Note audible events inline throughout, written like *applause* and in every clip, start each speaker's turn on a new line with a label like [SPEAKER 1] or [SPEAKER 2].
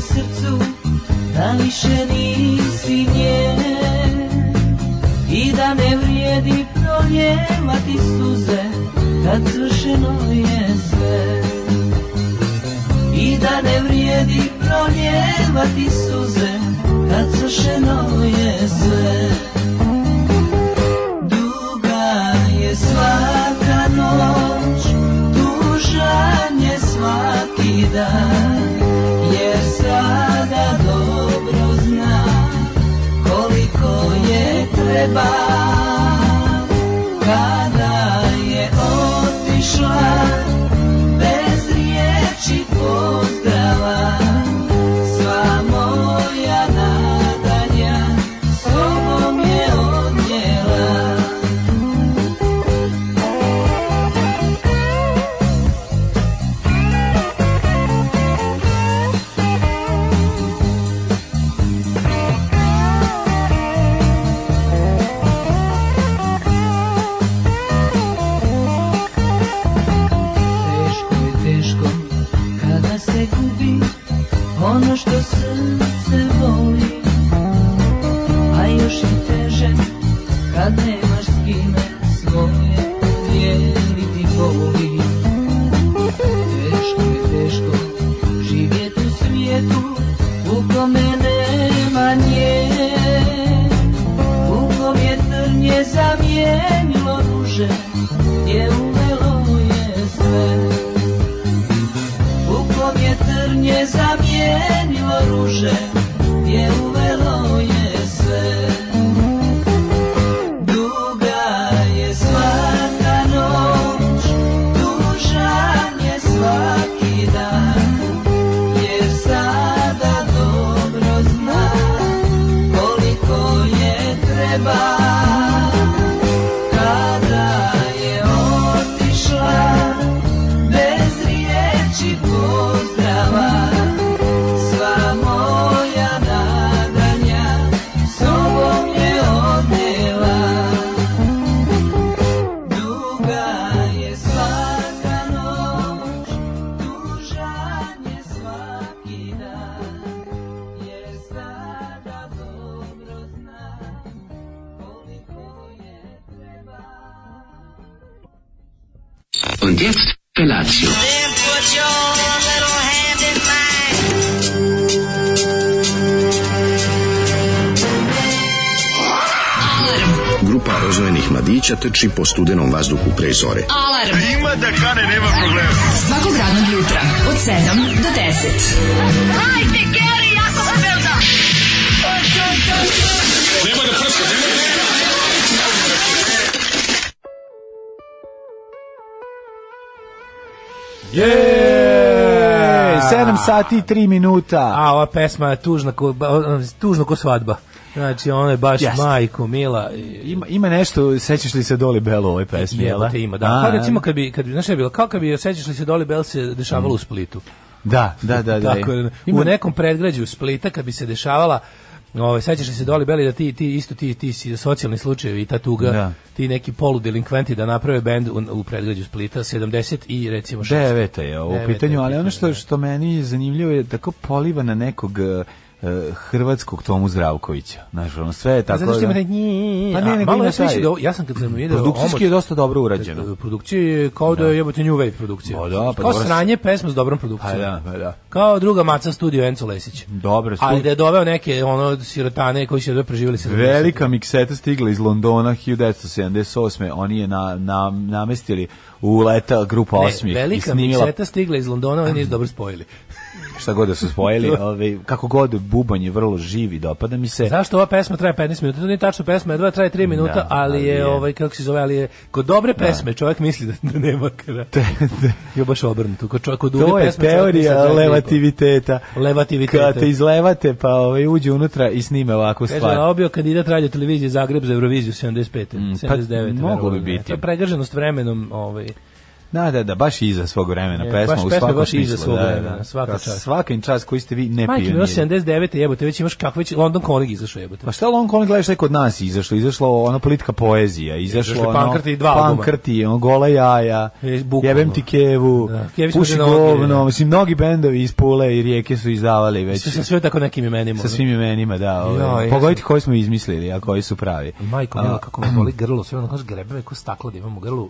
[SPEAKER 1] srcu da više nisi njene i da ne vrijedi proljevati suze kad svršeno je sve i da ne vrijedi proljevati suze kad svršeno je sve duga je svaka noć tužan je svaki dan jer sada dobro zna koliko je treba kada je otišla bez riječi pozdrava sva moja nadanja sobom je odnijela Teško je teško kada se gubi ono što srce voli A još je teže kad nemaš s kime svoje dijeliti boli Teško je teško živjeti u svijetu u kome nema nje U kom je trnje zamijenilo duže je umelo je sve U kom je trnje zamijenilo ruže je uvelo je sve Duga je svaka noć, tužan je svaki dan Jer sada dobro zna koliko je treba Kada je otišla bez riječi pozdrava Sva moja nadanja sobom je odnijela Duga je svaka noć, tužan je svaki dan, jer sada dobro zna koliko je treba.
[SPEAKER 2] Und jetzt Felatio.
[SPEAKER 3] Then put your little hand in mine.
[SPEAKER 4] Grupa rozvojenih mladića trči po studenom vazduhu pre zore.
[SPEAKER 5] Alarm. Ima da kane, nema problema. Svakog radnog jutra, od 7 do 10. Hajde, Geri, jako se belda.
[SPEAKER 6] Jej!
[SPEAKER 7] 7 sati i 3 minuta.
[SPEAKER 6] A ova pesma je tužna ko, ba- ono, tužno ko svadba. Znači, ona je baš
[SPEAKER 7] Jeste.
[SPEAKER 6] majko, mila. i-
[SPEAKER 7] Ima, ima nešto, sećaš li se Doli Belo u ovoj pesmi, jel?
[SPEAKER 6] Jebote ima, da.
[SPEAKER 7] A,
[SPEAKER 6] Pa recimo kad bi, kad bi, znaš šta je bilo, kao kad bi osjećaš li se Doli Bell se dešavalo u Splitu.
[SPEAKER 7] Da, da, da. da.
[SPEAKER 6] Tako, je.
[SPEAKER 7] Ima-
[SPEAKER 6] u nekom predgrađu Splita kad bi se dešavala Ovaj sećaš li se Doli Beli da ti ti isto ti ti si socijalni slučajevi i ta tuga,
[SPEAKER 7] Da.
[SPEAKER 6] ti neki poludelikventi da naprave bend u, u predgrađu Splita 70 i recimo 6.
[SPEAKER 7] Deveta je ovo u
[SPEAKER 6] Deveta je
[SPEAKER 7] pitanju, ali ono što,
[SPEAKER 6] pitanje,
[SPEAKER 7] što meni je zanimljivo je tako poliva na nekog eh, hrvatskog Tomu Zdravkovića. Znaš, ono sve je tako...
[SPEAKER 6] Pa Zato što ima
[SPEAKER 7] da-
[SPEAKER 6] taj nji-
[SPEAKER 7] Pa ne,
[SPEAKER 6] a,
[SPEAKER 7] nego
[SPEAKER 6] malo
[SPEAKER 7] ima
[SPEAKER 6] ja sam
[SPEAKER 7] taj-
[SPEAKER 6] mislio da ovo- ja sam kad sam video
[SPEAKER 7] Produkcijski je
[SPEAKER 6] omot-
[SPEAKER 7] dosta dobro urađeno.
[SPEAKER 6] Produkcija je kao da je jebote new wave produkcija.
[SPEAKER 7] Pa da, pa
[SPEAKER 6] kao
[SPEAKER 7] dobro.
[SPEAKER 6] sranje pesma s dobrom produkcijom.
[SPEAKER 7] Pa da, pa da. Mm,
[SPEAKER 6] Kao druga maca studio Enzo Lesić.
[SPEAKER 7] Dobro,
[SPEAKER 6] Ali
[SPEAKER 7] slu-
[SPEAKER 6] da je doveo neke ono sirotane koji su jedva preživjeli se.
[SPEAKER 7] Velika mikseta stigla iz Londona 1978. Oni je na, na, namestili u leta grupa Osmih i
[SPEAKER 6] velika
[SPEAKER 7] snimila
[SPEAKER 6] mikseta stigla iz Londona, oni nisu dobro spojili.
[SPEAKER 7] šta god da su
[SPEAKER 6] *laughs*
[SPEAKER 7] spojili. ovaj, kako god, bubanj je vrlo živ i dopada mi se.
[SPEAKER 6] Zašto ova pesma traje 15 minuta? To nije tačno pesma, jedva traje 3 minuta,
[SPEAKER 7] Da,
[SPEAKER 6] ali,
[SPEAKER 7] ali
[SPEAKER 6] je,
[SPEAKER 7] je.
[SPEAKER 6] ovaj kako se zove, ali je kod dobre pesme čovjek misli da, da nema kraja. Jo baš obrnuto, kod čovjek kod duge
[SPEAKER 7] To je
[SPEAKER 6] pesme čovjek misli da
[SPEAKER 7] teorija
[SPEAKER 6] traje dve i po.
[SPEAKER 7] levativiteta.
[SPEAKER 6] Levativiteta.
[SPEAKER 7] Kad te izlevate, pa ovaj, uđe unutra i snime ovakvu
[SPEAKER 6] Kaže,
[SPEAKER 7] stvar.
[SPEAKER 6] a bio kandidat radio televizije Zagreb za Euroviziju 75.
[SPEAKER 7] pa
[SPEAKER 6] 79.
[SPEAKER 7] moglo
[SPEAKER 6] verovatno,
[SPEAKER 7] bi
[SPEAKER 6] ne.
[SPEAKER 7] biti.
[SPEAKER 6] To je pregrženost vremenom, ovaj,
[SPEAKER 7] Da, da, da, baš iza svog vremena
[SPEAKER 6] E,
[SPEAKER 7] pesma
[SPEAKER 6] baš
[SPEAKER 7] u
[SPEAKER 6] pesma
[SPEAKER 7] svakom
[SPEAKER 6] baš iza
[SPEAKER 7] smislu,
[SPEAKER 6] svog
[SPEAKER 7] da, da,
[SPEAKER 6] vremena,
[SPEAKER 7] da.
[SPEAKER 6] svaka
[SPEAKER 7] Pa
[SPEAKER 6] čast.
[SPEAKER 7] Svaka im čast koji ste vi ne
[SPEAKER 6] Majke,
[SPEAKER 7] pioniri.
[SPEAKER 6] bilo 79. jebote, već imaš kakve će... London Calling izašao jebote.
[SPEAKER 7] Pa šta Lon Colin gledaš taj kod nas izašlo? Izašlo ono politika poezija, izašlo
[SPEAKER 6] Izašli
[SPEAKER 7] ono...
[SPEAKER 6] Pankrti i dva albuma.
[SPEAKER 7] Pankrti, ono gola jaja,
[SPEAKER 6] E, bukvalno.
[SPEAKER 7] jebem ti kevu,
[SPEAKER 6] Da, Kević
[SPEAKER 7] puši
[SPEAKER 6] može na odbije.
[SPEAKER 7] govno, mislim, mnogi bendovi iz Pule i Rijeke su izdavali već.
[SPEAKER 6] Sve sa sve tako nekim imenima. ono.
[SPEAKER 7] Sa svim imenima, da.
[SPEAKER 6] Ja,
[SPEAKER 7] Ovaj.
[SPEAKER 6] jesam.
[SPEAKER 7] Pogoditi koji smo izmislili, a koji su pravi.
[SPEAKER 6] Majko, mila, kako me
[SPEAKER 7] *clears throat*
[SPEAKER 6] boli grlo, sve ono, kaže, grebe me ko staklo da imam u grlu.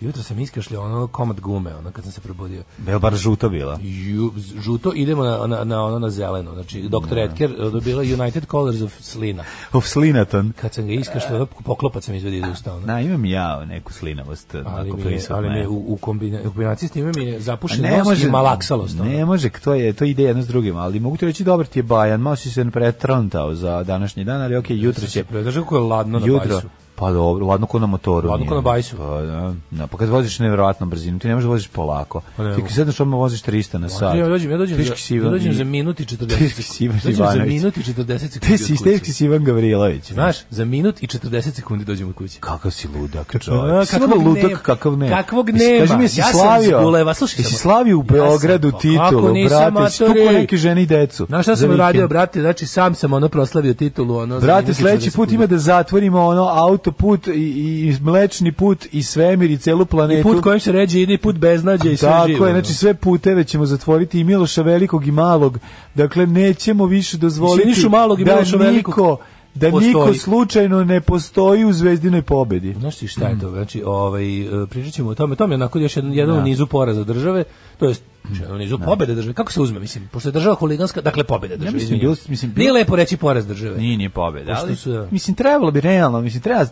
[SPEAKER 6] Jutro sam iskašljao ono komad gume, ono, kad sam se probudio.
[SPEAKER 7] Bel bar žuto bila.
[SPEAKER 6] Ju, z- žuto, idemo na, na, na, ono, na zeleno. Znači, Dr. Edker eh, dobila United Colors of Slina.
[SPEAKER 7] Of slinaton.
[SPEAKER 6] Kad sam ga iskašljao, ono, poklopac sam izvedio iz usta. Ono.
[SPEAKER 7] Na, imam ja neku slinavost.
[SPEAKER 6] Pa Ali
[SPEAKER 7] onako
[SPEAKER 6] mi, je,
[SPEAKER 7] prisutna
[SPEAKER 6] ali mi je
[SPEAKER 7] je.
[SPEAKER 6] u, u, kombina, u kombinaciji s njima mi je
[SPEAKER 7] A
[SPEAKER 6] zapušen nos i malaksalost. ono.
[SPEAKER 7] Ne može, to je to ide jedno s drugim, ali mogu ti reći dobar ti je Bajan, malo si se pretrontao za današnji dan, ali okej, jutro će
[SPEAKER 6] Predrži kako je ladno na
[SPEAKER 7] jutro.
[SPEAKER 6] bajsu.
[SPEAKER 7] Pa dobro, ladno ko na motoru.
[SPEAKER 6] Ladno ko
[SPEAKER 7] nije.
[SPEAKER 6] na bajsu.
[SPEAKER 7] Pa, da, da, pa kad voziš nevjerojatnom brzinom, ti ne možeš da voziš polako.
[SPEAKER 6] Pa ne
[SPEAKER 7] ti
[SPEAKER 6] mogu.
[SPEAKER 7] kad sedneš odmah voziš 300 na sat.
[SPEAKER 6] Ja Pa dođem, ja dođem, za,
[SPEAKER 7] Teški
[SPEAKER 6] ja
[SPEAKER 7] Sivan
[SPEAKER 6] dođem
[SPEAKER 7] i-
[SPEAKER 6] za minut i 40
[SPEAKER 7] Teški Sivan
[SPEAKER 6] sekundi. Dođem za
[SPEAKER 7] Ivanović.
[SPEAKER 6] minut i 40 sekundi.
[SPEAKER 7] Ti
[SPEAKER 6] od
[SPEAKER 7] si
[SPEAKER 6] kuće.
[SPEAKER 7] teški Sivan Gavrilović.
[SPEAKER 6] Znaš, za minut i 40 sekundi dođem od kuće.
[SPEAKER 7] Kakav si ludak,
[SPEAKER 6] A,
[SPEAKER 7] čovjek. Kakvog
[SPEAKER 6] kakvog
[SPEAKER 7] ludak,
[SPEAKER 6] nema.
[SPEAKER 7] kakav ne.
[SPEAKER 6] Kakvog
[SPEAKER 7] Mislim, Kaži
[SPEAKER 6] nema.
[SPEAKER 7] mi, jesi
[SPEAKER 6] Ja sam
[SPEAKER 7] slavio?
[SPEAKER 6] s Guleva, slušaj
[SPEAKER 7] Jesi
[SPEAKER 6] samo.
[SPEAKER 7] slavio u
[SPEAKER 6] Ja sam,
[SPEAKER 7] Beogradu
[SPEAKER 6] pa kako
[SPEAKER 7] titulu,
[SPEAKER 6] nisam,
[SPEAKER 7] brate? Stupo
[SPEAKER 6] matori?
[SPEAKER 7] neke žene i decu.
[SPEAKER 6] Znaš šta
[SPEAKER 7] Za
[SPEAKER 6] sam
[SPEAKER 7] vikend.
[SPEAKER 6] radio, brate? Znači, sam sam ono proslavio titulu. Ono, za minut
[SPEAKER 7] Brate,
[SPEAKER 6] i
[SPEAKER 7] sledeći
[SPEAKER 6] 40
[SPEAKER 7] put
[SPEAKER 6] sekundi.
[SPEAKER 7] ima da zatvorimo ono autoput i, i i mlečni put i svemir i celu planetu.
[SPEAKER 6] I put kojim se ređe ide i put beznađa i sve
[SPEAKER 7] Tako
[SPEAKER 6] živo.
[SPEAKER 7] je,
[SPEAKER 6] ono.
[SPEAKER 7] znači sve puteve ćemo zatvoriti i Miloša Velikog i Malog. Dakle, nećemo više dozvoliti
[SPEAKER 6] Sinišu Malog i
[SPEAKER 7] da
[SPEAKER 6] Miloša Velikog
[SPEAKER 7] niko, da
[SPEAKER 6] postoji.
[SPEAKER 7] niko slučajno ne postoji u Zvezdinoj pobedi.
[SPEAKER 6] Znaš ti
[SPEAKER 7] Hmm.
[SPEAKER 6] šta je to? Znači, ovaj, e, pričat ćemo o tome. To mi je onako još jedan, jedan u nizu poraza države, to je
[SPEAKER 7] Hmm.
[SPEAKER 6] jedan u nizu pobede države. Kako se uzme, mislim? Pošto je država huliganska, dakle pobede države.
[SPEAKER 7] mislim,
[SPEAKER 6] izvinjam
[SPEAKER 7] bilo-
[SPEAKER 6] se.
[SPEAKER 7] mislim, bilo-
[SPEAKER 6] Nije lepo reći poraz države.
[SPEAKER 7] Nije, nije pobeda.
[SPEAKER 6] Pošto
[SPEAKER 7] Ali,
[SPEAKER 6] su, da.
[SPEAKER 7] Mislim, trebalo bi realno, mislim, treba,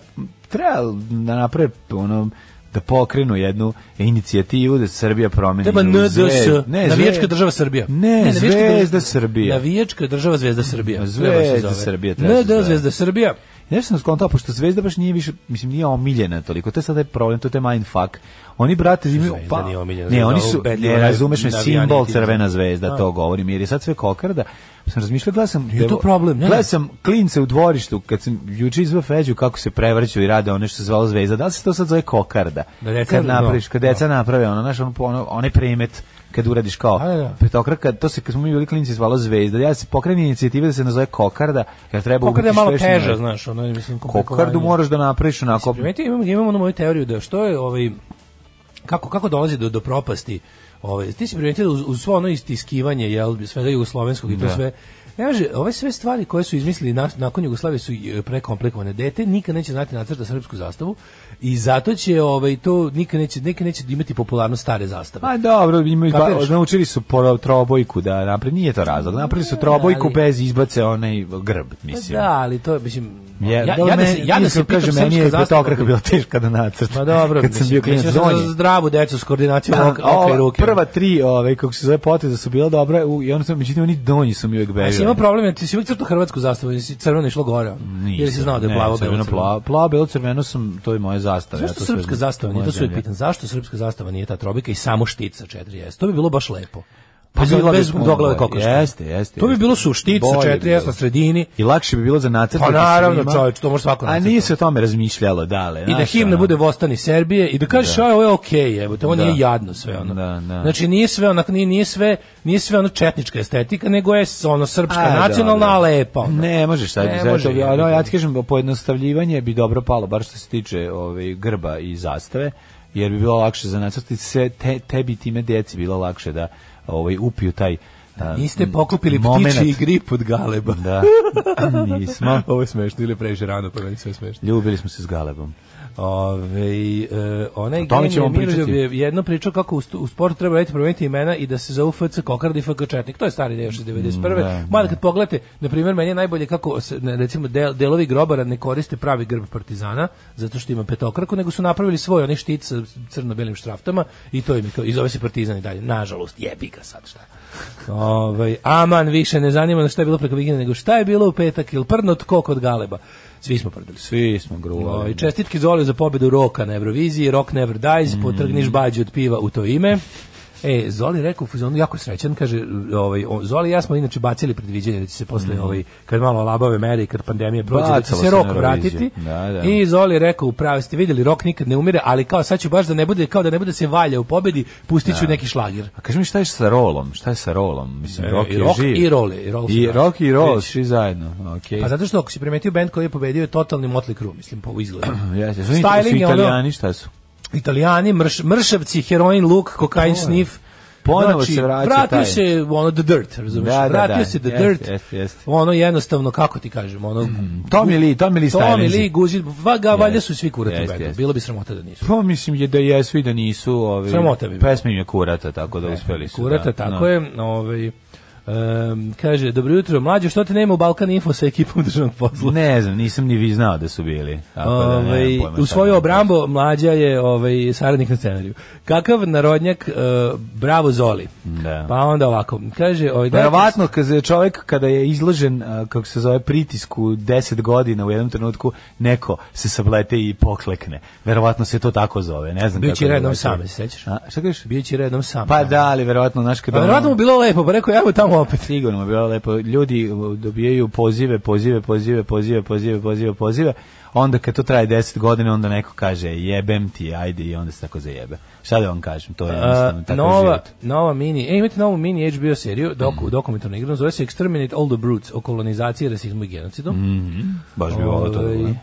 [SPEAKER 7] treba da naprave ono, da pokrenu jednu inicijativu da Srbija promeni
[SPEAKER 6] Treba
[SPEAKER 7] u
[SPEAKER 6] NDS,
[SPEAKER 7] zvezd- ne,
[SPEAKER 6] navijačka
[SPEAKER 7] zvezd-
[SPEAKER 6] država Srbija.
[SPEAKER 7] Ne,
[SPEAKER 6] navijačka
[SPEAKER 7] Zvezda
[SPEAKER 6] država-
[SPEAKER 7] Srbija.
[SPEAKER 6] Navijačka država Zvezda Srbija.
[SPEAKER 7] Zvezda
[SPEAKER 6] treba se zove.
[SPEAKER 7] Srbija treba se zove.
[SPEAKER 6] NDS Zvezda Srbija.
[SPEAKER 7] Ja sam skontao, pošto Zvezda baš nije više, mislim, nije omiljena toliko, to je sada je problem, to je taj mindfuck. Oni, brate, imaju,
[SPEAKER 6] Zvezda
[SPEAKER 7] pa,
[SPEAKER 6] nije omiljena,
[SPEAKER 7] ne,
[SPEAKER 6] Zvezda
[SPEAKER 7] oni
[SPEAKER 6] ovo
[SPEAKER 7] su,
[SPEAKER 6] ubedljivo
[SPEAKER 7] ne,
[SPEAKER 6] je
[SPEAKER 7] razumeš me,
[SPEAKER 6] navijanje
[SPEAKER 7] simbol
[SPEAKER 6] tih-
[SPEAKER 7] crvena zvezda,
[SPEAKER 6] A.
[SPEAKER 7] to govorim, jer je sad sve kokarda. Sam razmišljao, gledao sam,
[SPEAKER 6] Nije to problem, ne,
[SPEAKER 7] gledao
[SPEAKER 6] ne.
[SPEAKER 7] sam klince u dvorištu, kad sam juče izveo Feđu, kako se prevrću i rade ono što se zvalo zvezda, da li se to sad zove kokarda?
[SPEAKER 6] Da deca-
[SPEAKER 7] kad
[SPEAKER 6] no,
[SPEAKER 7] napraviš, kad deca naprave, ono, znaš, ono, ono, onaj premet, kad uradiš kao
[SPEAKER 6] A, da, da.
[SPEAKER 7] petokraka, to se kad smo mi bili klinci zvalo zvezda. Ja se pokreni inicijative da se nazove kokarda, jer treba
[SPEAKER 6] Kokarda je
[SPEAKER 7] ubiti
[SPEAKER 6] malo
[SPEAKER 7] što više
[SPEAKER 6] teža,
[SPEAKER 7] novih.
[SPEAKER 6] znaš, ono, mislim,
[SPEAKER 7] Kokardu
[SPEAKER 6] komplikovanje.
[SPEAKER 7] moraš da napraviš onako.
[SPEAKER 6] Primeti, imam, imam onu moju teoriju da što je ovaj kako kako dolazi do do propasti ovaj ti si primetio da uz, uz svo ono istiskivanje jel svega jugoslovenskog i to sve ne može, ove sve stvari koje su izmislili nas, nakon Jugoslavije su e, prekomplikovane. Dete nikad neće znati nacrta srpsku zastavu i zato će ovaj to nikad neće nikad neće imati popularnost stare zastave.
[SPEAKER 7] Ma Pa dobro, imaju ba,
[SPEAKER 6] Kapiraš?
[SPEAKER 7] naučili su po, trobojku da napravi, nije to razlog. Napravili su trobojku
[SPEAKER 6] ali-
[SPEAKER 7] bez izbace onaj grb, mislim.
[SPEAKER 6] Da, ali to je, mislim,
[SPEAKER 7] Ja,
[SPEAKER 6] ja,
[SPEAKER 7] dobro,
[SPEAKER 6] ja, da se,
[SPEAKER 7] meni-
[SPEAKER 6] ja da
[SPEAKER 7] iskreno
[SPEAKER 6] se pitam
[SPEAKER 7] kažem, meni je
[SPEAKER 6] srpska zastava
[SPEAKER 7] petokraka
[SPEAKER 6] bi-
[SPEAKER 7] bila teška da nacrta.
[SPEAKER 6] Ma dobro,
[SPEAKER 7] kad sam bio
[SPEAKER 6] mislim,
[SPEAKER 7] klinac
[SPEAKER 6] mislim, za
[SPEAKER 7] donji.
[SPEAKER 6] Zdravu decu s koordinacijom
[SPEAKER 7] Da,
[SPEAKER 6] oka, oka i
[SPEAKER 7] ova
[SPEAKER 6] ruke.
[SPEAKER 7] Prva tri, ove, kako se zove poteza, su bila dobra u, i onda sam, međutim, oni donji su mi uvijek ono,
[SPEAKER 6] Znači,
[SPEAKER 7] bežali.
[SPEAKER 6] ima problem, jer ti si uvijek crto hrvatsku zastavu, jer si crveno išlo gore, ono. jer si znao da je plavo, belo, crveno.
[SPEAKER 7] plavo. Plavo, belo, crveno sam, to je moje zastave. ja
[SPEAKER 6] Zašto
[SPEAKER 7] to sve
[SPEAKER 6] srpska
[SPEAKER 7] znam,
[SPEAKER 6] zastava,
[SPEAKER 7] moja
[SPEAKER 6] nije to se uvijek
[SPEAKER 7] zemlja.
[SPEAKER 6] pitan, zašto srpska zastava nije ta trobika i samo štit sa 4S? To bi bilo baš lepo.
[SPEAKER 7] Pa
[SPEAKER 6] bez,
[SPEAKER 7] bila bi
[SPEAKER 6] bez
[SPEAKER 7] puno
[SPEAKER 6] doglave
[SPEAKER 7] bolje.
[SPEAKER 6] kokoške.
[SPEAKER 7] Jeste, jeste,
[SPEAKER 6] To bi
[SPEAKER 7] jeste.
[SPEAKER 6] bilo su štit sa
[SPEAKER 7] Bolje bi
[SPEAKER 6] 4S
[SPEAKER 7] bilo.
[SPEAKER 6] na sredini.
[SPEAKER 7] I lakše bi bilo za nacrtati.
[SPEAKER 6] Pa naravno,
[SPEAKER 7] svima.
[SPEAKER 6] čoveče, to može svako
[SPEAKER 7] A
[SPEAKER 6] nacrtati.
[SPEAKER 7] nije se o tome razmišljalo, dale.
[SPEAKER 6] I da
[SPEAKER 7] znaš,
[SPEAKER 6] himna
[SPEAKER 7] ono.
[SPEAKER 6] bude Vostani Serbije i da kažeš aj ovo je okej, jebote, ovo
[SPEAKER 7] Da.
[SPEAKER 6] nije jadno sve ono.
[SPEAKER 7] Da, da.
[SPEAKER 6] Znači nije sve onak nije, nije sve nije sve ono četnička estetika, nego je ono srpska
[SPEAKER 7] A,
[SPEAKER 6] nacionalna
[SPEAKER 7] dobro.
[SPEAKER 6] a lepa. Ono.
[SPEAKER 7] Ne, možeš sad.
[SPEAKER 6] Ne
[SPEAKER 7] zato-
[SPEAKER 6] može,
[SPEAKER 7] ja,
[SPEAKER 6] jebi
[SPEAKER 7] no, ja
[SPEAKER 6] ga.
[SPEAKER 7] ti kažem, pojednostavljivanje bi dobro palo, bar što se tiče ovaj, grba i zastave, jer bi bilo lakše za nacrtati sve, te, tebi i time djeci bilo lakše da ovaj, upiju taj a,
[SPEAKER 6] Niste pokupili
[SPEAKER 7] momenat.
[SPEAKER 6] ptiči i grip od galeba.
[SPEAKER 7] Da, nismo.
[SPEAKER 6] Ovo je smešno ili previše rano, pa meni sve smešno.
[SPEAKER 7] Ljubili smo se s Galebom.
[SPEAKER 6] Ove, e, onaj
[SPEAKER 7] O tome
[SPEAKER 6] genije
[SPEAKER 7] ćemo
[SPEAKER 6] Miroljub
[SPEAKER 7] pričati.
[SPEAKER 6] je jedno pričao kako u, stu- u sportu treba raditi promeniti imena i da se zovu FC Kokarda i FK Četnik. To je stari deo još iz 91.
[SPEAKER 7] Mm, da,
[SPEAKER 6] Mada kad pogledate, na primjer, meni je najbolje kako se, ne, recimo del, delovi grobara ne koriste pravi grb Partizana, zato što ima petokraku, nego su napravili svoj onaj štit sa crno-belim štraftama i to im je kao, i zove se Partizan i dalje. Nažalost, jebi ga sad šta. Ovaj aman više ne zanima na šta je bilo preko vikenda nego šta je bilo u petak ili prdno tko kod Galeba. Svi smo prdili.
[SPEAKER 7] Svi smo gruvali.
[SPEAKER 6] Ovaj
[SPEAKER 7] Mm.
[SPEAKER 6] čestitke Zoli za pobedu Roka na Euroviziji, Rock Never Dies, potrgniš bađu od piva u to ime. E, Zoli rekao, u fazonu, jako srećan, kaže, ovaj, o, Zoli i ja smo inače bacili predviđenje da će se posle, ovaj, kad malo labave mere i kad pandemija prođe, da će
[SPEAKER 7] Mm. Bacalo
[SPEAKER 6] se
[SPEAKER 7] se
[SPEAKER 6] rok
[SPEAKER 7] na
[SPEAKER 6] vratiti.
[SPEAKER 7] Euroviziju. Da, da.
[SPEAKER 6] I Zoli je rekao, upravo ste vidjeli, rok nikad ne umire, ali kao sad ću baš da ne bude, kao da ne bude se valja u pobedi, pustit ću neki šlagir.
[SPEAKER 7] A kaži mi šta je sa rolom? Šta je sa rolom? Mislim,
[SPEAKER 6] E,
[SPEAKER 7] rock
[SPEAKER 6] i
[SPEAKER 7] je
[SPEAKER 6] rock
[SPEAKER 7] živ.
[SPEAKER 6] i role, i roll su
[SPEAKER 7] I
[SPEAKER 6] da.
[SPEAKER 7] rock i roll,
[SPEAKER 6] Vidiš.
[SPEAKER 7] svi zajedno. Okay.
[SPEAKER 6] Pa zato što ako si primetio bend koji je pobedio je totalni Motley Crue, mislim, po izgledu.
[SPEAKER 7] Jeste, su oni- su
[SPEAKER 6] Styling je ono,
[SPEAKER 7] italijani, šta su?
[SPEAKER 6] italijani, mrš, mršavci, heroin, luk, kokain, snif. Znači,
[SPEAKER 7] Ponovo se vraća
[SPEAKER 6] vratio
[SPEAKER 7] taj.
[SPEAKER 6] se ono the dirt, razumiješ?
[SPEAKER 7] Da, da,
[SPEAKER 6] vratio
[SPEAKER 7] da,
[SPEAKER 6] se the
[SPEAKER 7] jeste,
[SPEAKER 6] dirt.
[SPEAKER 7] jeste, jeste.
[SPEAKER 6] Ono jednostavno kako ti kažem,
[SPEAKER 7] Mm,
[SPEAKER 6] ono
[SPEAKER 7] Tommy Lee, Tommy Lee
[SPEAKER 6] Tommy
[SPEAKER 7] stylinzi.
[SPEAKER 6] Lee Guzi, va ga valjda su svi kurati u
[SPEAKER 7] Jeste,
[SPEAKER 6] bendu.
[SPEAKER 7] jeste.
[SPEAKER 6] Bilo bi sramota da nisu.
[SPEAKER 7] Pa mislim je da jesu i da nisu, ovi.
[SPEAKER 6] Sramota bi bila.
[SPEAKER 7] Pesme im je kurata, tako da uspeli su.
[SPEAKER 6] Kurata,
[SPEAKER 7] da,
[SPEAKER 6] tako
[SPEAKER 7] no.
[SPEAKER 6] je. Ovaj, em, kaže, dobro jutro, mlađe, što te nema u Balkan Info sa ekipom državnog posla?
[SPEAKER 7] Ne znam, nisam ni vi znao da su bili. Tako da, nemam
[SPEAKER 6] Ovaj,
[SPEAKER 7] pojma
[SPEAKER 6] u
[SPEAKER 7] šta
[SPEAKER 6] svoju
[SPEAKER 7] da-
[SPEAKER 6] obrambo mlađa je ovaj saradnik na scenariju. Kakav narodnjak, e, bravo Zoli.
[SPEAKER 7] Da.
[SPEAKER 6] Pa onda ovako, kaže, ovaj dajte-
[SPEAKER 7] Verovatno kada je čovjek kada je izložen a, kako se zove pritisku 10 godina u jednom trenutku neko se sablete i poklekne. Verovatno se to tako zove, ne znam
[SPEAKER 6] Bio
[SPEAKER 7] kako.
[SPEAKER 6] će redom
[SPEAKER 7] drugačije.
[SPEAKER 6] same, se sećaš?
[SPEAKER 7] A, šta kažeš?
[SPEAKER 6] Bio dakle, će redom sam.
[SPEAKER 7] Pa da, ali verovatno ono- naš
[SPEAKER 6] Pa
[SPEAKER 7] kada
[SPEAKER 6] verovatno mu bilo lepo, pa rekao, evo tamo opet.
[SPEAKER 7] sigurno mu je bilo lepo. Ljudi uh, dobijaju pozive, pozive, pozive, pozive, pozive, pozive, pozive. Onda kad to traje 10 godina, onda neko kaže jebem ti, ajde i onda se tako zajebe. Šta da vam kažem, to je jednostavno
[SPEAKER 6] A,
[SPEAKER 7] tako
[SPEAKER 6] nova,
[SPEAKER 7] život.
[SPEAKER 6] nova mini, e, imate novu mini HBO seriju, doku, dokumentarnu igru, zove se Exterminate All the Brutes o kolonizaciji, rasizmu i genocidu.
[SPEAKER 7] Baš bi volao Mm, to da
[SPEAKER 6] Ovaj,
[SPEAKER 7] gledam.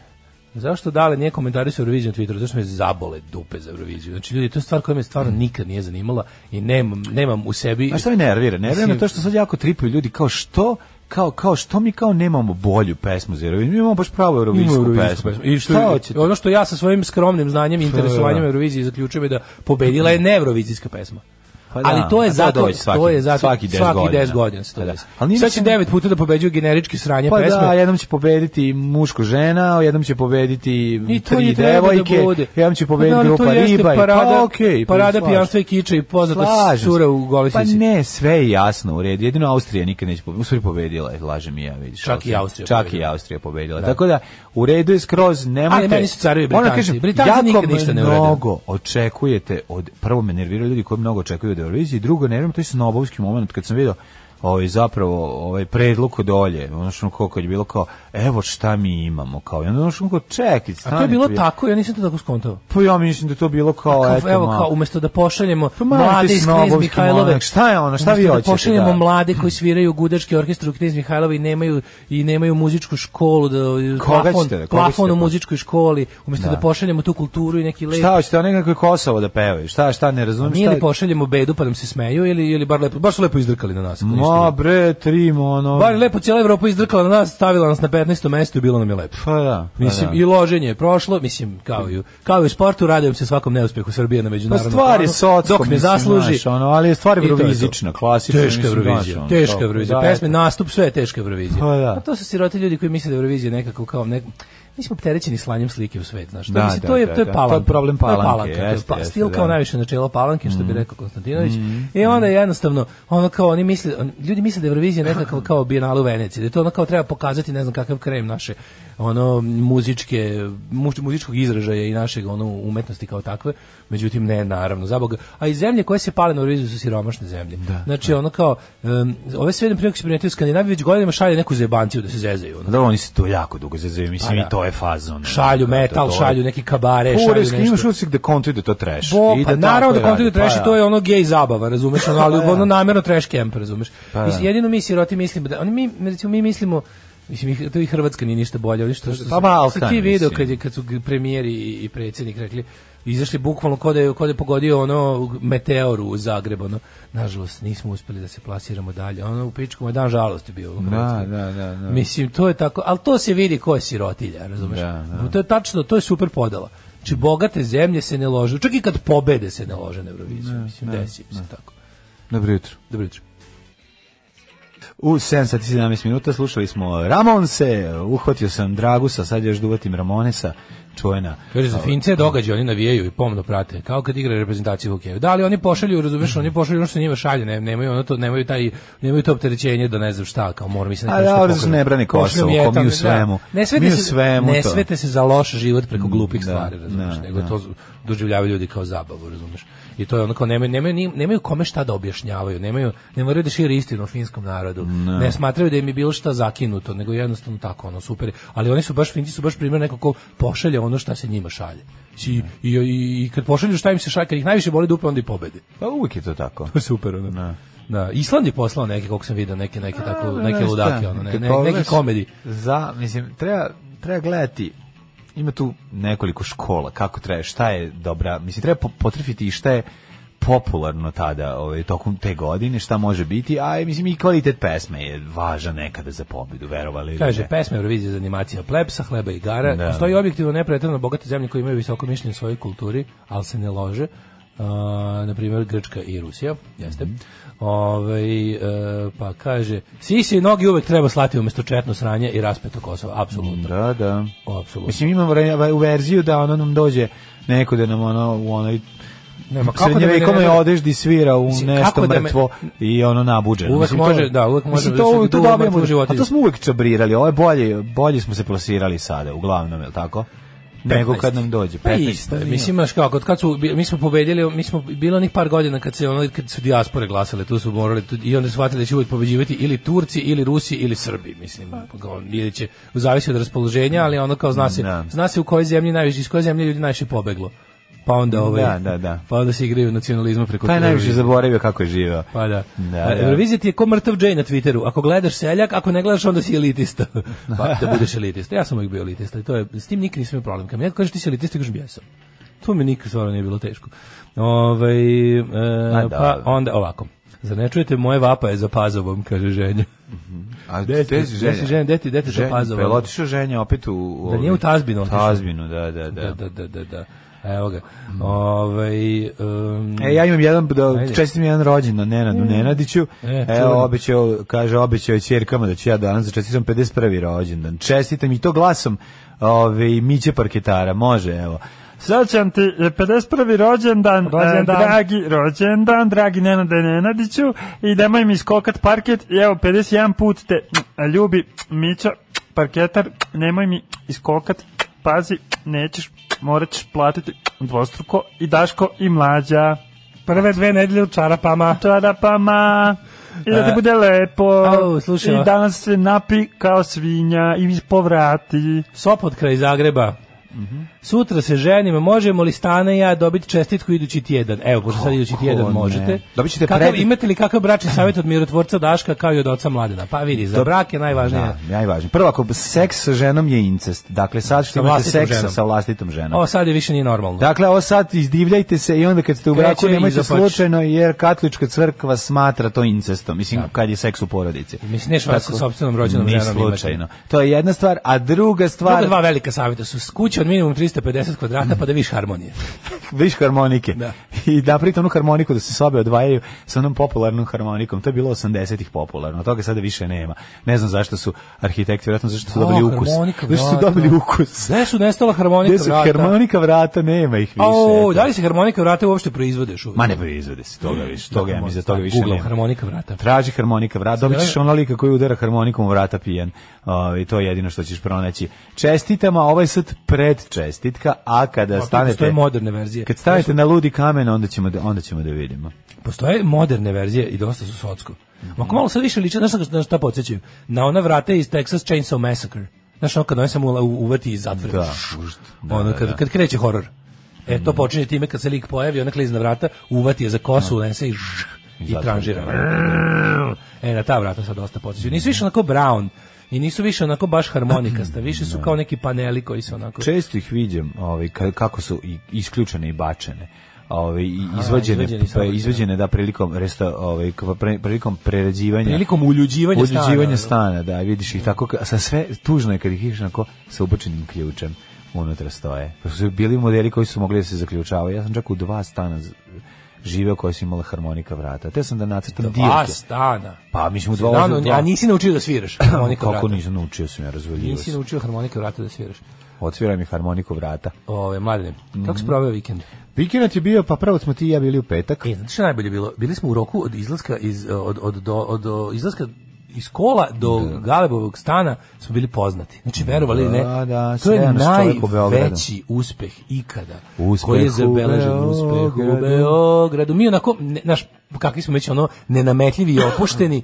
[SPEAKER 6] Zašto dale nije komentari sa Eurovizijom na Twitteru? Zašto me zabole dupe za Euroviziju? Znači, ljudi, to je stvar koja me stvarno nikad nije zanimala i nemam, nemam u sebi...
[SPEAKER 7] Mm. A šta mi nervira? Nervira me to što sad jako tripuju ljudi kao što kao kao što mi kao nemamo bolju pesmu za Euroviziju. Mi imamo baš pravu
[SPEAKER 6] Ima
[SPEAKER 7] eurovizijsku
[SPEAKER 6] Eurovizijsku
[SPEAKER 7] pesmu.
[SPEAKER 6] pesmu. I
[SPEAKER 7] Šta
[SPEAKER 6] što,
[SPEAKER 7] hoćete?
[SPEAKER 6] ono što ja sa svojim skromnim znanjem i interesovanjem Eurovizije zaključujem je da pobedila
[SPEAKER 7] *clears throat*
[SPEAKER 6] je nevrovizijska pesma.
[SPEAKER 7] Pa da,
[SPEAKER 6] ali to je
[SPEAKER 7] a
[SPEAKER 6] zato,
[SPEAKER 7] dođe svaki-
[SPEAKER 6] to je zato,
[SPEAKER 7] svaki 10 godina.
[SPEAKER 6] 10 godina se to
[SPEAKER 7] Pa da.
[SPEAKER 6] desi.
[SPEAKER 7] Ali nije
[SPEAKER 6] Sad će
[SPEAKER 7] mislim-
[SPEAKER 6] devet puta da pobeđuju generički sranje
[SPEAKER 7] Pa
[SPEAKER 6] pesme.
[SPEAKER 7] da, jednom će pobediti muško žena, jednom će pobediti
[SPEAKER 6] I to
[SPEAKER 7] tri
[SPEAKER 6] je treba
[SPEAKER 7] devojke,
[SPEAKER 6] da bude.
[SPEAKER 7] jednom će pobediti
[SPEAKER 6] Pa da, ali to
[SPEAKER 7] grupa
[SPEAKER 6] jeste
[SPEAKER 7] riba. i-
[SPEAKER 6] Parada,
[SPEAKER 7] pa, okej, pa
[SPEAKER 6] parada
[SPEAKER 7] slažem se.
[SPEAKER 6] pijanstva i kiča i poznata
[SPEAKER 7] Slažem se.
[SPEAKER 6] cura u goloj
[SPEAKER 7] Pa
[SPEAKER 6] sisi.
[SPEAKER 7] ne, sve je jasno u redu. Jedino Austrija nikad neće pobediti. U stvari pobedila je, lažem i ja, vidiš.
[SPEAKER 6] Čak i Austrija
[SPEAKER 7] Čak i
[SPEAKER 6] pobedila.
[SPEAKER 7] Austrija pobedila. Tako da, u redu je skroz, nemojte...
[SPEAKER 6] Ali meni su carevi
[SPEAKER 7] Moram
[SPEAKER 6] Britanci.
[SPEAKER 7] kažem,
[SPEAKER 6] Britanci
[SPEAKER 7] jako
[SPEAKER 6] nikad ništa ne urede.
[SPEAKER 7] mnogo očekujete od... Prvo me nerviraju ljudi koji mnogo očekuju od Eurovizije, drugo nerviraju me, to je snobovski moment kad sam vidio ovaj zapravo ovaj predlog od Olje, ono što ono kao kad je bilo kao evo šta mi imamo kao i onda ono što ono kao čekaj,
[SPEAKER 6] A to je bilo tako, ja nisam to tako skontao.
[SPEAKER 7] Pa ja mislim da je to bilo
[SPEAKER 6] Kao,
[SPEAKER 7] kao Pa eto,
[SPEAKER 6] evo
[SPEAKER 7] ma-
[SPEAKER 6] kao umesto da pošaljemo
[SPEAKER 7] Pa malo
[SPEAKER 6] mlade
[SPEAKER 7] ti
[SPEAKER 6] iz Knez
[SPEAKER 7] snobovski
[SPEAKER 6] Mihajlove.
[SPEAKER 7] monak, šta je ono, šta
[SPEAKER 6] umesto
[SPEAKER 7] vi
[SPEAKER 6] da
[SPEAKER 7] hoćete,
[SPEAKER 6] pošaljemo
[SPEAKER 7] da.
[SPEAKER 6] mlade koji sviraju gudački orkestar u Knez Mihajlove i nemaju i nemaju muzičku školu da
[SPEAKER 7] Koga
[SPEAKER 6] plafon,
[SPEAKER 7] ćete da- koga
[SPEAKER 6] plafon
[SPEAKER 7] ćete pa?
[SPEAKER 6] u
[SPEAKER 7] da-
[SPEAKER 6] muzičkoj školi umesto da. pošaljemo tu kulturu i neki lep
[SPEAKER 7] Šta hoćete, onaj kako je Kosovo da pevaju? Šta, šta, ne razumijem
[SPEAKER 6] Mi ili
[SPEAKER 7] šta...
[SPEAKER 6] pošaljemo bedu pa nam se smeju ili ili bar lepo baš su lepo izdrkali na nas. ako ništa
[SPEAKER 7] Ma
[SPEAKER 6] drugo.
[SPEAKER 7] bre, tri ono...
[SPEAKER 6] Bar je lepo cijela Evropa izdrkala na nas, stavila nas na 15. mesto i bilo nam je lepo.
[SPEAKER 7] Pa da, pa
[SPEAKER 6] Mislim,
[SPEAKER 7] da.
[SPEAKER 6] i loženje je prošlo, mislim, kao i, u- kao i u sportu, radujem se svakom neuspehu Srbije na
[SPEAKER 7] Pa
[SPEAKER 6] međunarodnom
[SPEAKER 7] stvar je
[SPEAKER 6] planu,
[SPEAKER 7] socko,
[SPEAKER 6] dok ne zasluži.
[SPEAKER 7] Znaš, ono, ali je stvar
[SPEAKER 6] I to je to.
[SPEAKER 7] evrovizična, klasična.
[SPEAKER 6] Teška
[SPEAKER 7] mislim, znaš,
[SPEAKER 6] Eurovizija,
[SPEAKER 7] ono,
[SPEAKER 6] teška
[SPEAKER 7] tako,
[SPEAKER 6] Eurovizija,
[SPEAKER 7] da,
[SPEAKER 6] pesme,
[SPEAKER 7] eto.
[SPEAKER 6] nastup, sve je teška Eurovizija.
[SPEAKER 7] Pa da.
[SPEAKER 6] A to su siroti ljudi koji misle da je Eurovizija nekako kao nek... Mi smo opterećeni slanjem slike u svet, znaš. To,
[SPEAKER 7] Da,
[SPEAKER 6] mislim,
[SPEAKER 7] da,
[SPEAKER 6] to je,
[SPEAKER 7] da,
[SPEAKER 6] to je
[SPEAKER 7] da.
[SPEAKER 6] palanka.
[SPEAKER 7] To je problem palanke,
[SPEAKER 6] to je
[SPEAKER 7] jeste,
[SPEAKER 6] pa-
[SPEAKER 7] jeste,
[SPEAKER 6] stil kao
[SPEAKER 7] da.
[SPEAKER 6] najviše načelo palanke, što bi rekao Konstantinović. I onda je jednostavno, ono kao oni misle, on- ljudi misle da je Eurovizija nekakav kao bijenale u Veneciji, da je to ono kao treba pokazati ne znam kakav krem naše ono muzičke muš- muzičkog izražaja i našeg ono umetnosti kao takve. Međutim ne, naravno, zaboga. A i zemlje koje se pale na Euroviziju su siromašne zemlje. znači ono kao em, ove sve jedne prilike se primetio u Skandinaviji već godinama šalje neku zebanciju da se zezaju. ono.
[SPEAKER 7] pa Da, oni se to jako dugo zezaju, mislim,
[SPEAKER 6] Pa da.
[SPEAKER 7] i to je fazon.
[SPEAKER 6] Šalju metal, šalju neki kabare, šalju
[SPEAKER 7] Kureski, imaš
[SPEAKER 6] nešto.
[SPEAKER 7] uvijek da kontuju da to treš.
[SPEAKER 6] Bo,
[SPEAKER 7] I
[SPEAKER 6] pa
[SPEAKER 7] tako
[SPEAKER 6] naravno da
[SPEAKER 7] radi,
[SPEAKER 6] kontent trash
[SPEAKER 7] pa
[SPEAKER 6] to je
[SPEAKER 7] da.
[SPEAKER 6] ono gej zabava, razumeš, ono, ali ono namjerno trash camp, razumeš.
[SPEAKER 7] Pa
[SPEAKER 6] Mis-
[SPEAKER 7] da.
[SPEAKER 6] jedino mi siroti mislimo da oni mi recimo mi mislimo Mislim, i- to i Hrvatska nije ništa bolje. Oni što, što
[SPEAKER 7] Pa
[SPEAKER 6] sam-
[SPEAKER 7] Balkan,
[SPEAKER 6] sam ti video
[SPEAKER 7] mislim.
[SPEAKER 6] kad, je, kad su g- premijeri i, i predsjednik rekli, izašli bukvalno kod je, ko da je pogodio ono meteoru u Zagreb, ono, nažalost, nismo uspeli da se plasiramo dalje. Ono, u pičkom je dan žalosti bio. u Hrvatskoj.
[SPEAKER 7] Da, da, da, da.
[SPEAKER 6] Mislim, to je tako, ali to se vidi ko je sirotilja, razumeš?
[SPEAKER 7] Da, da. Mm.
[SPEAKER 6] To je tačno, to je super podala. Znači, bogate zemlje se ne lože, čak i kad pobede se ne lože na Euroviziju, mislim, desi im se tako.
[SPEAKER 7] Dobro jutro.
[SPEAKER 6] Dobro jutro.
[SPEAKER 7] U 7 sati 17 minuta slušali smo Ramonse, uhvatio sam Dragusa, sad još duvatim Ramonesa, čuvena.
[SPEAKER 6] Kaže, za Fince je događaj, oni navijaju i pomno prate, kao kad igra reprezentaciju hokeja. Da, ali oni pošalju, razumeš, oni pošalju ono što njima šalje, ne, nemaju, ono to, nemaju, taj, nemaju to opterećenje da ne znam šta, kao moram mislim.
[SPEAKER 7] A da, Orzu ne brani Kosovo, ko mi u svemu.
[SPEAKER 6] Ne svete,
[SPEAKER 7] mi u
[SPEAKER 6] se,
[SPEAKER 7] svemu
[SPEAKER 6] ne
[SPEAKER 7] to.
[SPEAKER 6] svete se za loš život preko glupih
[SPEAKER 7] Mm, da,
[SPEAKER 6] stvari, razumeš,
[SPEAKER 7] da,
[SPEAKER 6] nego
[SPEAKER 7] da.
[SPEAKER 6] to doživljavaju ljudi kao zabavu, razumeš. I to je onako, nemaju, nemaju, ni- nemaju kome šta da objašnjavaju, nemaju, ne moraju da šire istinu o finskom narodu, ne smatraju da im je bilo šta zakinuto, nego jednostavno tako, ono, super. je. Ali oni su baš, Finci su baš primjer neko ko pošalje ono šta se njima šalje. I, i, i, i kad pošalju šta im se šalje, kad ih najviše boli dupe, onda i pobede. *laughs*
[SPEAKER 7] Pa uvijek je to *laughs* tako.
[SPEAKER 6] To je super, ono. Da. Island je poslao neke, koliko sam vidio, neke, neke, tako,
[SPEAKER 7] A,
[SPEAKER 6] neke
[SPEAKER 7] znaš
[SPEAKER 6] ludake,
[SPEAKER 7] šta,
[SPEAKER 6] ono, ne,
[SPEAKER 7] kad
[SPEAKER 6] ne,
[SPEAKER 7] pogledaš
[SPEAKER 6] neki komedi.
[SPEAKER 7] Za, mislim, treba, treba gledati ima tu nekoliko škola kako treba, šta je dobra, mislim treba po- potrefiti i šta je popularno tada, ovaj tokom te godine, šta može biti, a mislim i kvalitet pesme je važan nekada za pobjedu, verovali ili
[SPEAKER 6] Kaže,
[SPEAKER 7] ne.
[SPEAKER 6] pesme Eurovizije za animacija plepsa, hleba i gara.
[SPEAKER 7] Da.
[SPEAKER 6] Postoji objektivno nepretredno bogate zemlje koje imaju visoko mišljenje o svojoj kulturi, ali se ne lože. Uh, na primjer Grčka i Rusija, jeste. Ovaj, e, pa kaže, sisi i nogi uvek treba slati umjesto četno sranje i raspeto Kosova, apsolutno.
[SPEAKER 7] Da, da.
[SPEAKER 6] Apsolutno.
[SPEAKER 7] Mislim imamo re- u verziju da ono nam dođe neko da nam ono u onoj
[SPEAKER 6] Nema, kako da me ne
[SPEAKER 7] srednjevekovnoj
[SPEAKER 6] nervira?
[SPEAKER 7] odeždi svira u
[SPEAKER 6] Mislim,
[SPEAKER 7] nešto
[SPEAKER 6] kako da me-
[SPEAKER 7] mrtvo i ono nabuđeno.
[SPEAKER 6] Uvek
[SPEAKER 7] Mislim,
[SPEAKER 6] može, da, uvek može
[SPEAKER 7] Mislim,
[SPEAKER 6] da
[SPEAKER 7] to,
[SPEAKER 6] se
[SPEAKER 7] uvek- to
[SPEAKER 6] duva
[SPEAKER 7] dobijemo,
[SPEAKER 6] mrtvu
[SPEAKER 7] a
[SPEAKER 6] životinju.
[SPEAKER 7] to smo uvek čabrirali, ovo je bolje, bolje smo se plasirali sada, uglavnom, je li tako? Nego
[SPEAKER 6] 15.
[SPEAKER 7] kad nam dođe.
[SPEAKER 6] Pa
[SPEAKER 7] 15,
[SPEAKER 6] isto,
[SPEAKER 7] nije.
[SPEAKER 6] mislim baš kako, od kad su bi- mi smo pobedili, mi smo bilo onih par godina kad se ono kad su dijaspore glasale, tu su morali tu, i onda su shvatili da će uvijek pobeđivati ili Turci ili Rusi ili Srbi, mislim. pa Kao, Ili će zavisi od raspoloženja, ali ono kao zna se,
[SPEAKER 7] Da.
[SPEAKER 6] zna se u kojoj zemlji najviše, iz koje zemlje ljudi najviše pobeglo. Pa onda ovaj,
[SPEAKER 7] Da, da, da.
[SPEAKER 6] Pa onda se igraju nacionalizma preko
[SPEAKER 7] Pa je najviše
[SPEAKER 6] Eurovizije.
[SPEAKER 7] zaboravio kako je živeo.
[SPEAKER 6] Pa da.
[SPEAKER 7] Da,
[SPEAKER 6] A,
[SPEAKER 7] da.
[SPEAKER 6] Eurovizija ti je ko mrtav Jay na Twitteru. Ako gledaš seljak, ako ne gledaš, onda si
[SPEAKER 7] *laughs*
[SPEAKER 6] elitista. pa da budeš elitista. Ja sam uvijek bio elitista i to je, s tim nikad nisam imao problem. Kad mi neko kaže ti si elitista, kažem jesam. To mi nikad stvarno nije bilo teško. Ovaj, e,
[SPEAKER 7] A, da.
[SPEAKER 6] pa onda ovako. Zar ne čujete moje vapaje za pazovom, kaže ženja.
[SPEAKER 7] A
[SPEAKER 6] Gde
[SPEAKER 7] gde
[SPEAKER 6] si-
[SPEAKER 7] si
[SPEAKER 6] gde si ženja? Gde ti- gde ti to
[SPEAKER 7] Ženja,
[SPEAKER 6] pazova?
[SPEAKER 7] Pa je li otišao ženja opet u... u
[SPEAKER 6] Da nije u
[SPEAKER 7] ovaj-
[SPEAKER 6] Tazbinu otišao?
[SPEAKER 7] Tazbinu, da, da,
[SPEAKER 6] Da,
[SPEAKER 7] da.
[SPEAKER 6] da, da, da, da. Evo ga. Ovaj, em,
[SPEAKER 7] E, ja imam jedan,
[SPEAKER 6] Ajde.
[SPEAKER 7] da, čestitam jedan rođendan Nenadu Nenadiću.
[SPEAKER 6] E, čuveno.
[SPEAKER 7] Evo, obećao, kaže, obećao je ćerkama da ću ja danas da čestitam 51. rođendan. Čestitam i to glasom ove, Miće Parketara, može, evo. Srećan ti je 51. rođendan,
[SPEAKER 6] Rođendan.
[SPEAKER 7] e, dragi rođendan, dragi Nenade Nenadiću i nemoj mi skokat parket i evo 51 put te ljubi Mića Parketar, nemoj mi iskokat, pazi, nećeš, morat ćeš platiti dvostruko i Daško i mlađa.
[SPEAKER 6] prve dve nedelje u čarapama.
[SPEAKER 7] Čarapama i da ti
[SPEAKER 6] E,
[SPEAKER 7] bude lepo.
[SPEAKER 6] au, slušaj,
[SPEAKER 7] I danas se napi kao svinja i povrati.
[SPEAKER 6] Sopot kraj Zagreba. Sutra se ženimo, možemo li Stana i ja dobiti čestitku idući tjedan? Evo, pošto sad idući tjedan
[SPEAKER 7] ne?
[SPEAKER 6] možete.
[SPEAKER 7] Dobit ćete
[SPEAKER 6] kakav,
[SPEAKER 7] pred-
[SPEAKER 6] Imate li kakav bračni savjet od mirotvorca Daška kao i od oca Mladena? Pa vidi, za brak je najvažnije.
[SPEAKER 7] Da, najvažnije. Prvo, ako seks sa ženom je incest. Dakle, sad što imate
[SPEAKER 6] vlastitom
[SPEAKER 7] seksa
[SPEAKER 6] ženom.
[SPEAKER 7] sa vlastitom ženom.
[SPEAKER 6] Ovo sad je više nije normalno.
[SPEAKER 7] Dakle, ovo sad izdivljajte se i onda kad ste u
[SPEAKER 6] Kreće
[SPEAKER 7] braku nemojte
[SPEAKER 6] izopač.
[SPEAKER 7] slučajno jer katolička crkva smatra to incestom. Mislim, kad je seks u porodici.
[SPEAKER 6] Mislim, neš vas sa
[SPEAKER 7] Tako,
[SPEAKER 6] sopstvenom rođenom
[SPEAKER 7] ni
[SPEAKER 6] ženom imati.
[SPEAKER 7] slučajno. To je jedna stvar, a druga stvar...
[SPEAKER 6] Druga dva velika savjeta su kuća od minimum 350 kvadrata pa da viš harmonije.
[SPEAKER 7] viš harmonike.
[SPEAKER 6] Da.
[SPEAKER 7] I napravite onu harmoniku da se sobe odvajaju sa onom popularnom harmonikom. To je bilo 80-ih popularno, toga sada više nema. Ne znam zašto su arhitekti, vjerojatno zašto su
[SPEAKER 6] Da,
[SPEAKER 7] dobili ukus.
[SPEAKER 6] harmonika
[SPEAKER 7] Zašto su
[SPEAKER 6] vrata.
[SPEAKER 7] dobili ukus.
[SPEAKER 6] Gde su nestala harmonika
[SPEAKER 7] Gde su
[SPEAKER 6] vrata?
[SPEAKER 7] harmonika vrata, nema ih više.
[SPEAKER 6] Au,
[SPEAKER 7] eto.
[SPEAKER 6] da li se harmonika vrata uopšte proizvodeš?
[SPEAKER 7] Ma ne proizvode se toga više, toga ja mi za toga više
[SPEAKER 6] Google
[SPEAKER 7] nema.
[SPEAKER 6] harmonika vrata.
[SPEAKER 7] Traži harmonika vrata, dobit ćeš ono lika koji udara harmonikom u vrata pijen. O, I to je jedino što ćeš pronaći. Čestitama, ovaj sad pred čestitka, a kada
[SPEAKER 6] To je
[SPEAKER 7] stanete...
[SPEAKER 6] moderne verzije.
[SPEAKER 7] Kad stavite na ludi kamen, onda ćemo da, onda ćemo da vidimo.
[SPEAKER 6] Postoje moderne verzije i dosta su socko.
[SPEAKER 7] Mhm.
[SPEAKER 6] Ako malo sad više liče, znaš na- na šta podsjećaju? Na ona vrata iz Texas Chainsaw Massacre. Znaš ono kad oni samo ula- uvati i zatvori.
[SPEAKER 7] Da, Mhm.
[SPEAKER 6] ono kad, kad kreće horor. E, to počinje time kad se lik pojavi, ona klizna vrata, uvati je za kosu, unese i žš, i
[SPEAKER 7] Zatvori.
[SPEAKER 6] tranžira. E, na ta vrata sad dosta podsjećaju. Nisu više onako brown i nisu više onako baš harmonikasta, više su kao neki paneli koji se onako...
[SPEAKER 7] Često ih viđam, ovaj ka- kako su i- isključene i bačene. Ovaj i izvađene
[SPEAKER 6] izvađeni
[SPEAKER 7] pa,
[SPEAKER 6] sadržaj.
[SPEAKER 7] izvađene da prilikom resta ovaj k- pre- prilikom prerađivanja
[SPEAKER 6] Prilikom uljuđivanja stana.
[SPEAKER 7] Uđuđivanje stana, da, vidiš ih tako, ka- sa sve, tužno je kad ih vidiš onako sa ubačenim ključem unutra stoje. Pa su bili modeli koji su mogli da se zaključavaju. Ja sam čak u dva stana z- živeo koji su imala harmonika vrata. Te sam da nacrtam
[SPEAKER 6] Dva
[SPEAKER 7] dirke.
[SPEAKER 6] ono. stana.
[SPEAKER 7] Pa mislim u dva,
[SPEAKER 6] Sedamno,
[SPEAKER 7] dva- *coughs*
[SPEAKER 6] a nisi naučio da sviraš harmonika
[SPEAKER 7] Kako
[SPEAKER 6] vrata.
[SPEAKER 7] nisam naučio sam ja razvaljivo.
[SPEAKER 6] Nisi
[SPEAKER 7] sam.
[SPEAKER 6] naučio harmonike vrata da sviraš.
[SPEAKER 7] otvira mi harmoniku vrata.
[SPEAKER 6] Ove, mladine, kako si proveo vikend?
[SPEAKER 7] Vikend je bio, pa pravo smo ti i ja bili u petak.
[SPEAKER 6] E, znači što je najbolje bilo? Bili smo u roku od izlaska iz, e, od, od, do, od, o, izlaska iz kola do Galebovog stana smo bili poznati. Znači, verovali ili
[SPEAKER 7] Da,
[SPEAKER 6] ne,
[SPEAKER 7] da,
[SPEAKER 6] to je
[SPEAKER 7] sjajan čovjek u Beogradu.
[SPEAKER 6] najveći uspeh ikada
[SPEAKER 7] Uspeh
[SPEAKER 6] koji je
[SPEAKER 7] u
[SPEAKER 6] zabeležen uspeh u
[SPEAKER 7] Beogradu.
[SPEAKER 6] Beogradu. Mi onako, ne, naš, kakvi smo već ono, nenametljivi i
[SPEAKER 7] *clears throat*
[SPEAKER 6] opušteni,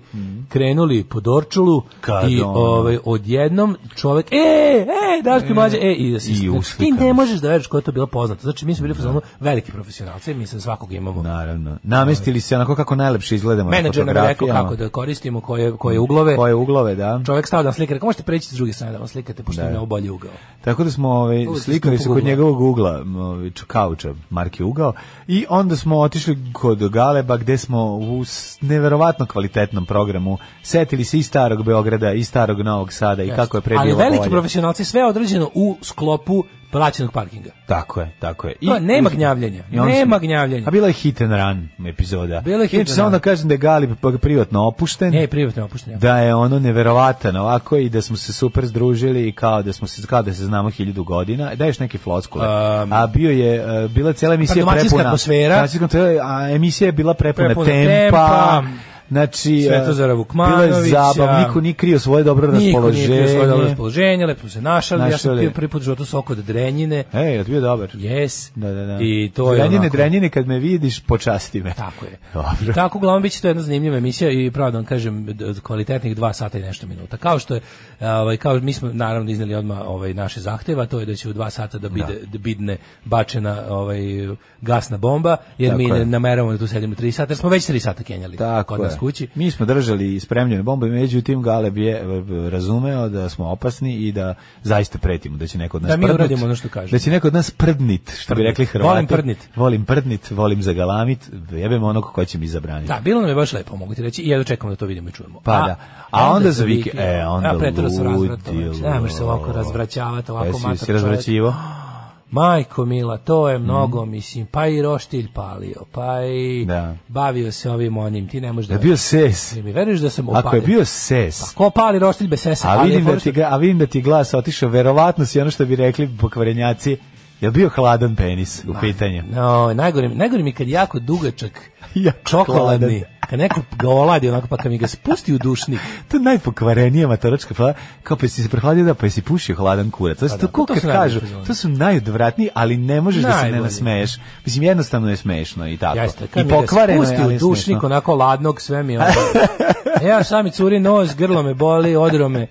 [SPEAKER 6] krenuli po Dorčulu
[SPEAKER 7] Mm. Kad
[SPEAKER 6] i
[SPEAKER 7] ono.
[SPEAKER 6] ovaj, odjednom čovjek, e, e, daš ti mlađe, e, i da se
[SPEAKER 7] I
[SPEAKER 6] znači, ti
[SPEAKER 7] uslikani
[SPEAKER 6] ne
[SPEAKER 7] su.
[SPEAKER 6] možeš da veruješ koja je to bila poznata. Znači, mi smo bili u fazonu veliki profesionalci, mi se svakog imamo.
[SPEAKER 7] Naravno. Namestili se onako kako najlepše izgledamo
[SPEAKER 6] Menadžer
[SPEAKER 7] na
[SPEAKER 6] nam je rekao
[SPEAKER 7] Pa, fotografijama.
[SPEAKER 6] kako da koristimo koje, koje uglove.
[SPEAKER 7] Koje uglove, da.
[SPEAKER 6] Čovjek stao da vam slika, rekao, možete preći s druge strane da vam slikate, pošto da. je ovo bolji ugao.
[SPEAKER 7] Tako da smo ovaj
[SPEAKER 6] Uvijek
[SPEAKER 7] slikali
[SPEAKER 6] iz
[SPEAKER 7] se
[SPEAKER 6] tog
[SPEAKER 7] kod
[SPEAKER 6] ugla.
[SPEAKER 7] njegovog ugla, m, ovaj č- kauča, marke ugao i onda smo otišli kod Galeba gde smo u s- neverovatno kvalitetnom programu setili se i starog Beograda i starog Novog Sada i kako je pre
[SPEAKER 6] Ali
[SPEAKER 7] bilo
[SPEAKER 6] veliki
[SPEAKER 7] bolje.
[SPEAKER 6] profesionalci, sve je određeno u sklopu plaćenog parkinga.
[SPEAKER 7] Tako je, tako je. I,
[SPEAKER 6] To, nema gnjavljenja,
[SPEAKER 7] i onda
[SPEAKER 6] nema
[SPEAKER 7] smo-
[SPEAKER 6] gnjavljenja.
[SPEAKER 7] A bila je hit and run epizoda.
[SPEAKER 6] Bila je hit
[SPEAKER 7] Inače,
[SPEAKER 6] and
[SPEAKER 7] samo
[SPEAKER 6] run. E,
[SPEAKER 7] da kažem da je Galeb pa- privatno opušten.
[SPEAKER 6] Ne, privatno je opušteno.
[SPEAKER 7] da je ono neverovatan ovako i da smo se super združili i kao da smo se kao da se znamo hiljadu godina daješ neke floskule
[SPEAKER 6] Um, pa
[SPEAKER 7] a bio je e, bila cijela emisija
[SPEAKER 6] domaćinska
[SPEAKER 7] prepuna
[SPEAKER 6] atmosfera.
[SPEAKER 7] domaćinska atmosfera, a emisija je bila prepuna,
[SPEAKER 6] Prepuna
[SPEAKER 7] tempa,
[SPEAKER 6] tempa.
[SPEAKER 7] Znači, e,
[SPEAKER 6] Svetozara
[SPEAKER 7] bilo je
[SPEAKER 6] Vukmanovića.
[SPEAKER 7] zabav, niko nije krio svoje dobro
[SPEAKER 6] Niko nije
[SPEAKER 7] raspoloženje.
[SPEAKER 6] krio svoje dobro raspoloženje, lepo smo se našali, ja sam
[SPEAKER 7] Našali.
[SPEAKER 6] pio prvi put u životu sok od drenjine,
[SPEAKER 7] Ej, je bio dobar.
[SPEAKER 6] yes,
[SPEAKER 7] Da, da, da.
[SPEAKER 6] i to je
[SPEAKER 7] drenjine,
[SPEAKER 6] onako-
[SPEAKER 7] drenjine, kad me vidiš, počasti me.
[SPEAKER 6] Tako je.
[SPEAKER 7] Dobro.
[SPEAKER 6] I tako uglavnom biće to jedna zanimljiva emisija i pravo da vam kažem d- od kvalitetnih dva sata i nešto minuta. Kao što je ovaj kao mi smo naravno izneli odmah ovaj naše zahteva, to je da će u dva sata da bide da. bidne bačena ovaj gasna bomba, jer
[SPEAKER 7] Tako
[SPEAKER 6] mi
[SPEAKER 7] je.
[SPEAKER 6] ne nameravamo da tu sedimo 3 sata, jer smo već 3 sata kenjali
[SPEAKER 7] Tako
[SPEAKER 6] kod nas
[SPEAKER 7] je.
[SPEAKER 6] kući.
[SPEAKER 7] Mi smo držali spremljene bombe, međutim Galeb je e, razumeo da smo opasni i da zaista pretimo da će neko od nas
[SPEAKER 6] Da mi
[SPEAKER 7] prdnut.
[SPEAKER 6] uradimo ono što kažemo.
[SPEAKER 7] Da će neko od nas prdnit, što bi
[SPEAKER 6] Prdnit.
[SPEAKER 7] rekli Hrvati.
[SPEAKER 6] Volim prdnit.
[SPEAKER 7] Volim prdnit, volim zagalamit, jebem onog ko će mi zabraniti.
[SPEAKER 6] Da, bilo nam je baš lepo, mogu ti reći, i ja dočekamo da to vidimo i čujemo.
[SPEAKER 7] Pa da. A onda za vike- e, onda
[SPEAKER 6] a pretero se razvratom,
[SPEAKER 7] ludilo. E,
[SPEAKER 6] znači, ne možeš se ovako razvraćavati, ovako
[SPEAKER 7] Jesi,
[SPEAKER 6] matar
[SPEAKER 7] jesi
[SPEAKER 6] čovjek.
[SPEAKER 7] razvraćivo?
[SPEAKER 6] Majko mila, to
[SPEAKER 7] Mhm.
[SPEAKER 6] je mnogo, mislim, pa i roštilj palio, pa i
[SPEAKER 7] Da.
[SPEAKER 6] bavio se ovim onim, ti ne možeš da...
[SPEAKER 7] Da je bio ses.
[SPEAKER 6] Jel mi veriš da sam
[SPEAKER 7] Ako je
[SPEAKER 6] opalio?
[SPEAKER 7] bio ses,
[SPEAKER 6] Pa ko pali roštilj bez sesa?
[SPEAKER 7] a
[SPEAKER 6] Ali je
[SPEAKER 7] vidim, da
[SPEAKER 6] fora što-
[SPEAKER 7] ti, ga- a vidim da ti je glas otišao, verovatno si ono što bi rekli pokvarenjaci, je bio hladan penis u pitanju?
[SPEAKER 6] No, najgore, mi- najgore mi je kad je jako
[SPEAKER 7] *laughs*
[SPEAKER 6] dugačak,
[SPEAKER 7] Jako
[SPEAKER 6] čokoladni,
[SPEAKER 7] hladan.
[SPEAKER 6] kad neko ga oladi onako, pa kad mi ga spusti u dušnik,
[SPEAKER 7] To je najpokvarenija matoročka fla, kao pa jesi se prehladio da pa jesi pušio hladan kurac. To, su
[SPEAKER 6] Pa da,
[SPEAKER 7] to, ko
[SPEAKER 6] to
[SPEAKER 7] kad
[SPEAKER 6] su najbolji
[SPEAKER 7] kažu,
[SPEAKER 6] fazoni.
[SPEAKER 7] to su najodvratniji, ali ne možeš da se ne
[SPEAKER 6] Najbolji.
[SPEAKER 7] nasmeješ. Mislim, jednostavno je smešno i tako.
[SPEAKER 6] Jeste,
[SPEAKER 7] I
[SPEAKER 6] kad mi ga
[SPEAKER 7] pokvareno je,
[SPEAKER 6] spusti
[SPEAKER 7] ali
[SPEAKER 6] u
[SPEAKER 7] je
[SPEAKER 6] dušnik
[SPEAKER 7] smešno.
[SPEAKER 6] onako ladnog, sve mi je
[SPEAKER 7] *laughs*
[SPEAKER 6] ono. E, ja sam mi curi nos, grlo me boli, odro me.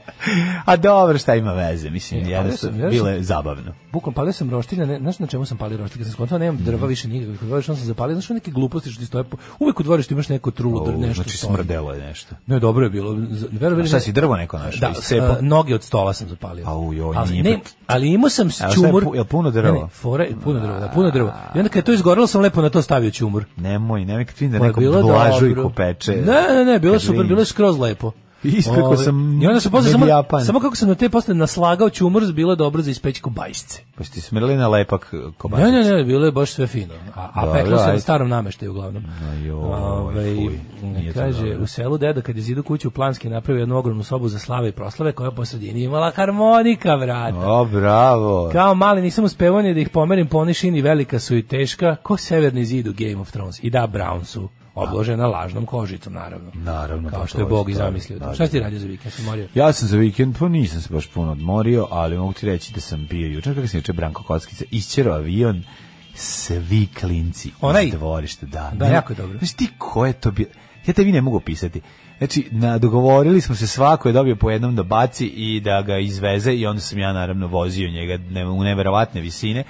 [SPEAKER 7] A dobro, šta ima veze, mislim,
[SPEAKER 6] E,
[SPEAKER 7] je,
[SPEAKER 6] pa
[SPEAKER 7] jednostavno,
[SPEAKER 6] ja sam- ja
[SPEAKER 7] bilo je zabavno.
[SPEAKER 6] Bukom palio sam roštilja, ne, znaš na čemu sam palio roštilja? Kad sam skontao, nemam
[SPEAKER 7] Mhm.
[SPEAKER 6] drva više nikakvih u dvorištu, onda sam zapalio, znaš one neke gluposti što ti stoje, po- uvek u dvorištu imaš neko trulo, dr-
[SPEAKER 7] O,
[SPEAKER 6] nešto
[SPEAKER 7] znači,
[SPEAKER 6] stoji.
[SPEAKER 7] smrdelo je nešto.
[SPEAKER 6] Ne, dobro je bilo. Z- Verujem,
[SPEAKER 7] A šta si, drvo neko našao?
[SPEAKER 6] Da,
[SPEAKER 7] iscepao?
[SPEAKER 6] a, noge od stola sam zapalio.
[SPEAKER 7] Au, joj,
[SPEAKER 6] ali,
[SPEAKER 7] nije
[SPEAKER 6] ne,
[SPEAKER 7] pet-
[SPEAKER 6] ali imao sam s
[SPEAKER 7] A, šta je
[SPEAKER 6] ćumur.
[SPEAKER 7] pu- jel puno drva?
[SPEAKER 6] Ne, ne, fore, puno drva, da, puno drva. I onda kad je to izgorelo sam lepo na to stavio ćumur.
[SPEAKER 7] Nemoj, nemoj kad vidim da
[SPEAKER 6] Pa je
[SPEAKER 7] neko
[SPEAKER 6] bilo
[SPEAKER 7] blažu i
[SPEAKER 6] dobro.
[SPEAKER 7] kopeče.
[SPEAKER 6] Ne, ne, ne, bilo
[SPEAKER 7] Kad
[SPEAKER 6] je super,
[SPEAKER 7] vidim.
[SPEAKER 6] bilo je skroz lepo.
[SPEAKER 7] Ispekao
[SPEAKER 6] Ove,
[SPEAKER 7] sam
[SPEAKER 6] I onda sam posle samo,
[SPEAKER 7] medijapan.
[SPEAKER 6] samo kako sam na te posle naslagao ćumur, bilo je dobro za ispeći kobajsce.
[SPEAKER 7] Pa ste smrli na lepak eh,
[SPEAKER 6] Ne,
[SPEAKER 7] kobasić.
[SPEAKER 6] Pa ne, ne, bilo je baš sve fino. A, a
[SPEAKER 7] Da,
[SPEAKER 6] peklo se
[SPEAKER 7] ajde.
[SPEAKER 6] na starom nameštaju uglavnom.
[SPEAKER 7] joj,
[SPEAKER 6] Ovaj,
[SPEAKER 7] fuj, nije to
[SPEAKER 6] kaže,
[SPEAKER 7] dobro.
[SPEAKER 6] u selu deda kad je zidu kuću u Planski napravio jednu ogromnu sobu za slave i proslave koja je po sredini imala harmonika, vrata.
[SPEAKER 7] O, bravo.
[SPEAKER 6] Kao mali nisam uspevao ni da ih pomerim po onoj šini, velika su i teška, ko severni zid u Game of Thrones. I da, Brown su obložena lažnom kožicom, naravno.
[SPEAKER 7] Naravno, pa
[SPEAKER 6] Kao što
[SPEAKER 7] to
[SPEAKER 6] je
[SPEAKER 7] je
[SPEAKER 6] Bog i
[SPEAKER 7] stvar,
[SPEAKER 6] zamislio.
[SPEAKER 7] da,
[SPEAKER 6] Šta si ti
[SPEAKER 7] da.
[SPEAKER 6] radio za vikend? Si morio?
[SPEAKER 7] Ja sam za vikend, pa nisam se baš puno odmorio, ali mogu ti reći da sam bio jučer, kako sam juče Branko Kockica, isćero avion, svi klinci
[SPEAKER 6] Onaj?
[SPEAKER 7] iz dvorišta. Da,
[SPEAKER 6] Da,
[SPEAKER 7] ne-
[SPEAKER 6] jako je dobro.
[SPEAKER 7] Znaš ti ko je to bio? Ja tebi ne mogu pisati. Znači, na, dogovorili smo se, svako je dobio po jednom da baci i da ga izveze i onda sam ja naravno vozio njega ne, u neverovatne visine,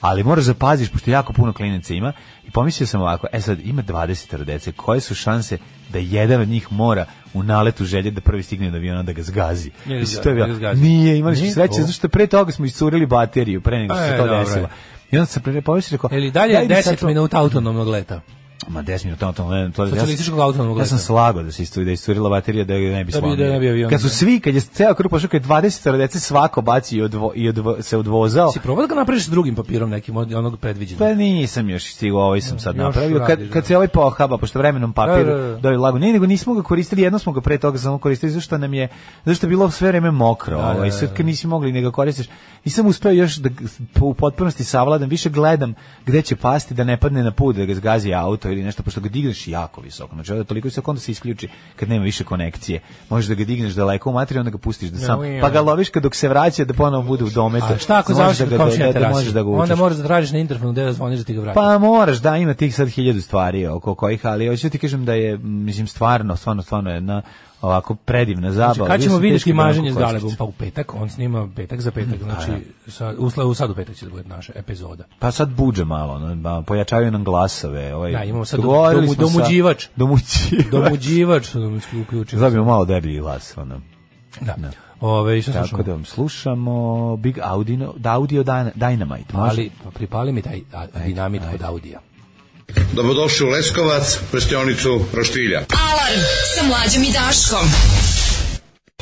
[SPEAKER 7] ali moraš da paziš, pošto jako puno klinaca ima i pomislio sam ovako, e sad, ima 20 dece, koje su šanse da jedan od njih mora u naletu želje da prvi stigne do aviona da ga zgazi.
[SPEAKER 6] Nije
[SPEAKER 7] Mislim,
[SPEAKER 6] ga-
[SPEAKER 7] to je
[SPEAKER 6] nije ga
[SPEAKER 7] bilo-
[SPEAKER 6] zgazio.
[SPEAKER 7] Nije, imali smo
[SPEAKER 6] Nije?
[SPEAKER 7] sreće,
[SPEAKER 6] O.
[SPEAKER 7] zato što pre toga smo iscurili bateriju, pre nego što
[SPEAKER 6] E,
[SPEAKER 7] se to
[SPEAKER 6] dobro je.
[SPEAKER 7] desilo. I onda sam pre pomislio, rekao,
[SPEAKER 6] Ili dalje
[SPEAKER 7] daj mi
[SPEAKER 6] 10
[SPEAKER 7] sačuvam-
[SPEAKER 6] minuta autonomnog leta?
[SPEAKER 7] Ma 10 minuta na tom Lennon, to
[SPEAKER 6] Socijalističkog autonomnog
[SPEAKER 7] Ja sam
[SPEAKER 6] leta.
[SPEAKER 7] slagao da se isturi, da je isturila baterija da je ne bi
[SPEAKER 6] Da bi-
[SPEAKER 7] slomio.
[SPEAKER 6] da ne bi avion,
[SPEAKER 7] kad su
[SPEAKER 6] da.
[SPEAKER 7] svi, kad je ceo krug pošao, kad je 20 dece svako baci i, odvo, i odvo, se odvozao.
[SPEAKER 6] Si probao da ga napraviš s drugim papirom nekim od onog predviđenog?
[SPEAKER 7] Pa nisam još stigao, ovaj sam sad
[SPEAKER 6] Još
[SPEAKER 7] napravio. Kad,
[SPEAKER 6] radiš,
[SPEAKER 7] kad
[SPEAKER 6] da.
[SPEAKER 7] se ovaj pohaba, pošto vremenom papir
[SPEAKER 6] Da, da, da.
[SPEAKER 7] dovi lago. Ne, nego nismo ga koristili, jedno smo ga pre toga samo koristili, zašto nam je, zašto je bilo sve vreme mokro.
[SPEAKER 6] da,
[SPEAKER 7] ovaj,
[SPEAKER 6] da,
[SPEAKER 7] sad kad nisi mogli nego koristiš. Nisam uspeo još da g- u potpunosti savladam, više gledam gde će pasti da ne padne na put, da ga zgazi auto ili nešto, pošto ga digneš jako visoko. Znači, onda toliko visoko, onda se isključi kad nema više konekcije. Možeš da ga digneš daleko u materiju, onda ga pustiš da sam. Pa ga loviš kad dok se vraća da ponovo bude u dometu.
[SPEAKER 6] A Pa šta ako
[SPEAKER 7] Možeš
[SPEAKER 6] završi
[SPEAKER 7] da ga
[SPEAKER 6] kod komšija
[SPEAKER 7] do-
[SPEAKER 6] na
[SPEAKER 7] da- da
[SPEAKER 6] terasi?
[SPEAKER 7] možeš da ga
[SPEAKER 6] Onda
[SPEAKER 7] vučeš.
[SPEAKER 6] moraš da tražiš na interfonu gde da zvoniš da ti ga Znači, vrati.
[SPEAKER 7] Pa moraš da ima tih sad hiljadu stvari oko kojih, ali hoću ti kažem da je, m, mislim, stvarno, stvarno, stvarno jedna ovako predivna zabava.
[SPEAKER 6] Znači, kad ćemo
[SPEAKER 7] Mislim, teško
[SPEAKER 6] vidjeti
[SPEAKER 7] je da
[SPEAKER 6] maženje s
[SPEAKER 7] onako košta.
[SPEAKER 6] Galebom? Pa u petak, on snima petak za petak, znači sa, u, sla- u sad u petak će da bude naša epizoda.
[SPEAKER 7] Pa sad buđe malo, no, ba- pojačavaju nam glasove. Ovaj,
[SPEAKER 6] Da, imamo sad
[SPEAKER 7] Dogovorili
[SPEAKER 6] domu-
[SPEAKER 7] smo sa-
[SPEAKER 6] domuđivač.
[SPEAKER 7] Domuđivač.
[SPEAKER 6] Domuđivač, što nam se uključio.
[SPEAKER 7] *laughs* Zabijemo malo deblji glas, ono.
[SPEAKER 6] Da. Ove, i šta
[SPEAKER 7] Tako
[SPEAKER 6] slušamo?
[SPEAKER 7] da vam slušamo Big Audino, da Audio Dyna- Dynamite. Može?
[SPEAKER 6] Ali, pa pripali mi taj a, dinamit od audija.
[SPEAKER 8] Dobrodošli u Leskovac, prštionicu Roštilja.
[SPEAKER 5] Alarm sa mlađom i Daškom.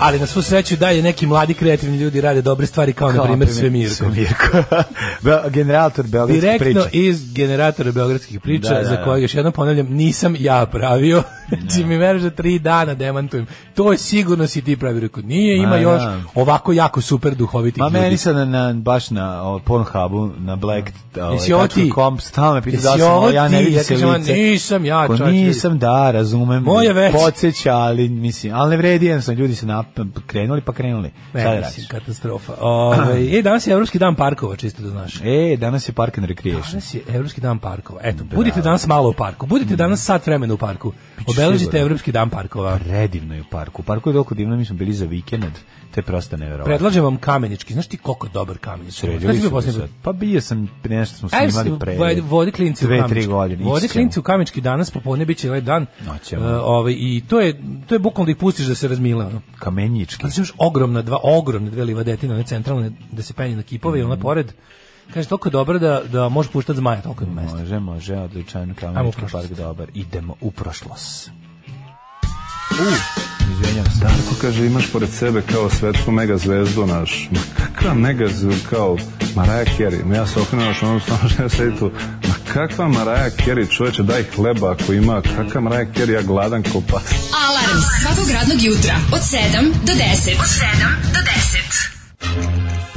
[SPEAKER 6] Ali na svu sreću i dalje neki mladi kreativni ljudi rade dobre stvari kao,
[SPEAKER 7] Kao,
[SPEAKER 6] na primjer
[SPEAKER 7] na
[SPEAKER 6] Svemirko.
[SPEAKER 7] Svemirko. *laughs* Be- Generator Beogradske priče.
[SPEAKER 6] Direktno iz generatora beogradskih priča,
[SPEAKER 7] Da, da, da.
[SPEAKER 6] za kojeg još jednom ponavljam, nisam ja pravio. *laughs* Znači mi veruješ da tri dana demantujem. To je sigurno si ti pravio. Rekao, nije,
[SPEAKER 7] Ma,
[SPEAKER 6] ima još
[SPEAKER 7] da.
[SPEAKER 6] ovako jako super duhovitih
[SPEAKER 7] Ma
[SPEAKER 6] ljudi.
[SPEAKER 7] meni sad na, na, baš na o, Pornhubu, na Black ovaj,
[SPEAKER 6] Jesi ovo ti?
[SPEAKER 7] Komp, stalno me pita
[SPEAKER 6] Jesi
[SPEAKER 7] da li sam
[SPEAKER 6] ovo
[SPEAKER 7] ovo, ja ne
[SPEAKER 6] ti?
[SPEAKER 7] vidim
[SPEAKER 6] Ja
[SPEAKER 7] se
[SPEAKER 6] kažem,
[SPEAKER 7] lice.
[SPEAKER 6] nisam ja,
[SPEAKER 7] Ko
[SPEAKER 6] čovječe.
[SPEAKER 7] Nisam, da, razumem.
[SPEAKER 6] Moje već.
[SPEAKER 7] Podseća, ali mislim, ali ne vredi, jedan sam, ljudi se nap, krenuli pa krenuli.
[SPEAKER 6] Ne,
[SPEAKER 7] Šta da
[SPEAKER 6] E, mislim,
[SPEAKER 7] radiš?
[SPEAKER 6] katastrofa. Ove,
[SPEAKER 7] *clears throat*
[SPEAKER 6] e, danas je Evropski dan parkova, čisto da znaš.
[SPEAKER 7] E, danas je Park and Recreation.
[SPEAKER 6] Danas je Evropski dan parkova. Eto, budite danas malo u parku. Budite danas sat vremena u parku. Obeležite
[SPEAKER 7] Mm. siguran.
[SPEAKER 6] Evropski dan parkova.
[SPEAKER 7] Predivno je u parku. U parku je toliko divno, mi smo bili za vikend, to je prosto nevjerovatno.
[SPEAKER 6] Predlažem vam kamenički. Znaš ti koliko je dobar kamenički? Znaš
[SPEAKER 7] Sredili
[SPEAKER 6] ti
[SPEAKER 7] su
[SPEAKER 6] bio
[SPEAKER 7] ga
[SPEAKER 6] posljednji
[SPEAKER 7] sad.
[SPEAKER 6] put?
[SPEAKER 7] Pa bio sam, nešto smo
[SPEAKER 6] Ajde,
[SPEAKER 7] snimali pre.
[SPEAKER 6] vodi- vodi klinci u
[SPEAKER 7] dve,
[SPEAKER 6] kamenički.
[SPEAKER 7] tri godine.
[SPEAKER 6] Vodi
[SPEAKER 7] ići ćemo.
[SPEAKER 6] klinci u kamenički danas, popodne bit će ovaj dan.
[SPEAKER 7] Noćemo.
[SPEAKER 6] E, ovaj, I to je, to je bukvalno da ih pustiš da se razmile. Ono.
[SPEAKER 7] Kamenjički.
[SPEAKER 6] Znači imaš ogromna dva, ogromne dve livadetina, one centralne, da se penje na kipove i ona
[SPEAKER 7] Mm.
[SPEAKER 6] pored. Kaže, toliko je dobro da, da možeš puštati zmaja, toliko ima mesta.
[SPEAKER 7] Može, može, odličan
[SPEAKER 6] Ajmo u
[SPEAKER 7] kamenički
[SPEAKER 6] prošlost.
[SPEAKER 7] park dobar. Idemo u prošlost. U, izvinjam se.
[SPEAKER 9] Ko kaže imaš pored sebe kao svetsku megazvezdu naš, ma kakva megazvezdu kao Maraja Kerry, ma ja se okrenuo naš onom *laughs* stanu što ja sedi tu, ma kakva Maraja Kerry, čoveče daj hleba ako ima, kakva Maraja Kerry, ja gladan ko pas.
[SPEAKER 5] Alarm svakog radnog jutra od 7 do 10. Od 7 do 10.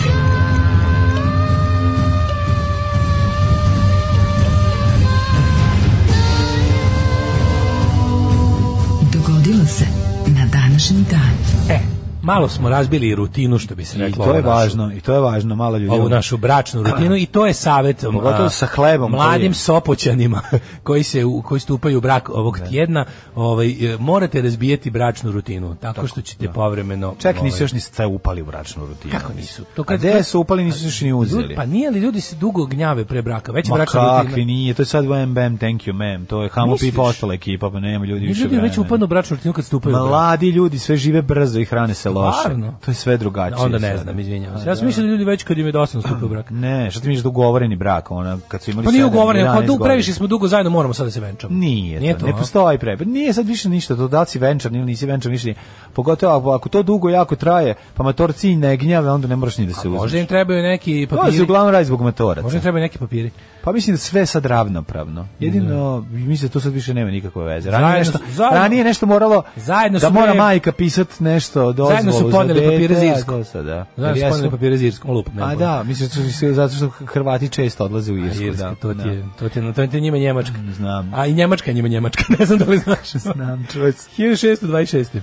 [SPEAKER 10] Dogodilo se na današnji dan.
[SPEAKER 6] E, malo smo razbili rutinu, što bi se
[SPEAKER 7] I
[SPEAKER 6] reklo.
[SPEAKER 7] to
[SPEAKER 6] ovo
[SPEAKER 7] je
[SPEAKER 6] našu-
[SPEAKER 7] važno, i to je važno, malo ljudi.
[SPEAKER 6] ovu Pa našu bračnu rutinu i to je savjet um,
[SPEAKER 7] Pogotovo
[SPEAKER 6] a,
[SPEAKER 7] sa hlebom koji
[SPEAKER 6] mladim
[SPEAKER 7] je.
[SPEAKER 6] sopoćanima *laughs* koji se u- koji stupaju u brak ovog tjedna ovaj e, morate razbijeti bračnu rutinu tako, što ćete povremeno
[SPEAKER 7] Čak
[SPEAKER 6] ovaj,
[SPEAKER 7] nisu još ni se upali u bračnu rutinu.
[SPEAKER 6] Kako nisu? To
[SPEAKER 7] To
[SPEAKER 6] kad-
[SPEAKER 7] kad, A gde su upali, nisu se još ni
[SPEAKER 6] ljudi,
[SPEAKER 7] uzeli.
[SPEAKER 6] pa nije li ljudi se dugo gnjave pre braka već je
[SPEAKER 7] Ma
[SPEAKER 6] bračna
[SPEAKER 7] kakvi
[SPEAKER 6] rutina
[SPEAKER 7] nije, to je sad bam bam, thank you ma'am, to je hamo
[SPEAKER 6] Misliš?
[SPEAKER 7] pipa ostala ekipa, pa nema ljudi više
[SPEAKER 6] ljudi već
[SPEAKER 7] vremena.
[SPEAKER 6] upadnu u bračnu rutinu kad stupaju u brak.
[SPEAKER 7] Mladi ljudi sve žive brzo i hrane se loše.
[SPEAKER 6] Stvarno?
[SPEAKER 7] To je sve drugačije.
[SPEAKER 6] onda ne
[SPEAKER 7] sad.
[SPEAKER 6] znam izvinjavam se
[SPEAKER 7] Pa
[SPEAKER 6] ja sam
[SPEAKER 7] da.
[SPEAKER 6] mislio da ljudi već kad im je dosta stupaju u brak
[SPEAKER 7] Ne, šta ti misliš da ugovoreni brak, ona kad su imali
[SPEAKER 6] pa nije
[SPEAKER 7] sedam,
[SPEAKER 6] ugovoreno pa
[SPEAKER 7] 11
[SPEAKER 6] du
[SPEAKER 7] godina.
[SPEAKER 6] previše smo dugo zajedno moramo sad da se venčamo
[SPEAKER 7] Nije, to, ne
[SPEAKER 6] a?
[SPEAKER 7] postoji prebe. Nije sad više ništa, to da li si venčan ili nisi venčan, više nije. Pogotovo ako, ako to dugo jako traje, pa matorci ne gnjave, onda ne moraš ni da se uzmeš.
[SPEAKER 6] možda im trebaju neki
[SPEAKER 7] To se
[SPEAKER 6] papiri
[SPEAKER 7] uglavnom radi zbog matoraca.
[SPEAKER 6] možda im trebaju neki papiri
[SPEAKER 7] Pa mislim da sve je sad ravnopravno. Jedino, mislim da to sad više nema nikakve veze. Ranije,
[SPEAKER 6] Zajedno
[SPEAKER 7] nešto,
[SPEAKER 6] su- zajedno-
[SPEAKER 7] ranije nešto moralo
[SPEAKER 6] Zajedno
[SPEAKER 7] da
[SPEAKER 6] su
[SPEAKER 7] mora
[SPEAKER 6] bre-
[SPEAKER 7] majka pisat nešto dozvolu
[SPEAKER 6] Zajedno su podneli
[SPEAKER 7] za dete,
[SPEAKER 6] papire za
[SPEAKER 7] a
[SPEAKER 6] Irsku.
[SPEAKER 7] to sad, da.
[SPEAKER 6] Znam,
[SPEAKER 7] Jer
[SPEAKER 6] ja
[SPEAKER 7] jesu-
[SPEAKER 6] spomenu papire za Irskom, lupam. nemam
[SPEAKER 7] A
[SPEAKER 6] pojma.
[SPEAKER 7] da, mislim da su se- zato što Hrvati često odlaze u Irsku.
[SPEAKER 6] Irska,
[SPEAKER 7] da,
[SPEAKER 6] to ti
[SPEAKER 7] da.
[SPEAKER 6] je, to ti je, to ti je njima Njemačka.
[SPEAKER 7] Znam.
[SPEAKER 6] A i Njemačka je njima Njemačka, *laughs* ne znam da li znaš.
[SPEAKER 7] Znam, čuo sam.
[SPEAKER 6] 1626.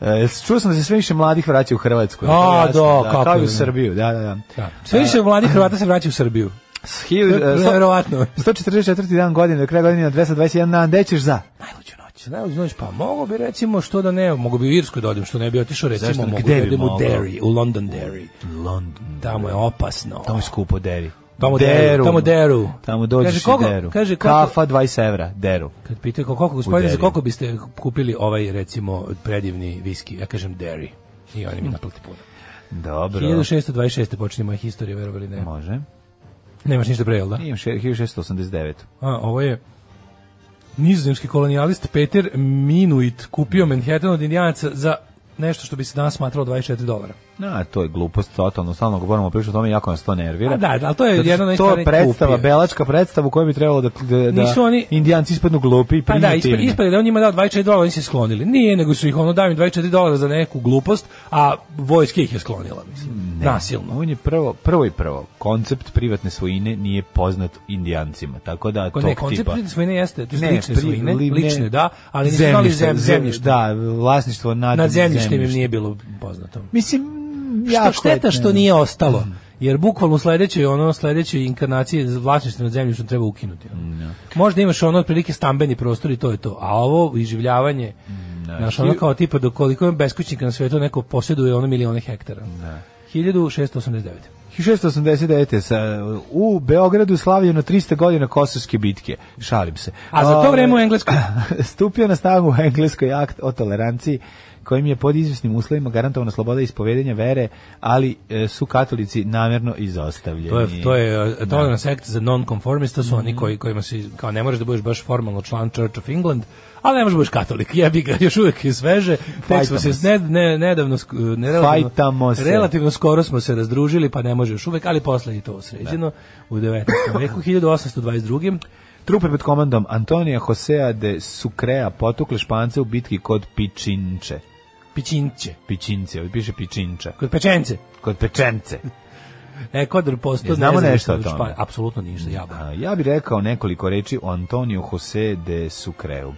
[SPEAKER 7] E, čuo sam da se sve više mladih vraća u Hrvatsku. je li to
[SPEAKER 6] A,
[SPEAKER 7] jasno?
[SPEAKER 6] do,
[SPEAKER 7] da,
[SPEAKER 6] kako
[SPEAKER 7] kao i
[SPEAKER 6] ne.
[SPEAKER 7] u Srbiju, da, da, da.
[SPEAKER 6] Da. Sve više mladih Hrvata se vraća u Srbiju.
[SPEAKER 7] S hiljadu-
[SPEAKER 6] To je
[SPEAKER 7] e, sto-
[SPEAKER 6] nevjerovatno.
[SPEAKER 7] 144. dan godine, do kraja godine na 221 dan, gde ćeš za? Najluđu noć.
[SPEAKER 6] Najluđu noć, pa mogu bi recimo što da ne, mogu bi u Irsku da odem, što ne bi otišao recimo,
[SPEAKER 7] Zašto ne?
[SPEAKER 6] mogu
[SPEAKER 7] Gde
[SPEAKER 6] da
[SPEAKER 7] bi
[SPEAKER 6] odem u
[SPEAKER 7] mogao?
[SPEAKER 6] Derry, u London Derry.
[SPEAKER 7] London.
[SPEAKER 6] Tamo je opasno.
[SPEAKER 7] Tamo je skupo deri.
[SPEAKER 6] Tamo deru, tamo deru.
[SPEAKER 7] Tamo dođeš
[SPEAKER 6] Kaže, koliko-
[SPEAKER 7] i deru.
[SPEAKER 6] kaže, koliko-
[SPEAKER 7] Kafa 20 evra, deru.
[SPEAKER 6] Kad pitaju koliko, gospodine, za
[SPEAKER 7] Derry.
[SPEAKER 6] koliko biste kupili ovaj recimo predivni viski, ja kažem Derry. I
[SPEAKER 7] *laughs*
[SPEAKER 6] oni mi naplati puno.
[SPEAKER 7] Dobro.
[SPEAKER 6] 1626. počinje moja historija, verovali ne.
[SPEAKER 7] Može.
[SPEAKER 6] Nemaš ništa pre, jel da?
[SPEAKER 7] Imam še- 1689.
[SPEAKER 6] A, ovo je nizozemski kolonijalist Peter Minuit kupio Manhattan od indijanaca za nešto što bi se danas smatralo 24 dolara.
[SPEAKER 7] Na, to je glupost totalno, stalno govorimo priču o tome, jako nas to nervira.
[SPEAKER 6] A da, da, ali to je
[SPEAKER 7] Zato što
[SPEAKER 6] jedna od
[SPEAKER 7] to je
[SPEAKER 6] najstvarnijih
[SPEAKER 7] predstava,
[SPEAKER 6] kupnji.
[SPEAKER 7] belačka predstava u kojoj bi trebalo da, da, da
[SPEAKER 6] Nisu oni-
[SPEAKER 7] indijanci ispadnu glupi i
[SPEAKER 6] Pa da, ispred,
[SPEAKER 7] primitivni.
[SPEAKER 6] ispred da je on njima dao 24 dolara, oni se sklonili. Nije, nego su ih ono dao im 24 dolara za neku glupost, a vojska ih je sklonila, mislim. Nasilno.
[SPEAKER 7] On je prvo, prvo i prvo, koncept privatne svojine nije poznat indijancima, tako da
[SPEAKER 6] Ko
[SPEAKER 7] tog
[SPEAKER 6] ne, koncept
[SPEAKER 7] tipa...
[SPEAKER 6] privatne svojine jeste, to su
[SPEAKER 7] Ne,
[SPEAKER 6] lične
[SPEAKER 7] pri-
[SPEAKER 6] svojine,
[SPEAKER 7] li- ne,
[SPEAKER 6] lične, da, ali nisu znali zem, zemljište.
[SPEAKER 7] Da, vlasništvo nad,
[SPEAKER 6] Nad zemljištem im nije bilo poznato.
[SPEAKER 7] Mislim,
[SPEAKER 6] Što
[SPEAKER 7] jako
[SPEAKER 6] šteta
[SPEAKER 7] je-
[SPEAKER 6] što nije ostalo. Jer bukvalno u sledećoj ono sledećoj inkarnaciji vlasništvo nad zemljištem treba ukinuti. ono. Možda imaš ono otprilike stambeni prostor i to je to. A ovo iživljavanje Znaš, ono kao tipa do koliko ima beskućnika na svetu, neko posjeduje ono milione hektara. 1689.
[SPEAKER 7] 1689. Sa, u Beogradu slavljeno 300 godina kosovske bitke. Šalim se.
[SPEAKER 6] A
[SPEAKER 7] Ovaj,
[SPEAKER 6] za to
[SPEAKER 7] Ove,
[SPEAKER 6] vreme u Engleskoj.
[SPEAKER 7] *laughs* stupio na snagu u Engleskoj akt o toleranciji kojim je pod izvesnim uslovima garantovana sloboda ispovedenja vere, ali e, su katolici namjerno izostavljeni.
[SPEAKER 6] To je, to je uh, tolerance act za non-conformist, to su
[SPEAKER 7] Mhm.
[SPEAKER 6] oni koji, kojima si, kao ne moraš da budeš baš formalno član Church of England, ali ne možeš da budeš katolik, *laughs* jebi ga, još uvijek je sveže, tek smo
[SPEAKER 7] Fajtamo
[SPEAKER 6] se ne,
[SPEAKER 7] se.
[SPEAKER 6] ne, nedavno, sk- ne, relativno,
[SPEAKER 7] Fajtamo se.
[SPEAKER 6] relativno skoro smo se razdružili, pa ne može još uvijek, ali posle je to sređeno u 19.
[SPEAKER 7] *laughs*
[SPEAKER 6] veku, 1822.
[SPEAKER 7] Trupe pod komandom Antonija Josea de Sucrea potukle Špance u bitki kod Pičinče.
[SPEAKER 6] Pićinće,
[SPEAKER 7] Pičince, ovdje piše Pičinča.
[SPEAKER 6] kod pečence.
[SPEAKER 7] Kod Pečence.
[SPEAKER 6] Ekvador posto
[SPEAKER 7] Jel E, znamo nešto o tome?
[SPEAKER 6] Apsolutno ništa, jaba.
[SPEAKER 7] A, Ja bih rekao nekoliko reči o Antoniju Jose de Sucreu.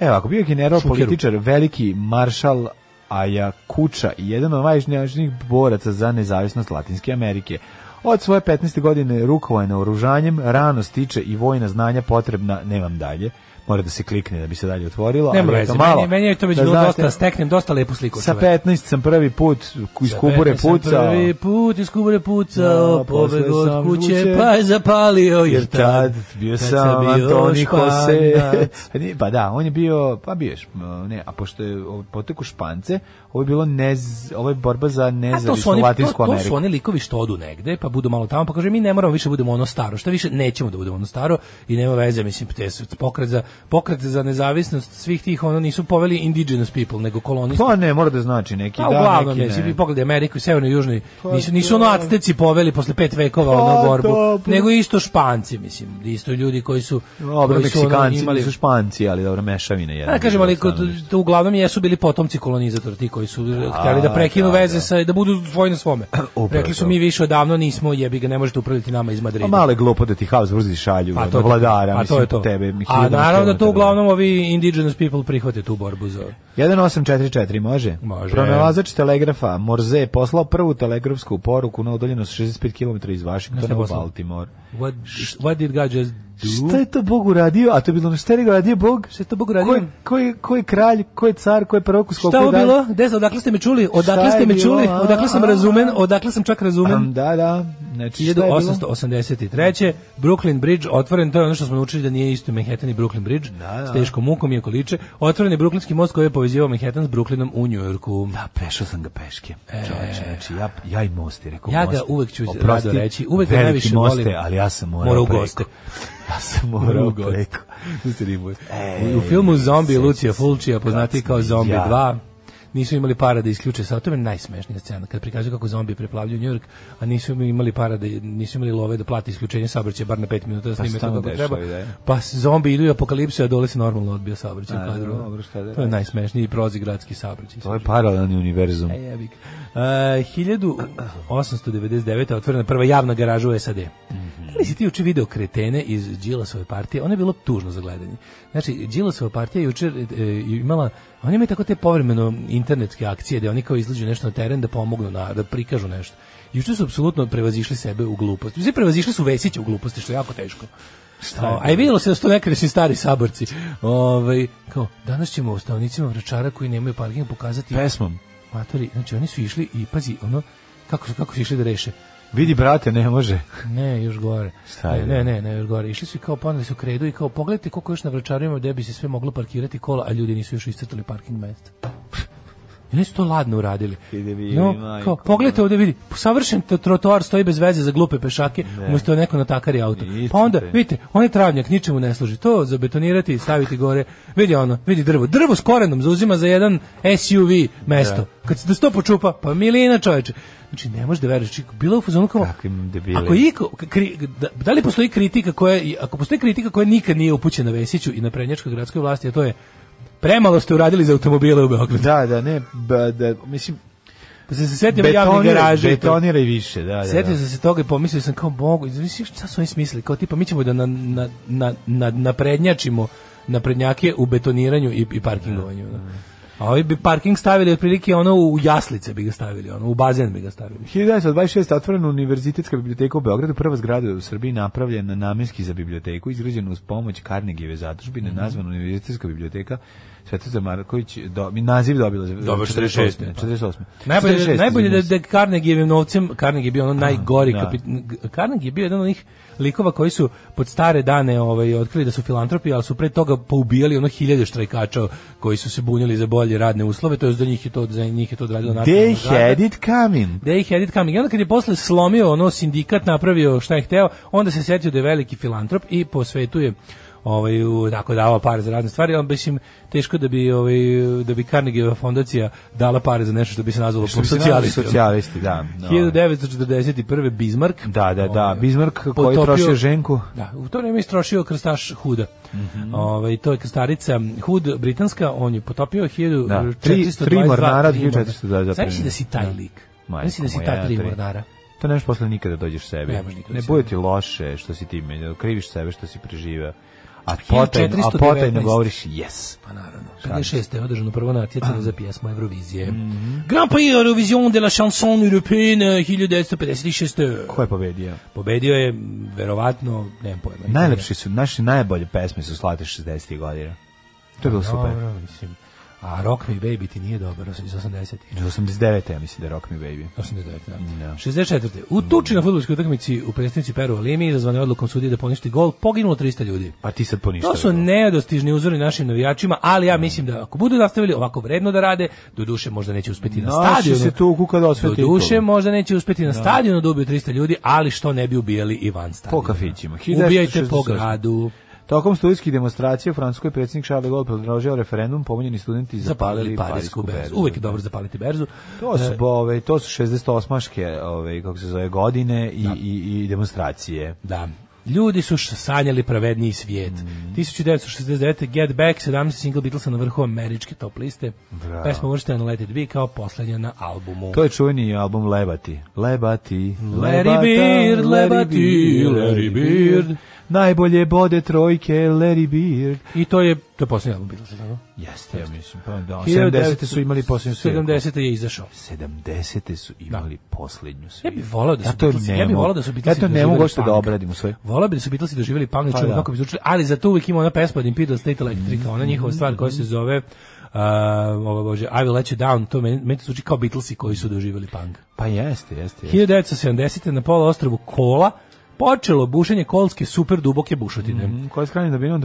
[SPEAKER 7] Evo, ako bio je general,
[SPEAKER 6] Šukeru.
[SPEAKER 7] političar, veliki maršal Ajakuča i jedan od najvažnijih boraca za nezavisnost Latinske Amerike. Od svoje 15. godine rukovao je naoružanjem, rano stiče i vojna znanja potrebna, nemam dalje, mora da se klikne da bi se dalje otvorilo.
[SPEAKER 6] Nema
[SPEAKER 7] ali
[SPEAKER 6] veze,
[SPEAKER 7] eto, malo,
[SPEAKER 6] meni, meni je to već
[SPEAKER 7] da
[SPEAKER 6] bilo
[SPEAKER 7] znate,
[SPEAKER 6] dosta, steknem dosta lepu sliku.
[SPEAKER 7] Sa
[SPEAKER 6] čoveče.
[SPEAKER 7] 15 sam prvi put iz Kubure
[SPEAKER 6] Petnaest sam
[SPEAKER 7] pucao.
[SPEAKER 6] Prvi put iz kubure pucao,
[SPEAKER 7] Da, posle
[SPEAKER 6] pobegao od
[SPEAKER 7] sam
[SPEAKER 6] kuće,
[SPEAKER 7] žuće.
[SPEAKER 6] pa je zapalio, jer tad,
[SPEAKER 7] bio
[SPEAKER 6] tad
[SPEAKER 7] sam
[SPEAKER 6] bio
[SPEAKER 7] Antoni Jose. *laughs*
[SPEAKER 6] Španac.
[SPEAKER 7] Nije, pa da, on je bio, pa bio je Šp- ne, a pošto je ovo poteku Špance, ovo je bilo nez, ovo je borba za
[SPEAKER 6] A to su
[SPEAKER 7] nezavisnu
[SPEAKER 6] oni,
[SPEAKER 7] Latinsku
[SPEAKER 6] to, to su
[SPEAKER 7] Ameriku.
[SPEAKER 6] oni likovi što odu negde, pa budu malo tamo, pa kaže mi ne moramo više budemo ono staro, šta više nećemo da budemo ono staro i nema veze, mislim, te su pokret za, pokret za nezavisnost svih tih, ono nisu poveli indigenous people, nego kolonisti.
[SPEAKER 7] Pa ne, mora da znači neki
[SPEAKER 6] Pa
[SPEAKER 7] da,
[SPEAKER 6] uglavnom,
[SPEAKER 7] neki
[SPEAKER 6] mislim, vi
[SPEAKER 7] ne.
[SPEAKER 6] pogledaj Ameriku i Severnu i Južnu, nisu, nisu
[SPEAKER 7] to-
[SPEAKER 6] ono Azteci poveli posle pet vekova ono
[SPEAKER 7] Pa
[SPEAKER 6] borbu,
[SPEAKER 7] dobro.
[SPEAKER 6] nego isto Španci, mislim, isto ljudi koji su,
[SPEAKER 7] Dobro,
[SPEAKER 6] koji su ono
[SPEAKER 7] Meksikanci
[SPEAKER 6] imali... Pa,
[SPEAKER 7] su Španci, ali dobro, mešavine jedna.
[SPEAKER 6] Da kažem, ali kod, to uglavnom jesu bili potomci kolonizatora, ti koji su htjeli da prekinu
[SPEAKER 7] da,
[SPEAKER 6] veze
[SPEAKER 7] da.
[SPEAKER 6] sa, da budu svoji na svome.
[SPEAKER 7] *clears throat* Upravo
[SPEAKER 6] Rekli su
[SPEAKER 7] to.
[SPEAKER 6] mi više odavno nismo, jebi ga, ne možete upravljati nama iz Madrida.
[SPEAKER 7] Pa male glupo da ti Habsburzi šalju
[SPEAKER 6] Pa
[SPEAKER 7] pa
[SPEAKER 6] to je to.
[SPEAKER 7] vladara,
[SPEAKER 6] Pa
[SPEAKER 7] mislim,
[SPEAKER 6] to je to.
[SPEAKER 7] tebe.
[SPEAKER 6] A
[SPEAKER 7] hiljadama
[SPEAKER 6] naravno da to
[SPEAKER 7] kilometara.
[SPEAKER 6] uglavnom ovi indigenous people prihvate tu borbu za...
[SPEAKER 7] 1844 može?
[SPEAKER 6] Može.
[SPEAKER 7] Pronalazač telegrafa Morze je poslao prvu telegrafsku poruku na udaljenost 65 km iz
[SPEAKER 6] Šta je
[SPEAKER 7] Vašingtona u
[SPEAKER 6] poslao?
[SPEAKER 7] Baltimore.
[SPEAKER 6] What, what did God just do?
[SPEAKER 7] Šta je to Bog uradio? A to je bilo ono, šta je uradio Bog?
[SPEAKER 6] Šta je to Bog uradio?
[SPEAKER 7] Ko je, ko je, ko je kralj, ko je car, ko je prorok u skopu?
[SPEAKER 6] Šta je ovo bilo? Gde ste, odakle ste me čuli? Odakle
[SPEAKER 7] Šta
[SPEAKER 6] ste
[SPEAKER 7] je
[SPEAKER 6] me
[SPEAKER 7] bilo?
[SPEAKER 6] čuli?
[SPEAKER 7] A,
[SPEAKER 6] Odakle sam
[SPEAKER 7] a,
[SPEAKER 6] razumen? Odakle sam čak razumen?
[SPEAKER 7] Da, da. Znači, šta je bilo?
[SPEAKER 6] 1883. Brooklyn Bridge otvoren, to je ono što smo naučili da nije isto Manhattan i Brooklyn Bridge,
[SPEAKER 7] Da, da.
[SPEAKER 6] s teškom mukom i okoliče. Otvoren je Brooklynski most koji je povezivao Manhattan s Brooklynom u Njujorku.
[SPEAKER 7] Da, pešao sam ga peške. Čoveče, znači, ja, ja i mosti, rekao
[SPEAKER 6] Ja ga
[SPEAKER 7] mosti.
[SPEAKER 6] uvek ću
[SPEAKER 7] Oprosti,
[SPEAKER 6] rado reći, uvek ga
[SPEAKER 7] veliki
[SPEAKER 6] najviše
[SPEAKER 7] moste,
[SPEAKER 6] volim.
[SPEAKER 7] ali ja sam morao,
[SPEAKER 6] Morao u
[SPEAKER 7] preko.
[SPEAKER 6] goste.
[SPEAKER 7] Ja sam
[SPEAKER 6] Morao
[SPEAKER 7] morao
[SPEAKER 6] u goste.
[SPEAKER 7] preko. Zutri moj.
[SPEAKER 6] U- U filmu Zombi
[SPEAKER 7] sjećam
[SPEAKER 6] Lucija
[SPEAKER 7] se
[SPEAKER 6] Fulcija, poznati
[SPEAKER 7] kad
[SPEAKER 6] kao
[SPEAKER 7] sam
[SPEAKER 6] Zombi
[SPEAKER 7] ja-
[SPEAKER 6] 2, nisu imali para da isključe sa to je meni najsmešnija scena kad prikazuju kako zombi preplavljuju Njujork a nisu imali para da nisu imali love da plate isključenje saobraćaja bar na 5 minuta da snime
[SPEAKER 7] se
[SPEAKER 6] to
[SPEAKER 7] tamo
[SPEAKER 6] kako treba
[SPEAKER 7] dešava ideja.
[SPEAKER 6] pa s- zombi idu u apokalipsu a dole se normalno odbija saobraćaj u
[SPEAKER 7] A,
[SPEAKER 6] kadru
[SPEAKER 7] dobro, šta da
[SPEAKER 6] to je
[SPEAKER 7] radiš?
[SPEAKER 6] najsmešniji prozi gradski saobraćaj
[SPEAKER 7] To je paralelni univerzum.
[SPEAKER 6] E, jebik. E, 1899. je otvorena prva javna garaža u SAD. Da li si ti juče video kretene iz Đilasove partije? Ono je bilo tužno za gledanje. Znači, Đilasova partija je jučer e, imala, oni imaju tako te povremeno internetske akcije gde oni kao izlađu nešto na teren da pomognu, na, da prikažu nešto. Juče su apsolutno prevazišli sebe u gluposti. Svi prevazišli su Vesića u gluposti, što je jako teško. Šta a i vidjelo se da su to nekadašnji stari saborci. Ovaj, kao, danas ćemo ustavnicima vračara koji nemaju parking pokazati
[SPEAKER 7] Pesmom.
[SPEAKER 6] matori, znači oni su išli i pazi, ono, kako su, kako su išli da reše?
[SPEAKER 7] Vidi, brate, ne može.
[SPEAKER 6] Ne, još gore.
[SPEAKER 7] Šta je?
[SPEAKER 6] Ne, ne, ne, još gore. Išli su i kao poneli su kredu i kao pogledajte *laughs* koliko još na vračarima gde bi se sve moglo parkirati kola, a ljudi nisu još iscrtali parking mesta. I oni su to ladno uradili.
[SPEAKER 7] Ide vi,
[SPEAKER 6] No,
[SPEAKER 7] majko,
[SPEAKER 6] kao, pogledajte ovde vidi, savršen t- trotoar stoji bez veze za glupe pešake, umesto neko natakari auto. Pa onda,
[SPEAKER 7] Iscrpe.
[SPEAKER 6] vidite, on je travnjak, ničemu ne služi. To zabetonirati i staviti gore. Vidi ono, vidi drvo. Drvo s korenom zauzima za jedan SUV mesto. Kad se da se to počupa, pa milina čoveče. Znači, ne možeš da veruješ. Čik, Bilo je u fazonu kao...
[SPEAKER 7] Kakvim debili.
[SPEAKER 6] Ako je iko, kri, da, da li postoji kritika koja, i ako postoji kritika koja nikad nije upućena Vesiću i na prednjačkoj gradskoj vlasti, a to je premalo ste uradili za automobile u Beogradu.
[SPEAKER 7] *laughs* Da, da, ne, ba, da, mislim,
[SPEAKER 6] Pa se se setimo javne
[SPEAKER 7] betoniraj,
[SPEAKER 6] garaže. i to.
[SPEAKER 7] betoniraj više, da, da.
[SPEAKER 6] Setio
[SPEAKER 7] da.
[SPEAKER 6] sam se toga i pomislio sam kao mogu, znaš šta su oni smislili, kao tipa mi ćemo da na, na, na, na, naprednjačimo naprednjake u betoniranju i, i parkingovanju. Da. A ovi bi parking stavili otprilike ono u jaslice bi ga stavili, ono u bazen bi ga stavili.
[SPEAKER 7] 1926. otvorena univerzitetska biblioteka u Beogradu, prva zgrada u Srbiji napravljena namenski za biblioteku, izgrađena uz pomoć Karnegijeve
[SPEAKER 6] Mhm.
[SPEAKER 7] zadužbine, nazvana univerzitetska biblioteka Svetozar Marković, do, mi naziv dobila za
[SPEAKER 6] Dobro, 48,
[SPEAKER 7] ne,
[SPEAKER 6] pa.
[SPEAKER 7] 48.
[SPEAKER 6] Najbolje,
[SPEAKER 7] 46,
[SPEAKER 6] najbolje da,
[SPEAKER 7] izvinjam
[SPEAKER 6] da
[SPEAKER 7] se.
[SPEAKER 6] Carnegievim novcem, Carnegie je bio ono najgori
[SPEAKER 7] da.
[SPEAKER 6] kapit... Carnegie je bio jedan od onih likova koji su pod stare dane ovaj, otkrili da su filantropi, ali su pre toga poubijali ono hiljade štrajkača koji su se bunjili za bolje radne uslove, to je za njih je to, za njih je to odradilo
[SPEAKER 7] They
[SPEAKER 6] nacionalno
[SPEAKER 7] had it coming.
[SPEAKER 6] They had it coming. I onda kad je posle slomio ono sindikat, napravio šta je hteo, onda se setio da je veliki filantrop i posvetuje ovaj u- tako davao pare za razne stvari, ali mislim teško da bi ovaj da bi Carnegieva fondacija dala pare za nešto što bi se nazvalo
[SPEAKER 7] Što bi se nazvali
[SPEAKER 6] socijalisti.
[SPEAKER 7] socijalisti, da. da.
[SPEAKER 6] 1941. Bismarck.
[SPEAKER 7] Da, da, da,
[SPEAKER 6] ovaj,
[SPEAKER 7] Bismarck koji trošio ženku.
[SPEAKER 6] Da, u to vrijeme je istrošio krstaš Huda.
[SPEAKER 7] Mhm.
[SPEAKER 6] ovaj, to je krstarica Hud britanska, on je potopio 1422.
[SPEAKER 7] Da, tri- tri mornara, 1400, da, da,
[SPEAKER 6] Znaš li da si taj
[SPEAKER 7] da.
[SPEAKER 6] lik?
[SPEAKER 7] Majko
[SPEAKER 6] Znaš li da si
[SPEAKER 7] moja,
[SPEAKER 6] taj tri
[SPEAKER 7] tri.
[SPEAKER 6] mornara?
[SPEAKER 7] To nešto posle nikada dođeš sebi.
[SPEAKER 6] Ne možeš nikada
[SPEAKER 7] Ne
[SPEAKER 6] sebi.
[SPEAKER 7] bude ti loše što si ti, meni, kriviš sebe što si preživeo. A
[SPEAKER 6] 1419.
[SPEAKER 7] potajno, a potajno govoriš yes.
[SPEAKER 6] Pa naravno. 56. je održano prvo
[SPEAKER 7] Ah.
[SPEAKER 6] natjecanje za pjesmu Eurovizije.
[SPEAKER 7] Mhm.
[SPEAKER 6] Grand Prix Eurovision de la chanson européenne 1956.
[SPEAKER 7] Ko je pobedio?
[SPEAKER 6] Pobedio je, m, verovatno, nemam pojma.
[SPEAKER 7] Najlepši su, naši najbolje pesme su slate 60. godina. To je bilo super.
[SPEAKER 6] Dobro, mislim. A Rock Me Baby ti nije dobar iz 80-ih.
[SPEAKER 7] Iz 89. ja mislim da je Rock Me Baby.
[SPEAKER 6] 89, da.
[SPEAKER 7] Da.
[SPEAKER 6] 64. U tuči na fudbalskoj utakmici u predstavnici Peru Limi izazvane odlukom sudije da poništi gol, poginulo 300 ljudi.
[SPEAKER 7] Pa ti sad poništio.
[SPEAKER 6] To su nedostižni uzori našim navijačima, ali ja mislim da ako budu nastavili ovako vredno da rade, do duše možda neće uspeti na
[SPEAKER 7] Naši
[SPEAKER 6] stadionu.
[SPEAKER 7] se tu kuka da osve
[SPEAKER 6] Do duše
[SPEAKER 7] titulu.
[SPEAKER 6] možda neće uspeti na stadionu da ubiju 300 ljudi, ali što ne bi ubijali i van stadiona.
[SPEAKER 7] Po kafićima.
[SPEAKER 6] Ubijajte po
[SPEAKER 7] 1968.
[SPEAKER 6] gradu.
[SPEAKER 7] Tokom studijskih demonstracija u Francuskoj predsjednik Charles de Gaulle predložio referendum, pomenjeni studenti
[SPEAKER 6] Zapalili Parisku berzu. Uvijek je dobro E. zapaliti berzu.
[SPEAKER 7] To su, ove, to su 68-aške, ove, kako se zove, godine i, i, i demonstracije.
[SPEAKER 6] Da. Ljudi su š- sanjali pravedniji svijet.
[SPEAKER 7] Mm.
[SPEAKER 6] 1969. Get Back, 17 single Beatlesa na vrhu američke top liste.
[SPEAKER 7] Bravo.
[SPEAKER 6] Pesma uvrštena na Let It Be kao poslednja na albumu.
[SPEAKER 7] To je čuveni album Lebati. Lebati,
[SPEAKER 6] Larry Beard, Lebati, Larry Beard.
[SPEAKER 7] Najbolje bode trojke, Larry Beard.
[SPEAKER 6] I to je, to je poslednji album Beatlesa. tako?
[SPEAKER 7] Jeste, ja mislim. Pa, da, 70. su imali posljednju svirku.
[SPEAKER 6] 70. je izašao.
[SPEAKER 7] 70. su imali posljednju
[SPEAKER 6] Ja
[SPEAKER 7] svirku.
[SPEAKER 6] bih volao da su
[SPEAKER 7] Ja to
[SPEAKER 6] Beatlesi, ja bih
[SPEAKER 7] ne mogu.
[SPEAKER 6] volao da su Beatlesi
[SPEAKER 7] Ja to ne
[SPEAKER 6] doživjeli
[SPEAKER 7] mogu uopšte da
[SPEAKER 6] punk.
[SPEAKER 7] obradim u svoj.
[SPEAKER 6] Volao bih da su Beatlesi doživjeli punk, pa,
[SPEAKER 7] da. Mm-hmm.
[SPEAKER 6] kako bi zvučili, ali za to uvijek ima ona pesma od Imperial State Electric, ona njihova stvar koja se zove uh, ovo bože, I will let you down, to meni, meni to zvuči kao Beatlesi koji su doživjeli punk.
[SPEAKER 7] Pa jeste, jeste. jeste.
[SPEAKER 6] 1970. na polu ostrovu Kola počelo bušenje kolske super duboke bušotine.
[SPEAKER 7] Mm, Koja je skranja dobinom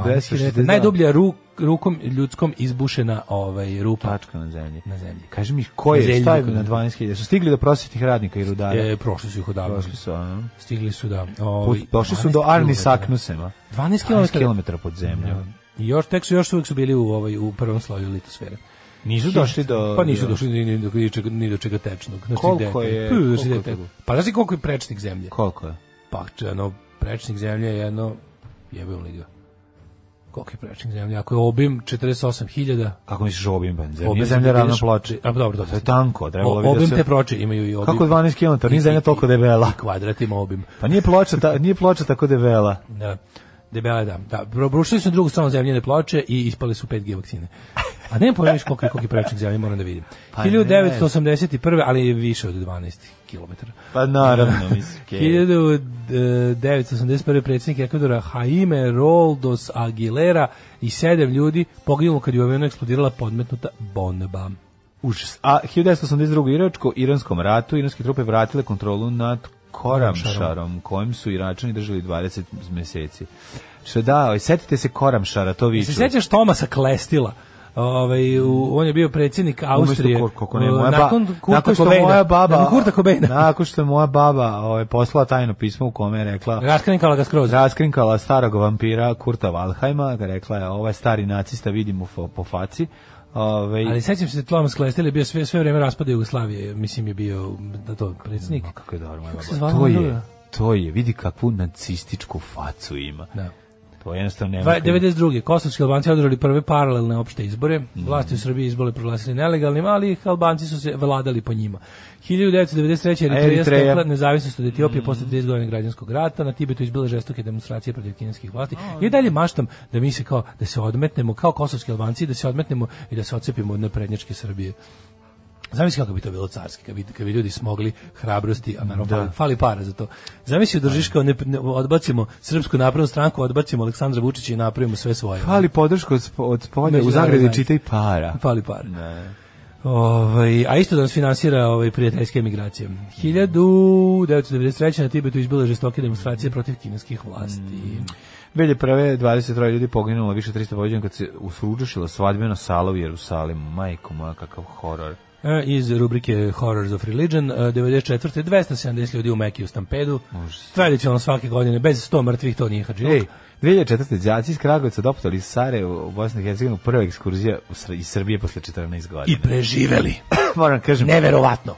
[SPEAKER 7] 12.262.
[SPEAKER 6] Najdublja ru, rukom ljudskom izbušena ovaj, rupa
[SPEAKER 7] tačka na zemlji.
[SPEAKER 6] na zemlji.
[SPEAKER 7] Kaži mi, ko je,
[SPEAKER 6] Na zemlji,
[SPEAKER 7] šta je
[SPEAKER 6] kako
[SPEAKER 7] na
[SPEAKER 6] da.
[SPEAKER 7] 12.000? Su stigli do prosjetnih radnika i rudara?
[SPEAKER 6] E, prošli su ih odavno.
[SPEAKER 7] Došli su, a?
[SPEAKER 6] Stigli su da...
[SPEAKER 7] Put,
[SPEAKER 6] Ovaj,
[SPEAKER 7] došli su do
[SPEAKER 6] 12
[SPEAKER 7] Arni
[SPEAKER 6] kilometara.
[SPEAKER 7] Saknusema.
[SPEAKER 6] 12
[SPEAKER 7] 12
[SPEAKER 6] kilometara.
[SPEAKER 7] km pod zemljom.
[SPEAKER 6] I još tek su još su uvijek su bili u ovaj u prvom sloju litosfere.
[SPEAKER 7] Nisu došli do...
[SPEAKER 6] Pa nisu došli ni, ni, do, ni, do čega, ni do čega tečnog. Znači,
[SPEAKER 7] Koliko
[SPEAKER 6] gde-
[SPEAKER 7] je-
[SPEAKER 6] Pa, znači,
[SPEAKER 7] koliko je
[SPEAKER 6] gde-
[SPEAKER 7] to bilo?
[SPEAKER 6] Pa znaš li koliko je prečnik zemlje?
[SPEAKER 7] Koliko je?
[SPEAKER 6] Pa če, ono, prečnik zemlje je jedno jebem li ga. Koliko je prečnik zemlje? Ako je obim 48.000
[SPEAKER 7] Kako misliš obim ben? Zemlja,
[SPEAKER 6] Obim
[SPEAKER 7] obim zemlja
[SPEAKER 6] da
[SPEAKER 7] ravna
[SPEAKER 6] ideš-
[SPEAKER 7] ploče.
[SPEAKER 6] A, dobro, dobro.
[SPEAKER 7] To je tanko, trebalo
[SPEAKER 6] o-
[SPEAKER 7] bi da
[SPEAKER 6] obim
[SPEAKER 7] se...
[SPEAKER 6] te proče imaju i obim.
[SPEAKER 7] Kako 12 km?
[SPEAKER 6] I-
[SPEAKER 7] Nije zemlja
[SPEAKER 6] i-
[SPEAKER 7] toliko
[SPEAKER 6] i-
[SPEAKER 7] debela.
[SPEAKER 6] i kvadratima obim.
[SPEAKER 7] Pa nije ploča, ta, nije ploča tako debela.
[SPEAKER 6] Da. Debela je da. Da, probrušili su na drugu stranu zemljene ploče i ispali su 5G vakcine. A ne pojma više koliko je koliko je prečnik zemlje, moram da vidim.
[SPEAKER 7] Pa ne.
[SPEAKER 6] 1981. ali je više od 12 km.
[SPEAKER 7] Pa naravno, mislim. Okay.
[SPEAKER 6] e, 1981. predsjednik Ekvadora Jaime Roldos Aguilera i sedam ljudi poginulo kad je u avionu eksplodirala podmetnuta bomba.
[SPEAKER 7] Užas. A 1982. Iračko, iranskom ratu, iranske trupe vratile kontrolu nad Koramšarom, kojim su Iračani držali 20 meseci. Što da, oj, ovaj, setite se Koramšara, to vi
[SPEAKER 6] Se sjećaš Tomasa Klestila? ovaj, u- on je bio predsjednik Austrije.
[SPEAKER 7] Austrije. Kako ne, moja
[SPEAKER 6] nakon
[SPEAKER 7] ba,
[SPEAKER 6] Kurta
[SPEAKER 7] nakon što
[SPEAKER 6] Cobaina.
[SPEAKER 7] moja baba,
[SPEAKER 6] Nakon Kurta Cobaina.
[SPEAKER 7] *laughs* nakon što je moja baba ovaj, poslala tajno pismo u kome je rekla,
[SPEAKER 6] Raskrinkala ga skroz.
[SPEAKER 7] raskrinkala starog vampira Kurta Valheima, rekla je, ovaj stari nacista vidimo fo, po faci. Ovaj,
[SPEAKER 6] Ali sećam se Thomas Klestel je bio sve sve vreme raspada Jugoslavije, mislim je bio na to predsjednik.
[SPEAKER 7] Ma, kako je dobro, moja
[SPEAKER 6] Kako se zvala
[SPEAKER 7] baba. To
[SPEAKER 6] ona
[SPEAKER 7] je,
[SPEAKER 6] druga?
[SPEAKER 7] to je, vidi kakvu nacističku facu ima.
[SPEAKER 6] Da.
[SPEAKER 7] To jednostavno nema.
[SPEAKER 6] Dva- 92. Kosovski Albanci održali prve paralelne opšte izbore.
[SPEAKER 7] Mhm.
[SPEAKER 6] Vlasti u Srbiji izbore proglasili nelegalnim, ali ih Albanci su se vladali po njima. 1993. Eritreja
[SPEAKER 7] Eritreja. Mhm.
[SPEAKER 6] stekla nezavisnost od Etiopije posle 30 godina građanskog rata. Na Tibetu izbile žestoke demonstracije protiv kineskih vlasti. I dalje maštam da mi se kao da se odmetnemo kao kosovski Albanci da se odmetnemo i da se odcepimo od naprednjačke Srbije. Zamisli kako bi to bilo carski, kad bi, kad bi ljudi smogli hrabrosti, a naravno fali, fali para za to. Zamisli držiš kao ne, ne- odbacimo Srpsku naprednu stranku, odbacimo Aleksandra Vučića i napravimo sve svoje.
[SPEAKER 7] Fali podršku od, sp- od spolja, u zagradi čitaj para.
[SPEAKER 6] Fali para. Ovaj, a isto da nas finansira ovaj, prijateljske emigracije. 1993. na Tibetu izbile žestoke demonstracije protiv kineskih vlasti.
[SPEAKER 7] 2001. 23 ljudi poginulo, više 300 pođenja kad se usručušila svadbena sala u Jerusalimu. Majko moja, kakav horor.
[SPEAKER 6] E, Iz rubrike Horrors of Religion, e, 94. 270 ljudi u Mekiju stampedu. Tradicionalno svake godine, bez 100 mrtvih, to nije hađiluk.
[SPEAKER 7] Ej, 2004. đaci iz Kragujevca doputali iz Sarajevo u Bosnu i Hercegovinu, prva ekskurzija u Sr- iz Srbije posle 14 godina.
[SPEAKER 6] I preživeli.
[SPEAKER 7] *clears throat* moram kažem,
[SPEAKER 6] Neverovatno.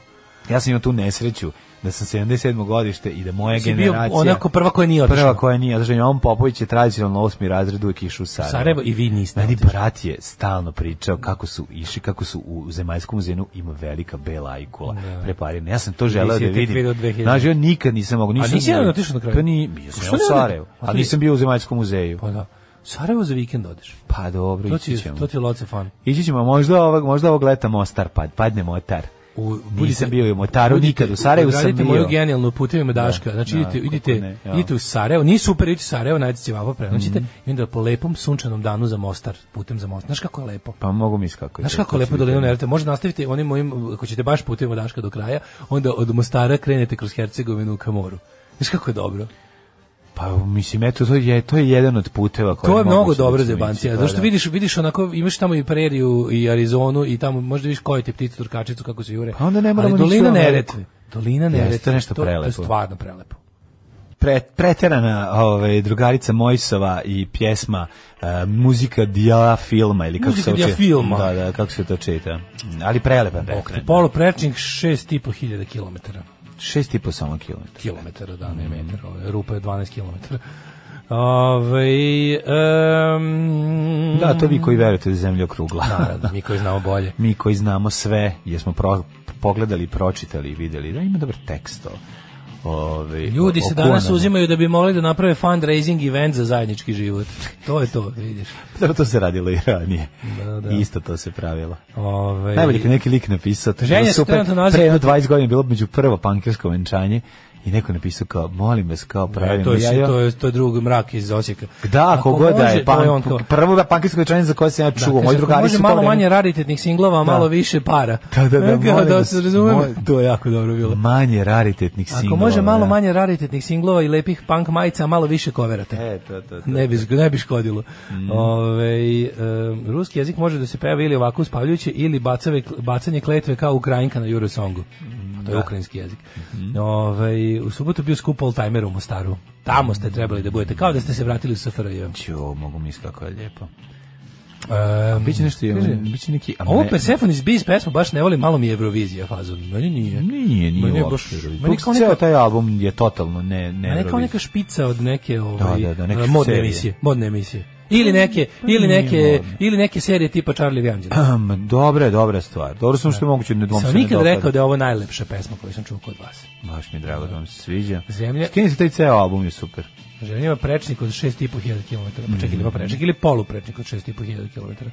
[SPEAKER 7] ja sam imao tu nesreću da sam 77. godište i da moja
[SPEAKER 6] Si bio
[SPEAKER 7] generacija...
[SPEAKER 6] onako prva koja nije otišla.
[SPEAKER 7] Prva koja nije otišla. Jovan Popović je tradicionalno osmi razred uvijek išao u Sarajevo.
[SPEAKER 6] Sarajevo i vi niste.
[SPEAKER 7] Meni
[SPEAKER 6] otišli.
[SPEAKER 7] brat je stalno pričao kako su išli, kako su u Zemaljskom muzeu ima velika bela ajkula preparirana. Ja sam to
[SPEAKER 6] Nisi
[SPEAKER 7] želeo da
[SPEAKER 6] je tek video
[SPEAKER 7] vidim.
[SPEAKER 6] 2000.
[SPEAKER 7] Znaš, ja nikad nisam mogao. Nisam
[SPEAKER 6] nisi
[SPEAKER 7] mogao.
[SPEAKER 6] jedan otišao na kraju?
[SPEAKER 7] Pa ni, bio sam
[SPEAKER 6] Što
[SPEAKER 7] ja u
[SPEAKER 6] ne ode?
[SPEAKER 7] Sarajevu,
[SPEAKER 6] A
[SPEAKER 7] ali
[SPEAKER 6] ti-
[SPEAKER 7] nisam bio u Zemaljskom muzeju.
[SPEAKER 6] Pa da. Sarajevo za vikend odeš.
[SPEAKER 7] Pa dobro,
[SPEAKER 6] To
[SPEAKER 7] ići
[SPEAKER 6] ti,
[SPEAKER 7] ćemo.
[SPEAKER 6] to ti je loce fan.
[SPEAKER 7] Ići ćemo, možda ovog, možda ovog leta Mostar pad, padne Motar.
[SPEAKER 6] U,
[SPEAKER 7] Nisam bio i u Motaru,
[SPEAKER 6] budite-
[SPEAKER 7] nikad u Sarajevu sam
[SPEAKER 6] odradite
[SPEAKER 7] bio.
[SPEAKER 6] moju genijalnu putevima Daška. znači
[SPEAKER 7] da,
[SPEAKER 6] idite,
[SPEAKER 7] kako
[SPEAKER 6] idite,
[SPEAKER 7] ne, ja. Mhm.
[SPEAKER 6] idite u Sarajevo, nije super, idite u Sarajevo, najdete će vapo prenoćite i onda po lepom sunčanom danu za Mostar, putem za Mostar. Znaš kako je lepo?
[SPEAKER 7] Pa mogu mi iskako.
[SPEAKER 6] Znaš kako je lepo dolinu Neretve? Možda nastavite onim mojim, ako ćete baš putevima Daška do kraja, onda od Mostara krenete kroz Hercegovinu u Kamoru. Znaš kako je dobro?
[SPEAKER 7] Pa mislim, eto, to je, to je jedan od puteva koji
[SPEAKER 6] To je mnogo
[SPEAKER 7] moguće da
[SPEAKER 6] dobro
[SPEAKER 7] ćemo
[SPEAKER 6] za
[SPEAKER 7] ići,
[SPEAKER 6] bancija.
[SPEAKER 7] pa
[SPEAKER 6] Zato što
[SPEAKER 7] da.
[SPEAKER 6] vidiš, vidiš onako, imaš tamo i preriju i Arizonu i tamo možda vidiš koje te ptice turkačicu kako se jure.
[SPEAKER 7] Pa onda ne moramo
[SPEAKER 6] Ali
[SPEAKER 7] ni ići
[SPEAKER 6] dolina
[SPEAKER 7] u Ameriku.
[SPEAKER 6] Neretve. Dolina
[SPEAKER 7] Jeste,
[SPEAKER 6] Neretve.
[SPEAKER 7] to je nešto
[SPEAKER 6] to, To je
[SPEAKER 7] prelepo.
[SPEAKER 6] stvarno prelepo.
[SPEAKER 7] pre, preterana ovaj, drugarica Mojsova i pjesma e, muzika dija filma ili kako
[SPEAKER 6] Muzika
[SPEAKER 7] se uči-
[SPEAKER 6] dija filma.
[SPEAKER 7] da, da, kako se to čita ali prelepa prekrena
[SPEAKER 6] Polo prečnik 6.500 km.
[SPEAKER 7] šest i po samo kilometra
[SPEAKER 6] Kilometara, da, ne metara. Ovo je Rupa je 12 km. Ove, um,
[SPEAKER 7] da, to vi koji verujete da je zemlja okrugla
[SPEAKER 6] Naravno, mi koji znamo bolje.
[SPEAKER 7] *laughs* mi koji znamo sve jer smo pro, pogledali, pročitali i vidjeli da ima dobar tekst o, ovaj,
[SPEAKER 6] Ljudi
[SPEAKER 7] o-
[SPEAKER 6] se
[SPEAKER 7] o
[SPEAKER 6] danas
[SPEAKER 7] Konanu.
[SPEAKER 6] uzimaju da bi mogli da naprave fundraising event za zajednički život. To je to, vidiš.
[SPEAKER 7] Dobro, to se radilo i ranije
[SPEAKER 6] Da, da.
[SPEAKER 7] isto to se pravilo
[SPEAKER 6] Ove,
[SPEAKER 7] Najbolje kad neki lik napisao, to je
[SPEAKER 6] E, Ženja
[SPEAKER 7] bilo
[SPEAKER 6] se
[SPEAKER 7] super,
[SPEAKER 6] trenutno nalazi-
[SPEAKER 7] pre jedno 20 godina je bilo među prvo pankirsko venčanje i neko je napisao kao, molim vas kao pravim.
[SPEAKER 6] E, to,
[SPEAKER 7] ja,
[SPEAKER 6] je,
[SPEAKER 7] ja-
[SPEAKER 6] to, je, to je drug mrak iz Osijeka.
[SPEAKER 7] Da,
[SPEAKER 6] Ako
[SPEAKER 7] kogoda
[SPEAKER 6] može, to
[SPEAKER 7] je, pan,
[SPEAKER 6] on kao-
[SPEAKER 7] prvo pankirsko venčanje za koje sam ja
[SPEAKER 6] Da,
[SPEAKER 7] čuo,
[SPEAKER 6] kaže, ako
[SPEAKER 7] moji drugari
[SPEAKER 6] može
[SPEAKER 7] su to
[SPEAKER 6] malo
[SPEAKER 7] vreme-
[SPEAKER 6] manje raritetnih singlova, a malo više para.
[SPEAKER 7] Da, da, da,
[SPEAKER 6] E, kao
[SPEAKER 7] molim
[SPEAKER 6] da
[SPEAKER 7] vas,
[SPEAKER 6] se razumemo.
[SPEAKER 7] moj-
[SPEAKER 6] to je jako dobro bilo.
[SPEAKER 7] manje raritetnih singlova.
[SPEAKER 6] Ako može malo
[SPEAKER 7] da.
[SPEAKER 6] manje raritetnih singlova i lepih punk majica, a malo više coverata.
[SPEAKER 7] E, Mm. to, to, to.
[SPEAKER 6] Ne bi, ne bi škodilo. Ovaj, em, ruski jezik može da se peva ili ovako uspavljujuće ili bacave, bacanje kletve kao Ukrajinka na Eurosongu.
[SPEAKER 7] Mm,
[SPEAKER 6] To je ukrajinski jezik.
[SPEAKER 7] Mhm.
[SPEAKER 6] Ovaj, u subotu bio skup all-timer u Mostaru. Tamo ste trebali da budete, kao da ste se vratili u SFRJ.
[SPEAKER 7] Ću, mogu misliti kako je lijepo.
[SPEAKER 6] Mm. Em,
[SPEAKER 7] Biće nešto, biće neki...
[SPEAKER 6] Ovo Persefonis Beast pesmu baš ne volim, malo mi je Eurovizija fazon. Meni nije.
[SPEAKER 7] Nije, nije
[SPEAKER 6] Meni je
[SPEAKER 7] uopšte.
[SPEAKER 6] baš-
[SPEAKER 7] Baš,
[SPEAKER 6] meni kao neka-
[SPEAKER 7] Ceo taj album je totalno ne... ne
[SPEAKER 6] Ma ne kao
[SPEAKER 7] Eurovision. *clears throat*
[SPEAKER 6] neka špica od neke ovaj
[SPEAKER 7] Da, da, da, neke
[SPEAKER 6] eh, modne
[SPEAKER 7] serije. pa
[SPEAKER 6] emisije, modne emisije. Ili neke ili neke ili neke serije tipa Charlie i Anđela.
[SPEAKER 7] Am, Dobra je, dobra je stvar. Dobro sam što je moguće ne dvom se
[SPEAKER 6] Sam
[SPEAKER 7] ne
[SPEAKER 6] nikad
[SPEAKER 7] dopada.
[SPEAKER 6] rekao da je ovo najlepša pesma koju sam čuo kod vas.
[SPEAKER 7] Baš mi je drago da vam se sviđa.
[SPEAKER 6] Zemlja-
[SPEAKER 7] Skini se taj ceo album je super.
[SPEAKER 6] Želim ima prečnik od 6.500 km, pa
[SPEAKER 7] Mhm.
[SPEAKER 6] čekaj, ili ima prečnik, ili poluprečnik od 6.500 km.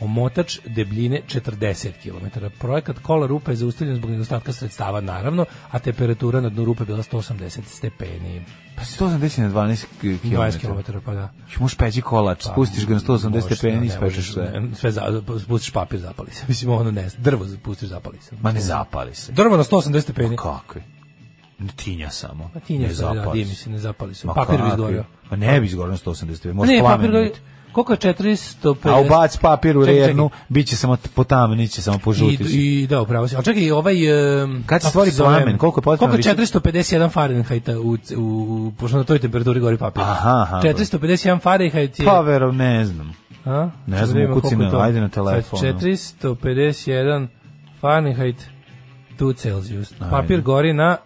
[SPEAKER 6] Omotač debljine 40 km. Projekat kola rupa je zaustavljen zbog nedostatka sredstava, naravno, a temperatura na dnu rupe je bila 180 stepeni.
[SPEAKER 7] Pa 180 na 12 km.
[SPEAKER 6] 20 km, pa da.
[SPEAKER 7] Možeš peći kolač, spustiš ga na 180
[SPEAKER 6] Možeš,
[SPEAKER 7] stepeni i
[SPEAKER 6] Pa, ne možeš,
[SPEAKER 7] ispečeš sve.
[SPEAKER 6] ne, Sve za, spustiš papir, zapali se. *laughs* Mislim, ono ne, drvo spustiš, zapali se.
[SPEAKER 7] Ma ne zapali se.
[SPEAKER 6] Drvo na 180 stepeni.
[SPEAKER 7] Kakvi? Tinja samo.
[SPEAKER 6] Pa tinja
[SPEAKER 7] Ne
[SPEAKER 6] se, da,
[SPEAKER 7] zapali
[SPEAKER 6] dim
[SPEAKER 7] se.
[SPEAKER 6] se, ne zapali se.
[SPEAKER 7] Ma
[SPEAKER 6] Papir bi
[SPEAKER 7] kakvi?
[SPEAKER 6] izgorio.
[SPEAKER 7] Ma ne bi izgoreo na 180 stepeni. Možeš
[SPEAKER 6] Ne,
[SPEAKER 7] plamen.
[SPEAKER 6] papir ga,
[SPEAKER 7] vidjeti.
[SPEAKER 6] Koliko je 450?
[SPEAKER 7] A ubac papir u
[SPEAKER 6] Čekaj, čekaj.
[SPEAKER 7] rednu, bit će samo po tamniće će samo po
[SPEAKER 6] I,
[SPEAKER 7] žutiću.
[SPEAKER 6] i da, upravo si. A čekaj, i ovaj... em,
[SPEAKER 7] Kad se
[SPEAKER 6] kako
[SPEAKER 7] stvori
[SPEAKER 6] zove?
[SPEAKER 7] plamen, koliko je potrebno
[SPEAKER 6] Koliko je
[SPEAKER 7] visok-
[SPEAKER 6] 451 Fahrenheita u, c- u, u, pošto na toj temperaturi gori papir?
[SPEAKER 7] Aha, aha.
[SPEAKER 6] 451 Fahrenheit je...
[SPEAKER 7] Pa verov, ne znam.
[SPEAKER 6] A?
[SPEAKER 7] Ne
[SPEAKER 6] Sad
[SPEAKER 7] znam,
[SPEAKER 6] vidimo
[SPEAKER 7] ukucaj
[SPEAKER 6] koliko je
[SPEAKER 7] na-
[SPEAKER 6] to.
[SPEAKER 7] ajde na
[SPEAKER 6] Sad
[SPEAKER 7] telefonu.
[SPEAKER 6] 451 Fahrenheit 2 Celsius. Papir gori na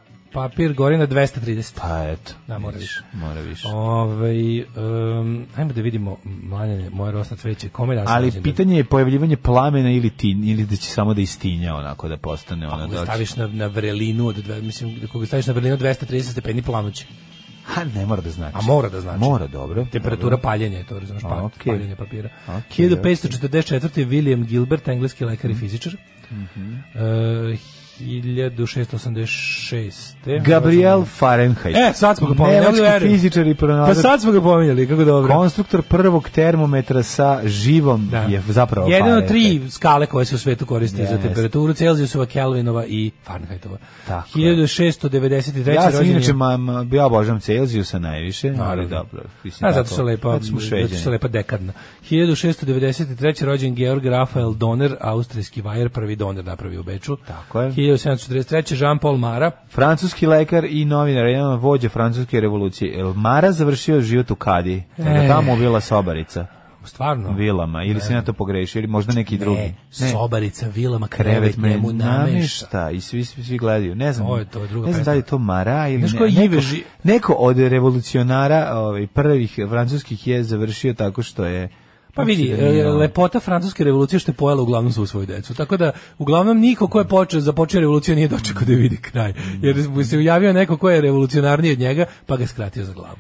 [SPEAKER 6] papir gori na 230.
[SPEAKER 7] Pa eto.
[SPEAKER 6] Da, mora
[SPEAKER 7] vidiš,
[SPEAKER 6] više.
[SPEAKER 7] Mora više.
[SPEAKER 6] Ovaj um, ajmo da vidimo mlanje moje rosno cveće. Kome danas
[SPEAKER 7] Ali
[SPEAKER 6] rođendan?
[SPEAKER 7] pitanje je pojavljivanje plamena ili tin, ili da će samo da istinja onako da postane ona
[SPEAKER 6] Ako
[SPEAKER 7] da.
[SPEAKER 6] ga
[SPEAKER 7] Staviš...
[SPEAKER 6] staviš na, na vrelinu od dve, mislim, ako ga staviš na vrelinu od 230 stepeni planuće.
[SPEAKER 7] Ha, ne mora da znači.
[SPEAKER 6] A mora da znači.
[SPEAKER 7] Mora, dobro.
[SPEAKER 6] Temperatura paljenja je to, razumiješ, pa,
[SPEAKER 7] A, okej.
[SPEAKER 6] paljenje papira.
[SPEAKER 7] Okej, Mhm.
[SPEAKER 6] 1544. William Gilbert, engleski lekar i fizičar. E, 1686.
[SPEAKER 7] Gabriel Fahrenheit.
[SPEAKER 6] E, sad smo ga pominjali.
[SPEAKER 7] Nemački
[SPEAKER 6] verujem.
[SPEAKER 7] fizičar i
[SPEAKER 6] Pa
[SPEAKER 7] pronalazač.
[SPEAKER 6] sad smo ga pominjali, kako dobro.
[SPEAKER 7] Konstruktor prvog termometra sa živom je zapravo
[SPEAKER 6] Jedan od
[SPEAKER 7] Fahrenheit.
[SPEAKER 6] tri skale koje se u svetu koriste za
[SPEAKER 7] pa Jeste.
[SPEAKER 6] temperaturu, Celzijusova, Kelvinova i Fahrenheitova.
[SPEAKER 7] Tako je.
[SPEAKER 6] 1693.
[SPEAKER 7] Ja sam
[SPEAKER 6] rođen je-
[SPEAKER 7] inače, ma, ma, ja obožavam Celzijusa najviše, ali
[SPEAKER 6] Naravno.
[SPEAKER 7] dobro. mislim,
[SPEAKER 6] A zato
[SPEAKER 7] tako,
[SPEAKER 6] što je lepa,
[SPEAKER 7] zato smo
[SPEAKER 6] zato što je
[SPEAKER 7] šveđani.
[SPEAKER 6] lepa dekadna. 1693. rođen Georg Rafael Doner, austrijski vajer, prvi Doner napravio u Beču.
[SPEAKER 7] Tako je.
[SPEAKER 6] 1743. Jean-Paul Mara,
[SPEAKER 7] Francuski lekar i novinar, jedan od vođa francuske revolucije. El Mara završio život u Kadi, e.
[SPEAKER 6] E.
[SPEAKER 7] tamo mu bila sobarica,
[SPEAKER 6] stvarno,
[SPEAKER 7] vilama, ili se na to pogrešio, ili možda neki drugi.
[SPEAKER 6] Pa. ne, sobarica, vilama, krevet,
[SPEAKER 7] me
[SPEAKER 6] njemu namešta.
[SPEAKER 7] i svi, svi, svi gledaju. Ne znam,
[SPEAKER 6] Ovo je to druga
[SPEAKER 7] ne znam da li je to Mara ili
[SPEAKER 6] Znaš
[SPEAKER 7] ne,
[SPEAKER 6] ko je
[SPEAKER 7] neko-
[SPEAKER 6] Ive Ži-
[SPEAKER 7] Neko od revolucionara ovaj, prvih francuskih je završio tako što je
[SPEAKER 6] Pa vidi,
[SPEAKER 7] Uopšte da nije,
[SPEAKER 6] e,
[SPEAKER 7] ono-
[SPEAKER 6] lepota francuske revolucije što je pojela uglavnom svu svoju decu. Tako da, uglavnom, niko ko je počeo, započeo revoluciju nije dočekao da je vidi kraj. Jer mu se javio neko ko je revolucionarniji od njega, pa ga skratio za glavu.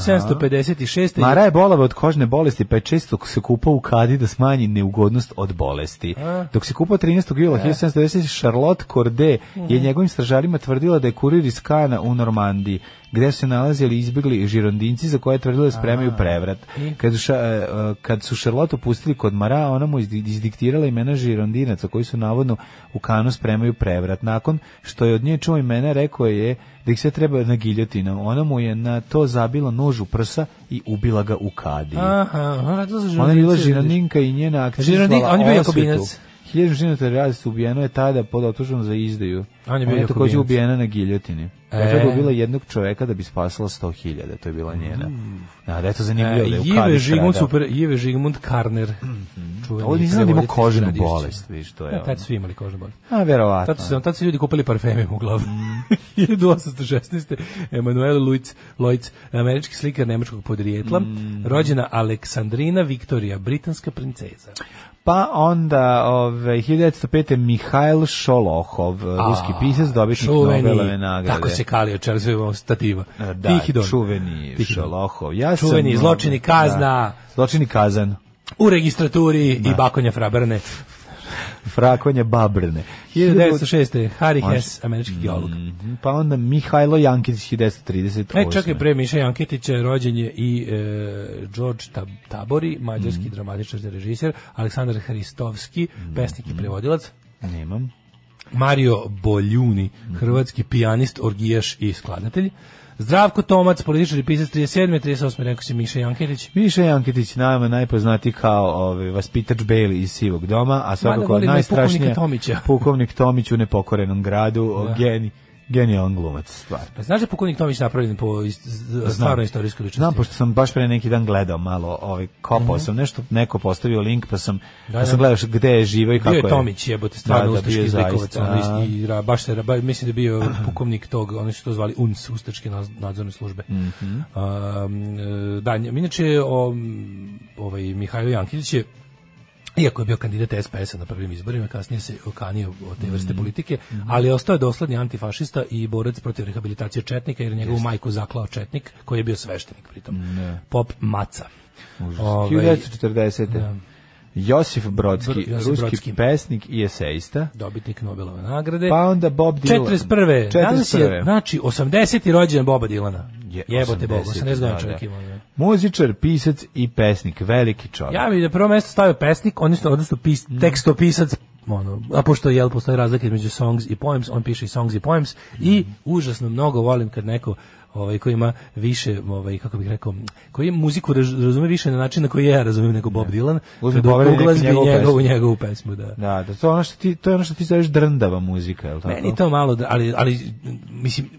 [SPEAKER 6] 1756.
[SPEAKER 7] Mara je bolava od kožne bolesti, pa je često se kupao u kadi da smanji neugodnost od bolesti. Dok se kupao 13. jula 1790, Charlotte Corday je njegovim stražarima tvrdila da je kurir iz Kana u Normandiji, gde su se nalazili izbjegli žirondinci za koje je tvrdila da spremaju prevrat. Kad su, ša- e, e, kad su Charlotte opustili kod Mara, ona mu izdi- izdiktirala imena žirondinaca koji su navodno u Kanu spremaju prevrat. Nakon što je od nje čuo imena, rekao je da ih sve treba na giljotinu. Ona mu je na to zabila nož u prsa i ubila ga u kadi.
[SPEAKER 6] Aha, ona radila za
[SPEAKER 7] Ona je bila
[SPEAKER 6] žurnalice, vidiš.
[SPEAKER 7] žirandinka i njena akcija
[SPEAKER 6] Žirondin-
[SPEAKER 7] zvala
[SPEAKER 6] on je bio
[SPEAKER 7] osvetu.
[SPEAKER 6] jakobinac.
[SPEAKER 7] Hiljadu žirandinaca radice ubijeno je tada pod optužbom za izdaju.
[SPEAKER 6] On je bio
[SPEAKER 7] takođe
[SPEAKER 6] jakobinac.
[SPEAKER 7] ubijena na giljotini.
[SPEAKER 6] E.
[SPEAKER 7] Dakle, je ubila jednog čoveka da bi spasila sto hiljada. To je bila njena.
[SPEAKER 6] Mm.
[SPEAKER 7] Da, da je to zanimljivo da je u
[SPEAKER 6] Jive
[SPEAKER 7] kadi
[SPEAKER 6] E, Žigmund,
[SPEAKER 7] stradao. Mhm.
[SPEAKER 6] super, Jive Žigmund Karner. Čuveni
[SPEAKER 7] Ovo nisam znao da ima
[SPEAKER 6] prevoditelj
[SPEAKER 7] kožnu
[SPEAKER 6] radiješća.
[SPEAKER 7] bolest, vidiš, to je.
[SPEAKER 6] Ja,
[SPEAKER 7] ono.
[SPEAKER 6] E,
[SPEAKER 7] Pa
[SPEAKER 6] tad su svi imali kožnu bolest.
[SPEAKER 7] A, verovatno.
[SPEAKER 6] Tad su, se- tad su ljudi kupili parfeme uglavnom.
[SPEAKER 7] Mhm.
[SPEAKER 6] *laughs* 1816. Emanuel Luiz, Loic, američki slikar nemačkog podrijetla,
[SPEAKER 7] Mhm.
[SPEAKER 6] rođena Aleksandrina Viktorija, britanska princeza.
[SPEAKER 7] Pa onda ove, 1905. Mihajl Šolohov, ruski pisac, dobitnik
[SPEAKER 6] Čuveni,
[SPEAKER 7] Nobelove nagrade.
[SPEAKER 6] Tako se kalio Čelsevima stativa.
[SPEAKER 7] E, Da,
[SPEAKER 6] Tihi Don.
[SPEAKER 7] čuveni
[SPEAKER 6] Tihi Don.
[SPEAKER 7] Šolohov. Ja sam- ono,
[SPEAKER 6] Čuveni zločini kazna.
[SPEAKER 7] Da, zločini kazan.
[SPEAKER 6] U registraturi i Bakonja Frabrne.
[SPEAKER 7] Frakonje babrne.
[SPEAKER 6] 1906. Harry Hess, američki geolog.
[SPEAKER 7] Mhm, Pa onda Mihajlo Jankić 1938.
[SPEAKER 6] E, čekaj, pre Miša Janketića rođen je i e, George Tab- Tabori, mađarski dramatičar i režiser, Aleksandar Hristovski, pesnik i prevodilac,
[SPEAKER 7] Nemam.
[SPEAKER 6] Mario Boljuni, hrvatski pijanist, orgijaš i skladatelj, Zdravko Tomac, političar i pisac 37. 38. rekao si Miša Janketić.
[SPEAKER 7] Miša Jankitić nama najpoznati kao ovaj vaspitač Beli iz Sivog doma, a svakako
[SPEAKER 6] volim i
[SPEAKER 7] najstrašnije
[SPEAKER 6] pukovnika Tomića.
[SPEAKER 7] pukovnik Tomić u nepokorenom gradu, da. geni, genijalan glumac stvar.
[SPEAKER 6] Znaš da je pukovnik Tomić napravljen po ist- z- stvarno istorijskoj ličnosti?
[SPEAKER 7] Znam, pošto sam baš pre neki dan gledao malo, ovaj, kopao sam nešto, neko postavio link, pa sam, pa sam
[SPEAKER 6] Mhm. da.
[SPEAKER 7] gledao š- gde je živo i kako
[SPEAKER 6] Bio
[SPEAKER 7] je.
[SPEAKER 6] je Tomić, jebote, stvarno
[SPEAKER 7] Da, da, bio
[SPEAKER 6] ustaški
[SPEAKER 7] je
[SPEAKER 6] zlikovac,
[SPEAKER 7] zaista,
[SPEAKER 6] ono
[SPEAKER 7] a.
[SPEAKER 6] isti, ra- baš se, ra- ba- mislim da je
[SPEAKER 7] *clears throat*
[SPEAKER 6] bio pukovnik tog, oni su to zvali UNS, ustaške naz- nadzorne službe.
[SPEAKER 7] Mhm.
[SPEAKER 6] Um, e, da, nje- inače, o, ovaj, Mihajlo Jankilić je Iako je bio kandidat SPS-a na prvim izborima, kasnije se okanio od te
[SPEAKER 7] Mhm.
[SPEAKER 6] vrste politike, ali je ostao je dosledni antifašista i borac protiv rehabilitacije Četnika, jer je njegovu majku zaklao Četnik, koji je bio sveštenik pritom.
[SPEAKER 7] Mm,
[SPEAKER 6] Pop Maca. Ovaj,
[SPEAKER 7] 1940.
[SPEAKER 6] Da.
[SPEAKER 7] Josif Brodski,
[SPEAKER 6] Br- Josif
[SPEAKER 7] ruski
[SPEAKER 6] Brodski.
[SPEAKER 7] pesnik i esejista.
[SPEAKER 6] dobitnik Nobelove nagrade.
[SPEAKER 7] Pa onda Bob Dylan.
[SPEAKER 6] 41. Danas je,
[SPEAKER 7] 41..
[SPEAKER 6] znači, 80. rođen Boba Dilana.
[SPEAKER 7] Je,
[SPEAKER 6] Jebote
[SPEAKER 7] 80,
[SPEAKER 6] Boga, 80 godina
[SPEAKER 7] da,
[SPEAKER 6] čovjek
[SPEAKER 7] da.
[SPEAKER 6] ima. da.
[SPEAKER 7] Muzičar, pisac i pesnik, veliki čovjek.
[SPEAKER 6] Ja bih da prvo mesto stavio pesnik, odnosno, odnosno pis,
[SPEAKER 7] Mm.
[SPEAKER 6] tekstopisac, ono, a pošto jel,
[SPEAKER 7] Mm.
[SPEAKER 6] postoji razlika između songs i poems, on piše i songs i poems i užasno mnogo volim kad neko ovaj koji ima više, ovaj kako bih rekao, koji muziku raz- razume više na način na koji ja razumem nego Bob Dylan,
[SPEAKER 7] Uzme
[SPEAKER 6] kada
[SPEAKER 7] povredi neku
[SPEAKER 6] uglazbi
[SPEAKER 7] njegovu pesmu.
[SPEAKER 6] njegovu, njegovu pesmu, da.
[SPEAKER 7] Da, da, to je ono što ti, to je ono što ti zoveš drndava muzika, je li tako?
[SPEAKER 6] Meni to malo, dra- ali, ali mislim,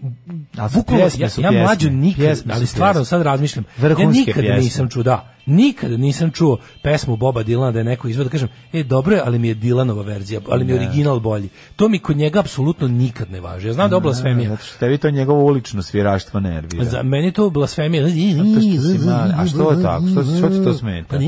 [SPEAKER 7] A su
[SPEAKER 6] bukvalno,
[SPEAKER 7] pjesme
[SPEAKER 6] ja,
[SPEAKER 7] su
[SPEAKER 6] ja
[SPEAKER 7] pjesme.
[SPEAKER 6] mlađu nikad,
[SPEAKER 7] Pjesme su
[SPEAKER 6] ali stvarno
[SPEAKER 7] pjesme.
[SPEAKER 6] sad razmišljam, ja
[SPEAKER 7] Vrhunske
[SPEAKER 6] nikad
[SPEAKER 7] pjesme.
[SPEAKER 6] nisam čuo, da, nikad nisam čuo pesmu Boba Dilana da je neko izveo da kažem, e, dobro je, ali mi je Dilanova verzija, ali mi je original bolji. To mi kod njega apsolutno nikad ne važi. Ja znam da je
[SPEAKER 7] Da,
[SPEAKER 6] oblasfemija.
[SPEAKER 7] Zato što tebi to njegovo ulično sviraštvo nervira.
[SPEAKER 6] Za mene je to blasfemija.
[SPEAKER 7] što si mali. A što je tako? Što- što ti to
[SPEAKER 6] Pa
[SPEAKER 7] smeta?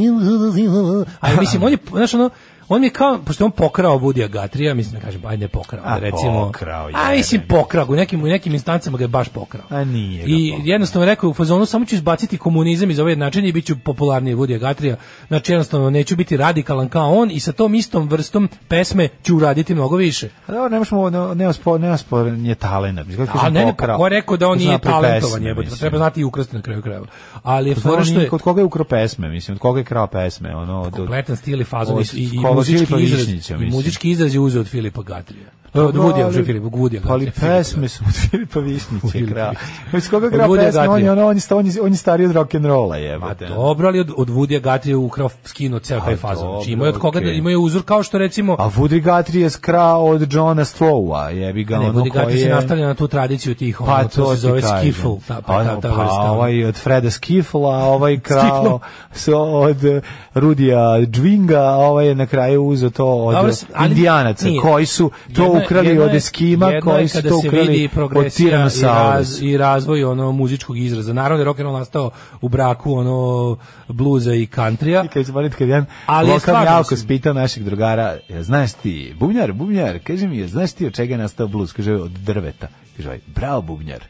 [SPEAKER 6] Ali mislim, on je, znaš, ono, on je kao, pošto je on pokrao Budija Gatrija, mislim, kažem, ajde ne pokrao,
[SPEAKER 7] A,
[SPEAKER 6] recimo.
[SPEAKER 7] pokrao je,
[SPEAKER 6] a mislim,
[SPEAKER 7] ne.
[SPEAKER 6] pokrao, ga, u nekim, u nekim instancama ga je baš pokrao.
[SPEAKER 7] A nije ga
[SPEAKER 6] I
[SPEAKER 7] pokrao.
[SPEAKER 6] jednostavno rekao je u fazonu, samo ću izbaciti komunizam iz ove jednačine i bit ću popularniji Budija Gatrija. Znači, jednostavno, neću biti radikalan kao on i sa tom istom vrstom pesme ću uraditi mnogo više.
[SPEAKER 7] A dobro, nemaš mu Pa ne, neospor, neosporan je talenat. Mislim, kako
[SPEAKER 6] A
[SPEAKER 7] kažem,
[SPEAKER 6] ne, ne,
[SPEAKER 7] pokrao.
[SPEAKER 6] pa ko je rekao da on
[SPEAKER 7] Zna
[SPEAKER 6] nije
[SPEAKER 7] pri
[SPEAKER 6] talentovan,
[SPEAKER 7] pesmi,
[SPEAKER 6] jebote, pa
[SPEAKER 7] mislim.
[SPEAKER 6] treba znati i ukrasti na kraju krajeva. Ali je
[SPEAKER 7] Pa znam,
[SPEAKER 6] fora što
[SPEAKER 7] nije-
[SPEAKER 6] je
[SPEAKER 7] Kod koga je ukro pesme, mislim, od koga je krao pesme, ono... od- od-
[SPEAKER 6] kompletan stil i fazon i,
[SPEAKER 7] od
[SPEAKER 6] i, i
[SPEAKER 7] Kola
[SPEAKER 6] muzički
[SPEAKER 7] Filipa
[SPEAKER 6] izraz,
[SPEAKER 7] Višnjića,
[SPEAKER 6] i
[SPEAKER 7] mislim.
[SPEAKER 6] muzički izraz je uzeo od Filipa Gatrija. Od
[SPEAKER 7] Dobro,
[SPEAKER 6] Woodija,
[SPEAKER 7] ali-
[SPEAKER 6] od Filipa Woodija
[SPEAKER 7] Pa Ali
[SPEAKER 6] Gatrija,
[SPEAKER 7] pesme su *laughs* od Filipa Višnjića
[SPEAKER 6] Filipa
[SPEAKER 7] krao.
[SPEAKER 6] Višnjića.
[SPEAKER 7] Iz koga
[SPEAKER 6] Od
[SPEAKER 7] krao
[SPEAKER 6] Woodya
[SPEAKER 7] pesme, on je,
[SPEAKER 6] Gatrija.
[SPEAKER 7] ono, on, je, sta- on, je, on je stariji od rock'n'rolla, jebate.
[SPEAKER 6] Dobro, ali od, od Woodija Gatrija je ukrao skino ceo taj
[SPEAKER 7] Ali
[SPEAKER 6] fazon. Znači
[SPEAKER 7] Pa dobro,
[SPEAKER 6] imao je od koga da
[SPEAKER 7] okej.
[SPEAKER 6] imao je uzor kao što recimo
[SPEAKER 7] A Woody Guthrie je skrao od Johna Strowa, jebi ga
[SPEAKER 6] ne,
[SPEAKER 7] ono
[SPEAKER 6] Woodija
[SPEAKER 7] koji
[SPEAKER 6] Gatrija se
[SPEAKER 7] je...
[SPEAKER 6] nastavlja na tu tradiciju tih,
[SPEAKER 7] Pa
[SPEAKER 6] ono,
[SPEAKER 7] to
[SPEAKER 6] to se
[SPEAKER 7] ti
[SPEAKER 6] zove
[SPEAKER 7] kažem.
[SPEAKER 6] skiffle, ta, pa, ta,
[SPEAKER 7] Ono,
[SPEAKER 6] ta
[SPEAKER 7] pa
[SPEAKER 6] vrsta.
[SPEAKER 7] ovaj od Freda Skifla, a
[SPEAKER 6] *laughs*
[SPEAKER 7] ovaj krao se od eh, Rudija Džvinga, a ovaj je na kraju uzeo to od
[SPEAKER 6] Dobro,
[SPEAKER 7] eh,
[SPEAKER 6] s- ali
[SPEAKER 7] indijanaca,
[SPEAKER 6] nije.
[SPEAKER 7] koji su to
[SPEAKER 6] Jedno je-
[SPEAKER 7] ukrali
[SPEAKER 6] jedno
[SPEAKER 7] od
[SPEAKER 6] je-
[SPEAKER 7] Eskima,
[SPEAKER 6] jedno je
[SPEAKER 7] koji su
[SPEAKER 6] kada
[SPEAKER 7] to
[SPEAKER 6] se
[SPEAKER 7] ukrali
[SPEAKER 6] vidi
[SPEAKER 7] od
[SPEAKER 6] progresija I,
[SPEAKER 7] Tiranosaurus.
[SPEAKER 6] raz, I razvoj ono muzičkog izraza. Naravno je rock and roll nastao u braku ono bluza i kantrija.
[SPEAKER 7] I kad smo kad jedan
[SPEAKER 6] Ali
[SPEAKER 7] Ali
[SPEAKER 6] je
[SPEAKER 7] lokal
[SPEAKER 6] stvarno,
[SPEAKER 7] Jalko
[SPEAKER 6] mislim.
[SPEAKER 7] spitao našeg drugara, "Jel znaš ti, bubnjar, bubnjar, kaže mi, jel znaš ti od čega je nastao blues? Kaže, od drveta. Kaže, ovaj, bravo
[SPEAKER 6] *laughs*
[SPEAKER 7] bubnjar.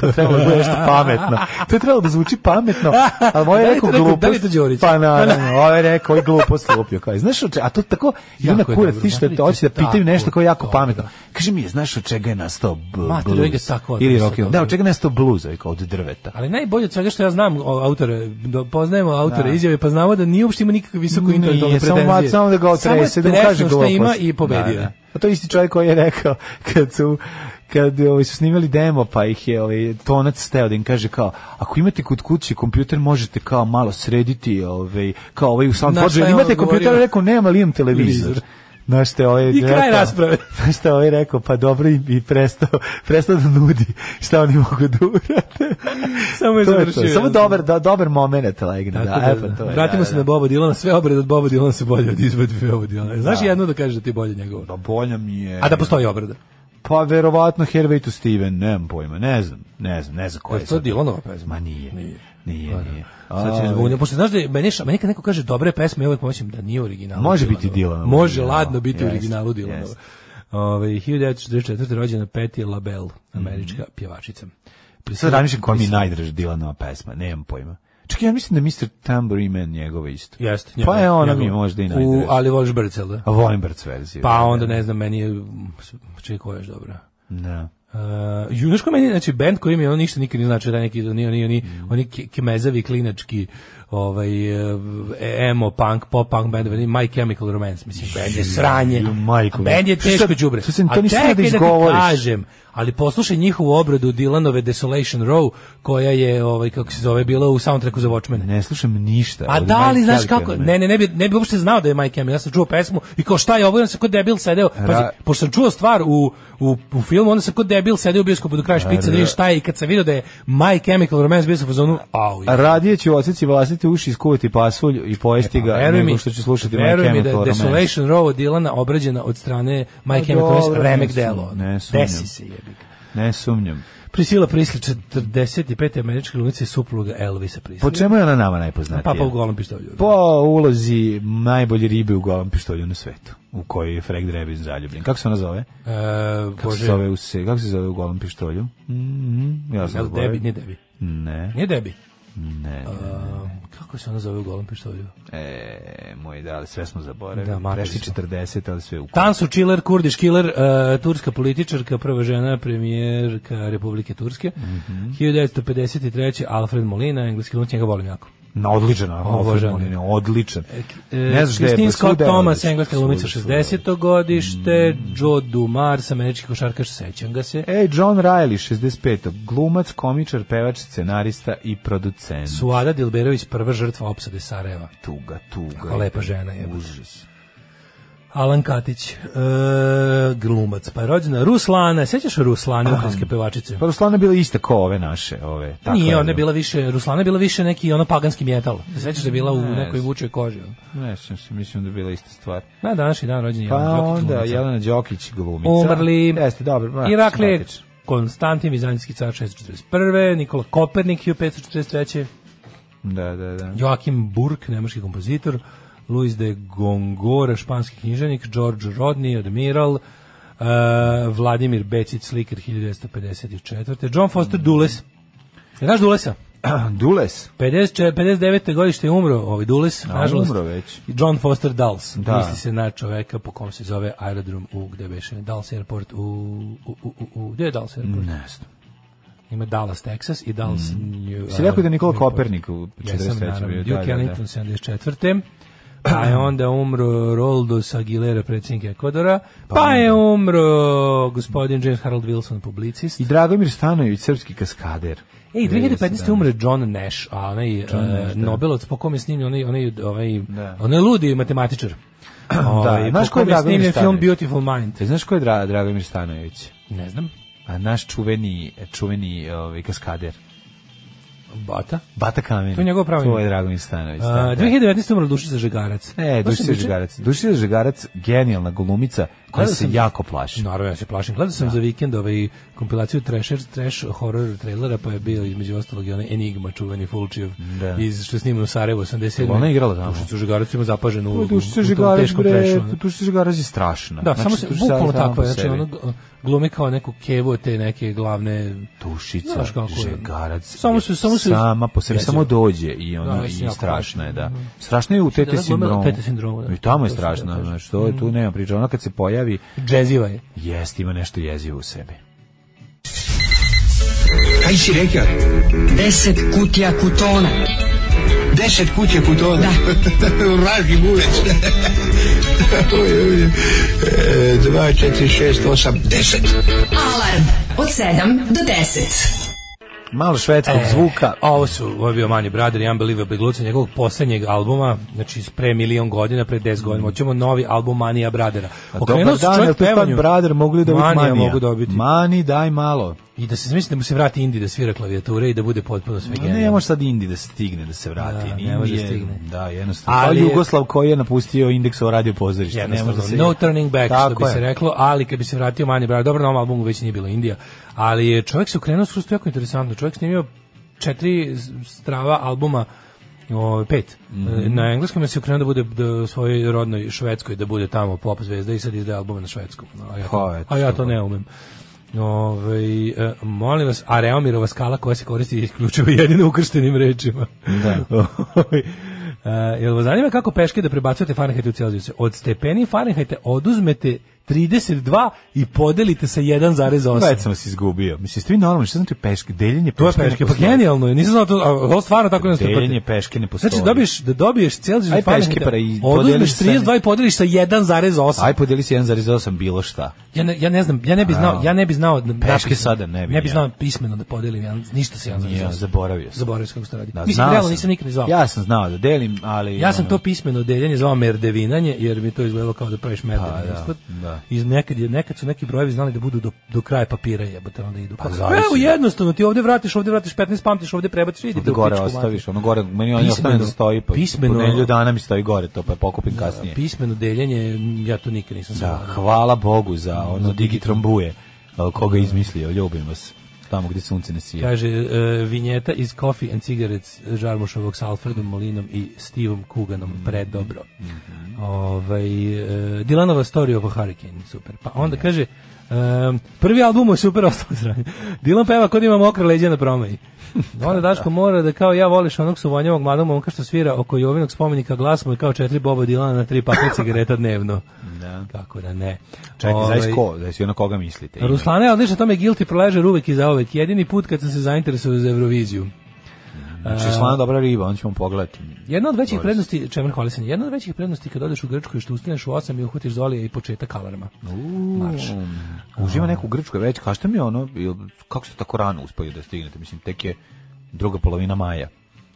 [SPEAKER 7] Kao trebalo da bude nešto pametno. To je trebalo da zvuči pametno, ali moj
[SPEAKER 6] Da li
[SPEAKER 7] je
[SPEAKER 6] je
[SPEAKER 7] rekao
[SPEAKER 6] to rekao-
[SPEAKER 7] glupost.
[SPEAKER 6] da li je to Đorić?
[SPEAKER 7] Pa naravno, ovaj je rekao, ovaj glupost lupio. Kao, znaš od čega, a to tako, idu na
[SPEAKER 6] Jako je
[SPEAKER 7] kurac,
[SPEAKER 6] dobro,
[SPEAKER 7] ti što
[SPEAKER 6] napravite
[SPEAKER 7] hoće da pitaju
[SPEAKER 6] tako
[SPEAKER 7] nešto kao jako
[SPEAKER 6] dobro.
[SPEAKER 7] pametno. Kaže mi, jel znaš od čega je nastao b-
[SPEAKER 6] Mater, uvijek je
[SPEAKER 7] blues?
[SPEAKER 6] tako
[SPEAKER 7] Ili
[SPEAKER 6] odnosno
[SPEAKER 7] rock and roll.
[SPEAKER 6] dobro.
[SPEAKER 7] Da, od čega je nastao blues? Ovaj, Kao od drveta.
[SPEAKER 6] Ali najbolje od svega što ja znam o, autore, do, poznajemo autore izjave, pa znamo da nije uopšte ima nikakve visoko intelektualne
[SPEAKER 7] Mm, Nije, samo
[SPEAKER 6] pretenzije.
[SPEAKER 7] mat- samo da ga otrese, da mu kaže
[SPEAKER 6] Samo je tresno šta
[SPEAKER 7] glupost.
[SPEAKER 6] ima i pobedio.
[SPEAKER 7] Da, da. A to je isti čovjek koji je rekao kad su kad ovaj, su snimali demo pa ih je ovaj, tonac steo da im kaže kao ako imate kod kuće kompjuter možete kao malo srediti ovaj, kao ovaj u
[SPEAKER 6] Na šta
[SPEAKER 7] Soundforge
[SPEAKER 6] je
[SPEAKER 7] imate
[SPEAKER 6] on
[SPEAKER 7] kompjuter
[SPEAKER 6] odgovorio?
[SPEAKER 7] rekao nemam ali imam televizor
[SPEAKER 6] Televizor.
[SPEAKER 7] Na što je ovaj
[SPEAKER 6] I kraj
[SPEAKER 7] rekao- *laughs*
[SPEAKER 6] rasprave.
[SPEAKER 7] Na što je ovaj rekao, pa dobro i, i prestao, *laughs* prestao da nudi šta oni mogu da urade.
[SPEAKER 6] *laughs* Samo je
[SPEAKER 7] To to.
[SPEAKER 6] završio.
[SPEAKER 7] Samo dobar, da, dobar moment legne. Da,
[SPEAKER 6] Tako da,
[SPEAKER 7] e, pa to je,
[SPEAKER 6] vratimo
[SPEAKER 7] da,
[SPEAKER 6] se
[SPEAKER 7] da.
[SPEAKER 6] na Boba Dilana, sve obrede od Boba Dilana su bolje od izvedbe Boba Dilana. Znaš jedno da kažeš da ti je bolje njegovo?
[SPEAKER 7] Pa bolja mi je.
[SPEAKER 6] A da postoji obrada.
[SPEAKER 7] Pa verovatno Hervey to Steven, nemam pojma, ne znam, ne znam, ne znam ko
[SPEAKER 6] Je
[SPEAKER 7] je.
[SPEAKER 6] li to
[SPEAKER 7] sad.
[SPEAKER 6] Dylanova pesma?
[SPEAKER 7] Ma nije. Nije,
[SPEAKER 6] Nije. Pa
[SPEAKER 7] nije. Ovaj,
[SPEAKER 6] Sad ću
[SPEAKER 7] A,
[SPEAKER 6] razbunio, pošto znaš da je, meni, ša- meni kad neko kaže dobre pesme, ja uvijek mislim da nije original.
[SPEAKER 7] Može biti Dylanova.
[SPEAKER 6] Može ladno biti u
[SPEAKER 7] Jeste,
[SPEAKER 6] originalu Ovaj, Dilanova.
[SPEAKER 7] jeste.
[SPEAKER 6] Ove, 1944. rođena Patti LaBelle, američka pjevačica.
[SPEAKER 7] Mhm. Sad razmišljam koja mi je najdraža Dylanova pesma, nemam pojma. Čekaj, ja mislim da Mr. Tambourine Man njegova isto.
[SPEAKER 6] Jeste,
[SPEAKER 7] Pa
[SPEAKER 6] njegova-
[SPEAKER 7] je ona
[SPEAKER 6] njegova.
[SPEAKER 7] mi možda i
[SPEAKER 6] U,
[SPEAKER 7] najdraža.
[SPEAKER 6] ali voliš Brcel, da?
[SPEAKER 7] A volim Brc verziju.
[SPEAKER 6] Pa onda ne znam, meni je... Čekaj, koja je još dobra?
[SPEAKER 7] Da.
[SPEAKER 6] Uh, ju, znaš ko meni, znači, band koji mi ono ništa nikad ne znači, da neki, oni, oni, oni,
[SPEAKER 7] Mm.
[SPEAKER 6] oni ke- kemezavi, klinački, ovaj, eh, emo, punk, pop punk band, My Chemical Romance, mislim, band je sranje,
[SPEAKER 7] ju, majko
[SPEAKER 6] a band je
[SPEAKER 7] moja. Šta-
[SPEAKER 6] teško đubre.
[SPEAKER 7] šta sam- to
[SPEAKER 6] A
[SPEAKER 7] nisam
[SPEAKER 6] čekaj
[SPEAKER 7] da
[SPEAKER 6] ti
[SPEAKER 7] izgovoriš.
[SPEAKER 6] kažem, ali poslušaj njihovu obradu Dylanove Desolation Row, koja je, ovaj, kako se zove, bila u soundtracku za Watchmen.
[SPEAKER 7] Ne slušam ništa.
[SPEAKER 6] A
[SPEAKER 7] od
[SPEAKER 6] Pa da li
[SPEAKER 7] Mike
[SPEAKER 6] znaš
[SPEAKER 7] Kelly-a,
[SPEAKER 6] kako? Ne, ne, ne bi ne bi uopšte znao da je Mike Emil. Ja sam čuo pesmu i kao šta je ovo, I onda sam kod debil sedeo. Pazi,
[SPEAKER 7] Ra-
[SPEAKER 6] pošto sam čuo stvar u, u, u filmu, onda sam kod debil sedeo u bioskopu do kraja špice da vidim šta je i kad sam video da je My Chemical Romance bio sam u fazonu, au. je.
[SPEAKER 7] Radije ću odsjeci vlastite uši, iskuvati pasulj i pojesti ga,
[SPEAKER 6] E pa Veruj mi-
[SPEAKER 7] nego što ću slušati My
[SPEAKER 6] veruj mi da
[SPEAKER 7] Chemical
[SPEAKER 6] je
[SPEAKER 7] Romance.
[SPEAKER 6] Desolation Row od Dilana obrađena od strane My Chemical
[SPEAKER 7] Dobro,
[SPEAKER 6] Romance remek
[SPEAKER 7] ne
[SPEAKER 6] delo.
[SPEAKER 7] sumnjam, ne sumnjam.
[SPEAKER 6] Desi se jebi ga.
[SPEAKER 7] Ne sumnjam.
[SPEAKER 6] Prisila Prisli, 45. američka glumica je supruga Elvisa Prisli.
[SPEAKER 7] Po čemu je ona nama najpoznatija?
[SPEAKER 6] Papa u golom pištolju.
[SPEAKER 7] po ulozi najbolje ribe u golom pištolju na svetu, u kojoj je Frank Drebin zaljubljen. Kako se ona zove?
[SPEAKER 6] E,
[SPEAKER 7] Kako se
[SPEAKER 6] Bože,
[SPEAKER 7] zove u, se, kako se zove u golom pištolju? Mhm, ja sam
[SPEAKER 6] Jel
[SPEAKER 7] zaboravio.
[SPEAKER 6] Debi, nije Debi.
[SPEAKER 7] Ne,
[SPEAKER 6] Nije Debi.
[SPEAKER 7] ne.
[SPEAKER 6] Um, Kako se ona zove u golom pištolju?
[SPEAKER 7] E, moj da, ali sve smo zaboravili.
[SPEAKER 6] Da, makar
[SPEAKER 7] Prešli
[SPEAKER 6] smo.
[SPEAKER 7] 40, ali sve u
[SPEAKER 6] Tansu Čiler, Kurdiš Kiler, e, turska političarka, prva žena
[SPEAKER 7] Mhm.
[SPEAKER 6] premijerka Republike Turske. 1953. Alfred Molina, engleski glumac, njega volim jako.
[SPEAKER 7] Na odličan,
[SPEAKER 6] Obožavam
[SPEAKER 7] Alfred
[SPEAKER 6] ga.
[SPEAKER 7] Molina, odličan.
[SPEAKER 6] Ne
[SPEAKER 7] znaš gde je,
[SPEAKER 6] Christine
[SPEAKER 7] pa
[SPEAKER 6] Scott
[SPEAKER 7] svuda je
[SPEAKER 6] Thomas,
[SPEAKER 7] odličan,
[SPEAKER 6] engleska
[SPEAKER 7] svuda,
[SPEAKER 6] glumica
[SPEAKER 7] svuda. Mhm.
[SPEAKER 6] 60. godište, Joe Dumars, američki košarkaš, sećam ga se.
[SPEAKER 7] Ej, John Riley, 65. Glumac, komičar, pevač, scenarista i producent.
[SPEAKER 6] Suada Dilberović, prva žrtva opsade Sarajeva.
[SPEAKER 7] Tuga, tuga.
[SPEAKER 6] A lepa žena je.
[SPEAKER 7] Užas.
[SPEAKER 6] Alan Katić, e, glumac, pa je rođena Ruslana, sećaš Ruslane, ukrajinske pevačice?
[SPEAKER 7] Pa Ruslana je bila ista kao ove naše. Ove, tako
[SPEAKER 6] Nije,
[SPEAKER 7] je,
[SPEAKER 6] ona je
[SPEAKER 7] da.
[SPEAKER 6] bila više, Ruslana je bila više neki ono paganski metal. Sećaš da je bila u nekoj vučoj koži? ono?
[SPEAKER 7] Ne, sjećam se, mislim da je bila ista stvar.
[SPEAKER 6] Na današnji dan rođen je
[SPEAKER 7] Pa
[SPEAKER 6] Jelena Đokić,
[SPEAKER 7] onda
[SPEAKER 6] glumica.
[SPEAKER 7] Jelena Đokić glumica.
[SPEAKER 6] Umrli.
[SPEAKER 7] Jeste, dobro. ma,
[SPEAKER 6] Iraklije,
[SPEAKER 7] simpatično.
[SPEAKER 6] Konstantin Vizantijski car 641. Nikola Kopernik 1543.
[SPEAKER 7] Da, da, da. *clears throat*
[SPEAKER 6] Joakim Burk, nemački kompozitor. Luis de Gongora, španski knjiženik. George Rodney, admiral. Uh, Vladimir Becic, slikar 1954. John Foster Dulles. Je znaš Dulesa?
[SPEAKER 7] Dules.
[SPEAKER 6] 50, 59. godište je umro ovaj Dulles,
[SPEAKER 7] A,
[SPEAKER 6] nažalost.
[SPEAKER 7] umro već.
[SPEAKER 6] John Foster Dulles.
[SPEAKER 7] Da.
[SPEAKER 6] Misli se na čoveka po kom se zove aerodrom u gde beše Dulles Airport u u u u, u gde je Dulles Airport?
[SPEAKER 7] Ne znam. Mm.
[SPEAKER 6] Ima Dallas, Texas i Dallas New.
[SPEAKER 7] Si rekao da je Nikola
[SPEAKER 6] Newport.
[SPEAKER 7] Kopernik u 43. bio. da,
[SPEAKER 6] Duke
[SPEAKER 7] da, da.
[SPEAKER 6] Ellington 74. Pa je onda umro Roldos Aguilera, predsjednik Ekvadora. Pa je umro gospodin James Harold Wilson, publicist.
[SPEAKER 7] I Dragomir Stanojević, srpski kaskader.
[SPEAKER 6] Ej, 2015.
[SPEAKER 7] 2017.
[SPEAKER 6] umre John Nash, a onaj Nash, Nobelovac po kom je snimljen onaj onaj onaj
[SPEAKER 7] Da.
[SPEAKER 6] onaj ludi
[SPEAKER 7] *clears throat*
[SPEAKER 6] matematičar. Ovaj,
[SPEAKER 7] znaš
[SPEAKER 6] po
[SPEAKER 7] ko je
[SPEAKER 6] kom je
[SPEAKER 7] Dragomir
[SPEAKER 6] snimljen film
[SPEAKER 7] Stanojević?
[SPEAKER 6] Beautiful Mind?
[SPEAKER 7] E, znaš ko je Dra Dragomir Stanojević?
[SPEAKER 6] Ne znam.
[SPEAKER 7] A naš čuveni, čuveni ovaj, kaskader.
[SPEAKER 6] Bata. Eh,
[SPEAKER 7] Bata Kamen.
[SPEAKER 6] To je njegovo pravo
[SPEAKER 7] To
[SPEAKER 6] ime.
[SPEAKER 7] je Dragomir Stanojević.
[SPEAKER 6] A,
[SPEAKER 7] da, da.
[SPEAKER 6] 2019. umro Dušica Žegarac. To sam
[SPEAKER 7] E, Dušica
[SPEAKER 6] juče-
[SPEAKER 7] Žegarac. Dušica Žegarac, genijalna glumica koja
[SPEAKER 6] Gledao
[SPEAKER 7] se
[SPEAKER 6] sam-
[SPEAKER 7] jako plaši.
[SPEAKER 6] Naravno, ja se plašim. Gledao sam za vikend ovaj kompilaciju Trasher, Trash horror trailera, pa je bio između ostalog i onaj Enigma, čuveni Fulčijev,
[SPEAKER 7] Da.
[SPEAKER 6] iz, što je snimano u Sarajevu 87.
[SPEAKER 7] Ona je igrala tamo.
[SPEAKER 6] Dušica Žegarac ima zapaženu u, u,
[SPEAKER 7] Dušica
[SPEAKER 6] u tom
[SPEAKER 7] Žegarac,
[SPEAKER 6] teškom
[SPEAKER 7] bre,
[SPEAKER 6] trashu, ono.
[SPEAKER 7] Dušica Žegarac je strašna. Znači,
[SPEAKER 6] Da, samo se
[SPEAKER 7] Dušica
[SPEAKER 6] bukvalno
[SPEAKER 7] Žegarac
[SPEAKER 6] tako je,
[SPEAKER 7] sama po
[SPEAKER 6] znači ono
[SPEAKER 7] sebi.
[SPEAKER 6] gl- glumi kao neku kevu te neke glavne
[SPEAKER 7] Dušica
[SPEAKER 6] Znaš kako je.
[SPEAKER 7] Žegarac
[SPEAKER 6] Samo se-
[SPEAKER 7] je
[SPEAKER 6] samo se-
[SPEAKER 7] sama po sebi,
[SPEAKER 6] Jezivo.
[SPEAKER 7] samo dođe i
[SPEAKER 6] Da,
[SPEAKER 7] ona
[SPEAKER 6] mislim,
[SPEAKER 7] i
[SPEAKER 6] jako
[SPEAKER 7] strašna je, da.
[SPEAKER 6] strašno.
[SPEAKER 7] Strašna je u tete
[SPEAKER 6] glumila
[SPEAKER 7] sindromu.
[SPEAKER 6] Tete sindromu, da.
[SPEAKER 7] I tamo je
[SPEAKER 6] To sam da
[SPEAKER 7] strašna,
[SPEAKER 6] kažem.
[SPEAKER 7] znači to
[SPEAKER 6] Mm.
[SPEAKER 7] tu nema priče. Ona kad se pojavi,
[SPEAKER 6] džeziva
[SPEAKER 7] E.
[SPEAKER 6] je.
[SPEAKER 7] jest ima nešto jezivo u sebi.
[SPEAKER 2] Kaj si reka?
[SPEAKER 10] 10 kutija kutona.
[SPEAKER 2] Deset kuće putova. *laughs* Vraži bulec. Oj, oj, oj. E, Dva, četiri, šest, osam, deset.
[SPEAKER 10] Alarm od 7 do 10.
[SPEAKER 7] Malo švedskog
[SPEAKER 6] E.
[SPEAKER 7] zvuka.
[SPEAKER 6] A ovo su, ovo je bio Mani Brother i Unbelievable Gluca, njegovog poslednjeg albuma, znači s pre milion godina, pre 10 godina, hoćemo novi album Manija Brothera.
[SPEAKER 7] Mm. A
[SPEAKER 6] Okrenuo
[SPEAKER 7] dobar
[SPEAKER 6] se
[SPEAKER 7] dan,
[SPEAKER 6] čovjek
[SPEAKER 7] jel to stan
[SPEAKER 6] pevanju.
[SPEAKER 7] brother mogli dobiti
[SPEAKER 6] Manija
[SPEAKER 7] manija?
[SPEAKER 6] mogu dobiti.
[SPEAKER 7] Mani, daj malo.
[SPEAKER 6] I da se zamisli da mu se vrati Indi da svira klavijature i da bude potpuno sve genijalno.
[SPEAKER 7] Ne može sad Indi da stigne da se vrati.
[SPEAKER 6] Da,
[SPEAKER 7] Indi
[SPEAKER 6] ne može
[SPEAKER 7] je-
[SPEAKER 6] stigne.
[SPEAKER 7] Da, jednostavno.
[SPEAKER 6] Ali
[SPEAKER 7] Ali
[SPEAKER 6] je-
[SPEAKER 7] Jugoslav koji je napustio indeksovo radio pozorište. Ne može
[SPEAKER 6] Jednostavno,
[SPEAKER 7] da se...
[SPEAKER 6] no turning back,
[SPEAKER 7] Tako
[SPEAKER 6] što bi
[SPEAKER 7] je.
[SPEAKER 6] se reklo, ali kad bi se vratio manje bravo, dobro, na ovom albumu već nije bilo Indija, ali je čovjek se ukrenuo skroz to je jako interesantno, čovjek snimio četiri s- strava albuma o, pet.
[SPEAKER 7] Mhm.
[SPEAKER 6] E, Na engleskom je se ukrenuo da bude da, svojoj rodnoj Švedskoj, da bude tamo pop zvezda i sad izdaje albume na švedskom. A ja,
[SPEAKER 7] Pa,
[SPEAKER 6] to,
[SPEAKER 7] eto,
[SPEAKER 6] a ja
[SPEAKER 7] što
[SPEAKER 6] to ne umem. Ove, e, molim vas, a Reomirova skala koja se koristi isključivo jedino ukrštenim rečima. *laughs* Da. jel vas zanima kako peške da prebacujete Fahrenheit u Celzijuse? Od stepeni Fahrenheita oduzmete 32 i podelite sa
[SPEAKER 7] Već
[SPEAKER 6] 1,8.
[SPEAKER 7] sam vas izgubio. Mislim, ste vi normalni, što znači peške? Deljenje
[SPEAKER 6] To je
[SPEAKER 7] peške ne
[SPEAKER 6] peške, pa
[SPEAKER 7] postoji.
[SPEAKER 6] genijalno je, nisam znao to, a ovo stvarno tako ne
[SPEAKER 7] Deljenje peške ne postoji.
[SPEAKER 6] Znači, dobiješ, da dobiješ Celzijus
[SPEAKER 7] Aj,
[SPEAKER 6] Aj,
[SPEAKER 7] peške, pa i podeliš
[SPEAKER 6] oduzmeš
[SPEAKER 7] sa-
[SPEAKER 6] 32 i podeliš sa 1,8.
[SPEAKER 7] Aj, podeli se 1,8 bilo šta.
[SPEAKER 6] Ja ne, ja ne znam, ja ne bi znao, ja ne bi znao da
[SPEAKER 7] Peške sada ne bi,
[SPEAKER 6] Ne bi
[SPEAKER 7] ja.
[SPEAKER 6] znao pismeno da podelim, ja ništa se ja ne
[SPEAKER 7] Nije,
[SPEAKER 6] Pa znam.
[SPEAKER 7] zaboravio sam.
[SPEAKER 6] Zaboravio sam kako se to radi.
[SPEAKER 7] Da,
[SPEAKER 6] Mislim,
[SPEAKER 7] znao
[SPEAKER 6] realno
[SPEAKER 7] sam.
[SPEAKER 6] nisam nikad ni zvao. Ja,
[SPEAKER 7] Ja sam znao da delim, ali...
[SPEAKER 6] sam
[SPEAKER 7] ono,
[SPEAKER 6] to pismeno deljenje zvao merdevinanje, jer mi to izgledalo kao da praviš merdevinanje.
[SPEAKER 7] Pa, da,
[SPEAKER 6] ispod.
[SPEAKER 7] da.
[SPEAKER 6] I nekad, je, nekad su neki brojevi znali da budu do, do kraja papira jebote, onda idu. Pa,
[SPEAKER 7] zavisi.
[SPEAKER 6] Evo jednostavno, ti ovde vratiš, ovde vratiš 15, pamtiš, ovde prebaciš, idi
[SPEAKER 7] Ovde gore ostaviš, ono gore, meni on
[SPEAKER 6] Pismeno-
[SPEAKER 7] ostane da stoji, pa
[SPEAKER 6] pismeno-
[SPEAKER 7] po nedelju dana mi stoji gore, to pa je pokupim kasnije.
[SPEAKER 6] Pismeno deljenje, m, ja to nikad nisam
[SPEAKER 7] Da,
[SPEAKER 6] zvao.
[SPEAKER 7] hvala Bogu za ono digitrombuje, a, koga je izmislio, ljubim vas, tamo gdje sunce ne sije.
[SPEAKER 6] Kaže, e, vinjeta iz Coffee and Cigarettes e, Žarmušovog s Alfredom Molinom i Steveom Kuganom, predobro. Ovaj, e, Dylanova story oko Hurricane, super. Pa onda kaže, em, prvi album mu je super *laughs* ostalo sranje. Dylan peva kod ima mokre leđe na promaji. *laughs* Onda Daško mora da kao ja voliš onog suvonjavog mladog momka što svira oko Jovinog spomenika glas mu je kao četiri boba Dilana na tri pakle cigareta dnevno. Kako da ne.
[SPEAKER 7] Čekaj,
[SPEAKER 6] Ovaj,
[SPEAKER 7] znaš ko, znaš i na koga mislite? Ime.
[SPEAKER 6] Ruslana je odlična, to me guilty pleasure uvek i zaovek. Jedini put kad sam se zainteresovao za Euroviziju.
[SPEAKER 7] Znači, slana dobra riba, on ćemo pogledati.
[SPEAKER 6] Jedna od većih prednosti, čemer hvali se, jedna od većih prednosti kad odeš u Grčku je što ustaneš u 8 i uhvatiš Zolija i početak alarma. Marš.
[SPEAKER 7] Uživa neku Grčku je već, kažete mi ono, jel- kako ste tako rano uspeli da stignete? Mislim, tek je druga polovina maja.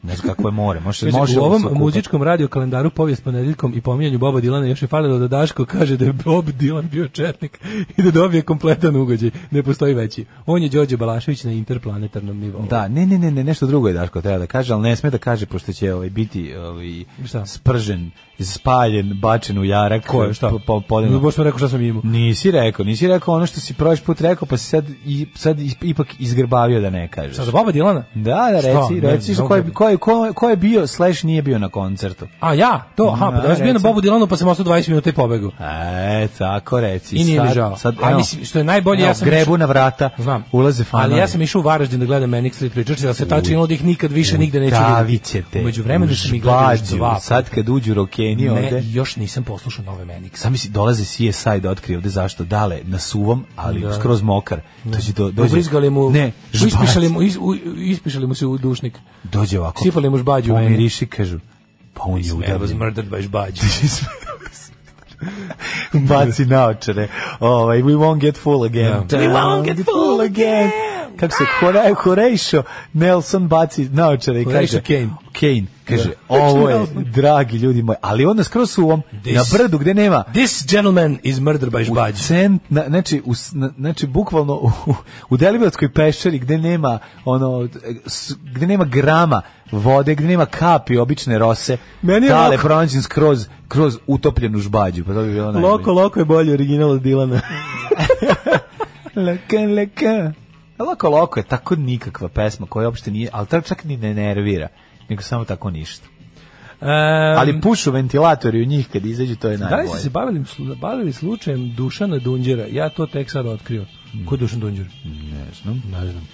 [SPEAKER 7] Ne znam kako je more. Može,
[SPEAKER 6] Kaže,
[SPEAKER 7] može
[SPEAKER 6] u
[SPEAKER 7] li
[SPEAKER 6] ovom
[SPEAKER 7] se okupati?
[SPEAKER 6] muzičkom radio kalendaru povijest ponedeljkom i pominjanju Boba Dilana još je falilo da Daško kaže da je Bob Dilan bio četnik i da dobije kompletan ugođaj. Ne postoji veći. On je Đorđe Balašević na interplanetarnom nivou.
[SPEAKER 7] Da, ne, ne, ne, ne, nešto drugo je Daško treba da kaže, ali ne sme da kaže, pošto će ovaj, biti ovaj,
[SPEAKER 6] Šta?
[SPEAKER 7] spržen, spaljen, bačen u jarak.
[SPEAKER 6] Ko je, šta?
[SPEAKER 7] Po, po, podjedno.
[SPEAKER 6] No, baš sam rekao šta sam imao.
[SPEAKER 7] Nisi rekao, nisi rekao ono što si prošli put rekao, pa si sad, i, sad is- ipak izgrbavio da ne kažeš.
[SPEAKER 6] Šta, za Boba Dilana?
[SPEAKER 7] Da, da,
[SPEAKER 6] Šta?
[SPEAKER 7] reci,
[SPEAKER 6] Ne,
[SPEAKER 7] reci
[SPEAKER 6] ne,
[SPEAKER 7] ko je,
[SPEAKER 6] ne.
[SPEAKER 7] ko, je, ko, je- ko je bio, slash nije bio na koncertu.
[SPEAKER 6] A ja? To, aha,
[SPEAKER 7] Da,
[SPEAKER 6] pa da ja sam bio na
[SPEAKER 7] reci.
[SPEAKER 6] Bobu Dilanu pa sam ostao 20 minuta i pobegu.
[SPEAKER 7] E, tako reci.
[SPEAKER 6] I nije mi
[SPEAKER 7] Sad-
[SPEAKER 6] žao.
[SPEAKER 7] Sad,
[SPEAKER 6] A
[SPEAKER 7] evo,
[SPEAKER 6] mislim, što je najbolje,
[SPEAKER 7] evo,
[SPEAKER 6] ja sam
[SPEAKER 7] Grebu
[SPEAKER 6] išao-
[SPEAKER 7] na vrata,
[SPEAKER 6] Znam.
[SPEAKER 7] ulaze fanovi.
[SPEAKER 6] Ali ja sam išao u Varaždin da gledam Manic Street Preachers, da se tačno da ih nikad više nigde neću
[SPEAKER 7] Udavit
[SPEAKER 6] vidjeti.
[SPEAKER 7] ćete.
[SPEAKER 6] Umeđu vremenu
[SPEAKER 7] u
[SPEAKER 6] sam ih gledao još
[SPEAKER 7] žbađu.
[SPEAKER 6] dva.
[SPEAKER 7] Sad kad uđu rokeni
[SPEAKER 6] ne,
[SPEAKER 7] ovde...
[SPEAKER 6] još nisam poslušao nove Manic.
[SPEAKER 7] Sam si dolaze CSI da otkrije ovde zašto dale na suvom, ali skroz mokar. Dođe do dođe.
[SPEAKER 6] Ubrizgali mu,
[SPEAKER 7] ne, žbac.
[SPEAKER 6] ispišali mu, is, u, ispišali mu se u dušnik.
[SPEAKER 7] Dođe ovako.
[SPEAKER 6] Sipali mu žbađu u mene.
[SPEAKER 7] Pomiriši kažu. Pa on je
[SPEAKER 6] I was
[SPEAKER 7] udavljen.
[SPEAKER 6] murdered by žbađu.
[SPEAKER 7] *laughs* Baci naočare. Ovaj we won't get full again.
[SPEAKER 6] Da. We won't get full
[SPEAKER 7] again. Kako se Kore, Korejšo Nelson baci naočare i
[SPEAKER 6] Horatio
[SPEAKER 7] kaže
[SPEAKER 6] Kane.
[SPEAKER 7] Kane kaže ovo je dragi ljudi moji, ali onda skroz su u ovom
[SPEAKER 6] This-
[SPEAKER 7] na brdu gde nema
[SPEAKER 6] This gentleman is murdered by žbađu.
[SPEAKER 7] cent, na, znači, u, s- na, znači bukvalno u, u Deliblatskoj peščari gde nema ono s- gde nema grama vode, gde nema kapi obične rose,
[SPEAKER 6] Meni je
[SPEAKER 7] tale
[SPEAKER 6] lako-
[SPEAKER 7] pronađen skroz, kroz utopljenu žbađu. Pa to bi bilo najbolje.
[SPEAKER 6] Loko, loko je bolji original od *laughs* Dilana.
[SPEAKER 7] Laka, laka. Loko, loko je tako nikakva pesma koja uopšte nije, ali to čak ni ne nervira, nego samo tako ništa.
[SPEAKER 6] Um,
[SPEAKER 7] Ali pušu ventilatori u njih kad izađu, to je
[SPEAKER 6] Da li
[SPEAKER 7] najbolje.
[SPEAKER 6] ste se bavili, slu- bavili slučajem Dušana Dunđera? Ja to tek sad otkrio. Ko je Dušan Dunđer?
[SPEAKER 7] Ne znam.
[SPEAKER 6] Ne znam.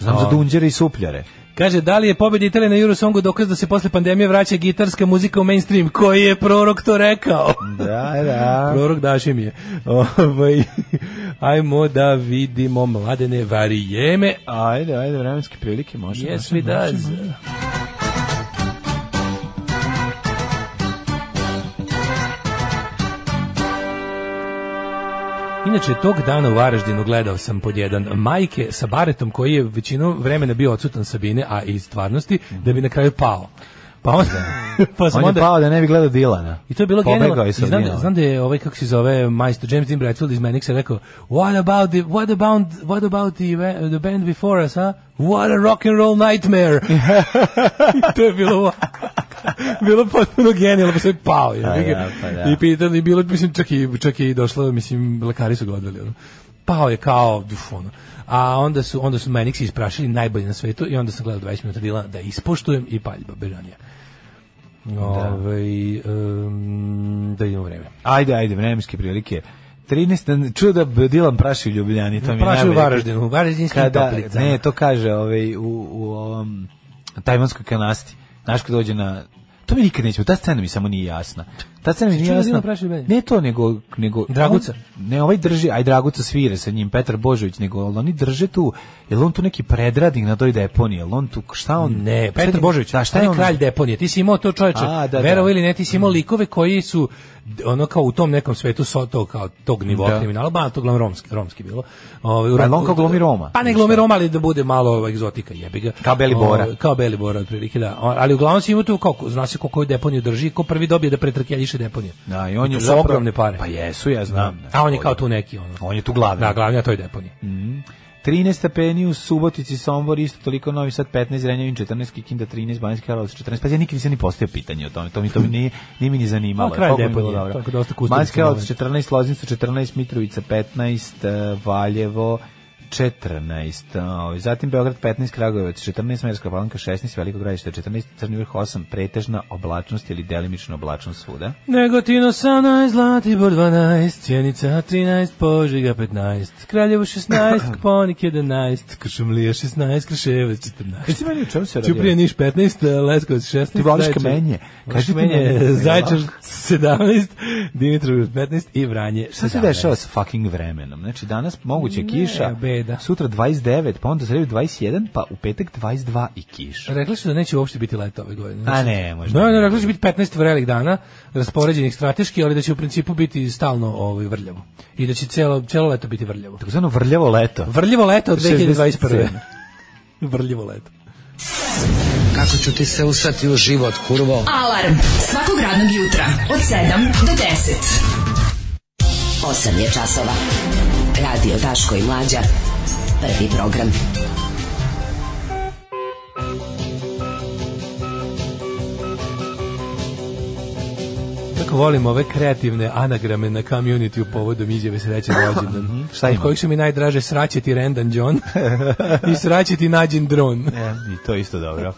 [SPEAKER 7] Znam za dunđere i supljare.
[SPEAKER 6] Kaže, da li je pobed Italije na Eurosongu dokaz da se posle pandemije vraća gitarska muzika u mainstream? Koji je prorok to rekao?
[SPEAKER 7] Da, da.
[SPEAKER 6] Prorok daši mi je. Ovaj, *laughs* ajmo da vidimo mladene varijeme.
[SPEAKER 7] Ajde, ajde, vremenske prilike može.
[SPEAKER 6] Yes,
[SPEAKER 7] može,
[SPEAKER 6] we
[SPEAKER 7] može,
[SPEAKER 6] does.
[SPEAKER 7] može.
[SPEAKER 6] Inače, tog dana u Varaždinu gledao sam pod jedan majke sa baretom koji je većinu vremena bio odsutan Sabine, a i stvarnosti, da bi na kraju pao. Pa onda, *laughs* pa sam
[SPEAKER 7] On je
[SPEAKER 6] onda,
[SPEAKER 7] pao da ne bi gledao Dilana.
[SPEAKER 6] I to je bilo
[SPEAKER 7] Pobegao
[SPEAKER 6] genijalno.
[SPEAKER 7] je
[SPEAKER 6] I
[SPEAKER 7] sa
[SPEAKER 6] Znam, da,
[SPEAKER 7] Dilana.
[SPEAKER 6] znam da je ovaj kako se zove majstor James Dean Bradfield iz Manixa rekao What about the what about what about the, ba- the band before us, huh? What a rock and roll nightmare.
[SPEAKER 7] *laughs*
[SPEAKER 6] I *laughs* to je bilo bilo potpuno genijalno, pa sve pao je.
[SPEAKER 7] Pa
[SPEAKER 6] jebi ga.
[SPEAKER 7] da, pa da.
[SPEAKER 6] I pitali bilo mislim čak i čak je i došlo, mislim lekari su ga odveli. Ono. Pao je kao uf, ono. A onda su onda su Manix isprašili najbolje na svetu i onda sam gledao 20 minuta Dilana da ispoštujem i paljba Beranija. Ovaj, em, da vidimo vreme.
[SPEAKER 7] Ajde, ajde, vremenske prilike. 13 čuo da bi Dilan praši u Ljubljani, to mi je
[SPEAKER 6] Prašaj u
[SPEAKER 7] najbolje.
[SPEAKER 6] Varaždinu, u Varaždinskim
[SPEAKER 7] Kada,
[SPEAKER 6] toplicama.
[SPEAKER 7] ne, to kaže ovaj, u, u ovom tajvanskoj kanasti. Znaš kad dođe na... To mi nikad nećemo, ta scena mi samo nije jasna. Ta scena mi nije
[SPEAKER 6] Čuo da
[SPEAKER 7] jasna.
[SPEAKER 6] Dilan praši u Ljubljani?
[SPEAKER 7] Ne to, nego... nego
[SPEAKER 6] Draguca.
[SPEAKER 7] On- ne, ovaj drži, aj Draguca svira sa njim, Petar Božović, nego ali oni drže tu, je on tu neki predradnik na toj deponiji, je on tu, šta on...
[SPEAKER 6] Ne,
[SPEAKER 7] šta
[SPEAKER 6] Petar
[SPEAKER 7] je-
[SPEAKER 6] Božović,
[SPEAKER 7] da,
[SPEAKER 6] šta je
[SPEAKER 7] on-
[SPEAKER 6] kralj deponije? Ti si imao to čoveče,
[SPEAKER 7] A, da,
[SPEAKER 6] verovo
[SPEAKER 7] da.
[SPEAKER 6] ili ne, ti si imao likove koji su d- ono kao u tom nekom svetu so to kao tog nivoa
[SPEAKER 7] Da.
[SPEAKER 6] kriminala, ba to glavno romski, romski bilo. Ovaj u
[SPEAKER 7] Pa je
[SPEAKER 6] ra-
[SPEAKER 7] on kao glumi Roma.
[SPEAKER 6] Pa ne glumi Roma, ali da bude malo ovaj, egzotika, jebi ga.
[SPEAKER 7] Kao Beli Bora.
[SPEAKER 6] Ovaj, kao Beli Bora otprilike, da. O, Ali uglavnom si imao tu kao zna se ko koju deponiju drži, ko prvi dobije da pretrkeljiše deponije.
[SPEAKER 7] Da, i on je
[SPEAKER 6] To su
[SPEAKER 7] zapravo-
[SPEAKER 6] ogromne pare.
[SPEAKER 7] Pa jesu, ja znam.
[SPEAKER 6] A on je kao tu neki ono.
[SPEAKER 7] On je tu glavni.
[SPEAKER 6] Da, glavni, a to je deponija.
[SPEAKER 7] 13 stepeni u Subotici, Sombor, isto toliko, Novi Sad 15, Zrenjanin 14, Kikinda 13, Banjski Karlovac 14. Pa ja nikad nisam ni postavio pitanje o tome, to mi to mi nije, nije mi ni zanimalo.
[SPEAKER 6] Pa, kraj
[SPEAKER 7] Koliko mi je
[SPEAKER 6] deponije,
[SPEAKER 7] bilo dobro.
[SPEAKER 6] tako dosta kustovica
[SPEAKER 7] Banjski Karlovac
[SPEAKER 6] moment.
[SPEAKER 7] 14, Loznica 14, Mitrovica 15, eh, Valjevo 14, ovaj, zatim Beograd 15, Kragujevac 14, Merska Palanka 16, Veliko gradište 14, Crni vrh 8, pretežna oblačnost ili delimična oblačnost svuda.
[SPEAKER 6] Negotin 18, Zlatibor 12, Cijenica 13, Požega 15, Kraljevo
[SPEAKER 7] *clears throat*
[SPEAKER 6] 16, Koponik 11, Kršumlija 16, Krševac 14.
[SPEAKER 7] Kaži ti meni u čemu se radi?
[SPEAKER 6] Ćuprije Niš 15, Leskovac 16,
[SPEAKER 7] Ti voliš
[SPEAKER 6] Zaječar-
[SPEAKER 7] kamenje. Kaži ti
[SPEAKER 6] Kamenje,
[SPEAKER 7] meni, jel'
[SPEAKER 6] Zaječar
[SPEAKER 7] ovako?
[SPEAKER 6] 17, Dimitrov 15 i Vranje 17.
[SPEAKER 7] Šta se dešava sa fucking vremenom? Znači, danas moguće kiša,
[SPEAKER 6] beda da.
[SPEAKER 7] Sutra 29, pa onda sredu 21, pa u petak 22 i kiš.
[SPEAKER 6] Rekli su da neće uopšte biti leta ove godine. znači-
[SPEAKER 7] A ne, možda
[SPEAKER 6] Da,
[SPEAKER 7] ne.
[SPEAKER 6] da, rekli su da će biti 15 vrelih dana, raspoređenih strateški, ali da će u principu biti stalno ovaj, vrljavo. I da će celo, celo leto biti vrljavo.
[SPEAKER 7] Tako zvano vrljavo leto.
[SPEAKER 6] Vrljivo leto od 2021.
[SPEAKER 7] 67.
[SPEAKER 6] Vrljivo leto.
[SPEAKER 11] Kako ću ti se usrati u život, kurvo?
[SPEAKER 10] Alarm svakog radnog jutra od 7 do 10.
[SPEAKER 12] 8 je časova. Radio Daško i Mlađa. Prvi program.
[SPEAKER 6] Kako volim ove kreativne anagrame na community u povodom izjave sreće rođendan.
[SPEAKER 7] Šta ima?
[SPEAKER 6] Od kojih su mi najdraže sraćeti Rendan *laughs* John i sraćeti Nađen Dron.
[SPEAKER 7] E, I to je isto
[SPEAKER 6] *laughs*
[SPEAKER 7] dobro.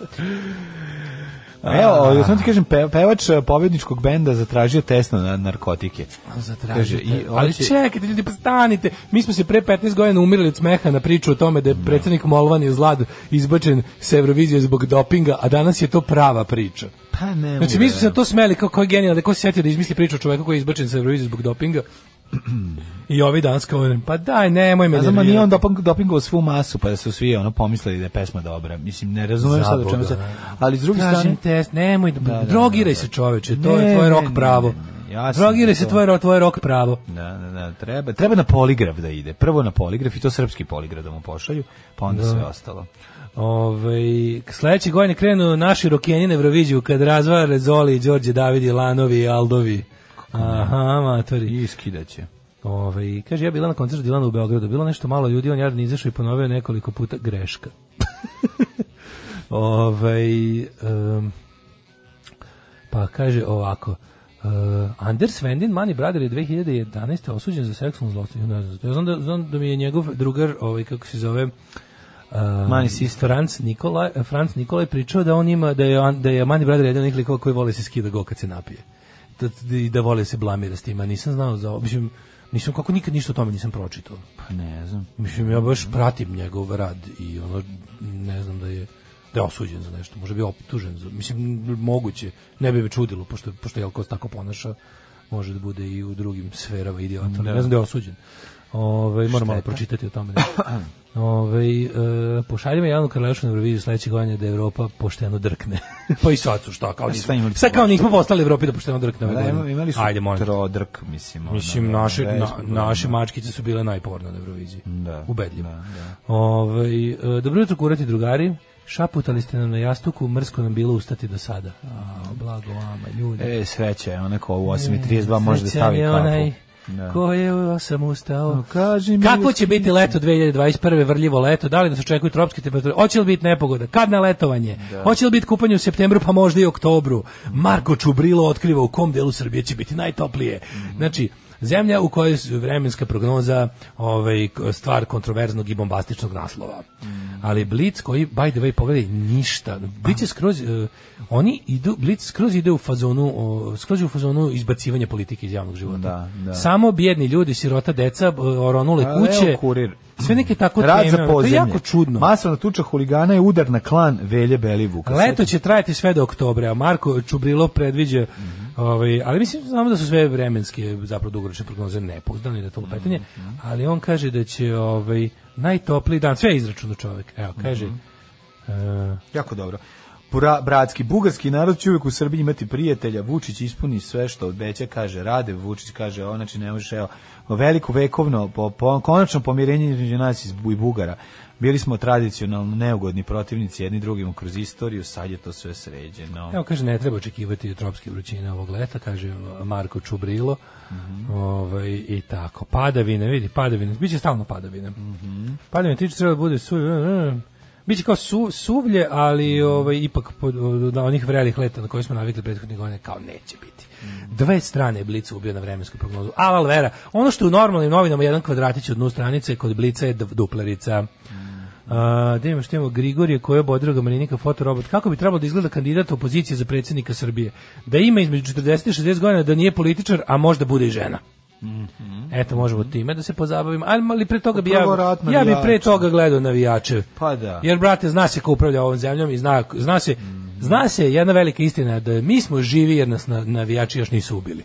[SPEAKER 7] Evo, samo ti kažem, pe- pevač eh, pobjedničkog benda zatražio test na narkotike.
[SPEAKER 6] Zatražite.
[SPEAKER 7] Kaže, i
[SPEAKER 6] Ali
[SPEAKER 7] hoće-
[SPEAKER 6] čekajte, ljudi, pa stanite. Mi smo se pre 15 godina umirali od smeha na priču o tome da je predsjednik Molvan je zlad izbačen s Eurovizije zbog dopinga, a danas je to prava priča.
[SPEAKER 7] Pa ne
[SPEAKER 6] Znači,
[SPEAKER 7] mogu
[SPEAKER 6] mi smo se
[SPEAKER 7] da-
[SPEAKER 6] na to smeli, kao, kao je genijalno, da je ko se setio da izmisli priču o čoveku koji je izbačen s Eurovizije zbog *clears throat* dopinga. I ovi danas kao, pa daj, nemoj me
[SPEAKER 7] Ne znam, a nije
[SPEAKER 6] nervirati.
[SPEAKER 7] on doping, dopingovao svu masu, pa da su svi ono pomislili da je pesma dobra. Mislim, ne razumem sad o čemu se...
[SPEAKER 6] Zaboga, ne.
[SPEAKER 7] Ali s druge
[SPEAKER 6] Tražim
[SPEAKER 7] strane...
[SPEAKER 6] test, nemoj da,
[SPEAKER 7] da,
[SPEAKER 6] drogiraj
[SPEAKER 7] da, da.
[SPEAKER 6] se čoveče, to
[SPEAKER 7] Ne,
[SPEAKER 6] je tvoje
[SPEAKER 7] ne,
[SPEAKER 6] rok
[SPEAKER 7] ne,
[SPEAKER 6] pravo.
[SPEAKER 7] ne, ne, jasno
[SPEAKER 6] Drogiraj
[SPEAKER 7] je
[SPEAKER 6] se
[SPEAKER 7] to.
[SPEAKER 6] tvoje, tvoje rok pravo.
[SPEAKER 7] Da, da, da, treba, treba na poligraf da ide. Prvo na poligraf i to srpski poligraf da mu pošalju, pa onda sve ostalo.
[SPEAKER 6] Ove, sledeće godine krenu naši rokenji na Euroviziju kad razvara Rezoli, Đorđe, Davidi, Lanovi, Aldovi. Aha, matori.
[SPEAKER 7] I skidaće.
[SPEAKER 6] Ove, kaže, ja bila na koncertu Dilana u Beogradu, bilo nešto malo ljudi, on jadno izašao i ponovio nekoliko puta greška. Ove, Ovaj, em, pa kaže ovako, e, Anders Vendin, Mani Brother je 2011. osuđen za seksualno zlostavljanje. Ne znam, za to. ja znam da, znam da mi je njegov drugar, ovaj, kako se zove, Um,
[SPEAKER 7] Mani sister.
[SPEAKER 6] Franc Nikolaj, Franc Nikolaj pričao da on ima da je on- da je Mani Brother jedan od onih likova koji vole se skida go kad se napije. Da, da, i da vole se blamira s tim, a nisam znao za mislim nisam kako nikad ništa o tome nisam pročitao.
[SPEAKER 7] Pa ne znam.
[SPEAKER 6] Mislim ja baš pratim njegov rad i ono ne znam da je da je osuđen za nešto, može bi optužen za, mislim moguće, ne bi me čudilo pošto pošto Jelko se tako ponaša, može da bude i u drugim sferama idiota. ali Ne znam da je osuđen. Ovaj moram malo
[SPEAKER 7] Šteta.
[SPEAKER 6] pročitati o tome. *clears throat* Ove, e, pošaljimo Janu Karlašu na Euroviziju sledećeg godine da Evropa pošteno drkne. *laughs* pa i sad su šta, kao
[SPEAKER 7] Šta
[SPEAKER 6] nismo,
[SPEAKER 7] E, imali su
[SPEAKER 6] sad kao nismo postali Evropi Pa da pošteno drkne. ove
[SPEAKER 7] Da,
[SPEAKER 6] godine.
[SPEAKER 7] imali su
[SPEAKER 6] Ajde, molim. te.
[SPEAKER 7] trodrk, mislim. ono,
[SPEAKER 6] Mislim,
[SPEAKER 7] da,
[SPEAKER 6] naše,
[SPEAKER 7] bez
[SPEAKER 6] na,
[SPEAKER 7] problema.
[SPEAKER 6] naše mačkice su bile najporno na Euroviziji.
[SPEAKER 7] Da,
[SPEAKER 6] Ubedljivo.
[SPEAKER 7] da,
[SPEAKER 6] Ovaj, e, dobro jutro, kurati drugari. Šaputali ste nam na jastuku, mrsko nam bilo ustati do sada. A, blago vama, ljudi.
[SPEAKER 7] E, sreća je onako u 8.32 može da
[SPEAKER 6] Srećan
[SPEAKER 7] stavi
[SPEAKER 6] E, je
[SPEAKER 7] kapu.
[SPEAKER 6] onaj
[SPEAKER 7] Da.
[SPEAKER 6] Ko je u sam ustao?
[SPEAKER 7] No, kaži mi,
[SPEAKER 6] Kako će
[SPEAKER 7] jesi-
[SPEAKER 6] biti leto 2021. vrljivo leto? Da li nas očekuju tropske temperature? Hoće li biti nepogoda? Kad na letovanje? Hoće li biti kupanje u septembru pa možda i oktobru? Marko Čubrilo otkriva u kom delu Srbije će biti najtoplije.
[SPEAKER 7] Mhm.
[SPEAKER 6] Znači, zemlja u kojoj je vremenska prognoza ovaj, k- stvar kontroverznog i bombastičnog naslova.
[SPEAKER 7] Mhm.
[SPEAKER 6] Ali Blitz koji, by the way, pogledaj, ništa. Blitz
[SPEAKER 7] Pa.
[SPEAKER 6] je skroz, eh, oni idu, Blitz skroz ide u fazonu, o, skroz je u fazonu izbacivanja politike iz javnog života.
[SPEAKER 7] Da, da.
[SPEAKER 6] Samo bjedni ljudi, sirota, deca, b- oronule
[SPEAKER 7] A,
[SPEAKER 6] e, kuće,
[SPEAKER 7] Pa, evo, kurir.
[SPEAKER 6] sve neke tako
[SPEAKER 7] Rad
[SPEAKER 6] teme,
[SPEAKER 7] za
[SPEAKER 6] ono, to je
[SPEAKER 7] podzemlje.
[SPEAKER 6] jako čudno.
[SPEAKER 7] Masovna tuča huligana je udar na klan Velje Belivuka.
[SPEAKER 6] Leto će trajati sve do oktobra, a Marko Čubrilo predviđa, ovaj, ali mislim znamo da su sve vremenske, zapravo dugoročne prognoze nepouzdane, da je to pitanje, ali on kaže da će ovaj, najtopliji dan, sve je izračuno čovjek, evo, kaže, e,
[SPEAKER 7] Jako dobro. Bra, bratski, bugarski narod će uvijek u Srbiji imati prijatelja, Vučić ispuni sve što obeća, kaže, rade, Vučić kaže, ovo, znači ne možeš, evo, veliko vekovno, po, po, konačno pomirenje između nas iz Bu- i Bugara. Bili smo tradicionalno neugodni protivnici jedni drugima kroz istoriju, sad je to sve sređeno.
[SPEAKER 6] Evo kaže ne treba očekivati tropske vrućine ovog leta, kaže Marko Čubrilo. ovaj, i tako. Padavine, vidi, padavine, biće stalno padavine. Padavine tiče treba da bude su mm, Biće kao su, suvlje, ali ovaj, ipak pod, na onih vrelih leta na koje smo navikli prethodnih godina, kao neće biti. Dve strane je Blica ubio na vremensku prognozu. Al vera, ono što je u normalnim novinama jedan kvadratić od dnu stranice, kod Blica je dv- duplerica. A, da imamo što imamo Grigorije koji je bodroga Marinika fotorobot. Kako bi trebalo da izgleda kandidat opozicije za predsjednika Srbije? Da ima između 40 i 60 godina, da nije političar, a možda bude i žena. Eto, možemo time da se pozabavimo. Ali, ali pre toga bi ja,
[SPEAKER 7] Mhm. Upravo rat
[SPEAKER 6] ja bi pre
[SPEAKER 7] navijača.
[SPEAKER 6] toga gledao navijače.
[SPEAKER 7] Pa da.
[SPEAKER 6] Jer, brate, zna se ko upravlja ovom zemljom i zna, zna se,
[SPEAKER 7] Mhm.
[SPEAKER 6] zna se jedna velika istina da mi smo živi jer nas na- navijači još nisu ubili.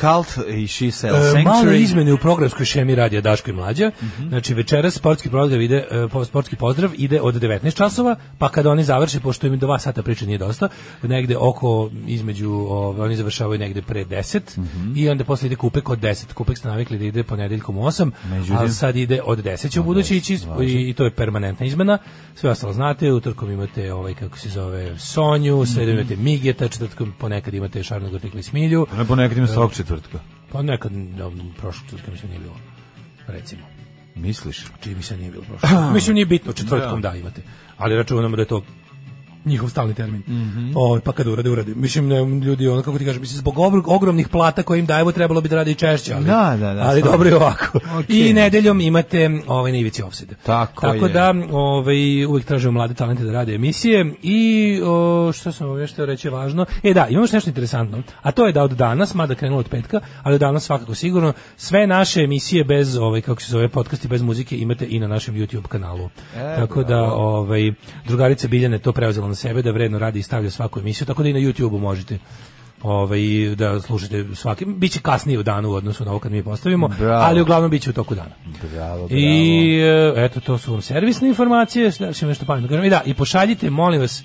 [SPEAKER 7] Cult i She Sells
[SPEAKER 6] E,
[SPEAKER 7] Sanctuary. Mhm.
[SPEAKER 6] male izmene u programskoj šemi radija Daško i Mlađa. Znači večeras sportski pozdrav ide e, po- sportski pozdrav ide od 19 časova, pa kada oni završe pošto im dva sata priče nije dosta, negde oko između ovaj, oni završavaju negde pre 10
[SPEAKER 7] Mhm.
[SPEAKER 6] i onda posle ide kupek od 10. Kupek ste navikli da ide ponedeljkom u 8,
[SPEAKER 7] Međutim-
[SPEAKER 6] ali sad ide od 10 će u budući ići i, i to je permanentna izmena. Sve ostalo znate, utorkom imate ovaj kako se zove Sonju, sredom imate Migeta, četvrtkom ponekad imate Šarnogornik Lismilju.
[SPEAKER 7] Ne ponekad ima svakog
[SPEAKER 6] E,
[SPEAKER 7] četvrtka.
[SPEAKER 6] pa nekad, da, prošlog četvrtka mislim nije bilo, recimo.
[SPEAKER 7] Misliš?
[SPEAKER 6] Čini mi se nije bilo prošlog.
[SPEAKER 7] *clears throat*
[SPEAKER 6] četvrtka. mislim nije bitno, četvrtkom da, imate. Ali računamo da je to njihov stalni termin.
[SPEAKER 7] Mhm.
[SPEAKER 6] Ovaj, pa kad urade, urade. Mislim, ne, ljudi, ono kako ti kažem, mislim, zbog obr- ogromnih plata koje im dajemo, trebalo bi da radi i češće, ali,
[SPEAKER 7] Da, da, da,
[SPEAKER 6] ali
[SPEAKER 7] stvarno.
[SPEAKER 6] dobro je ovako.
[SPEAKER 7] Okej.
[SPEAKER 6] I nedeljom imate ovaj, na ivici offside.
[SPEAKER 7] Tako,
[SPEAKER 6] Tako
[SPEAKER 7] je.
[SPEAKER 6] da ovaj uvek tražimo mlade talente da rade emisije i o, što sam vam još htio reći važno. E da, imamo još nešto interesantno. A to je da od danas, mada krenulo od petka, ali od danas svakako sigurno sve naše emisije bez ovaj kako se zove podcasti bez muzike imate i na našem YouTube kanalu.
[SPEAKER 7] E,
[SPEAKER 6] tako da ovaj drugarica Biljana je to preuzela na sebe da vredno radi i stavlja svaku emisiju, tako da i na YouTubeu možete ovaj da slušate svaki biće kasnije u danu u odnosu na ovo kad mi postavimo,
[SPEAKER 7] Bravo.
[SPEAKER 6] ali uglavnom biće u toku dana.
[SPEAKER 7] Bravo, bravo.
[SPEAKER 6] I e, eto to su vam servisne informacije, šta još imam nešto pametno. da kažem? I da, i pošaljite molim vas.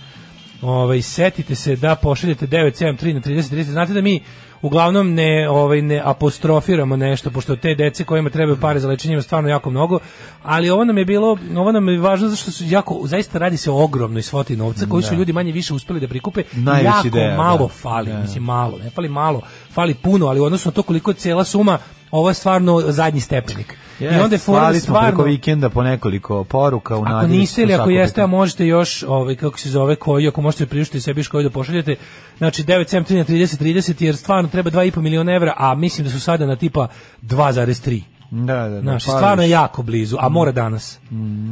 [SPEAKER 6] Ovaj setite se da pošaljete 973 na 30 30. Znate da mi uglavnom ne ovaj ne apostrofiramo nešto pošto te dece kojima trebaju pare za lečenje ima stvarno jako mnogo, ali ovo nam je bilo ovo nam je važno zato što su jako zaista radi se o ogromnoj svoti novca koju su
[SPEAKER 7] Da.
[SPEAKER 6] ljudi manje više uspeli da prikupe.
[SPEAKER 7] Najveći
[SPEAKER 6] jako
[SPEAKER 7] deo, da.
[SPEAKER 6] malo fali,
[SPEAKER 7] Da.
[SPEAKER 6] mislim malo, ne fali malo, fali puno, ali u odnosu na to koliko je cela suma, ovo je stvarno zadnji stepenik. I onda je fora da
[SPEAKER 7] slali smo preko
[SPEAKER 6] stvarno,
[SPEAKER 7] vikenda po nekoliko poruka u
[SPEAKER 6] ako niste ili ako jeste, a možete još, ovaj, kako se zove, koji, ako možete priuštiti sebi još koji da pošaljete, znači 973 na 30 30, jer stvarno treba 2,5 miliona evra, a mislim da su sada na tipa 2,3.
[SPEAKER 7] Da, da, da. Mhm.
[SPEAKER 6] Znaš,
[SPEAKER 7] pa
[SPEAKER 6] Znači, stvarno je
[SPEAKER 7] više.
[SPEAKER 6] jako blizu, a mora danas.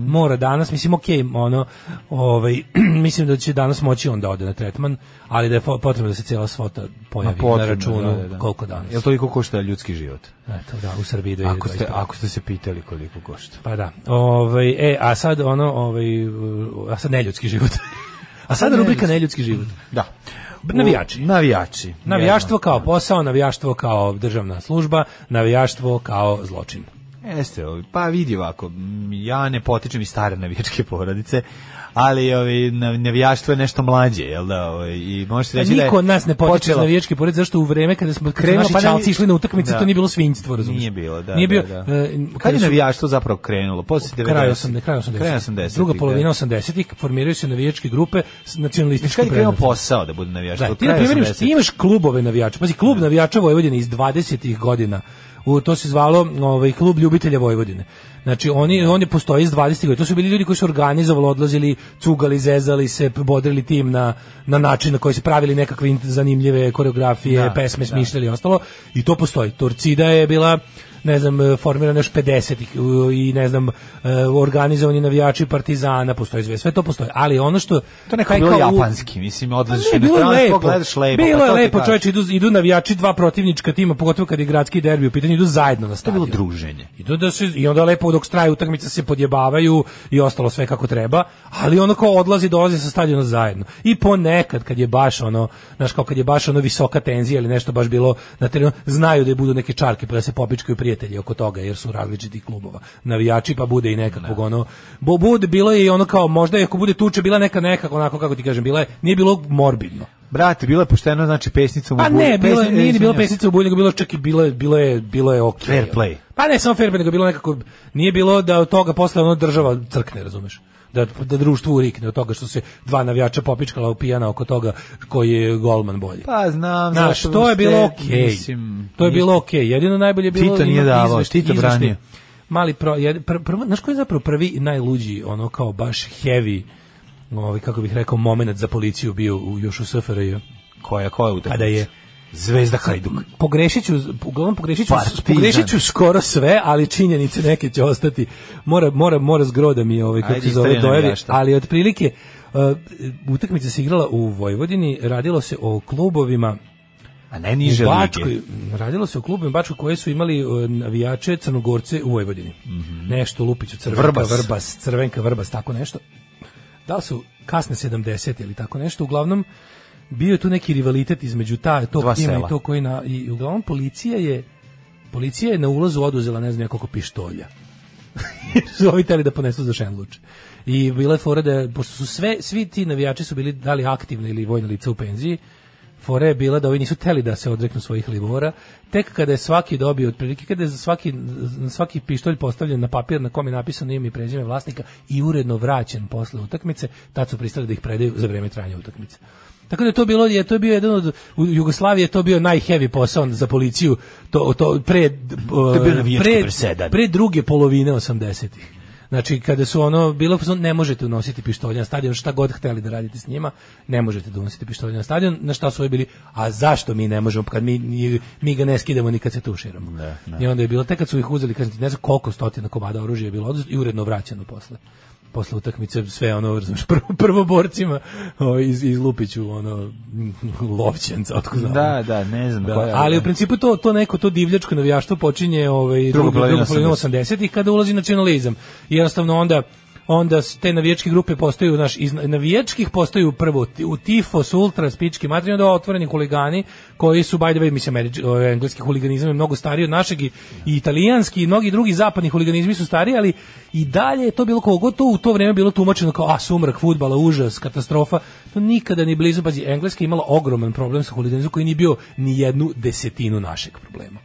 [SPEAKER 6] Mora danas, mislim, okej, ono, ovaj, *clears throat* mislim da će danas moći on da ode na tretman, ali da je fo- potrebno da se cijela svota
[SPEAKER 7] Ma,
[SPEAKER 6] pojavi Pa na,
[SPEAKER 7] potrebno,
[SPEAKER 6] računu
[SPEAKER 7] da, da, da.
[SPEAKER 6] koliko danas.
[SPEAKER 7] Jel toliko košta ljudski život?
[SPEAKER 6] Eto, da, u Srbiji
[SPEAKER 7] Ako ste,
[SPEAKER 6] 2021..
[SPEAKER 7] ako ste se pitali koliko košta.
[SPEAKER 6] Pa da. Ovaj e, a sad ono, ovaj, uh, a sad neljudski život. *laughs* a sad rubrika neljudski život.
[SPEAKER 7] Da.
[SPEAKER 6] Navijači.
[SPEAKER 7] U- Navijači.
[SPEAKER 6] Navijaštvo kao posao, navijaštvo kao državna služba, navijaštvo kao zločin.
[SPEAKER 7] Jeste, ovi, pa vidi ovako, m, ja ne potičem iz stare navijačke porodice, ali ovi, nav- navijaštvo je nešto mlađe, jel da? Ovi, I možeš reći da je...
[SPEAKER 6] Pa Niko od nas ne potiče iz
[SPEAKER 7] počela-
[SPEAKER 6] navijačke porodice zašto u vreme kada smo kada su
[SPEAKER 7] Krenuo,
[SPEAKER 6] naši
[SPEAKER 7] pa ne-
[SPEAKER 6] čalci išli na utakmice,
[SPEAKER 7] Da.
[SPEAKER 6] to nije bilo svinjstvo, razumiješ?
[SPEAKER 7] Nije bilo, da.
[SPEAKER 6] Nije bio,
[SPEAKER 7] da, da.
[SPEAKER 6] e,
[SPEAKER 7] Kad
[SPEAKER 6] kada
[SPEAKER 7] je
[SPEAKER 6] su-
[SPEAKER 7] navijaštvo zapravo krenulo? Poslije 90.
[SPEAKER 6] Kraj 80-ih, kraj 80-ih.
[SPEAKER 7] Kraj 80-ih,
[SPEAKER 6] Druga
[SPEAKER 7] da.
[SPEAKER 6] polovina 80-ih formiraju se navijačke grupe s
[SPEAKER 7] Znači,
[SPEAKER 6] nacionalističkim
[SPEAKER 7] Kad je krenuo
[SPEAKER 6] predznakom.
[SPEAKER 7] posao da bude navijaštvo?
[SPEAKER 6] Da, ti na
[SPEAKER 7] Kraj
[SPEAKER 6] primjer imaš,
[SPEAKER 7] 80-ih.
[SPEAKER 6] ti imaš klubove navijača. Pazi, klub navijača Vojvodine iz 20-ih godina. U, to se zvalo ovaj, klub ljubitelja Vojvodine. Znači, oni, oni postoje iz 20-ih godina. To su bili ljudi koji su organizovali, odlazili, cugali, zezali se, bodrili tim na, na način na koji su pravili nekakve int- zanimljive koreografije,
[SPEAKER 7] Da,
[SPEAKER 6] pesme, smišljali i ostalo. I to postoji. Torcida je bila ne znam, e, formirana još 50-ih u- i ne znam, e, organizovani navijači Partizana, postoji sve, sve to postoji. Ali ono što...
[SPEAKER 7] To neko
[SPEAKER 6] taj
[SPEAKER 7] bilo
[SPEAKER 6] kao u-
[SPEAKER 7] japanski, mislim, odlaziš
[SPEAKER 6] pa
[SPEAKER 7] u
[SPEAKER 6] ne, bilo je
[SPEAKER 7] inostranstvo,
[SPEAKER 6] lepo.
[SPEAKER 7] gledaš lepo.
[SPEAKER 6] Bilo
[SPEAKER 7] pa
[SPEAKER 6] je
[SPEAKER 7] to ti
[SPEAKER 6] lepo,
[SPEAKER 7] kažem.
[SPEAKER 6] čovječe, idu, idu navijači dva protivnička tima, pogotovo kad je gradski derbi u pitanju, idu zajedno na stadion.
[SPEAKER 7] bilo druženje.
[SPEAKER 6] Idu da se, I onda lepo dok traje utakmica se podjebavaju i ostalo sve kako treba, ali ono ko odlazi, dolazi sa stadiona zajedno. I ponekad kad je baš ono, znaš kao kad je baš ono visoka tenzija ili nešto baš bilo na terenu, znaju da je budu neke čarke pa da se popičkaju prijatelji oko toga jer su različitih klubova. Navijači pa bude i nekakvog ono, bo, bude, bilo je i ono kao možda i ako bude tuče bila neka nekako onako kako ti kažem, bila je, nije bilo morbidno.
[SPEAKER 7] Brate, bilo je pošteno, znači, pesnica mu...
[SPEAKER 6] Pa
[SPEAKER 7] bude-
[SPEAKER 6] ne, bilo je,
[SPEAKER 7] pesni-
[SPEAKER 6] nije ni bilo
[SPEAKER 7] izvinjam se.
[SPEAKER 6] pesnica u bulju, nego bilo je čak i bilo je, bilo je, bilo je ok.
[SPEAKER 7] Fair play.
[SPEAKER 6] Pa ne, samo fair play, nego bilo je nekako, nije bilo da od toga posle ono država crkne, razumeš? Da, da društvo urikne od toga što se dva navijača popičkala upijana oko toga koji je golman bolji.
[SPEAKER 7] Pa znam,
[SPEAKER 6] Znaš,
[SPEAKER 7] zato
[SPEAKER 6] to je bilo
[SPEAKER 7] ste,
[SPEAKER 6] okej.
[SPEAKER 7] mislim,
[SPEAKER 6] To je
[SPEAKER 7] ništa.
[SPEAKER 6] bilo okej. Jedino najbolje je bilo
[SPEAKER 7] Tito nije
[SPEAKER 6] imati
[SPEAKER 7] davao,
[SPEAKER 6] izveštaj-
[SPEAKER 7] Tito
[SPEAKER 6] izveštaj.
[SPEAKER 7] branio.
[SPEAKER 6] Mali pro, jed, pr, prvo, znaš koji je zapravo prvi i najluđi, ono kao baš heavy, ovaj, kako bih rekao, moment za policiju bio u, još u SFRJ?
[SPEAKER 7] Koja, koja utakmica?
[SPEAKER 6] Kada je-
[SPEAKER 7] Zvezda Hajduk.
[SPEAKER 6] pogrešit ću, uglavnom pogrešit ću,
[SPEAKER 7] Partizan.
[SPEAKER 6] pogrešit ću skoro sve, ali činjenice neke će ostati. Mora, mora, mora zgroda mi je ovaj, kako
[SPEAKER 7] Ajde,
[SPEAKER 6] se zove,
[SPEAKER 7] istorija
[SPEAKER 6] dojavi,
[SPEAKER 7] navijaštva.
[SPEAKER 6] ali otprilike e, uh, utakmica se igrala u Vojvodini, radilo se o klubovima
[SPEAKER 7] A ne niže
[SPEAKER 6] u
[SPEAKER 7] lige.
[SPEAKER 6] Bačkoj, radilo se o klubima Bačkoj koje su imali e, navijače Crnogorce u Vojvodini. Nešto Lupiću, Crvenka,
[SPEAKER 7] Mhm. Vrbas.
[SPEAKER 6] vrbas. Crvenka, Vrbas, tako nešto. Da li su kasne 70 ili tako nešto, uglavnom bio je tu neki rivalitet između ta, tog
[SPEAKER 7] Dva
[SPEAKER 6] tima
[SPEAKER 7] sela.
[SPEAKER 6] i to koji na, i, i uglavnom policija je policija je na ulazu oduzela ne znam nekoliko pištolja *laughs* su ovi teli da ponesu za Šenluč. I bila je fora da, pošto su sve, svi ti navijači su bili dali aktivne ili vojne lice u penziji, fora je bila da ovi nisu teli da se odreknu svojih livora, tek kada je svaki dobio, otprilike kada je za svaki, na svaki pištolj postavljen na papir na kom je napisano ime i prezime vlasnika i uredno vraćen posle utakmice, tad su pristali da ih predaju za vreme trajanja utakmice. Tako da je to bilo je to je bio jedan od u Jugoslaviji je to bio najheavy posao za policiju to to pre
[SPEAKER 7] je bio navijački
[SPEAKER 6] pre,
[SPEAKER 7] presedan.
[SPEAKER 6] pre druge polovine 80-ih. Znači, kada su ono, bilo fazon, ne možete unositi pištolje na stadion, šta god hteli da radite s njima, ne možete da unosite pištolje na stadion, na šta su ovi bili, a zašto mi ne možemo, kad mi, ni- mi ga ne skidamo ni kad se tuširamo. I onda je bilo, tek kad su ih uzeli, kažem ti, ne znam koliko stotina komada oružja je bilo oduzeto i uredno vraćeno posle posle utakmice sve ono razumeš prvo prvoborcima o, iz iz Lupiću ono lovćenca otkud znam.
[SPEAKER 7] Da, da, ne znam.
[SPEAKER 6] Da,
[SPEAKER 7] koja je-
[SPEAKER 6] ali u principu to to neko to divljačko navijaštvo počinje ovaj
[SPEAKER 7] Drugu
[SPEAKER 6] drugu
[SPEAKER 7] polovinu
[SPEAKER 6] drugu polovinu 80-ih kada ulazi nacionalizam. I jednostavno onda onda s- te navijačke grupe postaju naš iz navijačkih postaju prvo ti- u tifo, ultra, spički, materi, onda otvoreni huligani koji su by the way mislim američ- ovaj, engleski huliganizam je mnogo stariji od našeg i, i italijanski i mnogi drugi zapadni huliganizmi su stariji, ali i dalje je to bilo kako god to u to vrijeme bilo tumačeno kao a sumrak fudbala, užas, katastrofa. To nikada ni blizu, pazi, engleska je imala ogroman problem sa huliganizmom koji nije bio ni jednu desetinu našeg problema.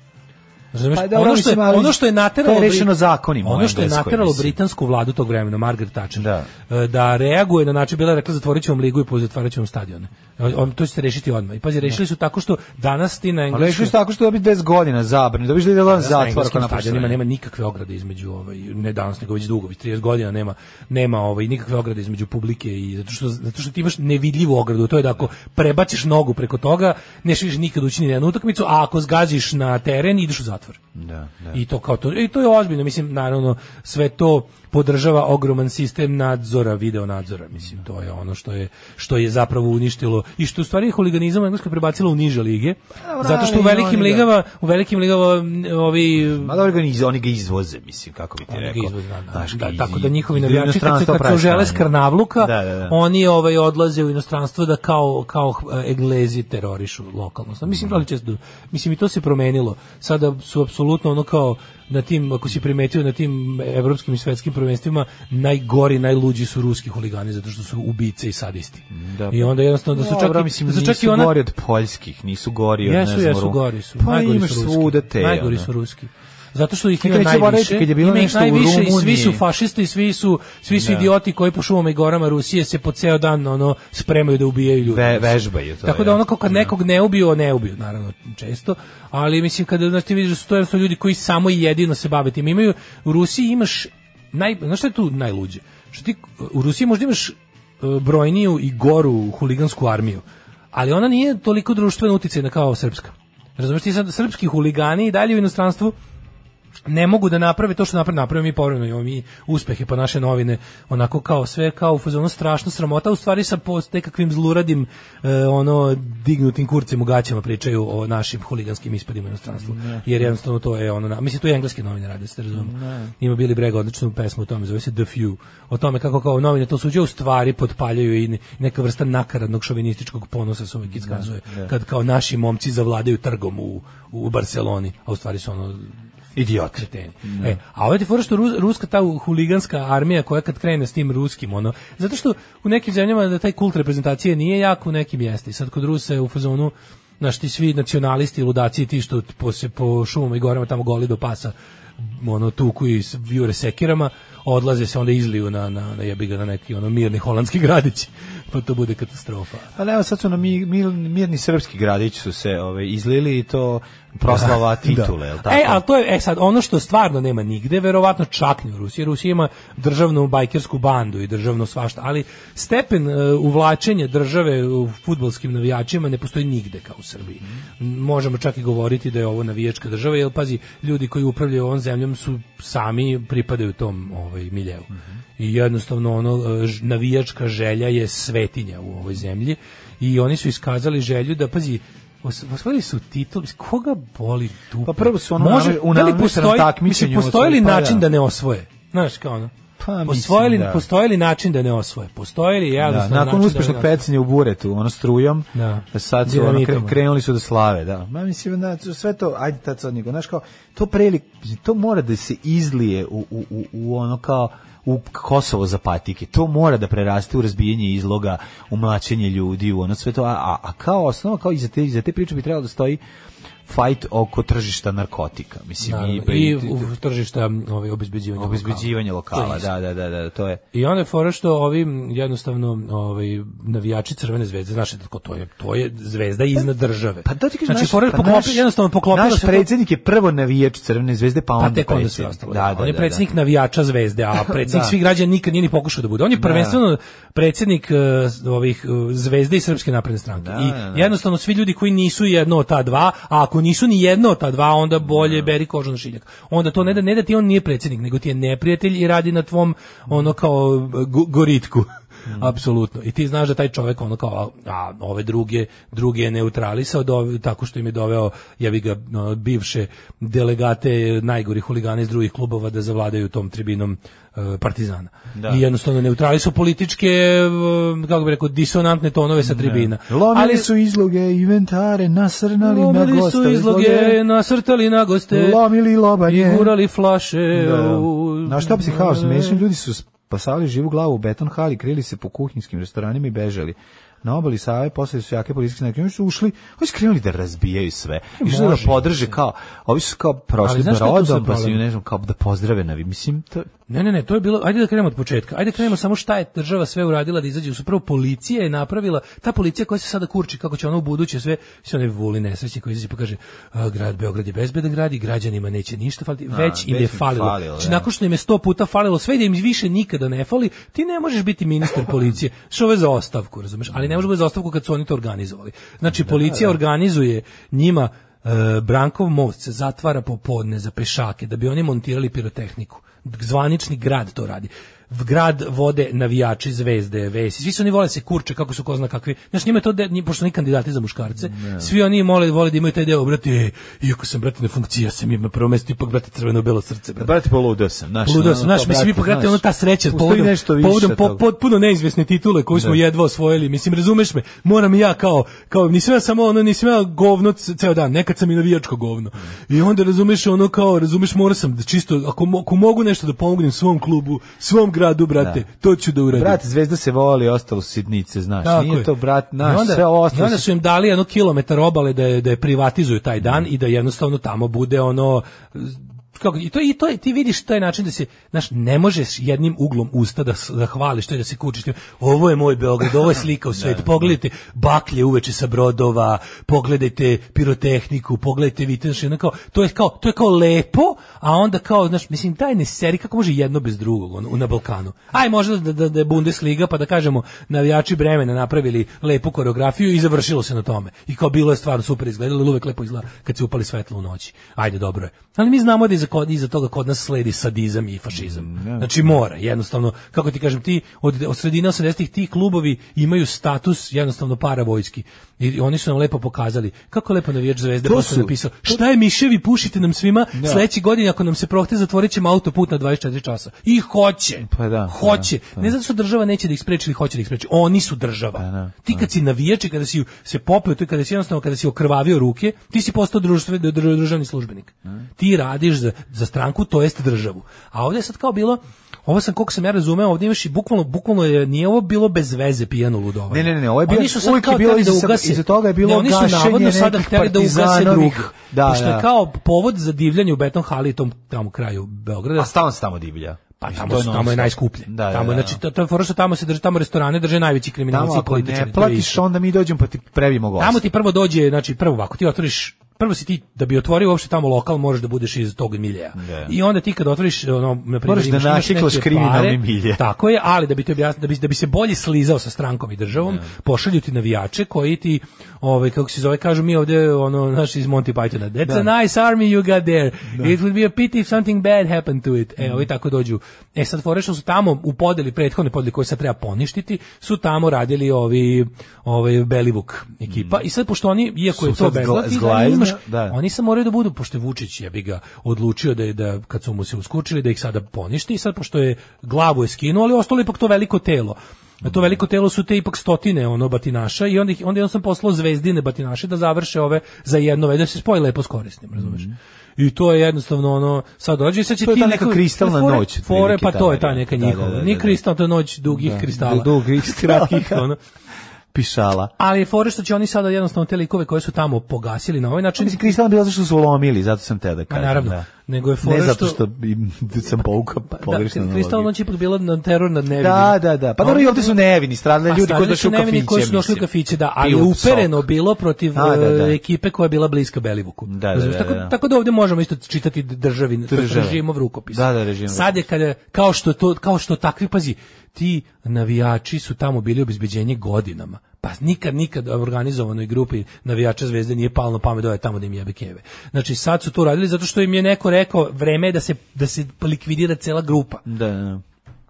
[SPEAKER 6] Razumeš?
[SPEAKER 7] Pa dobro,
[SPEAKER 6] ono što je,
[SPEAKER 7] mislim, ali
[SPEAKER 6] ono što je nateralo
[SPEAKER 7] to je rešeno
[SPEAKER 6] Brit-
[SPEAKER 7] zakonima u
[SPEAKER 6] Ono što je
[SPEAKER 7] Engleskoj,
[SPEAKER 6] nateralo
[SPEAKER 7] mislim.
[SPEAKER 6] britansku vladu tog vremena Margaret Thatcher da, da reaguje na način bila je rekla zatvorićemo ligu i pozatvaraćemo stadione. E, On to će se rešiti odmah. I pazi, rešili su tako što danas ti na
[SPEAKER 7] Ali
[SPEAKER 6] engleskom
[SPEAKER 7] Pa rešili su tako što dobiš 10 godina zabrani, dobiš da jedan zatvor ako
[SPEAKER 6] na
[SPEAKER 7] napuštaš.
[SPEAKER 6] stadionima nema nikakve ograde između ovaj ne danas nego već dugo, već 30 godina nema nema ovaj nikakve ograde između publike i zato što zato što ti imaš nevidljivu ogradu, to je da ako prebaciš nogu preko toga, nećeš više nikad ući ni na jednu utakmicu, a ako zgaziš na teren ideš u zatvor.
[SPEAKER 7] Da, da.
[SPEAKER 6] I to kao to i to je ozbiljno, mislim naravno sve to podržava ogroman sistem nadzora, video nadzora, mislim to je ono što je što je zapravo uništilo i što je u stvari huliganizam engleska prebacilo u niže lige.
[SPEAKER 7] Dobro,
[SPEAKER 6] Zato što u
[SPEAKER 7] ali oni
[SPEAKER 6] velikim
[SPEAKER 7] ga-
[SPEAKER 6] ligama, Pa, u velikim ligama m, ovi
[SPEAKER 7] Ma dobro, oni ga- oni ga izvoze, mislim, kako bi ti
[SPEAKER 6] Oni ga
[SPEAKER 7] rekao.
[SPEAKER 6] izvoze, da, da.
[SPEAKER 7] Znaš,
[SPEAKER 6] Da,
[SPEAKER 7] i-
[SPEAKER 6] tako da njihovi
[SPEAKER 7] i-
[SPEAKER 6] navijači kad se
[SPEAKER 7] inostranstvo
[SPEAKER 6] kad se
[SPEAKER 7] pravi
[SPEAKER 6] žele
[SPEAKER 7] stanje.
[SPEAKER 6] skrnavluka,
[SPEAKER 7] Da, da, da.
[SPEAKER 6] oni ovaj odlaze u inostranstvo da kao kao eh, Englezi terorišu lokalno. Sad,
[SPEAKER 7] Mhm.
[SPEAKER 6] Mislim ali često mislim i to se promenilo. Sada su apsolutno ono kao na tim ako si primetio na tim evropskim i svetskim prvenstvima najgori, najluđi su ruski huligani zato što su ubice i sadisti.
[SPEAKER 7] Da.
[SPEAKER 6] I onda jednostavno da su čak
[SPEAKER 7] Dobro,
[SPEAKER 6] i-
[SPEAKER 7] mislim,
[SPEAKER 6] da su čak i
[SPEAKER 7] nisu
[SPEAKER 6] ona
[SPEAKER 7] gori od poljskih, nisu gori od,
[SPEAKER 6] Jesu,
[SPEAKER 7] ne znam,
[SPEAKER 6] jesu,
[SPEAKER 7] Ru-
[SPEAKER 6] gori su.
[SPEAKER 7] Pa
[SPEAKER 6] najgori
[SPEAKER 7] imaš
[SPEAKER 6] su ruski.
[SPEAKER 7] svuda te.
[SPEAKER 6] Najgori
[SPEAKER 7] ono.
[SPEAKER 6] su ruski. Zato što ih
[SPEAKER 7] Nikad
[SPEAKER 6] ima
[SPEAKER 7] neću
[SPEAKER 6] najviše.
[SPEAKER 7] zaboraviti kad je bilo
[SPEAKER 6] ima ih
[SPEAKER 7] nešto u
[SPEAKER 6] najviše i svi su
[SPEAKER 7] Rumuniji.
[SPEAKER 6] fašisti, svi su, svi su
[SPEAKER 7] Da.
[SPEAKER 6] idioti koji po šumama i gorama Rusije se po ceo dan ono, spremaju da ubijaju ljudi.
[SPEAKER 7] Ve- vežbaju to,
[SPEAKER 6] Tako da
[SPEAKER 7] ja.
[SPEAKER 6] ono kao kad nekog ne ubiju, ne ubiju, naravno, često. Ali mislim, kada znači, ti vidiš da su to jednostavno ljudi koji samo i jedino se bave tim. Imaju, u Rusiji imaš, naj, znaš šta je tu najluđe? Što ti, u Rusiji možda imaš e, brojniju i goru huligansku armiju, ali ona nije toliko društveno uticajna kao srpska. Razumeš ti sad srpski huligani i dalje u inostranstvu ne mogu da naprave to što naprave, napravimo mi povremeno imamo mi uspehe pa naše novine onako kao sve kao u fazonu strašna sramota u stvari sa po nekakvim zluradim e, ono dignutim kurcem u gaćama pričaju o našim huliganskim ispadima u inostranstvu jer jednostavno to je ono na- mislim tu i engleske novine rade ste razumemo ima Billy Bragg odličnu pesmu o tome zove se The Few o tome kako kao novine to suđe u stvari potpaljuju i ne- neka vrsta nakaradnog šovinističkog ponosa se uvijek iskazuje kad kao naši momci zavladaju trgom u, u Barceloni a u stvari su ono
[SPEAKER 7] Idioti.
[SPEAKER 6] kreteni. E, a ovo je ti fora što rus- ruska ta huliganska armija koja kad krene s tim ruskim, ono, zato što u nekim zemljama da taj kult reprezentacije nije jak, u nekim jeste. I sad kod Rusa je u fazonu znaš, ti svi nacionalisti, ludaci, ti što po, se po šumama i gorama tamo goli do pasa ono tuku i s- jure sekirama, odlaze se onda izliju na, na, na jebi ga na neki ono mirni holandski gradić, pa to bude katastrofa.
[SPEAKER 7] Pa ne, evo, sad su na mi, mi- mirni srpski gradić su se
[SPEAKER 6] ovaj,
[SPEAKER 7] ove, izlili i to proslava titule, jel tako?
[SPEAKER 6] E, ali to je, e sad, ono što stvarno nema nigde, verovatno čak ni u Rusiji. Rusija ima državnu bajkersku bandu i državno svašta, ali stepen e, uvlačenja države u futbolskim navijačima ne postoji nigde kao u Srbiji. M, Možemo čak i govoriti da je ovo navijačka država, jer pazi, ljudi koji upravljaju ovom zemljom su sami pripadaju tom ovaj, miljeu. I jednostavno ono, e, ž- navijačka želja je svetinja u ovoj zemlji i oni su iskazali želju da, pazi, Os- Osvojili su titul, mislim, koga boli dupe?
[SPEAKER 7] Pa prvo su ono name- u
[SPEAKER 6] da li
[SPEAKER 7] namešanom
[SPEAKER 6] postoji,
[SPEAKER 7] takmičenju
[SPEAKER 6] mislim, postoji li
[SPEAKER 7] osvojili, pa
[SPEAKER 6] način da
[SPEAKER 7] da.
[SPEAKER 6] ne osvoje? Znaš, kao ono.
[SPEAKER 7] Pa,
[SPEAKER 6] Postoji li,
[SPEAKER 7] mislim, da.
[SPEAKER 6] postoji li način da ne osvoje? Postoji li
[SPEAKER 7] Da,
[SPEAKER 6] jednostavno
[SPEAKER 7] nakon
[SPEAKER 6] način
[SPEAKER 7] uspešnog
[SPEAKER 6] znači da ne
[SPEAKER 7] pecanja u buretu, ono strujom,
[SPEAKER 6] Da.
[SPEAKER 7] sad su ono,
[SPEAKER 6] Dinamitom.
[SPEAKER 7] kre- krenuli su da slave, da. Ma mislim, da, su sve to, ajde tad sad niko, znaš kao, to prelik, to mora da se izlije u, u, u, u ono kao, u Kosovo za patike. To mora da preraste u razbijanje izloga, u mlačenje ljudi, u ono sve to. A, a, a kao osnova, kao iza te, iza te priče bi trebalo da stoji fajt oko tržišta narkotika. Mislim,
[SPEAKER 6] Naravno,
[SPEAKER 7] i,
[SPEAKER 6] i
[SPEAKER 7] i,
[SPEAKER 6] u tržišta ovaj, obezbeđivanja
[SPEAKER 7] obezbeđivanje lokala.
[SPEAKER 6] To je
[SPEAKER 7] Da, da, da, da, to je.
[SPEAKER 6] I onda je fora što ovi m, jednostavno ovaj navijači Crvene zvezde, znaš da to je to je zvezda iznad države.
[SPEAKER 7] Pa da ti kažem,
[SPEAKER 6] znači
[SPEAKER 7] naš-
[SPEAKER 6] fora
[SPEAKER 7] pa
[SPEAKER 6] poklopi,
[SPEAKER 7] naš-
[SPEAKER 6] jednostavno poklopila
[SPEAKER 7] Naš
[SPEAKER 6] se to-
[SPEAKER 7] predsjednik je prvo navijač Crvene zvezde, pa
[SPEAKER 6] pa
[SPEAKER 7] onda
[SPEAKER 6] tek onda sve
[SPEAKER 7] predsjednik.
[SPEAKER 6] ostalo.
[SPEAKER 7] Da, da,
[SPEAKER 6] on je
[SPEAKER 7] da,
[SPEAKER 6] predsjednik
[SPEAKER 7] da.
[SPEAKER 6] navijača Zvezde,
[SPEAKER 7] *laughs*
[SPEAKER 6] a predsjednik
[SPEAKER 7] Da.
[SPEAKER 6] svih građana nikad nije ni pokušao da bude. On je
[SPEAKER 7] Da.
[SPEAKER 6] prvenstveno predsjednik eh, s- ovih eh, Zvezde i Srpske napredne stranke.
[SPEAKER 7] Da,
[SPEAKER 6] I
[SPEAKER 7] da, da.
[SPEAKER 6] jednostavno svi ljudi koji nisu jedno od ta dva, a ako nisu ni jedno od ta dva, onda bolje beri kožu na šiljak. Onda to ne da ne da ti on nije predsjednik, nego ti je neprijatelj i radi na tvom ono kao eh, go- goritku.
[SPEAKER 7] Mm.
[SPEAKER 6] Apsolutno. I ti znaš da taj čovjek ono kao a, a, ove druge druge je neutralisao do, tako što im je doveo jebi ga no, bivše delegate najgori huligani iz drugih klubova da zavladaju tom tribinom eh, Partizana.
[SPEAKER 7] Da.
[SPEAKER 6] I jednostavno neutralisao političke eh, kako bi rekao disonantne tonove sa tribina.
[SPEAKER 7] Lomili su izloge, inventare, nasrnali na
[SPEAKER 6] Lomili
[SPEAKER 7] gosta.
[SPEAKER 6] su izloge, nasrtali na goste,
[SPEAKER 7] lomili lobanje.
[SPEAKER 6] i gurali flaše.
[SPEAKER 7] Da.
[SPEAKER 6] u-
[SPEAKER 7] Na šta bi se haos smešni, ljudi su spasali živu glavu u beton hali, krili se po kuhinjskim restoranima i bežali. Na obali Save poslije su jake policijske snage, oni su ušli, oni su krenuli da razbijaju sve. I što da
[SPEAKER 6] može,
[SPEAKER 7] podrže kao, ovi su kao prošli
[SPEAKER 6] Ali znaš šta je tu sad
[SPEAKER 7] brodom, pa su
[SPEAKER 6] problem?
[SPEAKER 7] ne znam, kao da pozdrave navi. Mislim, to,
[SPEAKER 6] Ne, ne, ne, to je bilo, ajde da krenemo od početka. Ajde da krenemo samo šta je država sve uradila da izađe. Su prvo policija je napravila, ta policija koja se sada kurči kako će ona u buduće sve, sve one vuli nesreće koji izađe pa kaže "A, grad Beograd je bezbedan grad i građanima neće ništa faliti,
[SPEAKER 7] A,
[SPEAKER 6] već im
[SPEAKER 7] već
[SPEAKER 6] je
[SPEAKER 7] im
[SPEAKER 6] falilo.
[SPEAKER 7] falilo,
[SPEAKER 6] Znači,
[SPEAKER 7] da.
[SPEAKER 6] nakon što im je sto puta falilo, sve i da im više nikada ne fali, ti ne možeš biti ministar policije. Što ovo je za ostavku, razumeš? Ali ne možeš biti za ostavku kad su oni to organizovali. Znači, policija organizuje njima e, Brankov most se zatvara popodne za pešake da bi oni montirali pirotehniku. Zvanični grad to radi. V grad vode navijači zvezde, vesi. Svi su oni vole se kurče kako su ko zna kakvi. Znaš, njima je to, de, nji- pošto su oni kandidati za muškarce, svi oni mole, vole da imaju taj deo, "E, brate, iako sam, brate, na funkciji, ja sam ima prvo mesto, ipak, brate, crveno-belo srce, brate.
[SPEAKER 7] Brate, E, poludeo sam, znaš.
[SPEAKER 6] Ludo
[SPEAKER 7] ono,
[SPEAKER 6] sam, znaš,
[SPEAKER 7] kao,
[SPEAKER 6] mislim,
[SPEAKER 7] brate,
[SPEAKER 6] ipak, brate,
[SPEAKER 7] znaš,
[SPEAKER 6] ono ta sreća
[SPEAKER 7] postoji
[SPEAKER 6] povodom,
[SPEAKER 7] nešto više
[SPEAKER 6] povodom po,
[SPEAKER 7] toga.
[SPEAKER 6] potpuno neizvesne titule koju smo
[SPEAKER 7] Da.
[SPEAKER 6] jedva osvojili, mislim, razumeš me, moram i ja kao, kao nisam ja samo, ono, nisam ja govno c- ceo dan, nekad sam i navijačko govno. I onda, razumeš, ono, kao, razumeš, moram sam da čisto, ako, mo- ako mogu nešto da pomognem svom klubu, svom gradu, brate,
[SPEAKER 7] Da.
[SPEAKER 6] to ću da uradim.
[SPEAKER 7] Brat, zvezda se voli, ostalo su sitnice, znaš.
[SPEAKER 6] Tako
[SPEAKER 7] Nije
[SPEAKER 6] je.
[SPEAKER 7] to, brat,
[SPEAKER 6] I
[SPEAKER 7] znaš,
[SPEAKER 6] onda,
[SPEAKER 7] sve
[SPEAKER 6] i
[SPEAKER 7] ostalo
[SPEAKER 6] onda su im dali jedno kilometar obale da je, da je privatizuju taj dan i da jednostavno tamo bude ono kako, i to i to je- ti vidiš taj način da se znaš ne možeš jednim uglom usta da, s- da hvališ to i da se kučiš tim, ovo je moj Beograd ovo je slika
[SPEAKER 7] *laughs*
[SPEAKER 6] u svetu pogledajte baklje uveče sa brodova pogledajte pirotehniku pogledajte viteški kao to je kao to je kao lepo a onda kao znaš mislim taj ne seri kako može jedno bez drugog ono, na Balkanu aj možda da, da, da je Bundesliga pa da kažemo navijači Bremena napravili lepu koreografiju i završilo se na tome i kao bilo je stvarno super izgledalo ali uvek lepo izgleda kad se upali svetlo u noći ajde dobro je ali mi znamo da iza, kod, iza toga kod nas sledi sadizam i fašizam
[SPEAKER 7] Mm,
[SPEAKER 6] znači mora jednostavno kako ti kažem ti od, od sredine 80-ih ti klubovi imaju status jednostavno paravojski i oni su nam lepo pokazali kako je lepo navijač Zvezde
[SPEAKER 7] To
[SPEAKER 6] posle
[SPEAKER 7] su-
[SPEAKER 6] napisao šta je miševi pušite nam svima sledeće godine ako nam se prohte zatvorićemo autoput na 24 časa i hoće
[SPEAKER 7] Pa da,
[SPEAKER 6] hoće.
[SPEAKER 7] da, Pa da.
[SPEAKER 6] Ne zato što država neće da ih spreči ili hoće da ih spreči. Oni su država. ti kad si navijač i kada si se popeo, to je kada si jednostavno kada si okrvavio ruke, ti si postao društve, dr- dr- državni službenik. Ti radiš za, za stranku, to jest državu. A ovdje je sad kao bilo Ovo sam, koliko sam ja razumeo, ovdje imaš i bukvalno, bukvalno je, nije ovo bilo bez veze pijano ludovanje.
[SPEAKER 7] Ne, ne, ne, ovo je bilo-
[SPEAKER 6] Oni su Pa sad
[SPEAKER 7] uvijek je
[SPEAKER 6] kao
[SPEAKER 7] bilo
[SPEAKER 6] hteli
[SPEAKER 7] iza-
[SPEAKER 6] ugase-
[SPEAKER 7] iza toga je bilo
[SPEAKER 6] ne, oni su
[SPEAKER 7] gašenje
[SPEAKER 6] navodno sada
[SPEAKER 7] nekih
[SPEAKER 6] hteli da ugase
[SPEAKER 7] partizanovih-
[SPEAKER 6] druge.
[SPEAKER 7] Da,
[SPEAKER 6] pošto je
[SPEAKER 7] da.
[SPEAKER 6] kao povod za divljanje u beton hali i tom tamo kraju Beograda.
[SPEAKER 7] A stalno se tamo divlja.
[SPEAKER 6] Pa
[SPEAKER 7] Mislim,
[SPEAKER 6] tamo,
[SPEAKER 7] to
[SPEAKER 6] je tamo je
[SPEAKER 7] non-stop.
[SPEAKER 6] najskuplje.
[SPEAKER 7] Da, da,
[SPEAKER 6] tamo,
[SPEAKER 7] da.
[SPEAKER 6] Znači, to, to je fora što tamo se drže, tamo restorane drže najveći kriminalci
[SPEAKER 7] Tamo
[SPEAKER 6] i
[SPEAKER 7] ako
[SPEAKER 6] političari.
[SPEAKER 7] ne
[SPEAKER 6] to je isto.
[SPEAKER 7] platiš, onda mi dođemo pa ti previmo gost.
[SPEAKER 6] Tamo ti prvo dođe, znači prvo ovako, ti otvoriš prvo si ti da bi otvorio uopšte tamo lokal možeš da budeš iz tog miljeja.
[SPEAKER 7] Da.
[SPEAKER 6] I onda ti kad otvoriš ono na primjer
[SPEAKER 7] Moraš da
[SPEAKER 6] imaš- imaš
[SPEAKER 7] nasiklaš
[SPEAKER 6] neke
[SPEAKER 7] kriminalni
[SPEAKER 6] pare,
[SPEAKER 7] milje.
[SPEAKER 6] Tako je, ali da bi ti objasnio da bi da bi se bolje slizao sa strankom i državom, pošalju ti navijače koji ti ovaj kako se zove kažu mi ovdje ono naš iz Monty Pythona. That's
[SPEAKER 7] Da.
[SPEAKER 6] a nice army you got there. It would be a pity if something bad happened to it. E, ovi tako dođu. E sad fore što su tamo u podeli prethodne podeli koje sad treba poništiti, su tamo radili ovi ovaj Belivuk ekipa. I sad pošto oni iako je
[SPEAKER 7] Mm. Su
[SPEAKER 6] to
[SPEAKER 7] sad zgla-
[SPEAKER 6] bezlatni,
[SPEAKER 7] zglajzna,
[SPEAKER 6] imaš,
[SPEAKER 7] da.
[SPEAKER 6] oni sad moraju da budu, pošto je Vučić je bi ga odlučio da, je, da kad su mu se uskučili da ih sada poništi, sad pošto je glavu je skinuo, ali ostalo je ipak to veliko telo. Na to veliko telo su te ipak stotine ono batinaša i onda ih- onda sam poslao zvezdine batinaše da završe ove za jedno već da se spoje lepo s korisnim, razumeš? I to je jednostavno ono sad dođe i sad će
[SPEAKER 7] To je
[SPEAKER 6] ti
[SPEAKER 7] ta neka kristalna
[SPEAKER 6] fore-
[SPEAKER 7] noć,
[SPEAKER 6] Fore,
[SPEAKER 7] otprilike,
[SPEAKER 6] pa
[SPEAKER 7] ta
[SPEAKER 6] to je ta
[SPEAKER 7] varijanta.
[SPEAKER 6] neka
[SPEAKER 7] Da,
[SPEAKER 6] njihova.
[SPEAKER 7] da, da, da,
[SPEAKER 6] Ni
[SPEAKER 7] da.
[SPEAKER 6] kristalna, to je noć dugih kristala.
[SPEAKER 7] Dugih kristala,
[SPEAKER 6] Kratkih,
[SPEAKER 7] da.
[SPEAKER 6] ono.
[SPEAKER 7] Pišala.
[SPEAKER 6] *laughs* Ali je fore što će oni sada jednostavno te likove koje su tamo pogasili na ovaj način
[SPEAKER 7] Mislim, kristalno bilo zašto su lomili, zato sam te da kažem.
[SPEAKER 6] Pa naravno.
[SPEAKER 7] da.
[SPEAKER 6] Nego je fora
[SPEAKER 7] Ne zato
[SPEAKER 6] što- Pa
[SPEAKER 7] što im- *laughs* sam pouka pogrešno
[SPEAKER 6] Da, kristalna noć je ipak bila na teror nad nevinim.
[SPEAKER 7] Da, da, da. Pa dobro, i ovde su nevini, stradali
[SPEAKER 6] A
[SPEAKER 7] ljudi koji su
[SPEAKER 6] Pa stradali
[SPEAKER 7] došli u
[SPEAKER 6] nevini
[SPEAKER 7] kafiće,
[SPEAKER 6] koji su došli u
[SPEAKER 7] mislim.
[SPEAKER 6] kafiće, da, ali
[SPEAKER 7] Piju
[SPEAKER 6] je
[SPEAKER 7] sok.
[SPEAKER 6] upereno bilo protiv
[SPEAKER 7] A, da, da.
[SPEAKER 6] e, ekipe koja je bila bliska Belivuku.
[SPEAKER 7] da,
[SPEAKER 6] Razumeš?
[SPEAKER 7] da,
[SPEAKER 6] tako,
[SPEAKER 7] da.
[SPEAKER 6] tako da ovde možemo isto čitati državi,
[SPEAKER 7] Države.
[SPEAKER 6] režimov rukopis.
[SPEAKER 7] Da, da, režimov
[SPEAKER 6] Sad je kada, kao što, to, kao što takvi, pazi, ti navijači su tamo bili obezbeđenje godinama. Pa nikad, nikad organizovanoj grupi navijača zvezde nije palno pamet da je tamo da im jebe keve. Znači sad su to radili zato što im je neko rekao vreme je da se, da se likvidira cela grupa.
[SPEAKER 7] Da, da, da.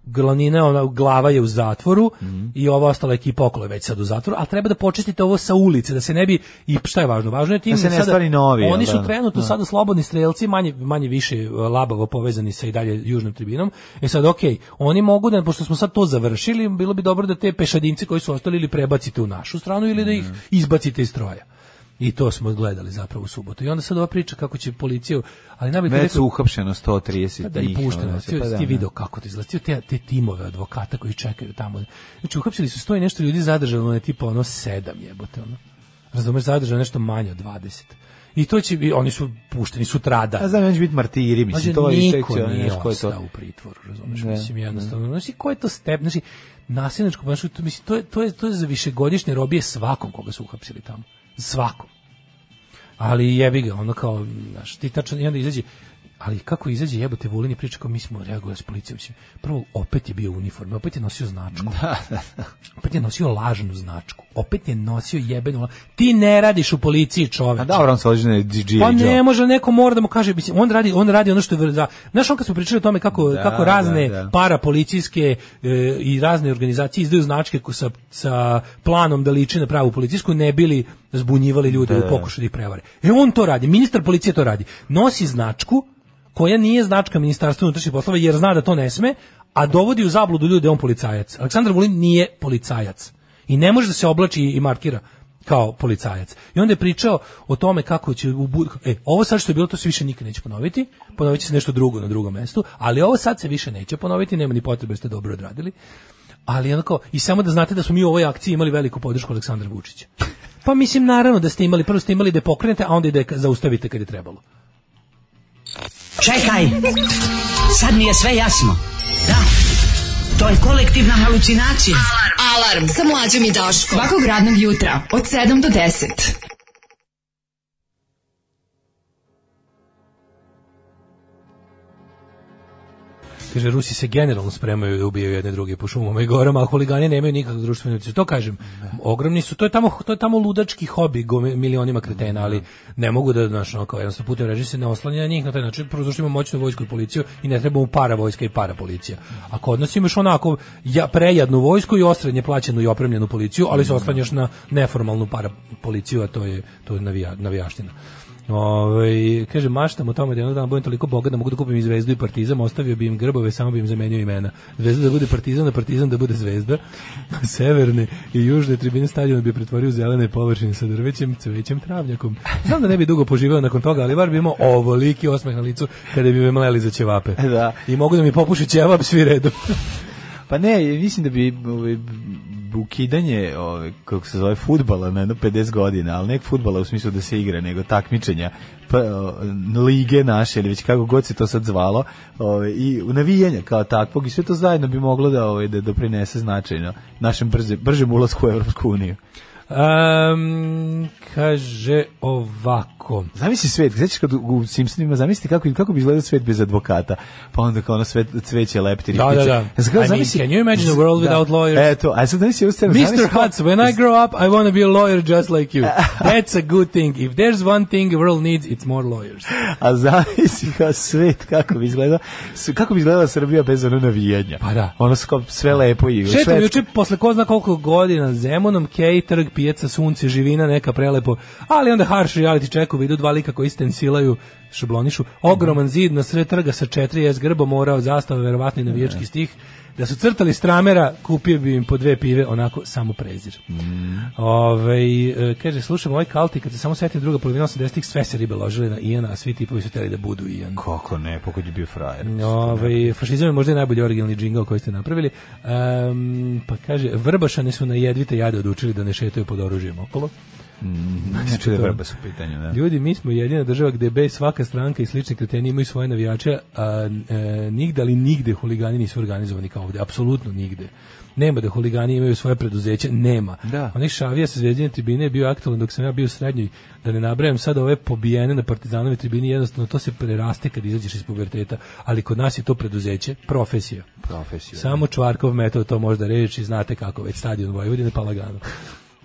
[SPEAKER 6] Glanina, ona glava je u zatvoru
[SPEAKER 7] Mhm.
[SPEAKER 6] i ova ostala ekipa okolo je već sad u zatvoru, ali treba da počistite ovo sa ulice, da se ne bi, i šta je važno, važno je tim
[SPEAKER 7] Da se ne
[SPEAKER 6] sada-
[SPEAKER 7] stvari novi,
[SPEAKER 6] Oni
[SPEAKER 7] jel
[SPEAKER 6] su
[SPEAKER 7] da?
[SPEAKER 6] trenutno
[SPEAKER 7] Da.
[SPEAKER 6] sada slobodni strelci, manje, manje više e, labavo povezani sa i dalje južnom tribinom. E sad, ok, oni mogu da, pošto smo sad to završili, bilo bi dobro da te pešadinci koji su ostali ili prebacite u našu stranu ili da ih
[SPEAKER 7] Mhm.
[SPEAKER 6] izbacite iz stroja. I to smo gledali zapravo u subotu. I onda sad ova priča kako će policiju, ali najbolje
[SPEAKER 7] Već su uhapšeno 130
[SPEAKER 6] pa da,
[SPEAKER 7] njih,
[SPEAKER 6] i
[SPEAKER 7] ono,
[SPEAKER 6] pušteno. Ti,
[SPEAKER 7] pa da,
[SPEAKER 6] ti
[SPEAKER 7] da.
[SPEAKER 6] video kako to izgleda. Ti Te, te timove advokata koji čekaju tamo. Znači, uhapsili su sto i nešto ljudi zadržano, je tipa ono sedam jebote, ono. Razumeš, zadržano je nešto manje od 20. I to će, i oni su pušteni sutrada.
[SPEAKER 7] A znam, on će biti martiri, mislim,
[SPEAKER 6] Znači,
[SPEAKER 7] to je
[SPEAKER 6] niko
[SPEAKER 7] tek, ono,
[SPEAKER 6] nije
[SPEAKER 7] znaš, ko je to-
[SPEAKER 6] ostao u pritvoru, razumeš,
[SPEAKER 7] Da,
[SPEAKER 6] mislim, jednostavno, znači, ko je to step, znači, nasilničko ponašanje, to, mislim, to je, to, je, to je za višegodišnje robije svakom koga su uhapsili tamo, svakom, ali jebi ga, ono kao, znaš, ti tačno, i onda izađe, ali kako izađe jebote Vulin i priča kao mi smo reagovali s policijom. Mislim, Prvo, opet je bio u uniformi, opet je nosio značku.
[SPEAKER 7] *laughs*
[SPEAKER 6] Opet je nosio lažnu značku. Opet je nosio jebenu... la- Ti ne radiš u policiji, čoveče.
[SPEAKER 7] A dobro, on se odlično je G.I.
[SPEAKER 6] Pa
[SPEAKER 7] Joe.
[SPEAKER 6] ne može, neko mora da mu kaže, mislim, on radi, on radi ono što je vr- da. Znaš, on kad smo pričali o tome kako,
[SPEAKER 7] Da,
[SPEAKER 6] kako razne
[SPEAKER 7] da, da.
[SPEAKER 6] parapolicijske e, i razne organizacije izdaju značke ko sa, sa planom da liče na pravu policijsku, ne bili zbunjivali ljude
[SPEAKER 7] Da.
[SPEAKER 6] u pokušaju da ih prevare. E on to radi, ministar policije to radi. Nosi značku koja nije značka ministarstva unutrašnjih poslova jer zna da to ne sme, a dovodi u zabludu ljude da je on policajac. Aleksandar Vulin nije policajac i ne može da se oblači i markira kao policajac. I onda je pričao o tome kako će u bud- e, ovo sad što je bilo to se više nikad neće ponoviti. Ponovit će se nešto drugo na drugom mestu, ali ovo sad se više neće ponoviti, nema ni potrebe, ste dobro odradili. Ali onako i samo da znate da smo mi u ovoj akciji imali veliku podršku Aleksandra Vučića. Pa mislim naravno da ste imali, prvo ste imali da je pokrenete, a onda i da je zaustavite kad je trebalo.
[SPEAKER 12] Čekaj, sad mi je sve jasno. Da, to je kolektivna halucinacija.
[SPEAKER 10] Alarm sa mlađom i Daškom. Svakog radnog jutra od 7 do 10.
[SPEAKER 6] Kaže, Rusi se generalno spremaju da ubijaju jedne druge po šumama i gorama, a huligani nemaju nikakvu društvenu ulicu. To kažem, ogromni su, to je tamo, to je tamo ludački hobi go, milionima kretena, ali ne mogu da, znaš, ono, kao jednostavno putem reži se ne oslanja na njih, na taj način, prvo zašto imamo moćnu vojsku i policiju i ne treba mu para vojska i para policija. A kod nas imaš onako ja, prejadnu vojsku i osrednje plaćenu i opremljenu policiju, ali se oslanjaš na neformalnu para policiju, a to je, to je navija, navijaština. Ove, Ovaj, kaže, maštam o tome da jednog dana budem toliko bogat da mogu da kupim i zvezdu i partizam, ostavio bi im grbove, samo bi im zamenio imena. Zvezda da bude partizan, a partizan da bude zvezda. *laughs* Severne i južne tribine stadiona bi pretvorio u zelene površine sa drvećem, cvećem, travnjakom. Znam da ne bi dugo poživeo nakon toga, ali bar bi imao ovoliki osmeh na licu kada bi me mleli za ćevape.
[SPEAKER 7] E, Da.
[SPEAKER 6] I mogu da mi popuši ćevap svi redom. *laughs*
[SPEAKER 7] Pa ne, mislim da bi ovaj, b- ukidanje, ovaj, kako se zove, futbala na jedno 50 godina, ali nek futbala u smislu da se igra, nego takmičenja, pa, o, lige naše, ili već kako god se to sad zvalo, ovaj, i navijanja kao takvog, i sve to zajedno bi moglo da, ovaj, da doprinese značajno našem brze, bržem ulasku u Evropsku uniju.
[SPEAKER 6] Ehm, kaže ovako. Kako?
[SPEAKER 7] Zamisli svet, sećaš kad u Simpsonima, zamisli kako, kako bi izgledao svet bez advokata, pa onda kao ono svet, cveće, leptiri,
[SPEAKER 6] Da, da, da.
[SPEAKER 7] Ja sam
[SPEAKER 6] I
[SPEAKER 7] kao,
[SPEAKER 6] mean,
[SPEAKER 7] zamisli,
[SPEAKER 6] can you imagine a world without lawyers?
[SPEAKER 7] Eto, a sad zamisli ovu scenu,
[SPEAKER 6] Mr.
[SPEAKER 7] zamisli kao-
[SPEAKER 6] Hutz, when I grow up, I want to be a lawyer just like you. That's a good thing. If there's one thing the world needs, it's more lawyers.
[SPEAKER 7] A zamisli kao svet kako bi izgledao, s- kako bi izgledala Srbija bez ono navijanja. Pa da. Ono s- kao sve lepo i
[SPEAKER 6] Šetam
[SPEAKER 7] švedsko-
[SPEAKER 6] juče posle ko zna koliko godina Zemunom, Kej, Trg, Pijaca, Sunce, Živina, neka prelepo, ali onda harš reality check u vidu dva lika koji stensilaju, šablonišu, ogroman zid na sred trga sa 4S grbo morao zastava, verovatno i navijački stih, da su crtali stramera, kupio bi im po dve pive, onako samo prezir. Ove, kaže, slušam ovaj kalti, kad se samo setim druga polovina 80-ih, sve se ribe ložile na Iana, a svi tipovi su teli da budu Ian.
[SPEAKER 7] Kako ne, pokoj je bio frajer.
[SPEAKER 6] Ovaj fašizam je možda i najbolji originalni džingao koji ste napravili. Ehm, pa kaže vrbašani su na jedvite jade odučili da ne šetaju pod oružjem okolo.
[SPEAKER 7] Znači da je vrba su u pitanju, da.
[SPEAKER 6] Ljudi, mi smo jedina država gde bez svaka stranka i slični kreteni imaju svoje navijače, a e, nigde ali nigde huligani nisu organizovani kao ovde, apsolutno nigde. Nema da huligani imaju svoje preduzeće, nema. Da. Onih šavija sa zvezdine tribine je bio aktualan dok sam ja bio u srednjoj, da ne nabrajam sad ove pobijene na partizanove tribini, jednostavno to se preraste kad izađeš iz puberteta, ali kod nas je to preduzeće, profesija.
[SPEAKER 7] Profesija.
[SPEAKER 6] Samo Čvarkov metod to možda reći, znate kako, već stadion Vojvodine pa lagano.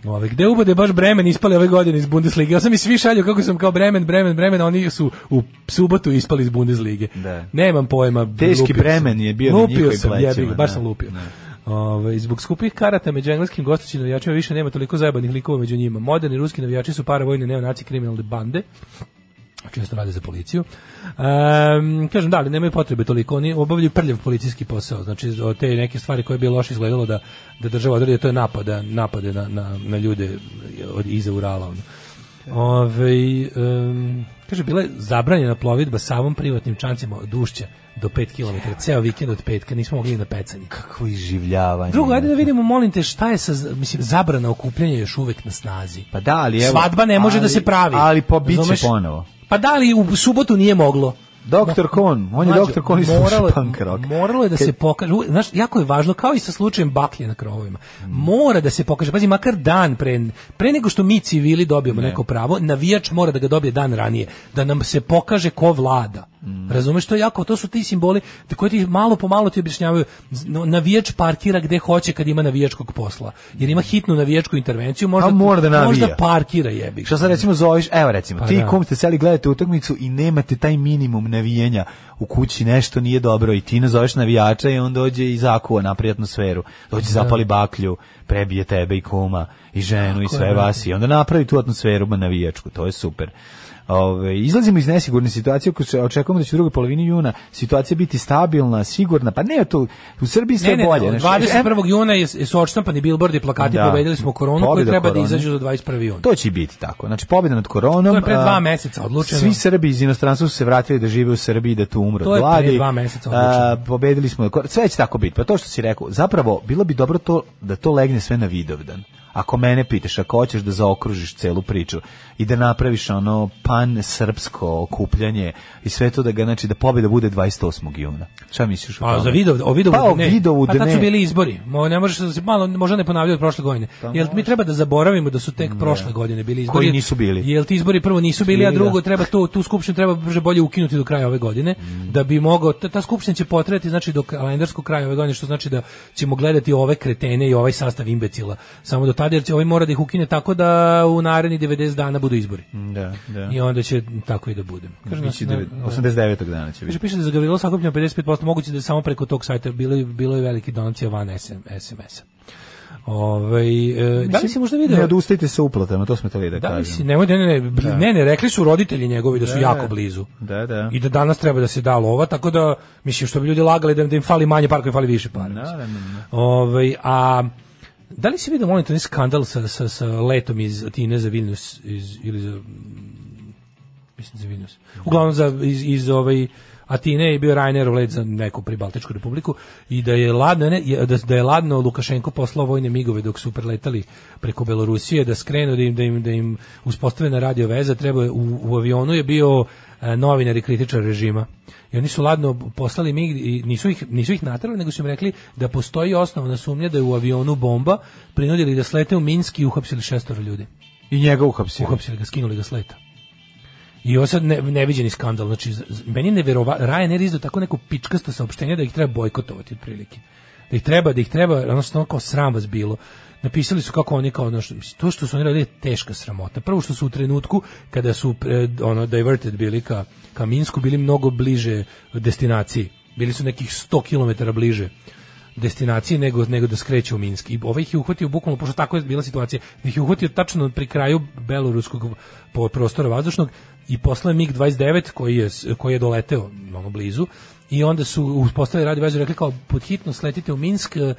[SPEAKER 6] Ove, gde ubode baš Bremen ispali ove godine iz Bundeslige? Ja sam i svi šalju kako sam kao Bremen, Bremen, Bremen, a oni su u subotu ispali iz Bundeslige.
[SPEAKER 7] Da.
[SPEAKER 6] Nemam pojma.
[SPEAKER 7] Teški
[SPEAKER 6] lupio sam.
[SPEAKER 7] Bremen je bio na
[SPEAKER 6] lupio
[SPEAKER 7] njihovim
[SPEAKER 6] sam,
[SPEAKER 7] plećima,
[SPEAKER 6] jebi ga, baš
[SPEAKER 7] da.
[SPEAKER 6] sam lupio. Ove, zbog skupih karata među engleskim gostućim navijačima više nema toliko zajebanih likova među njima. Moderni ruski navijači su paravojne neonaci kriminalne bande često rade za policiju. Ehm, kažem, da, ali nemaju potrebe toliko. Oni obavljaju prljav policijski posao. Znači, o te neke stvari koje bi loše izgledalo da, da država odredi, to je napada, napade na, na, na ljude od, iza Urala. Ono. Ove, em, kaže, bila je zabranjena plovidba savom privatnim čancima od ušća do 5 km. Ceo vikend od petka nismo mogli ni na pecanje.
[SPEAKER 7] Kako iživljavanje.
[SPEAKER 6] Drugo, ajde da vidimo, molim te, šta je sa, mislim, zabrana okupljanja još uvek na snazi.
[SPEAKER 7] Pa da, ali evo...
[SPEAKER 6] Svadba ne može da
[SPEAKER 7] ali-
[SPEAKER 6] se pravi.
[SPEAKER 7] Ali po bit
[SPEAKER 6] Razumeš?
[SPEAKER 7] će ponovo.
[SPEAKER 6] Pa da li u subotu nije moglo?
[SPEAKER 7] Doktor Kon, on
[SPEAKER 6] Mlađo,
[SPEAKER 7] je doktor Kon i
[SPEAKER 6] moralo
[SPEAKER 7] sluša
[SPEAKER 6] je-
[SPEAKER 7] punk rock.
[SPEAKER 6] Moralo je da se pokaže, u- znaš, jako je važno, kao i sa slučajem baklje na krovovima. Mora da se pokaže, pazi, makar dan pre, pre nego što mi civili dobijemo neko pravo, navijač mora da ga dobije dan ranije, da nam se pokaže ko vlada. Razumeš, to je jako, to su ti simboli koji ti malo po malo ti objašnjavaju. Z- no, Navijač parkira gde hoće kad ima navijačkog posla, jer ima hitnu navijačku intervenciju, možda,
[SPEAKER 7] A Pa mora da navija.
[SPEAKER 6] možda parkira jebi. ga.
[SPEAKER 7] Šta sad recimo zoveš, evo recimo,
[SPEAKER 6] Pa
[SPEAKER 7] ti
[SPEAKER 6] da.
[SPEAKER 7] kom ste seli gledate utakmicu i nemate taj minimum navijenja u kući, nešto nije dobro i ti nazoveš navijača i on dođe i zakuva na atmosferu. Dođe, zapali baklju, prebije tebe i kuma i
[SPEAKER 6] Tako
[SPEAKER 7] ženu i
[SPEAKER 6] je,
[SPEAKER 7] sve
[SPEAKER 6] brate.
[SPEAKER 7] vas i onda napravi tu atmosferu ma navijačku, to je super. Ove, izlazimo iz nesigurne situacije, ako se- očekujemo da će u drugoj polovini juna situacija biti stabilna, sigurna, pa ne, to, u Srbiji sve
[SPEAKER 6] Ne, ne,
[SPEAKER 7] bolje. znači,
[SPEAKER 6] ne,
[SPEAKER 7] znaš.
[SPEAKER 6] 21. juna je, su odštampani billboardi, plakati,
[SPEAKER 7] Da.
[SPEAKER 6] pobedili smo koronu koji
[SPEAKER 7] Pobjeda
[SPEAKER 6] treba da
[SPEAKER 7] korone.
[SPEAKER 6] izađu do 21. juna.
[SPEAKER 7] To će i biti tako. Znači, pobjeda nad koronom.
[SPEAKER 6] To je pre dva
[SPEAKER 7] a,
[SPEAKER 6] meseca odlučeno.
[SPEAKER 7] Svi Srbi iz inostranstva su se vratili da žive u Srbiji, da tu umru
[SPEAKER 6] To
[SPEAKER 7] od
[SPEAKER 6] je pre
[SPEAKER 7] gladi.
[SPEAKER 6] dva meseca
[SPEAKER 7] A,
[SPEAKER 6] odlučeno.
[SPEAKER 7] pobedili smo. kor- Sve će tako biti. Pa to što si rekao, zapravo, bilo bi dobro to da to legne sve na Vidovdan. Ako mene pitaš, ako hoćeš da zaokružiš celu priču i da napraviš ono pan srpsko okupljanje i sve to da ga znači da pobjeda bude 28. juna. Šta misliš o
[SPEAKER 6] Pa
[SPEAKER 7] tome?
[SPEAKER 6] za Vidov, o Vidovu
[SPEAKER 7] pa, o
[SPEAKER 6] ne.
[SPEAKER 7] Vidovu
[SPEAKER 6] pa
[SPEAKER 7] da
[SPEAKER 6] tad
[SPEAKER 7] ne.
[SPEAKER 6] su bili izbori. Mo ne možeš da se malo možda ne ponavljaju od prošle godine. Jel mi treba da zaboravimo da su tek prošle godine bili izbori?
[SPEAKER 7] Pa, Koji nisu bili.
[SPEAKER 6] Jel ti izbori prvo nisu bili, a
[SPEAKER 7] Bili,
[SPEAKER 6] drugo
[SPEAKER 7] da.
[SPEAKER 6] treba to tu skupštinu treba brže bolje ukinuti do kraja ove godine
[SPEAKER 7] Mm.
[SPEAKER 6] da bi mogao ta, ta skupština će potrajati znači do kalendarskog kraja ove godine što znači da ćemo gledati ove kretene i ovaj sastav imbecila. Samo do tada jer će ovaj mora da ih ukine tako da u narednih 90 dana budu izbori.
[SPEAKER 7] Da, da.
[SPEAKER 6] I onda će tako i da bude. Kaže,
[SPEAKER 7] Biće
[SPEAKER 6] na-
[SPEAKER 7] devet-
[SPEAKER 6] na-
[SPEAKER 7] 89. dana će biti.
[SPEAKER 6] Kaže, piše da je za Gavrilo sakupljeno 55%, moguće da je samo preko tog sajta bilo, je- bilo je veliki donacija van SM, SMS-a. Ove, Ovaj, e, da li si pa, možda
[SPEAKER 7] Ne
[SPEAKER 6] video?
[SPEAKER 7] odustajte sa uplatama, to smo teli da,
[SPEAKER 6] Da li
[SPEAKER 7] kažemo.
[SPEAKER 6] si, nemoj, ne, ne, ne, bl- ne, ne, rekli su roditelji njegovi da su
[SPEAKER 7] Da,
[SPEAKER 6] jako blizu.
[SPEAKER 7] Da, da.
[SPEAKER 6] I da danas treba da se da lova, tako da, mislim, što bi ljudi lagali da, im- da im fali manje par koji fali više para. Ovaj, a da li si vidio molim te, onaj skandal sa, sa, sa letom iz Atine za Vilnius iz, ili za mm, mislim za Vilnius. Uglavnom za iz, iz ovaj Atine je bio Rainerov let za neku pribaltičku republiku i da je ladno ne, je- da, da je ladno Lukašenko poslao vojne migove dok su preletali preko Belorusije da skrenu da im da im da im uspostave na radio veza treba je- u, u avionu je bio e, novinar i kritičar režima. I oni su ladno poslali mig i nisu ih, nisu ih natrali, nego su im rekli da postoji osnovna sumnja da je u avionu bomba, prinudili da slete u Minski i uhapsili šestoro ljudi.
[SPEAKER 7] I njega uhapsili.
[SPEAKER 6] Uhapsili ga, skinuli ga s leta. I ovo sad ne, neviđeni skandal. Znači, z- z- meni je neverova... Ryanair izdao tako neko pičkasto saopštenje da ih treba bojkotovati otprilike. Da ih treba, da ih treba, odnosno ono kao sram vas bilo. Napisali su kako oni kao ono što, mislim, to što su oni radili je teška sramota. Prvo što su u trenutku kada su eh, ono diverted bili ka, ka Minsku bili mnogo bliže destinaciji. Bili su nekih 100 km bliže destinaciji nego nego da skreće u Minsk. I ovaj ih je uhvatio bukvalno pošto tako je bila situacija. Da ih je uhvatio tačno pri kraju beloruskog po- prostora vazdušnog i posle MiG 29 koji je s- koji je doleteo malo blizu i onda su uspostavili radi vezu i rekli kao pod hitno sletite u Minsk e, e,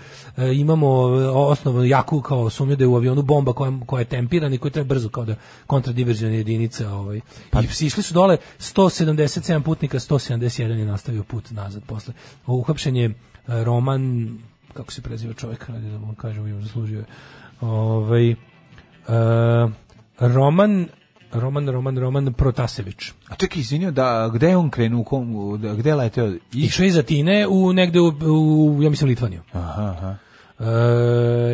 [SPEAKER 6] imamo e, osnovu jaku kao sumnju da je u avionu bomba koja, koja je tempirana i koju treba brzo kao da kontradiverziona jedinica ovaj. I psi išli su dole 177 putnika 171 je nastavio put nazad posle. Uhapšen je E, Roman, kako se preziva čovjek, ajde da mu kažem ime, zaslužio je. Ovaj, e, Roman, Roman, Roman, Roman Protasević.
[SPEAKER 7] A čekaj, izvinio, da, gde je on krenuo, u kom, u- da, gde je leteo?
[SPEAKER 6] Išao iz Atine u negde u, u ja mislim, Litvaniju.
[SPEAKER 7] Aha, aha.
[SPEAKER 6] E,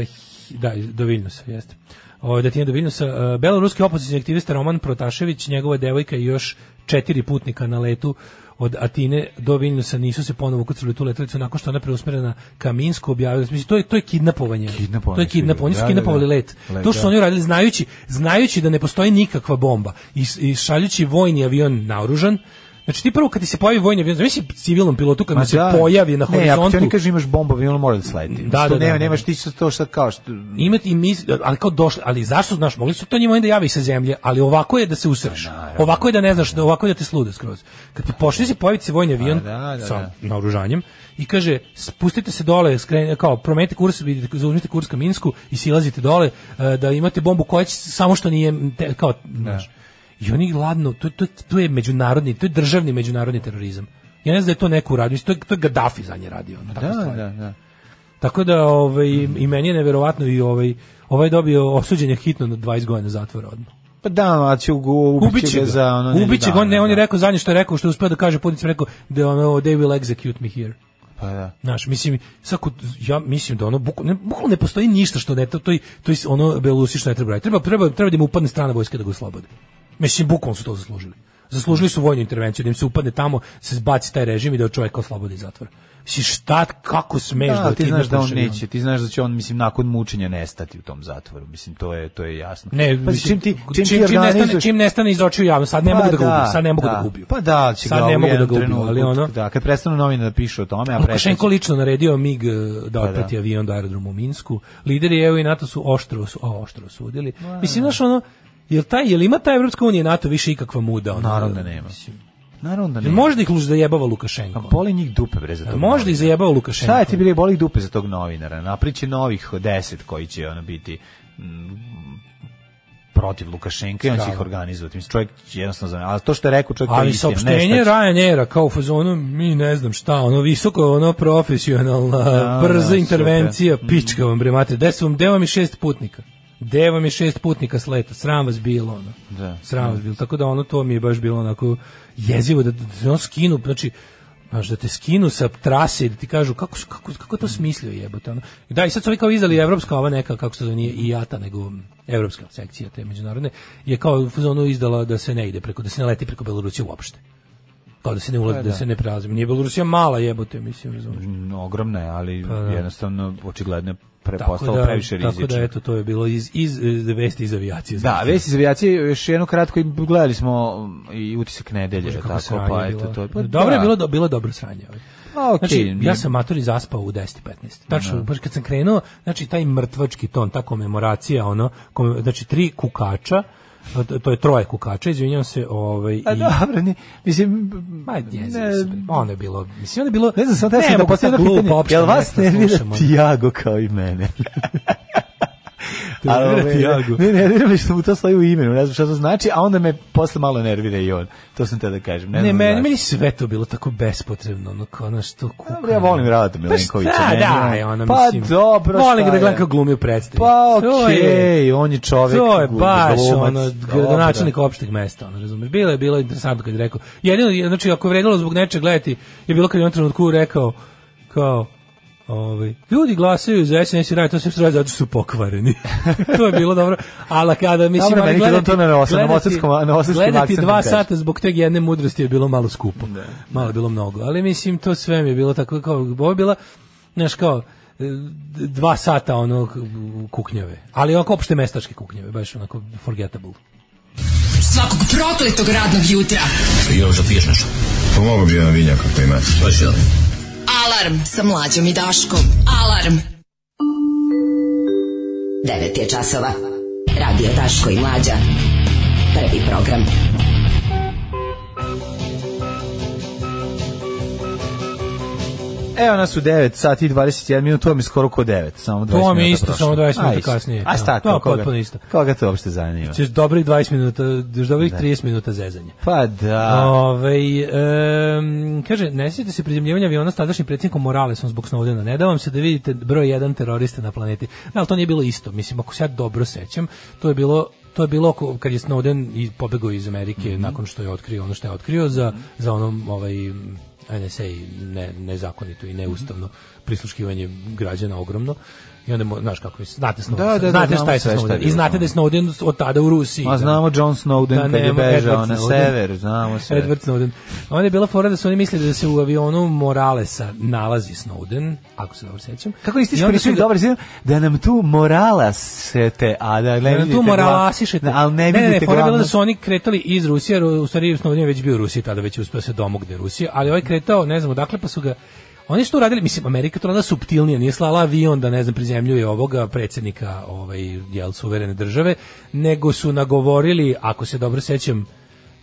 [SPEAKER 6] hi- da, do Vilnusa, jeste. Ovo, da ti je do Vilnusa. E, beloruski opozicijni aktivista Roman Protašević, njegova devojka i još četiri putnika na letu od Atine do Vilnusa nisu se ponovo ukrcali u tu letelicu nakon što je ona preusmerena ka Minsku objavila. Mislim, to je, to je kidnapovanje.
[SPEAKER 7] Kidnapovanje
[SPEAKER 6] To je
[SPEAKER 7] su bili,
[SPEAKER 6] kidnapovanje. Oni su
[SPEAKER 7] da, da,
[SPEAKER 6] kidnapovali
[SPEAKER 7] da.
[SPEAKER 6] let.
[SPEAKER 7] Let,
[SPEAKER 6] To što
[SPEAKER 7] da.
[SPEAKER 6] su oni radili znajući, znajući da ne postoji nikakva bomba i, s- i šaljući vojni avion naoružan, Znači ti prvo kad ti se pojavi vojni avion, znači civilnom pilotu kad mu
[SPEAKER 7] Ma
[SPEAKER 6] se
[SPEAKER 7] da.
[SPEAKER 6] pojavi na horizontu.
[SPEAKER 7] Ne, ako ti oni kažu imaš bombu, avion mora da sleti.
[SPEAKER 6] Da,
[SPEAKER 7] Što
[SPEAKER 6] da, da,
[SPEAKER 7] nema,
[SPEAKER 6] da.
[SPEAKER 7] nemaš ti sad to šta kao što...
[SPEAKER 6] imati i mis, ali kao došli, ali zašto znaš, mogli su to njima onda javi sa zemlje, ali ovako je da se
[SPEAKER 7] Pa
[SPEAKER 6] usreš. Ovako je da ne znaš, da ovako je da te slude skroz. Kad ti pošli se pojaviti se vojni avion
[SPEAKER 7] Pa da, da,
[SPEAKER 6] sa
[SPEAKER 7] da.
[SPEAKER 6] naoružanjem i kaže spustite se dole, skrenite kao promenite kurs, vidite- zauzmite kurs ka Minsku i silazite dole e, da imate bombu koja će samo što nije m, te- kao znaš. I oni ladno, to, to, to je međunarodni, to je državni međunarodni terorizam. Ja ne znam da je to neko uradio, mislim, to je, to je Gaddafi za nje radio. ono, takve
[SPEAKER 7] Pa Da,
[SPEAKER 6] stvari.
[SPEAKER 7] da, da.
[SPEAKER 6] Tako da ovaj
[SPEAKER 7] Mhm.
[SPEAKER 6] i meni je neverovatno i ovaj ovaj dobio osuđenje hitno na 20 godina zatvora odmah.
[SPEAKER 7] Pa da, a će u- ubiće ga za ono... nedelju
[SPEAKER 6] Ubiće ga, on,
[SPEAKER 7] dana,
[SPEAKER 6] ne, on je
[SPEAKER 7] da.
[SPEAKER 6] rekao zadnje što je rekao, što je uspeo da kaže putnici, rekao da ono, they will execute me here.
[SPEAKER 7] Pa da.
[SPEAKER 6] Znaš, mislim, svako, ja mislim da ono, bukvalno ne, bukvalno ne postoji ništa što ne, to, to, je- to je ono Belusi što ne treba raditi. Treba, treba, treba da im upadne strana vojska da ga oslobode. Mislim, bukvalno su to zaslužili. Zaslužili su vojnu intervenciju, da im se upadne tamo, se zbaci taj režim i da čovjek oslobodi iz zatvora. Mislim, šta, kako smeš da,
[SPEAKER 7] Da, ali ti znaš da on
[SPEAKER 6] kidnapaš avion?
[SPEAKER 7] neće, ti znaš da će on mislim nakon mučenja nestati u tom zatvoru. Mislim to je to je jasno.
[SPEAKER 6] Ne,
[SPEAKER 7] pa
[SPEAKER 6] mislim,
[SPEAKER 7] čim ti čim, ti
[SPEAKER 6] čim, čim, nestane,
[SPEAKER 7] organizuješ-
[SPEAKER 6] čim nestane iz očiju javno, sad ne
[SPEAKER 7] Pa
[SPEAKER 6] mogu da ga ubiju, sad ne mogu da, ga ubiju.
[SPEAKER 7] Pa da, ali će
[SPEAKER 6] sad
[SPEAKER 7] ga
[SPEAKER 6] ne
[SPEAKER 7] u
[SPEAKER 6] mogu da
[SPEAKER 7] jednom
[SPEAKER 6] ga ubiju,
[SPEAKER 7] trenutku,
[SPEAKER 6] ali ono,
[SPEAKER 7] Da, kad prestanu novine da pišu o tome, a
[SPEAKER 6] Lukašenko
[SPEAKER 7] prestanu.
[SPEAKER 6] lično naredio MIG eh, da
[SPEAKER 7] Pa
[SPEAKER 6] otprati
[SPEAKER 7] da.
[SPEAKER 6] avion do aerodromu u Minsku. Lideri EU i NATO su oštro, osu- o, oštro osudili. Mislim, znaš, ono, jel, taj, jel ima ta Evropska unija i NATO više ikakva muda? Ono,
[SPEAKER 7] Naravno da nema. Naravno da
[SPEAKER 6] Jel
[SPEAKER 7] nema.
[SPEAKER 6] može da ih luž zajebava Lukašenko?
[SPEAKER 7] A boli njih dupe bre za to.
[SPEAKER 6] Jel može da ih zajebava Lukašenko?
[SPEAKER 7] Šta je ti bili boli dupe za tog novinara? Napriči novih 10 koji će ono biti mm, protiv Lukašenka i on će
[SPEAKER 6] Strava.
[SPEAKER 7] ih organizovati. Mislim, čovjek jednostavno zna. Ali to što je rekao čovjek to je
[SPEAKER 6] Ali
[SPEAKER 7] istina. ne
[SPEAKER 6] saopštenje
[SPEAKER 7] stači.
[SPEAKER 6] Ryanaira kao u fazonu, mi ne znam šta, ono visoko, ono profesionalna,
[SPEAKER 7] Da,
[SPEAKER 6] brza
[SPEAKER 7] da,
[SPEAKER 6] intervencija,
[SPEAKER 7] Mhm.
[SPEAKER 6] pička vam bre mater, gde su vam, gde vam je šest putnika? Gde vam je šest putnika s leta? Sram vas bilo, ono.
[SPEAKER 7] Da.
[SPEAKER 6] Sram vas bilo, tako da ono to mi je baš bilo onako jezivo, da, da te on skinu, znači, Znaš, da te skinu sa trase i da ti kažu kako, su- kako, kako je to smislio jebote. Ono. Da, i sad su ovi kao izdali evropska ova neka, kako se to nije i jata, nego evropska sekcija te međunarodne, je kao u fazonu izdala da se ne ide preko, da se ne leti preko Belorusije uopšte. Kao da se ne ulazi,
[SPEAKER 7] Pa,
[SPEAKER 6] da.
[SPEAKER 7] da.
[SPEAKER 6] se ne prelazimo. Nije Belorusija mala jebote, mislim, razumiješ.
[SPEAKER 7] Mm, ogromna je, ali
[SPEAKER 6] Pa da.
[SPEAKER 7] jednostavno očigledno je pre,
[SPEAKER 6] Tako
[SPEAKER 7] postalo
[SPEAKER 6] da,
[SPEAKER 7] previše rizično.
[SPEAKER 6] tako da, eto, to je bilo iz, iz, iz vesti iz avijacije.
[SPEAKER 7] Da, vest iz avijacije, još jedno kratko, i gledali smo um, i utisak nedelje,
[SPEAKER 6] Bože, Znači, kako
[SPEAKER 7] tako,
[SPEAKER 6] sranje
[SPEAKER 7] pa
[SPEAKER 6] je
[SPEAKER 7] eto
[SPEAKER 6] bilo.
[SPEAKER 7] to. Pa,
[SPEAKER 6] dobro je
[SPEAKER 7] da.
[SPEAKER 6] bilo, do- bilo je dobro sranje. ovaj.
[SPEAKER 7] A, okej,
[SPEAKER 6] znači, ja
[SPEAKER 7] nije-
[SPEAKER 6] sam matori zaspao u 10.15. Tačno, baš kad sam krenuo, znači taj mrtvački ton, ta komemoracija, ono, kom- znači tri kukača, to- to je troje kukača, izvinjavam se, ovaj,
[SPEAKER 7] A
[SPEAKER 6] i-
[SPEAKER 7] pa dobro, ni, mislim,
[SPEAKER 6] Ma jezivi
[SPEAKER 7] ne,
[SPEAKER 6] su, bre. ono je bilo, mislim, ono je bilo,
[SPEAKER 7] ne znam, sam da sam da
[SPEAKER 6] mogu
[SPEAKER 7] postavim
[SPEAKER 6] sad
[SPEAKER 7] jedno
[SPEAKER 6] glupo
[SPEAKER 7] pitanje,
[SPEAKER 6] opšte
[SPEAKER 7] jel vas
[SPEAKER 6] nešto
[SPEAKER 7] nervira
[SPEAKER 6] slušamo.
[SPEAKER 7] Tiago kao i
[SPEAKER 6] *laughs*
[SPEAKER 7] mene?
[SPEAKER 6] Nervira
[SPEAKER 7] ove,
[SPEAKER 6] Tiago.
[SPEAKER 7] Ne, nervira me što mu to stoji u imenu, ne znam šta to znači, a onda me posle malo nervira i on. To sam te da kažem. Ne,
[SPEAKER 6] Ne,
[SPEAKER 7] znam
[SPEAKER 6] meni,
[SPEAKER 7] zašto.
[SPEAKER 6] meni sve to bilo tako bespotrebno, ono kao ono što kuka.
[SPEAKER 7] Dobro, ja volim Radata Milenkovića,
[SPEAKER 6] Pa šta,
[SPEAKER 7] meni
[SPEAKER 6] da,
[SPEAKER 7] on-
[SPEAKER 6] je ono,
[SPEAKER 7] Pa
[SPEAKER 6] mislim.
[SPEAKER 7] dobro, šta
[SPEAKER 6] Volim ga da
[SPEAKER 7] je?
[SPEAKER 6] gledam kako glumi u predstavi.
[SPEAKER 7] Pa
[SPEAKER 6] To
[SPEAKER 7] okej,
[SPEAKER 6] je-
[SPEAKER 7] on je čovjek.
[SPEAKER 6] To je
[SPEAKER 7] glu-
[SPEAKER 6] baš
[SPEAKER 7] glumac,
[SPEAKER 6] ono,
[SPEAKER 7] dobro.
[SPEAKER 6] gradonačelnik opšteg mesta, ono, razumeš. Bilo je, bilo je interesantno kad je rekao. Jedino, je- znači, ako je vredilo zbog nečeg gledati, je bilo kad je u jednom trenutku rekao, kao, Ovaj ljudi glasaju za SNS i radi to sve što radi zato što su pokvareni. *laughs* to je bilo dobro. Ali kada mislim
[SPEAKER 7] Dobro,
[SPEAKER 6] ali
[SPEAKER 7] meni je bilo to na nosa, na bosanskom- na bosanskom
[SPEAKER 6] gledati
[SPEAKER 7] akcentu,
[SPEAKER 6] dva
[SPEAKER 7] kažem.
[SPEAKER 6] sata zbog te jedne mudrosti je bilo malo skupo. Malo je bilo mnogo. Ali mislim to sve mi je bilo tako kao ovo je bila znaš kao e, dva sata ono k- kuknjave. Ali onako opšte mestačke kuknjave, baš onako forgettable.
[SPEAKER 10] Svakog prokletog radnog jutra.
[SPEAKER 13] Još da piješ nešto? Pomogu Pa bi jedan vinjak ako ima. To će da.
[SPEAKER 10] Alarm sa mlađom i Daškom. Alarm.
[SPEAKER 14] 9 je časova. Radio Daško i Mlađa. Prvi program.
[SPEAKER 7] Evo nas u 9 sati i 21 minut, to mi je skoro ko 9, samo 20
[SPEAKER 6] To
[SPEAKER 7] minuta
[SPEAKER 6] mi je isto,
[SPEAKER 7] prošlo.
[SPEAKER 6] samo 20
[SPEAKER 7] A,
[SPEAKER 6] minuta
[SPEAKER 7] isto.
[SPEAKER 6] kasnije.
[SPEAKER 7] A
[SPEAKER 6] Da,
[SPEAKER 7] šta,
[SPEAKER 6] to je
[SPEAKER 7] to, koga,
[SPEAKER 6] potpuno isto.
[SPEAKER 7] koga to uopšte zanima?
[SPEAKER 6] Ćeš dobrih 20 minuta, još dobrih 30 minuta zezanja.
[SPEAKER 7] Pa da.
[SPEAKER 6] Ove, Ovaj, em, kaže, ne sjećate se prizemljivanja aviona s tadašnjim predsjednikom Moralesom zbog Snowdena. Ne da vam se da vidite broj jedan terorista na planeti. Da, ali to nije bilo isto. Mislim, ako se ja dobro sećam, to je bilo to je bilo oko- kad je Snowden i- pobegao iz Amerike
[SPEAKER 7] Mhm.
[SPEAKER 6] nakon što je otkrio ono što je otkrio za, za onom ovaj, NSA ne, nezakonito i neustavno
[SPEAKER 7] Mhm.
[SPEAKER 6] prisluškivanje građana ogromno. I onda, mo- znaš kako je, znate, Snowden,
[SPEAKER 7] Da, da, da,
[SPEAKER 6] znate
[SPEAKER 7] znamo
[SPEAKER 6] šta je sa
[SPEAKER 7] sve šta je
[SPEAKER 6] Snowden. I
[SPEAKER 7] bilo
[SPEAKER 6] znate da je Snowden od tada u Rusiji.
[SPEAKER 7] Ma znamo John Snowden kad je
[SPEAKER 6] nema,
[SPEAKER 7] bežao
[SPEAKER 6] Edward
[SPEAKER 7] na
[SPEAKER 6] Snowden.
[SPEAKER 7] sever, znamo sve.
[SPEAKER 6] Edward Snowden. A Onda je bila fora da su oni mislili da se u avionu Moralesa nalazi Snowden, ako se dobro sećam.
[SPEAKER 7] Kako
[SPEAKER 6] I
[SPEAKER 7] niste
[SPEAKER 6] onda su
[SPEAKER 7] iskoristili
[SPEAKER 6] ga-
[SPEAKER 7] dobar zim, da nam tu morala sete, a da ne
[SPEAKER 6] da nam
[SPEAKER 7] vidite
[SPEAKER 6] tu
[SPEAKER 7] glavno-
[SPEAKER 6] moralasišete.
[SPEAKER 7] Da, ali ne
[SPEAKER 6] ne, ne,
[SPEAKER 7] vidite
[SPEAKER 6] fora je bila
[SPEAKER 7] glavno.
[SPEAKER 6] da su oni kretali iz Rusije, jer u stvari Snowden je već bio u Rusiji, tada već je uspio se domogne Rusije, ali ovaj kretao, ne znam odakle, pa su ga Oni su to radili, mislim, Amerika to radila suptilnije, nije slala avion da, ne znam, prizemljuje ovoga predsjednika, ovaj, jel, suverene države, nego su nagovorili, ako se dobro sećam,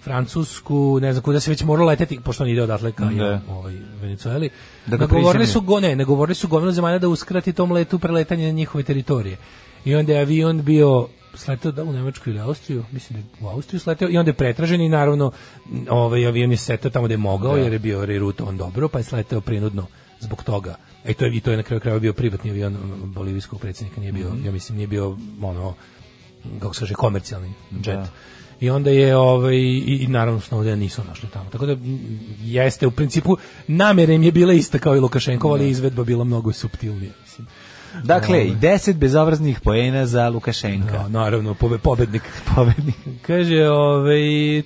[SPEAKER 6] Francusku, ne znam kuda se već moralo leteti, pošto on ide odatle ka jel,
[SPEAKER 7] Da.
[SPEAKER 6] ovaj, Venezueli.
[SPEAKER 7] Da ga
[SPEAKER 6] nagovorili su
[SPEAKER 7] prizemlje.
[SPEAKER 6] go, ne, nagovorili su gomilu zemalja da uskrati tom letu preletanje na njihove teritorije. I onda je avion bio sleteo da u Nemačku ili Austriju, mislim da je u Austriju sleteo i onda je pretražen i naravno m, ovaj avion je seteo tamo gde je mogao
[SPEAKER 7] Da.
[SPEAKER 6] jer je bio rerutovan dobro, pa je sleteo prinudno zbog toga. E to je, i to je na kraju krajeva bio privatni avion m, bolivijskog predsjednika, nije bio,
[SPEAKER 7] Mhm.
[SPEAKER 6] ja mislim nije bio ono kako se kaže komercijalni jet.
[SPEAKER 7] Da.
[SPEAKER 6] I onda je ovaj i, i naravno Snowdena nisu našli tamo. Tako da m, jeste u principu namere im je bila ista kao i Lukašenkova, ali izvedba bila mnogo suptilnija, mislim.
[SPEAKER 7] Dakle, i 10 bezobraznih poena za Lukašenka.
[SPEAKER 6] Da, naravno, pobe, pobednik.
[SPEAKER 7] *laughs* pobednik.
[SPEAKER 6] Kaže, ovaj,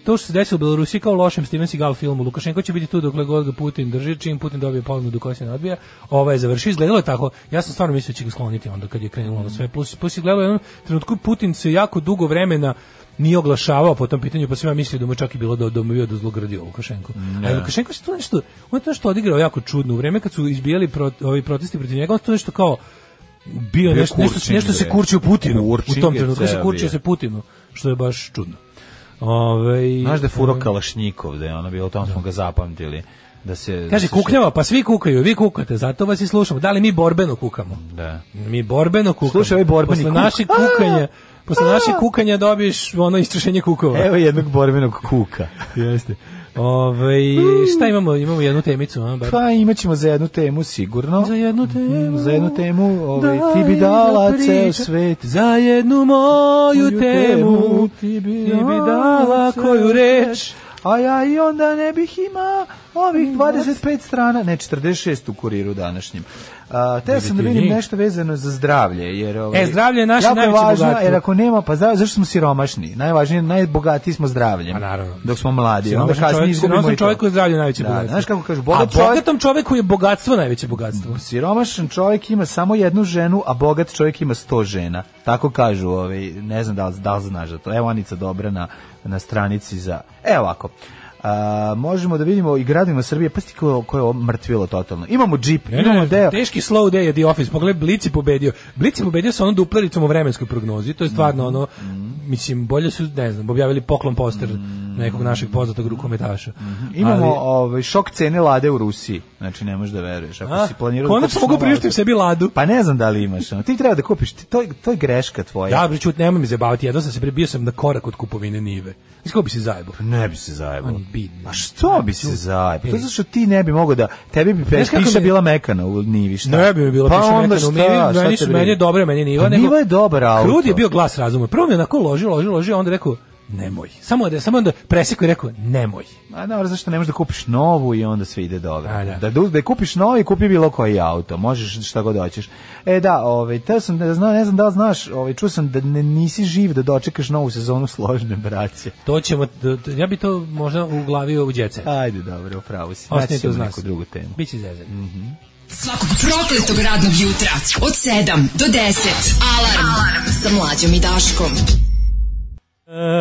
[SPEAKER 6] to što se desilo u Belorusiji kao u lošem Steven Seagal filmu, Lukašenko će biti tu dokle god ga Putin drži, čim Putin dobije palmu do koje se ne odbija, ova je završio, izgledalo je tako, ja sam stvarno mislio da će ga skloniti onda kad je krenulo ono sve, plus, plus je gledalo u jednom trenutku Putin se jako dugo vremena nije oglašavao po tom pitanju, pa sam ja mislio da mu je čak i bilo da, da mu je bio da zlogradio Lukašenko.
[SPEAKER 7] Ne.
[SPEAKER 6] Ali Lukašenko se tu nešto, on je to nešto odigrao jako čudno, u vreme kad su izbijali prot, ovi protesti protiv njega, on se tu nešto kao bio,
[SPEAKER 7] Bio
[SPEAKER 6] nešto, nešto,
[SPEAKER 7] kurčing,
[SPEAKER 6] nešto se
[SPEAKER 7] bre.
[SPEAKER 6] kurčio Putinu u
[SPEAKER 7] Kurčing
[SPEAKER 6] tom
[SPEAKER 7] je
[SPEAKER 6] trenutku se
[SPEAKER 7] ceo
[SPEAKER 6] kurčio
[SPEAKER 7] bio.
[SPEAKER 6] se Putinu, što je baš čudno. Ove,
[SPEAKER 7] Znaš da je furo Kalašnjikov, da je ono bilo, o tom smo ga zapamtili. Da se,
[SPEAKER 6] Kaže,
[SPEAKER 7] da se
[SPEAKER 6] kuknjava, pa svi kukaju, vi kukate, zato vas i slušamo. Da li mi borbeno kukamo?
[SPEAKER 7] Da.
[SPEAKER 6] Mi borbeno kukamo.
[SPEAKER 7] Slušaj, ovaj borbeni
[SPEAKER 6] Posle
[SPEAKER 7] kuk.
[SPEAKER 6] naših kukanja, posle naših kukanja dobiješ ono istrašenje kukova.
[SPEAKER 7] Evo jednog borbenog kuka.
[SPEAKER 6] Jeste. Ove,
[SPEAKER 7] Mm.
[SPEAKER 6] šta imamo? Imamo jednu temicu. A, bar.
[SPEAKER 7] *laughs* Pa imat ćemo za jednu temu sigurno. Mhm,
[SPEAKER 6] Za jednu temu.
[SPEAKER 7] Za jednu temu
[SPEAKER 6] Daj
[SPEAKER 7] ovaj, ti bi dala
[SPEAKER 6] da priča-
[SPEAKER 7] ceo svet.
[SPEAKER 6] Za jednu moju
[SPEAKER 7] Moju
[SPEAKER 6] temu
[SPEAKER 7] temu
[SPEAKER 6] ti bi dala koju reč.
[SPEAKER 7] A ja i onda ne bih imao ovih 25 strana, ne 46 u kuriru današnjim. A, teo sam da
[SPEAKER 6] ti
[SPEAKER 7] vidim
[SPEAKER 6] njih.
[SPEAKER 7] nešto vezano za zdravlje. Jer, ovaj,
[SPEAKER 6] E, zdravlje je naše
[SPEAKER 7] jako
[SPEAKER 6] najveće
[SPEAKER 7] važno,
[SPEAKER 6] bogatstvo.
[SPEAKER 7] Jer ako nema, pa zdravlje, zašto smo siromašni? Najvažnije, najbogatiji smo zdravljem.
[SPEAKER 6] A Pa naravno.
[SPEAKER 7] Dok smo mladi. Onda
[SPEAKER 6] Siromašan
[SPEAKER 7] kasnije
[SPEAKER 6] čovjek-
[SPEAKER 7] izgubimo i
[SPEAKER 6] siromašan
[SPEAKER 7] to.
[SPEAKER 6] čovjeku je zdravlje najveće
[SPEAKER 7] Da,
[SPEAKER 6] bogatstvo.
[SPEAKER 7] Znaš kako kažu,
[SPEAKER 6] A
[SPEAKER 7] bogat čovjek
[SPEAKER 6] bogatom čovjeku je bogatstvo najveće bogatstvo.
[SPEAKER 7] Siromašan čovjek ima samo jednu ženu, a bogat čovjek ima sto žena. Tako kažu, ovaj, ne znam da li, da li znaš za to. Evo Anica Dobra na, na stranici za... Evo ovako. A, možemo da vidimo i gradovima Srbije, pa sti ko, ko je ovo mrtvilo totalno. Imamo džip,
[SPEAKER 6] Ne,
[SPEAKER 7] imamo
[SPEAKER 6] ne,
[SPEAKER 7] deo.
[SPEAKER 6] Teški slow day je The Office. Pogledaj, Blic je pobedio. Blic je pobedio sa onom duplericom u vremenskoj prognozi. To je stvarno ono,
[SPEAKER 7] Mhm.
[SPEAKER 6] mislim, bolje su, ne znam, objavili poklon poster nekog našeg poznatog rukometaša.
[SPEAKER 7] Imamo
[SPEAKER 6] Ali-
[SPEAKER 7] ovaj, šok cene lade u Rusiji. Znači, ne možeš da veruješ. Ako
[SPEAKER 6] A,
[SPEAKER 7] si planirao... da
[SPEAKER 6] konačno
[SPEAKER 7] kupiš
[SPEAKER 6] mogu
[SPEAKER 7] novu
[SPEAKER 6] priuštiti
[SPEAKER 7] ladu-
[SPEAKER 6] sebi ladu.
[SPEAKER 7] Pa ne znam da li imaš. ono. Ti treba da kupiš, ti, to, je- to je greška tvoja.
[SPEAKER 6] Da, bre, čut, nemoj mi zabaviti. Jedno sam se prebio sam na korak od kupovine Nive. Znači, kako bi se zajebao?
[SPEAKER 7] Ne bi se zajebalo.
[SPEAKER 6] On bidni.
[SPEAKER 7] Pa što bi se zajebalo? To
[SPEAKER 6] Ej.
[SPEAKER 7] zato što ti ne bi mogao da... Tebi bi pe,
[SPEAKER 6] Znaš kako
[SPEAKER 7] piša
[SPEAKER 6] mi-
[SPEAKER 7] bila mekana u Nivi, šta?
[SPEAKER 6] Ne bi mi bilo
[SPEAKER 7] pa
[SPEAKER 6] piše
[SPEAKER 7] onda
[SPEAKER 6] mekano.
[SPEAKER 7] šta,
[SPEAKER 6] Meni-
[SPEAKER 7] šta
[SPEAKER 6] meni
[SPEAKER 7] te
[SPEAKER 6] su
[SPEAKER 7] briga?
[SPEAKER 6] meni je dobra, meni je Niva.
[SPEAKER 7] Pa
[SPEAKER 6] nego-
[SPEAKER 7] Niva je dobar auto.
[SPEAKER 6] Krud je bio glas razuma. Prvo mi je onako ložio, ložio, ložio, a onda rekao, nemoj. Samo da samo da presekao i rekao nemoj.
[SPEAKER 7] A da, zašto ne možeš da kupiš novu i onda sve ide dobro. A, da. da da kupiš novi, kupi bilo koji auto, možeš šta god hoćeš. E da, ovaj te sam da znam, ne znam da li znaš, ovaj čuo sam da ne, nisi živ da dočekaš novu sezonu *laughs* složne braće.
[SPEAKER 6] To ćemo ja bi to možda uglavio u đece.
[SPEAKER 7] Ajde, dobro, pravo si.
[SPEAKER 6] Ostaje to uz
[SPEAKER 7] neku drugu temu.
[SPEAKER 6] Biće zezan. Mhm. Mm
[SPEAKER 10] Svakog prokletog radnog jutra od 7 do 10 alarm, alarm. sa mlađom i Daškom.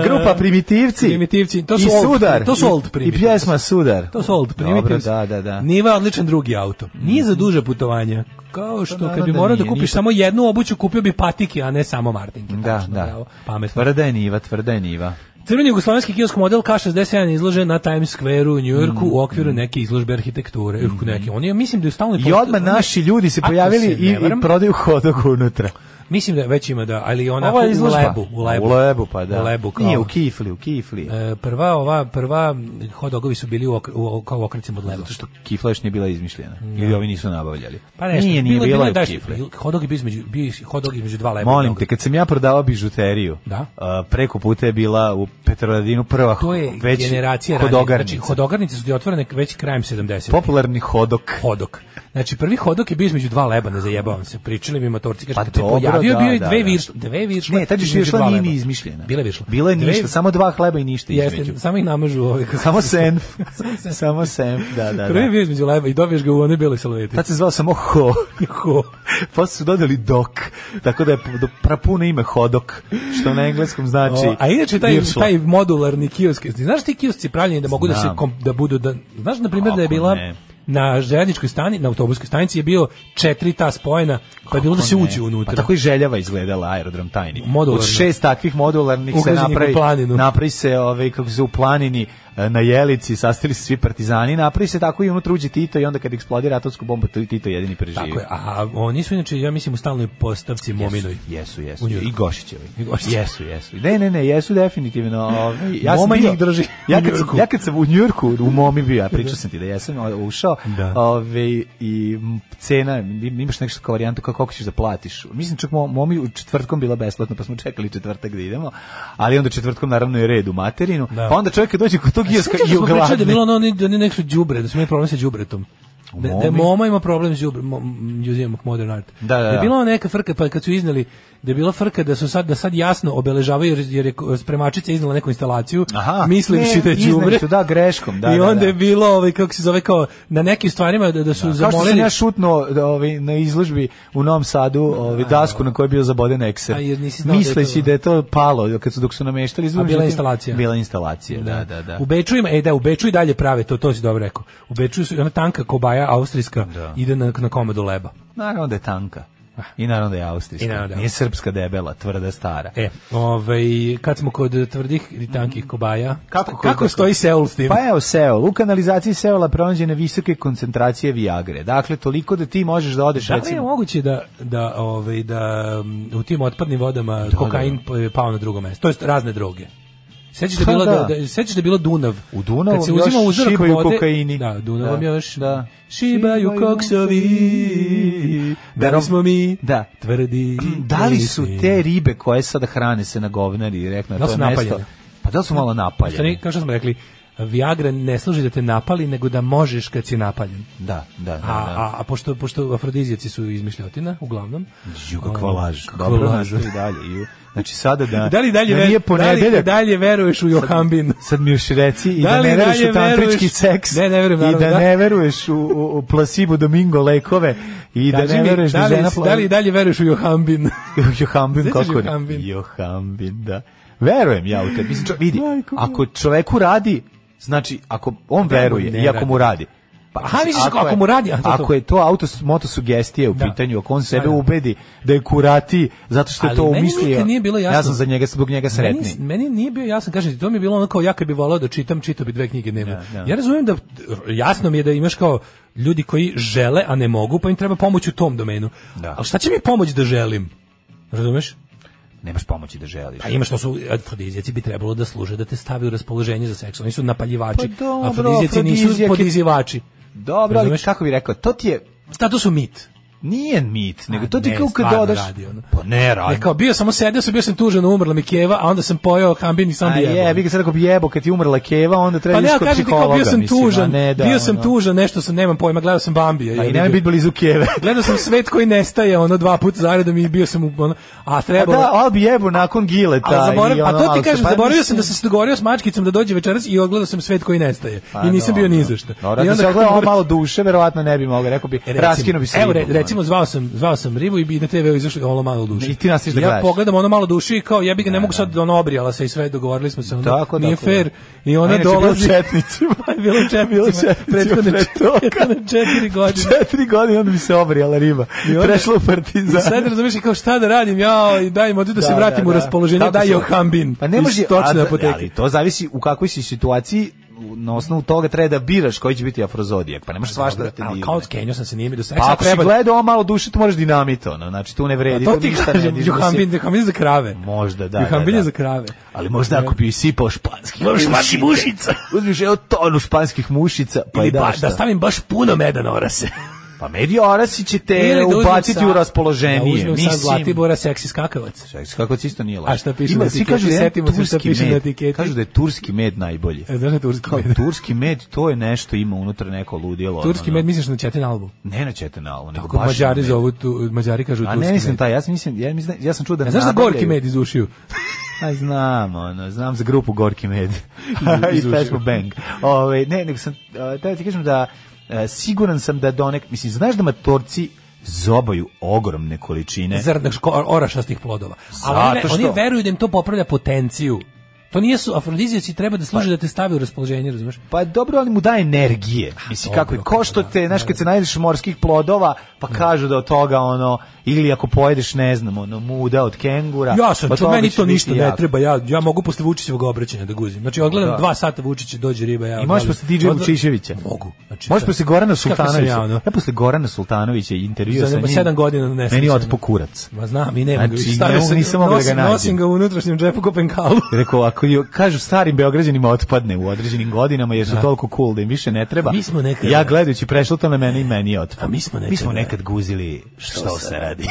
[SPEAKER 7] Grupa Primitivci.
[SPEAKER 6] E, Primitivci. To su
[SPEAKER 7] I
[SPEAKER 6] old,
[SPEAKER 7] Sudar.
[SPEAKER 6] To su old
[SPEAKER 7] I, I pjesma Sudar.
[SPEAKER 6] To su old Primitivci.
[SPEAKER 7] Dobro, da, da, Mm. da.
[SPEAKER 6] Niva odličan drugi auto. Nije za duže putovanja. Kao što kad bi morao da, kupiš nije. samo jednu obuću, kupio bi patike, a ne samo martinke.
[SPEAKER 7] pa- Da,
[SPEAKER 6] tačno,
[SPEAKER 7] da. Bravo, pametno. Tvrda je Niva, tvrda je Niva.
[SPEAKER 6] Crveni jugoslovenski kiosk model K61 izložen na Times Square u Njujorku mm. u okviru neke izložbe arhitekture. Mm. Neke. On je, mislim da je stalno...
[SPEAKER 7] Mm-hmm. I odmah naši ljudi se pojavili se i, varam, i prodaju hodog unutra.
[SPEAKER 6] Mislim da već ima da, ali ona u Lebu,
[SPEAKER 7] u Lebu. U Lebu pa da.
[SPEAKER 6] U Lebu kao.
[SPEAKER 7] Nije u Kifli, u Kifli.
[SPEAKER 6] E, prva ova prva mm, hodogovi su bili u, okre, u kao okrecima od Leba.
[SPEAKER 7] Zato što Kifla još nije bila izmišljena. Mm. Ili ovi nisu nabavljali.
[SPEAKER 6] Pa nešto,
[SPEAKER 7] nije, nije bila, bila u Kifli.
[SPEAKER 6] Hodog je bio između bio hodog između dva Leba.
[SPEAKER 7] Molim te, kad sam ja prodavao bižuteriju,
[SPEAKER 6] da?
[SPEAKER 7] A, preko puta je bila u Petrovaradinu prva
[SPEAKER 6] to je
[SPEAKER 7] već
[SPEAKER 6] generacija
[SPEAKER 7] hodogarnica.
[SPEAKER 6] Znači, hodogarnice su otvorene već krajem 70.
[SPEAKER 7] Popularni hodok.
[SPEAKER 6] Hodok. Znači prvi hodok je bio između dva Leba, ne zajebavam se. Pričali mi motorci kaže pa pojavio bio je dve viršle, dve viršle.
[SPEAKER 7] Ne, tad je viršla nije ni izmišljena.
[SPEAKER 6] Bila je viršla.
[SPEAKER 7] Bila je ništa, samo dva hleba i ništa
[SPEAKER 6] Jeste, između. samo ih namažu ove.
[SPEAKER 7] Samo
[SPEAKER 6] *laughs*
[SPEAKER 7] senf. *laughs* samo senf, da, da, da.
[SPEAKER 6] Prvi bio između leba i dobiješ ga u one bele salvete.
[SPEAKER 7] Tad se zvao samo ho.
[SPEAKER 6] ho.
[SPEAKER 7] Posle su dodali dok, tako da je prapuno ime hodok, što na engleskom znači o,
[SPEAKER 6] A inače taj, viršla. taj modularni kiosk, znaš ti kiosci pravljeni da mogu Znam. da se, kom, da budu, da, znaš na primjer da je bila... Ne na željezničkoj stani, na autobuskoj stanici je bio četiri ta spojena, pa je bilo da se uđe unutra.
[SPEAKER 7] Pa tako i željava izgledala aerodrom tajni.
[SPEAKER 6] Modularno.
[SPEAKER 7] Od šest takvih modularnih se
[SPEAKER 6] Ugrađenih
[SPEAKER 7] napravi,
[SPEAKER 6] u planinu.
[SPEAKER 7] napravi se ovaj, kako se u planini e, na Jelici, sastali se svi partizani, napravi se tako i unutra uđe Tito i onda kad eksplodira atomsku bombu, Tito jedini preživi.
[SPEAKER 6] Tako je, a oni su inače, ja mislim, u stalnoj postavci Mominoj.
[SPEAKER 7] Jesu, jesu,
[SPEAKER 6] U
[SPEAKER 7] jesu.
[SPEAKER 6] Njujorku.
[SPEAKER 7] i Gošićevi.
[SPEAKER 6] I Gošićevi.
[SPEAKER 7] Jesu, jesu. Ne, ne, ne, jesu definitivno. Ovaj, ja sam
[SPEAKER 6] Moma
[SPEAKER 7] bio,
[SPEAKER 6] njih drži
[SPEAKER 7] Ja
[SPEAKER 6] u
[SPEAKER 7] kad, sam,
[SPEAKER 6] Njujorku.
[SPEAKER 7] ja kad sam u Njurku, u Momi bio, ja pričao sam ti da jesam o- ušao,
[SPEAKER 6] Da.
[SPEAKER 7] ovaj, i m, cena, im- imaš nešto kao varijantu kako, koliko ćeš da platiš. Mislim, čak mo- Momi u četvrtkom bila besplatno, pa smo čekali četvrtak da idemo, ali onda četvrtkom naravno je red u materinu,
[SPEAKER 6] Da.
[SPEAKER 7] pa onda čovjek kad dođe kod tog kioska
[SPEAKER 6] Sjećaš
[SPEAKER 7] i
[SPEAKER 6] da smo pričali da je
[SPEAKER 7] ogladne.
[SPEAKER 6] bilo ono, oni- da oni neko đubre, da smo imali problem sa đubretom. Da, da je
[SPEAKER 7] Momi?
[SPEAKER 6] Moma ima problem s đubre, Mo- Museum of Modern Art.
[SPEAKER 7] Da, da,
[SPEAKER 6] je
[SPEAKER 7] da.
[SPEAKER 6] bila neka frka, pa kad su izneli, da je bila frka da su sad, da sad jasno obeležavaju, jer, jer je ko- spremačica iznala neku instalaciju,
[SPEAKER 7] Aha,
[SPEAKER 6] mislivši
[SPEAKER 7] ne,
[SPEAKER 6] da je
[SPEAKER 7] izneli
[SPEAKER 6] đubre.
[SPEAKER 7] su, da, greškom, da,
[SPEAKER 6] I
[SPEAKER 7] da,
[SPEAKER 6] onda
[SPEAKER 7] da.
[SPEAKER 6] je bilo, ovaj, kako se zove, kao, na nekim stvarima da, da su
[SPEAKER 7] Kao što sam
[SPEAKER 6] zamolili...
[SPEAKER 7] ja šutno da, ovaj, na izložbi u Novom Sadu ovaj, dasku na kojoj je bio zaboden ekser.
[SPEAKER 6] A, jer nisi znao da je to-
[SPEAKER 7] Misleći da je to palo kad su, dok su nameštali
[SPEAKER 6] A
[SPEAKER 7] izložbu.
[SPEAKER 6] bila je
[SPEAKER 7] međutim,
[SPEAKER 6] instalacija.
[SPEAKER 7] Bila je instalacija, da, da, da.
[SPEAKER 6] U Beču ima, e da, u Beču i dalje prave to, to si dobro rekao. U Beču su, ona tanka kobaja austrijska
[SPEAKER 7] Da.
[SPEAKER 6] ide na, na komadu leba.
[SPEAKER 7] Naravno da je tanka. I naravno da je austrijska.
[SPEAKER 6] I naravno da je
[SPEAKER 7] Nije srpska debela, tvrda, stara.
[SPEAKER 6] E, ovaj, kad smo kod tvrdih i tankih kobaja,
[SPEAKER 7] Kako-
[SPEAKER 6] šta-
[SPEAKER 7] kako-
[SPEAKER 6] stoji Seul s tim?
[SPEAKER 7] Pa evo Seol, u kanalizaciji Seola pronađene visoke koncentracije Viagre. Dakle, toliko da ti možeš da odeš,
[SPEAKER 6] da li je
[SPEAKER 7] recimo...
[SPEAKER 6] moguće da, da, ovaj, da um, u tim otpadnim vodama kokain pa- je pao na drugo mesto? To jest razne droge. Sećaš da,
[SPEAKER 7] Pa
[SPEAKER 6] bilo, da,
[SPEAKER 7] da.
[SPEAKER 6] da, sećaš da je bilo Dunav.
[SPEAKER 7] U Dunavu
[SPEAKER 6] Kad se
[SPEAKER 7] još
[SPEAKER 6] uzima uzorak
[SPEAKER 7] šibaju
[SPEAKER 6] vode,
[SPEAKER 7] kokaini.
[SPEAKER 6] Da, Dunavom
[SPEAKER 7] Da,
[SPEAKER 6] još.
[SPEAKER 7] da.
[SPEAKER 6] Šibaju
[SPEAKER 7] Šibaju
[SPEAKER 6] koksovi.
[SPEAKER 7] koksovi.
[SPEAKER 6] Da li smo mi
[SPEAKER 7] Da.
[SPEAKER 6] tvrdi.
[SPEAKER 7] *clears throat* Da li su
[SPEAKER 6] prisni.
[SPEAKER 7] te ribe koje sada hrane se na govnari i rekna
[SPEAKER 6] Da li
[SPEAKER 7] to
[SPEAKER 6] su
[SPEAKER 7] mesto?
[SPEAKER 6] napaljene?
[SPEAKER 7] Pa da li su malo
[SPEAKER 6] Što
[SPEAKER 7] napaljene?
[SPEAKER 6] ne- Kao što smo rekli, Viagra ne služi da te napali, nego da možeš kad si napaljen.
[SPEAKER 7] Da, da, da.
[SPEAKER 6] A,
[SPEAKER 7] da.
[SPEAKER 6] a, a pošto, pošto afrodizijaci su izmišljotina, uglavnom.
[SPEAKER 7] Ju,
[SPEAKER 6] ovaj,
[SPEAKER 7] kakva laž.
[SPEAKER 6] kakva
[SPEAKER 7] Dobro,
[SPEAKER 6] laž.
[SPEAKER 7] nastavi dalje. Ju. Znači sada da...
[SPEAKER 6] Da li dalje,
[SPEAKER 7] da
[SPEAKER 6] ver,
[SPEAKER 7] nije
[SPEAKER 6] da li
[SPEAKER 7] ponedeljak?
[SPEAKER 6] dalje veruješ u Johambin?
[SPEAKER 7] Sad mi još reci i
[SPEAKER 6] Da
[SPEAKER 7] da,
[SPEAKER 6] li
[SPEAKER 7] ne veruješ
[SPEAKER 6] dalje
[SPEAKER 7] u tantrički
[SPEAKER 6] veruješ?
[SPEAKER 7] seks
[SPEAKER 6] Ne, ne verujem,
[SPEAKER 7] i
[SPEAKER 6] naravno,
[SPEAKER 7] da,
[SPEAKER 6] da.
[SPEAKER 7] ne veruješ u, u, u placebo domingo lekove i da,
[SPEAKER 6] Kaži
[SPEAKER 7] ne
[SPEAKER 6] mi,
[SPEAKER 7] veruješ da,
[SPEAKER 6] da li,
[SPEAKER 7] žena
[SPEAKER 6] si- da li dalje veruješ u Johambin?
[SPEAKER 7] Johambin
[SPEAKER 6] Sećaš
[SPEAKER 7] kako ne?
[SPEAKER 6] Johambin?
[SPEAKER 7] Johambin, da. Verujem ja u te. Mislim, čo, vidi,
[SPEAKER 6] Majko moja.
[SPEAKER 7] ako čoveku radi, znači, ako on
[SPEAKER 6] Da mu
[SPEAKER 7] veruje
[SPEAKER 6] ne
[SPEAKER 7] i ako mu radi, Pa,
[SPEAKER 6] Aha, misliš ako- ako
[SPEAKER 7] je-
[SPEAKER 6] mu radi, a to je to.
[SPEAKER 7] ako je to auto moto sugestije u
[SPEAKER 6] Da.
[SPEAKER 7] pitanju, ako on
[SPEAKER 6] Da,
[SPEAKER 7] sebe
[SPEAKER 6] da.
[SPEAKER 7] ubedi da je kurati zato što je
[SPEAKER 6] Ali
[SPEAKER 7] to
[SPEAKER 6] meni
[SPEAKER 7] umislio.
[SPEAKER 6] nikad nije bilo jasno.
[SPEAKER 7] Ja sam za njega zbog njega *laughs* sretni.
[SPEAKER 6] Meni, meni nije bio jasno, kažem ti, to mi je bilo ono kao ja kad bi volao da čitam, čitao bi dve knjige dnevno.
[SPEAKER 7] Da, da.
[SPEAKER 6] Ja razumijem da, jasno mi je da imaš kao ljudi koji žele, a ne mogu, pa im treba pomoć u tom domenu.
[SPEAKER 7] Da.
[SPEAKER 6] Ali šta će mi pomoć da želim? Razumeš?
[SPEAKER 7] Nemaš pomoći da želiš.
[SPEAKER 6] Pa imaš to su afrodizijaci bi trebalo da služe da te stavi u raspoloženje za seks. Oni su napaljivači.
[SPEAKER 7] Pa dobro,
[SPEAKER 6] afrodizijaci nisu
[SPEAKER 7] afrodizijak je-
[SPEAKER 6] podizivači.
[SPEAKER 7] Dobro, ali
[SPEAKER 6] Razumeš?
[SPEAKER 7] kako bi rekao, to ti je
[SPEAKER 6] Status su mit.
[SPEAKER 7] Nije mit, nego to ti
[SPEAKER 6] ne,
[SPEAKER 7] kao kad
[SPEAKER 6] stvarno
[SPEAKER 7] dodaš...
[SPEAKER 6] radi, ono.
[SPEAKER 7] Pa ne, radi.
[SPEAKER 6] Ne, kao bio sam sedeo sam, bio sam tužan, umrla mi keva, a onda sam pojeo hambin i sam
[SPEAKER 7] A
[SPEAKER 6] bi jebao.
[SPEAKER 7] je, bi ga sad rekao jebo, kad ti umrla keva, onda treba
[SPEAKER 6] Pa ne,
[SPEAKER 7] ideš
[SPEAKER 6] ali
[SPEAKER 7] kod
[SPEAKER 6] kažem ti kao
[SPEAKER 7] psihologa.
[SPEAKER 6] bio sam
[SPEAKER 7] mislim, a
[SPEAKER 6] tužan,
[SPEAKER 7] ne, da,
[SPEAKER 6] bio sam
[SPEAKER 7] ono.
[SPEAKER 6] tužan, nešto sam, nemam pojma, gledao sam Bambija.
[SPEAKER 7] Pa i
[SPEAKER 6] jebi
[SPEAKER 7] nemoj
[SPEAKER 6] ga.
[SPEAKER 7] biti blizu
[SPEAKER 6] *laughs*
[SPEAKER 7] keve.
[SPEAKER 6] Gledao sam svet koji nestaje, ono dva puta zaredom i bio sam u, ono, a
[SPEAKER 7] Pa
[SPEAKER 6] trebalo...
[SPEAKER 7] da, ali bi jebo nakon gileta.
[SPEAKER 6] Ali zaborav,
[SPEAKER 7] i
[SPEAKER 6] a
[SPEAKER 7] ono,
[SPEAKER 6] to ti
[SPEAKER 7] ali se-
[SPEAKER 6] kažem,
[SPEAKER 7] pa
[SPEAKER 6] zaboravio
[SPEAKER 7] mislim-
[SPEAKER 6] sam da sam se dogovorio s mačkicom da dođe večeras i ogledao sam svet koji nestaje. I nisam bio ni za šta.
[SPEAKER 7] Pa Dobro,
[SPEAKER 6] I
[SPEAKER 7] da
[SPEAKER 6] onda
[SPEAKER 7] se
[SPEAKER 6] kako
[SPEAKER 7] ogledao
[SPEAKER 6] moram-
[SPEAKER 7] malo duše, verovatno ne bi mogao, rekao bi,
[SPEAKER 6] E, recimo,
[SPEAKER 7] raskinuo bi se.
[SPEAKER 6] Evo, re,
[SPEAKER 7] ribom, ono.
[SPEAKER 6] recimo, zvao sam, zvao sam ribu i bi na TV izašli ono malo duše.
[SPEAKER 7] I ti nastaviš da
[SPEAKER 6] ja
[SPEAKER 7] gledaš.
[SPEAKER 6] pogledam ono malo duše i kao, ja bi ga ne, mogu sad, ono obrijala se i sve, dogovorili smo se, ono,
[SPEAKER 7] Tako,
[SPEAKER 6] nije
[SPEAKER 7] tako,
[SPEAKER 6] fair.
[SPEAKER 7] da.
[SPEAKER 6] I ona
[SPEAKER 7] A inače, bilo
[SPEAKER 6] dolazi...
[SPEAKER 7] četnicima.
[SPEAKER 6] *laughs* Pa je bilo
[SPEAKER 7] Bilo
[SPEAKER 6] četnicima.
[SPEAKER 7] četnicima
[SPEAKER 6] Prethodne
[SPEAKER 7] pre toga.
[SPEAKER 6] prethodne
[SPEAKER 7] *laughs*
[SPEAKER 6] četiri godine.
[SPEAKER 7] Četiri godine onda bi se obrijala riba.
[SPEAKER 6] I onda-
[SPEAKER 7] Prešla u
[SPEAKER 6] I
[SPEAKER 7] partizan.
[SPEAKER 6] sad razumiješ i kao šta da radim, ja, i daj mi da, da se vratim u raspoloženje,
[SPEAKER 7] Kako
[SPEAKER 6] daj
[SPEAKER 7] se-
[SPEAKER 6] Johambin.
[SPEAKER 7] Pa ne može,
[SPEAKER 6] iz stočne
[SPEAKER 7] a-
[SPEAKER 6] apoteke.
[SPEAKER 7] ali to zavisi u kakvoj si situaciji, u- na osnovu toga treba da biraš koji će biti afrozodijak, pa ne možeš svašta da te
[SPEAKER 6] Ali
[SPEAKER 7] digne.
[SPEAKER 6] kao skenio sam se, nije mi do seksa.
[SPEAKER 7] Pa ako si
[SPEAKER 6] treba-
[SPEAKER 7] gledao ovo malo duše, tu moraš dinamit, ono, znači tu ne vredi.
[SPEAKER 6] A to
[SPEAKER 7] tu
[SPEAKER 6] ti
[SPEAKER 7] ništa ne
[SPEAKER 6] kažem,
[SPEAKER 7] diš,
[SPEAKER 6] Johambin,
[SPEAKER 7] mislim.
[SPEAKER 6] Johambin je za krave.
[SPEAKER 7] Možda, da.
[SPEAKER 6] Johambin
[SPEAKER 7] da,
[SPEAKER 6] je
[SPEAKER 7] da.
[SPEAKER 6] za krave.
[SPEAKER 7] Ali možda ako bi isipao španski
[SPEAKER 6] Moraš mati mušica.
[SPEAKER 7] Uzmiš evo tonu španskih mušica, pa
[SPEAKER 6] Ili
[SPEAKER 7] i daš
[SPEAKER 6] baš da
[SPEAKER 7] to.
[SPEAKER 6] stavim baš puno meda na orase.
[SPEAKER 7] Pa Medi Orasi će te
[SPEAKER 6] *laughs* Ili da uzmem
[SPEAKER 7] ubaciti
[SPEAKER 6] sa-
[SPEAKER 7] u raspoloženje.
[SPEAKER 6] Da uzmem sa
[SPEAKER 7] Mislim,
[SPEAKER 6] Zlatibora seksi skakavac.
[SPEAKER 7] Čekaj, kako ci isto nije lažno.
[SPEAKER 6] A šta piše na
[SPEAKER 7] svi
[SPEAKER 6] etiketi?
[SPEAKER 7] kažu da je
[SPEAKER 6] Setimo se šta
[SPEAKER 7] turski
[SPEAKER 6] piše na
[SPEAKER 7] med.
[SPEAKER 6] etiketi.
[SPEAKER 7] Kažu da je turski med najbolji.
[SPEAKER 6] E, znaš da je turski
[SPEAKER 7] Kao
[SPEAKER 6] med?
[SPEAKER 7] turski med, to je nešto ima unutra neko
[SPEAKER 6] *laughs*
[SPEAKER 7] ludilo.
[SPEAKER 6] Turski
[SPEAKER 7] ono,
[SPEAKER 6] med misliš na Četin album?
[SPEAKER 7] Ne na četenalu, nego
[SPEAKER 6] Tako
[SPEAKER 7] baš na
[SPEAKER 6] Mađari
[SPEAKER 7] med.
[SPEAKER 6] zovu tu, Mađari kažu
[SPEAKER 7] A
[SPEAKER 6] turski
[SPEAKER 7] ne mislim
[SPEAKER 6] med.
[SPEAKER 7] taj, ja sam mislim, ja mislim, ja sam čuo da
[SPEAKER 6] A znaš da
[SPEAKER 7] nabavljaju-
[SPEAKER 6] gorki med iz ušiju?
[SPEAKER 7] A znam, ono, znam za grupu
[SPEAKER 6] *laughs*
[SPEAKER 7] Gorki Med *laughs* i
[SPEAKER 6] Iz ušiju.
[SPEAKER 7] pesmu Bang. Ove, ne, nego sam, a, teo ti kažem da e, siguran sam da donek, mislim, znaš da matorci zobaju ogromne količine.
[SPEAKER 6] Zrna ško- orašastih plodova. Ali oni,
[SPEAKER 7] Zato
[SPEAKER 6] oni
[SPEAKER 7] što-
[SPEAKER 6] veruju da im to popravlja potenciju. To nije su afrodizijaci treba da služe da te stavi u raspoloženje, razumeš?
[SPEAKER 7] Pa dobro, ali mu daje energije. Mislim, kako je, ko što te, znaš, kad se najdeš morskih plodova, pa kažu da od toga, ono, ili ako pojedeš, ne znam, ono, muda od kengura.
[SPEAKER 6] Ja sam,
[SPEAKER 7] pa
[SPEAKER 6] to
[SPEAKER 7] toga
[SPEAKER 6] meni
[SPEAKER 7] ćeš
[SPEAKER 6] to
[SPEAKER 7] biti
[SPEAKER 6] ništa ne
[SPEAKER 7] jak.
[SPEAKER 6] treba, ja, ja mogu posle Vučićevog obraćanja da guzim. Znači, ogledam
[SPEAKER 7] Da.
[SPEAKER 6] dva sata Vučića, dođe riba, ja...
[SPEAKER 7] I možeš
[SPEAKER 6] odgledam-
[SPEAKER 7] posle DJ
[SPEAKER 6] odgledam-
[SPEAKER 7] Vučiševića.
[SPEAKER 6] Mogu. Znači,
[SPEAKER 7] Možeš
[SPEAKER 6] šta-
[SPEAKER 7] posle Gorana
[SPEAKER 6] Kako sam
[SPEAKER 7] Sultanovića.
[SPEAKER 6] ja, ono?
[SPEAKER 7] Ja, posle Gorana Sultanovića i intervju sa
[SPEAKER 6] Za
[SPEAKER 7] njim.
[SPEAKER 6] sedam godina ne
[SPEAKER 7] Meni je
[SPEAKER 6] sjećam.
[SPEAKER 7] otpo kurac.
[SPEAKER 6] Ma znam, i nema ga.
[SPEAKER 7] Znači,
[SPEAKER 6] više. Stavio
[SPEAKER 7] ne
[SPEAKER 6] sam
[SPEAKER 7] mogu, nisam mogao da ga
[SPEAKER 6] nosim-
[SPEAKER 7] nađem.
[SPEAKER 6] Nosim ga u unutrašnjem džepu ko penkalu.
[SPEAKER 7] Rekao, ako ju, kažu starim Beograđanima otpadne u određenim godinama jer su
[SPEAKER 6] Da.
[SPEAKER 7] toliko cool da im više ne treba.
[SPEAKER 6] Mi smo nekad-
[SPEAKER 7] Ja gledajući prešlo to na mene i meni je otpadne.
[SPEAKER 6] A mi smo nekad-
[SPEAKER 7] mi smo nekad guzili što, se radi.
[SPEAKER 6] *laughs*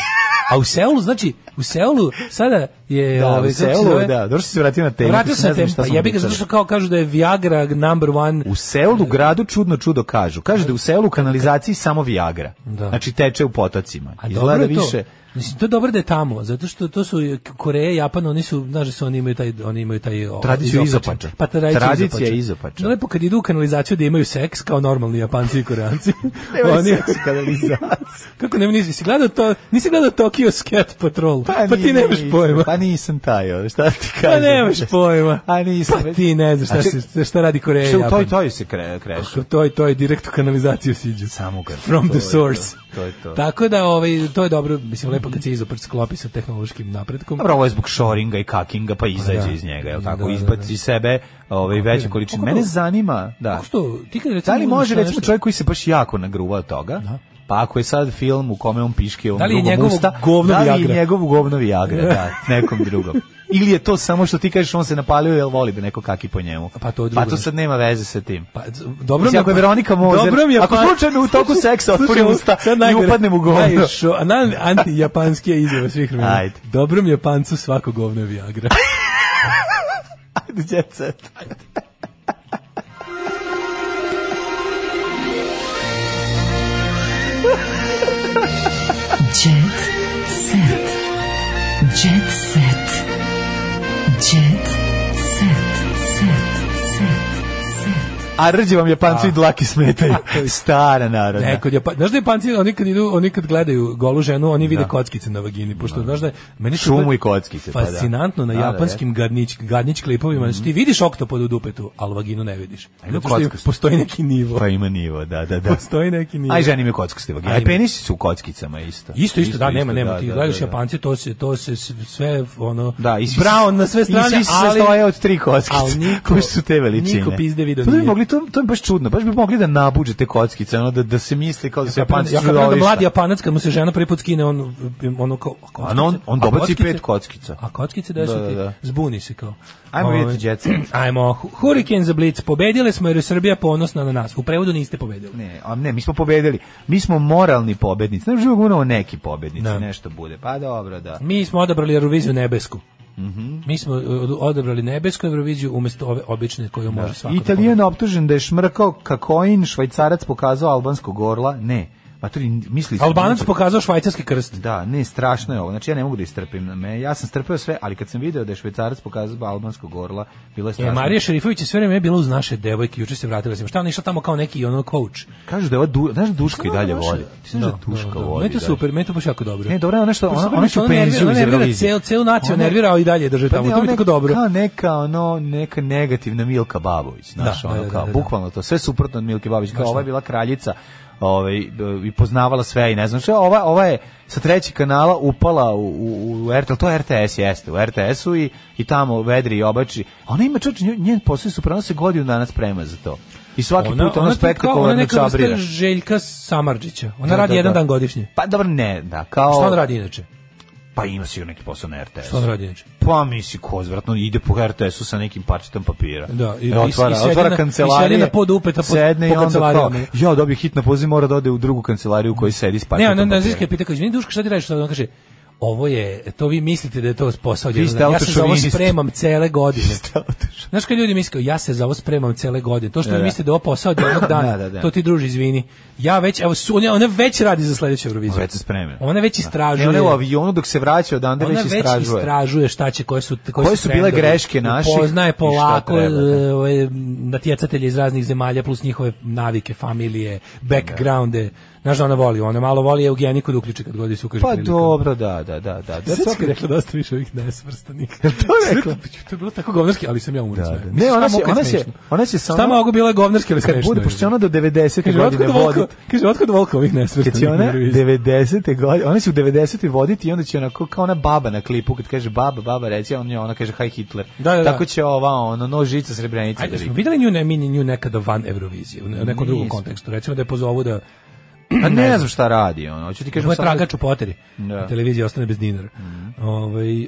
[SPEAKER 6] A u Seulu, znači, u Seulu sada je...
[SPEAKER 7] Da,
[SPEAKER 6] ovaj,
[SPEAKER 7] u
[SPEAKER 6] kako se
[SPEAKER 7] Seulu,
[SPEAKER 6] zove?
[SPEAKER 7] da, dobro što si se vratio na temu.
[SPEAKER 6] Vratio
[SPEAKER 7] ti
[SPEAKER 6] sam
[SPEAKER 7] ne znam
[SPEAKER 6] te,
[SPEAKER 7] šta
[SPEAKER 6] pa
[SPEAKER 7] smo
[SPEAKER 6] jebi ga,
[SPEAKER 7] pričali.
[SPEAKER 6] zato što kao kažu da je Viagra number one...
[SPEAKER 7] U Seulu, gradu, čudno čudo kažu. Kažu da je u Seulu u kanalizaciji samo Viagra.
[SPEAKER 6] Da.
[SPEAKER 7] Znači teče u potocima.
[SPEAKER 6] A dobro
[SPEAKER 7] Izgleda
[SPEAKER 6] je to.
[SPEAKER 7] više...
[SPEAKER 6] Mislim, to je dobro da je tamo, zato što to su Koreja, Japan, oni su, znaš da su, oni imaju taj, oni imaju taj... o,
[SPEAKER 7] Tradiciju izopača.
[SPEAKER 6] Pa tradicija,
[SPEAKER 7] Tradicija
[SPEAKER 6] izopača.
[SPEAKER 7] izopača.
[SPEAKER 6] No, lepo kad idu u kanalizaciju da imaju seks, kao normalni Japanci i Koreanci.
[SPEAKER 7] *laughs* Nemaju seks u kanalizaciji.
[SPEAKER 6] Kako ne, nisi, si gledao to, nisi gledao Tokyo Scat Patrol, *laughs* pa, ti
[SPEAKER 7] nije,
[SPEAKER 6] nemaš
[SPEAKER 7] nisam,
[SPEAKER 6] pojma.
[SPEAKER 7] Pa nisam taj, ono, šta ti kažem?
[SPEAKER 6] Pa nemaš pojma.
[SPEAKER 7] A nisam.
[SPEAKER 6] Pa ti ne znaš šta,
[SPEAKER 7] A ček-
[SPEAKER 6] se, šta radi Koreja i
[SPEAKER 7] Što u toj,
[SPEAKER 6] Japan.
[SPEAKER 7] toj se kre, krešu?
[SPEAKER 6] To je to je direktno kanalizaciju siđu.
[SPEAKER 7] Samo kad-
[SPEAKER 6] From
[SPEAKER 7] to
[SPEAKER 6] the
[SPEAKER 7] je to,
[SPEAKER 6] source.
[SPEAKER 7] to je to.
[SPEAKER 6] Tako da ovaj to je dobro, mislim lepo kad se izoprt sklopi sa tehnološkim napretkom.
[SPEAKER 7] Dobro, ovo je zbog shoringa i kakinga, pa izađe
[SPEAKER 6] da.
[SPEAKER 7] iz njega, je
[SPEAKER 6] Da,
[SPEAKER 7] tako?
[SPEAKER 6] da,
[SPEAKER 7] Izbaci
[SPEAKER 6] da.
[SPEAKER 7] sebe ovaj, veće količine.
[SPEAKER 6] Kako to-
[SPEAKER 7] Mene zanima, da.
[SPEAKER 6] Kako što, ti kad recimo
[SPEAKER 7] Da li
[SPEAKER 6] uzmeš
[SPEAKER 7] može,
[SPEAKER 6] nešto-
[SPEAKER 7] recimo, čovjek koji se baš jako nagruva od toga, pa ako je sad film u kome on piške ovom
[SPEAKER 6] Da li je
[SPEAKER 7] drugom
[SPEAKER 6] njegovo
[SPEAKER 7] usta,
[SPEAKER 6] govno
[SPEAKER 7] da li
[SPEAKER 6] Viagra?
[SPEAKER 7] je njegovo govno Viagra,
[SPEAKER 6] *laughs*
[SPEAKER 7] da, nekom drugom. Ili je to samo što ti kažeš on se napalio jer voli da neko kaki po njemu.
[SPEAKER 6] Pa to je drugo
[SPEAKER 7] pa to sad nema veze sa tim.
[SPEAKER 6] Pa, z- dobro mi
[SPEAKER 7] Mislim, ako je Veronika Mozer, ako
[SPEAKER 6] pa-
[SPEAKER 7] slučajno u toku seksa otvori usta i upadnem u govno.
[SPEAKER 6] anti antijapanski je izjava svih vremena.
[SPEAKER 7] Ajde.
[SPEAKER 6] Dobrom Japancu svako govno je Viagra.
[SPEAKER 7] Ajde, jet set.
[SPEAKER 10] Jet set. Jet set. Jet set. Set. Set. Set.
[SPEAKER 7] A rđe vam Japanci
[SPEAKER 6] Da.
[SPEAKER 7] i dlaki
[SPEAKER 6] *laughs*
[SPEAKER 7] smetaju. Stara narodna.
[SPEAKER 6] Ne, E, kod Japan, znaš da Japanci, oni kad, idu, oni kad gledaju golu ženu, oni vide
[SPEAKER 7] Da.
[SPEAKER 6] kockice na vagini, pošto, znaš da, je- meni se
[SPEAKER 7] Šumu
[SPEAKER 6] to-
[SPEAKER 7] i kockice, pa da.
[SPEAKER 6] Fascinantno na
[SPEAKER 7] Da, ja. Mhm. da,
[SPEAKER 6] japanskim gadnić, gadnić klipovima, znači ti vidiš oktopod u dupetu, ali vaginu ne vidiš.
[SPEAKER 7] Ima
[SPEAKER 6] Zato što im-
[SPEAKER 7] kockastu.
[SPEAKER 6] postoji neki nivo.
[SPEAKER 7] Pa ima nivo, da, da, da.
[SPEAKER 6] *laughs* Postoji neki nivo.
[SPEAKER 7] Aj ženi imaju kockaste vagine.
[SPEAKER 6] A
[SPEAKER 7] A i
[SPEAKER 6] ima.
[SPEAKER 7] penisi su u kockicama isto.
[SPEAKER 6] Isto, isto, da, nema, nema,
[SPEAKER 7] da,
[SPEAKER 6] ti
[SPEAKER 7] da,
[SPEAKER 6] gledaš
[SPEAKER 7] da, da.
[SPEAKER 6] Japance, to se, to se s- sve, ono,
[SPEAKER 7] Da, i svi
[SPEAKER 6] brown na sve strane,
[SPEAKER 7] i svi se
[SPEAKER 6] ali...
[SPEAKER 7] stoje od tri kockice.
[SPEAKER 6] ali niko-
[SPEAKER 7] koje su te veličine.
[SPEAKER 6] niko pizde video
[SPEAKER 7] Pa da bi
[SPEAKER 6] nije.
[SPEAKER 7] mogli to, to je baš čudno. Baš bi mogli da nabuđe te kockice, ono, da, da se misli kao da se
[SPEAKER 6] Japan,
[SPEAKER 7] Japanci
[SPEAKER 6] ja
[SPEAKER 7] čudovišta.
[SPEAKER 6] kao da mladi Japanac kad mu se žena prvi put skine on ono kao a kockice?
[SPEAKER 7] Ano, no, on- on
[SPEAKER 6] A
[SPEAKER 7] dobaci pet kockica.
[SPEAKER 6] A kockice da,
[SPEAKER 7] Da,
[SPEAKER 6] su
[SPEAKER 7] da,
[SPEAKER 6] ti
[SPEAKER 7] da.
[SPEAKER 6] zbuni se kao.
[SPEAKER 7] Ajmo
[SPEAKER 6] Ovaj,
[SPEAKER 7] vidjeti Jet Set.
[SPEAKER 6] *clears throat* Ajmo Hu- Hurricane za Blitz. Pobedili smo jer je Srbija ponosna na nas. U prevodu niste pobedili.
[SPEAKER 7] Ne, a ne, mi smo pobedili. Mi smo moralni pobednici. Ne možemo govoriti o neki pobednici, nešto bude. Pa dobro, da.
[SPEAKER 6] Mi smo odabrali Euroviziju nebesku.
[SPEAKER 7] Mhm.
[SPEAKER 6] Mi smo uh, odabrali nebesku Euroviziju umjesto ove obične koju može svako. da
[SPEAKER 7] Italijan optužen da je šmrkao kakoin, švajcarac pokazao albanskog orla. Ne, pa to misli su-
[SPEAKER 6] Albanac pokazao švajcarski krst.
[SPEAKER 7] Da, ne, strašno je ovo. Znači ja ne mogu da istrpim. Me, ja sam strpeo sve, ali kad sam video da je švajcarac pokazao albanskog orla, bilo je
[SPEAKER 6] E,
[SPEAKER 7] strašno.
[SPEAKER 6] Marija Šerifović je sve vrijeme bila uz naše devojke, juče se vratila sam. Šta ona je išla tamo kao neki ono coach?
[SPEAKER 7] Kažu da je ova du, znaš da Duška i dalje
[SPEAKER 6] naša-
[SPEAKER 7] voli. Ti znaš da
[SPEAKER 6] Da,
[SPEAKER 7] Duška
[SPEAKER 6] da, da.
[SPEAKER 7] voli.
[SPEAKER 6] Meni je to
[SPEAKER 7] dalje.
[SPEAKER 6] super, meni je to baš jako dobro.
[SPEAKER 7] Ne, dobro, ona što
[SPEAKER 6] Pa
[SPEAKER 7] ona
[SPEAKER 6] super,
[SPEAKER 7] ona će
[SPEAKER 6] ona nervira-
[SPEAKER 7] penziju iz
[SPEAKER 6] ona nervira
[SPEAKER 7] Eurovizije.
[SPEAKER 6] celu- celu naciju
[SPEAKER 7] Ona- Pa
[SPEAKER 6] nervira, a i dalje drže tamo.
[SPEAKER 7] ne,
[SPEAKER 6] To mi je
[SPEAKER 7] ona
[SPEAKER 6] tako dobro.
[SPEAKER 7] Kao neka ono neka negativna Milka Babović, znaš,
[SPEAKER 6] Da,
[SPEAKER 7] ono
[SPEAKER 6] da, da,
[SPEAKER 7] kao
[SPEAKER 6] da, da.
[SPEAKER 7] bukvalno to sve suprotno od Milke Babović, kao
[SPEAKER 6] Baš
[SPEAKER 7] ova je
[SPEAKER 6] da.
[SPEAKER 7] bila kraljica, ovaj i poznavala sve i ne znam šta, ova ova je sa trećeg kanala upala u, u, u RTL, to je RTS jeste, u RTS-u i, i tamo vedri i obači. A ona ima čoč, njen posao je suprano se godinu danas sprema za to. I svaki put ona,
[SPEAKER 6] ti kao- ona
[SPEAKER 7] spektakularno
[SPEAKER 6] neka vrsta
[SPEAKER 7] čabrira.
[SPEAKER 6] Željka Samarđića. Ona
[SPEAKER 7] Da,
[SPEAKER 6] radi
[SPEAKER 7] da,
[SPEAKER 6] jedan
[SPEAKER 7] da.
[SPEAKER 6] dan godišnje.
[SPEAKER 7] Pa dobro, ne, da, kao...
[SPEAKER 6] Šta ona radi inače?
[SPEAKER 7] Pa ima sigurno neki posao na RTS.
[SPEAKER 6] Šta ona radi inače?
[SPEAKER 7] Pa misli, kozvratno, ide po RTS-u sa nekim parčetom papira.
[SPEAKER 6] Da, i-
[SPEAKER 7] i,
[SPEAKER 6] i-
[SPEAKER 7] otvara,
[SPEAKER 6] i sedi
[SPEAKER 7] otvara
[SPEAKER 6] na- i
[SPEAKER 7] kancelarije.
[SPEAKER 6] sedi na pod upeta po-
[SPEAKER 7] sedne
[SPEAKER 6] po
[SPEAKER 7] i onda kao,
[SPEAKER 6] kancelarijama.
[SPEAKER 7] ja dobio hitna poziv, mora da ode u drugu kancelariju u kojoj sedi s
[SPEAKER 6] Ne,
[SPEAKER 7] parčetom
[SPEAKER 6] ona
[SPEAKER 7] papira.
[SPEAKER 6] na ziske pita kaže, "Izvini Duška, šta ti radiš?" Ona kaže, "Ovo je, to vi mislite da je to posao
[SPEAKER 7] Vi
[SPEAKER 6] jedan
[SPEAKER 7] ste
[SPEAKER 6] dan. Ja se za ovo
[SPEAKER 7] autošovinist."
[SPEAKER 6] spremam cele
[SPEAKER 7] *laughs*
[SPEAKER 6] godine. Znaš kad ljudi misle, kao, ja se za ovo spremam cele godine. To što
[SPEAKER 7] Da,
[SPEAKER 6] vi
[SPEAKER 7] da.
[SPEAKER 6] mislite da je ovo posao od jednog dana,
[SPEAKER 7] *laughs* Da, da, da.
[SPEAKER 6] to ti druži, izvini. Ja već, evo, su, ona, ona već radi za sledeću Euroviziju.
[SPEAKER 7] Već se spremio.
[SPEAKER 6] Ona već istražuje.
[SPEAKER 7] Ne, ona je u avionu dok se vraća odande
[SPEAKER 6] Ona
[SPEAKER 7] već
[SPEAKER 6] već
[SPEAKER 7] istražuje.
[SPEAKER 6] istražuje šta će, koje su, koje
[SPEAKER 7] Koje su bile
[SPEAKER 6] trendovi.
[SPEAKER 7] greške naših i
[SPEAKER 6] Poznaje
[SPEAKER 7] šta
[SPEAKER 6] polako
[SPEAKER 7] treba, da.
[SPEAKER 6] e, ove, natjecatelje iz raznih zemalja, plus njihove navike, familije, backgrounde. Znaš da ona voli, ona malo voli eugeniku da uključi kad godi se ukaže
[SPEAKER 7] Pa
[SPEAKER 6] prilika.
[SPEAKER 7] dobro, da, da, da. da, da
[SPEAKER 6] Sad si
[SPEAKER 7] to-
[SPEAKER 6] rekla dosta više ovih nesvrstanih. *laughs*
[SPEAKER 7] to rekla?
[SPEAKER 6] To je bilo tako govnarski, ali sam ja umoran. sve. Mislim,
[SPEAKER 7] Ne, ona
[SPEAKER 6] šta
[SPEAKER 7] se,
[SPEAKER 6] mogu kad
[SPEAKER 7] ona se,
[SPEAKER 6] smešno?
[SPEAKER 7] ona se samo...
[SPEAKER 6] Šta mogu bila govnarski, ali
[SPEAKER 7] Kad
[SPEAKER 6] smešno
[SPEAKER 7] bude,
[SPEAKER 6] je.
[SPEAKER 7] pošto će ona do 90.
[SPEAKER 6] Kaže,
[SPEAKER 7] godine
[SPEAKER 6] otkud volko,
[SPEAKER 7] voditi.
[SPEAKER 6] kaže, otkud volko ovih
[SPEAKER 7] Kad će
[SPEAKER 6] nesvrstanih.
[SPEAKER 7] ona
[SPEAKER 6] na Euroviziji?
[SPEAKER 7] 90. godine, ona će u 90. voditi i onda će onako kao ona baba na klipu, kad kaže baba, baba reći, a on njoj, ona kaže hi Hitler.
[SPEAKER 6] Da, da, da.
[SPEAKER 7] Tako će ova, ono, nožica srebrenica.
[SPEAKER 6] Ajde,
[SPEAKER 7] da
[SPEAKER 6] smo
[SPEAKER 7] vidi.
[SPEAKER 6] videli nju, ne, mi nju nekada van Eurovizije, u ne- u nekom drugom
[SPEAKER 7] Nismo.
[SPEAKER 6] kontekstu. Recimo da je pozovu da
[SPEAKER 7] A Pa ne znam šta radi, ono, hoću ti kažem
[SPEAKER 6] Moj
[SPEAKER 7] samo da-
[SPEAKER 6] tragač u poteri.
[SPEAKER 7] Da. Mhm.
[SPEAKER 6] Televizija ostane bez dinara. Ovaj, e,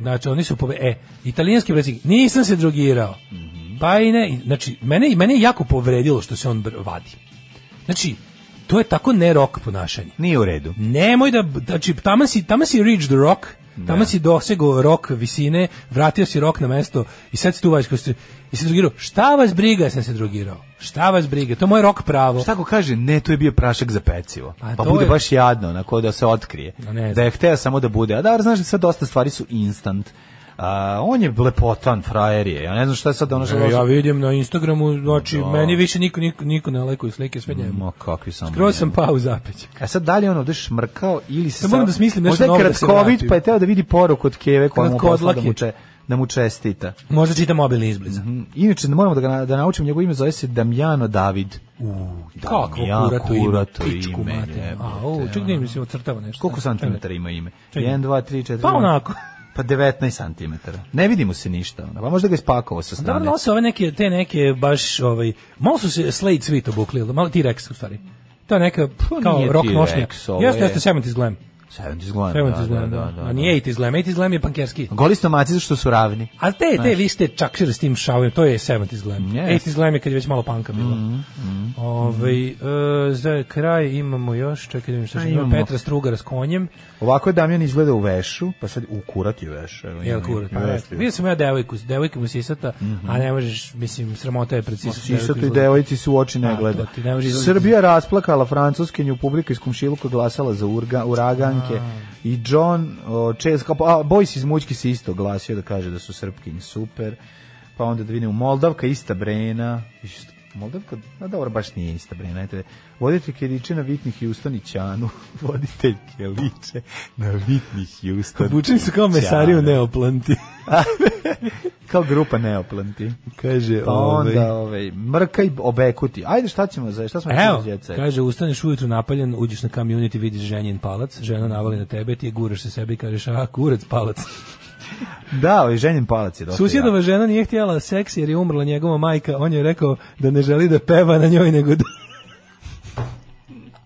[SPEAKER 6] znači, oni su pove... E, italijanski predsjednik, nisam se drogirao.
[SPEAKER 7] Mhm.
[SPEAKER 6] Pa i ne, i- znači, mene, mene je jako povredilo što se on br- vadi. Znači, to je tako ne rock ponašanje.
[SPEAKER 7] Nije u redu.
[SPEAKER 6] Nemoj da, znači, tamo si, tamo si reach the rock, tamo si dosegao rock visine, vratio si rock na mesto i sad si tu vaš i se drogirao. Šta vas briga, ja sam se drogirao. Šta vas briga, to je moje rock pravo.
[SPEAKER 7] Šta ko kaže, ne, to je bio prašak za pecivo.
[SPEAKER 6] A
[SPEAKER 7] Pa
[SPEAKER 6] to
[SPEAKER 7] bude
[SPEAKER 6] je-
[SPEAKER 7] baš jadno, onako da se otkrije.
[SPEAKER 6] A ne znam.
[SPEAKER 7] Da je hteo samo da bude. A da, znaš da sad dosta stvari su instant. A, on je lepotan, frajer je. Ja ne znam šta je sad ono što...
[SPEAKER 6] E, ja vidim na Instagramu, znači,
[SPEAKER 7] Da. Mm.
[SPEAKER 6] meni više niko, niko, niko ne lajkuje slike, sve njemu.
[SPEAKER 7] Ma kakvi sam.
[SPEAKER 6] Skroz sam pao u zapećak.
[SPEAKER 7] A sad dalje on ovde šmrkao ili se...
[SPEAKER 6] Sad moram
[SPEAKER 7] sa-
[SPEAKER 6] da smislim nešto
[SPEAKER 7] Možda je
[SPEAKER 6] novo da se
[SPEAKER 7] Kratković
[SPEAKER 6] vratim.
[SPEAKER 7] pa je teo da vidi poruku od Keve koja mu posla da
[SPEAKER 6] Kratkodlak
[SPEAKER 7] mu,
[SPEAKER 6] je.
[SPEAKER 7] če, da mu čestita.
[SPEAKER 6] Možda čita mobilni izbliza.
[SPEAKER 7] Mhm. Inače, ne moramo da, ga, na- da naučim, njegovo ime zove se Damjano David. U,
[SPEAKER 6] Kako kurato ime, pičku mater. A, u, ček, nije mi se ocrtava nešto.
[SPEAKER 7] Koliko santimetara ima ime?
[SPEAKER 6] Čekaj.
[SPEAKER 7] 1, 2, 3, 4...
[SPEAKER 6] Pa onako.
[SPEAKER 7] Pa 19 santimetara. Ne vidimo se ništa. ono. Pa možda ga je spakovao sa strane.
[SPEAKER 6] Dobro nose ove neke, te neke baš, ovaj, malo su se Slade Sweet obukli, jel? malo T-Rex u stvari. To je neka pf,
[SPEAKER 7] Pa
[SPEAKER 6] kao
[SPEAKER 7] nije
[SPEAKER 6] rock
[SPEAKER 7] T-Rex,
[SPEAKER 6] nošnja.
[SPEAKER 7] ovo
[SPEAKER 6] Jeste,
[SPEAKER 7] je-
[SPEAKER 6] jeste 70's glam.
[SPEAKER 7] 70's glam,
[SPEAKER 6] 70's
[SPEAKER 7] da,
[SPEAKER 6] glam,
[SPEAKER 7] da, da,
[SPEAKER 6] da.
[SPEAKER 7] da,
[SPEAKER 6] A nije 80's glam, 80's glam je pankerski.
[SPEAKER 7] Goli stomaci zašto su ravni.
[SPEAKER 6] A te, te,
[SPEAKER 7] Znaš.
[SPEAKER 6] vi ste čakšir s tim šavim, to je 70's glam.
[SPEAKER 7] Yes.
[SPEAKER 6] 80's glam je kad je već malo panka bilo.
[SPEAKER 7] Mm,
[SPEAKER 6] Ovaj, e, za kraj imamo još, čekaj da vidim šta
[SPEAKER 7] A,
[SPEAKER 6] će, imamo
[SPEAKER 7] imamo.
[SPEAKER 6] Petra Strugara s konjem.
[SPEAKER 7] Ovako je Damjan izgleda u vešu, pa sad u kurat je veš. Evo,
[SPEAKER 6] Jel
[SPEAKER 7] ima-
[SPEAKER 6] kure, pa
[SPEAKER 7] Jeste,
[SPEAKER 6] ne.
[SPEAKER 7] jeste.
[SPEAKER 6] Vidio sam ja devojku, devojka mu sisata, a ne možeš, mislim, sramota je pred
[SPEAKER 7] Ma,
[SPEAKER 6] sisata.
[SPEAKER 7] Sisato Pa i devojci su u oči ne
[SPEAKER 6] A,
[SPEAKER 7] gleda.
[SPEAKER 6] to ti ne može izlaziti.
[SPEAKER 7] Srbija rasplakala francuskinju, publika iz komšiluka glasala za urga, uraganke i John o, Čes, kao, a, Bojs iz Mućki se isto glasio da kaže da su srpkinje super. Pa onda da vidimo Moldavka, ista Brena. Isto- Moldavka, a dobro, baš nije ista Brena. Eto, voditelj Keriče na Vitni Houston i Ćanu. *laughs* Voditelj Keriče na Vitni Houston.
[SPEAKER 6] Obučeni su kao mesari u neoplanti.
[SPEAKER 7] kao grupa Neoplanti.
[SPEAKER 6] Kaže,
[SPEAKER 7] Pa
[SPEAKER 6] ovaj-
[SPEAKER 7] onda, ovaj, mrkaj obekuti. Ajde, šta ćemo za, šta smo
[SPEAKER 6] Evo,
[SPEAKER 7] za djeca?
[SPEAKER 6] kaže, ustaneš ujutru napaljen, uđeš na community, vidiš ženjen palac, žena navali na tebe, ti je guraš se sebi i kažeš, a, kurac palac.
[SPEAKER 7] Da, ovaj ženjen palac je dosta.
[SPEAKER 6] Susjedova
[SPEAKER 7] jak.
[SPEAKER 6] žena nije htjela seks jer je umrla njegova majka. On je rekao da ne želi da peva na njoj nego da...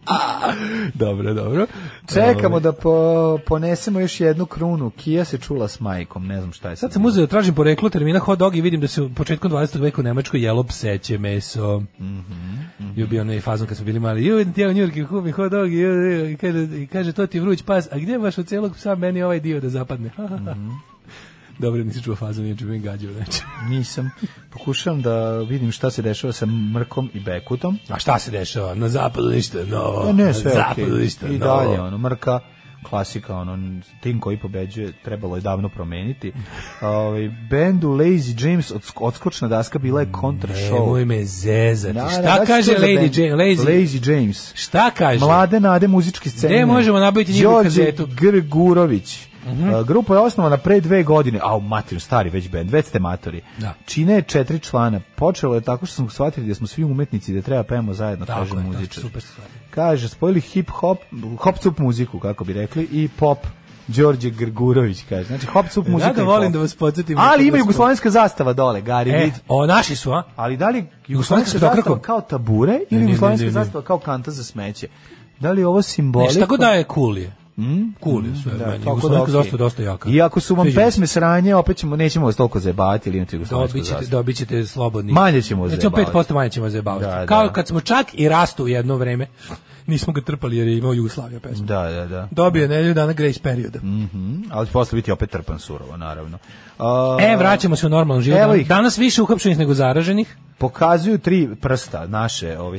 [SPEAKER 6] A, *laughs* dobro, dobro.
[SPEAKER 7] Čekamo
[SPEAKER 6] ovaj.
[SPEAKER 7] da po, ponesemo još jednu krunu. Kija se čula s majkom, ne znam šta je
[SPEAKER 6] sad. Sad sam uzeo, tražim poreklo termina hot dog i vidim da se u početkom 20. veka u Nemačkoj jelo pseće meso. Mhm. Mm mm bio onaj fazon kad smo bili mali. Ju, ti u Njurki kupi hot dog i, ju, i, kaže, i kaže, to ti vruć pas, a gdje baš od celog psa meni ovaj dio da zapadne? *laughs* Mhm. Dobro, nisi čuo fazu, nije čuo gađao znači. neče.
[SPEAKER 7] Nisam. Pokušavam da vidim šta se dešava sa Mrkom i Bekutom.
[SPEAKER 6] A šta se dešava? Na zapadu ništa novo.
[SPEAKER 7] Da, ne, sve
[SPEAKER 6] Na zapadu
[SPEAKER 7] okej.
[SPEAKER 6] ništa
[SPEAKER 7] I
[SPEAKER 6] novo.
[SPEAKER 7] dalje, ono, Mrka, klasika, ono, tim koji pobeđuje, trebalo je davno
[SPEAKER 6] *laughs*
[SPEAKER 7] promeniti. Ovaj bendu Lazy James od, odskočna daska bila je kontra
[SPEAKER 6] Nemoj
[SPEAKER 7] show.
[SPEAKER 6] me zezati.
[SPEAKER 7] Da, da,
[SPEAKER 6] šta
[SPEAKER 7] da,
[SPEAKER 6] kaže
[SPEAKER 7] što za
[SPEAKER 6] Lady
[SPEAKER 7] bend?
[SPEAKER 6] Jane? Lazy,
[SPEAKER 7] Lazy James.
[SPEAKER 6] Šta kaže?
[SPEAKER 7] Mlade nade muzičke scene.
[SPEAKER 6] Gde možemo nabaviti njihovu kazetu? Mhm.
[SPEAKER 7] Grgurović. A, Grupa je osnovana pre dve godine, a u materiju stari već bend, već ste matori.
[SPEAKER 6] Da.
[SPEAKER 7] Čine je četiri člana. Počelo je tako što smo shvatili da smo svi umetnici i da treba pevamo zajedno,
[SPEAKER 6] Tako
[SPEAKER 7] kaže
[SPEAKER 6] je, da,
[SPEAKER 7] muzičar.
[SPEAKER 6] super stvar.
[SPEAKER 7] Kaže, spojili hip hop, hop cup muziku, kako bi rekli, i pop. Đorđe Grgurović kaže. Znači hop cup muzika.
[SPEAKER 6] da
[SPEAKER 7] i
[SPEAKER 6] volim
[SPEAKER 7] pop.
[SPEAKER 6] da vas podsjetim na
[SPEAKER 7] Ali
[SPEAKER 6] to da
[SPEAKER 7] ima
[SPEAKER 6] smo-
[SPEAKER 7] jugoslovenska zastava dole, Gari.
[SPEAKER 6] E,
[SPEAKER 7] vidi.
[SPEAKER 6] o, naši su, a?
[SPEAKER 7] Ali da li
[SPEAKER 6] Jugoslovenska
[SPEAKER 7] jugoslovenska
[SPEAKER 6] petokraka?
[SPEAKER 7] zastava kao tabure
[SPEAKER 6] Ne, ne, ne,
[SPEAKER 7] ili jugoslovenska
[SPEAKER 6] ne, ne.
[SPEAKER 7] zastava kao kanta za smeće? Da li je ovo
[SPEAKER 6] Ne,
[SPEAKER 7] simbolika?
[SPEAKER 6] šta god da je cool je. Cool je sve.
[SPEAKER 7] Mm? Da,
[SPEAKER 6] meni.
[SPEAKER 7] tako
[SPEAKER 6] Jugoslovenska
[SPEAKER 7] da,
[SPEAKER 6] zastava
[SPEAKER 7] okej.
[SPEAKER 6] je dosta jaka.
[SPEAKER 7] I ako su vam
[SPEAKER 6] Sviđa mi se.
[SPEAKER 7] pesme sranje, opet ćemo, nećemo vas toliko zajebavati ili imati jugoslovensku
[SPEAKER 6] Dobit ćete,
[SPEAKER 7] zastavu.
[SPEAKER 6] dobit ćete slobodni.
[SPEAKER 7] Manje ćemo
[SPEAKER 6] Znači,
[SPEAKER 7] zajebavati.
[SPEAKER 6] 5% manje ćemo zajebavati.
[SPEAKER 7] Da, da.
[SPEAKER 6] Kao kad smo čak i rastu u jedno vreme, nismo ga trpali jer je imao Jugoslavija pesmu.
[SPEAKER 7] Da, da, da.
[SPEAKER 6] Dobio je nedelju dana grace perioda.
[SPEAKER 7] Mhm, ali će posle biti opet trpan surovo, naravno. A,
[SPEAKER 6] E, vraćamo se u normalan život.
[SPEAKER 7] Evo ih.
[SPEAKER 6] Danas više uhapšenih nego zaraženih.
[SPEAKER 7] Pokazuju tri prsta naše ove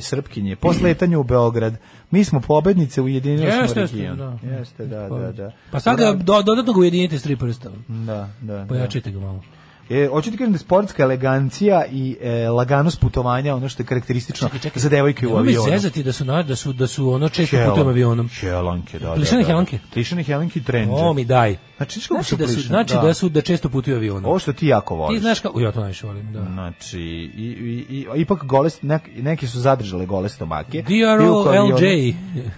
[SPEAKER 6] *clears throat*
[SPEAKER 7] srpkinje po letanju u Beograd. Mi smo pobednice u jedinjenju
[SPEAKER 6] Jeste,
[SPEAKER 7] smo
[SPEAKER 6] jeste,
[SPEAKER 7] region.
[SPEAKER 6] da.
[SPEAKER 7] Jeste, da, da, da.
[SPEAKER 6] Pa sad Pa ga do, dodatno ga ujedinite s tri prsta.
[SPEAKER 7] Da, da, da.
[SPEAKER 6] Pojačajte ga malo.
[SPEAKER 7] E, hoću ti kažem da je sportska elegancija i e, laganost putovanja ono što je karakteristično za devojke u
[SPEAKER 6] Nemoj mi
[SPEAKER 7] avionu.
[SPEAKER 6] zezati da su, na, da su, da su ono često
[SPEAKER 7] Helan-
[SPEAKER 6] putujem avionom.
[SPEAKER 7] Helanke, da, da.
[SPEAKER 6] Plišane
[SPEAKER 7] da.
[SPEAKER 6] helanke?
[SPEAKER 7] Plišane helanke i trendže.
[SPEAKER 6] O, mi daj.
[SPEAKER 7] Znači, znači,
[SPEAKER 6] Znači da su, znači da su da često putuju avionom.
[SPEAKER 7] Ovo što ti jako voliš.
[SPEAKER 6] Ti znaš kako... Ja to najviše volim, da.
[SPEAKER 7] Znači, i, i, i, ipak gole, nek, neke su zadržale gole stomake.
[SPEAKER 6] DRO LJ. *laughs*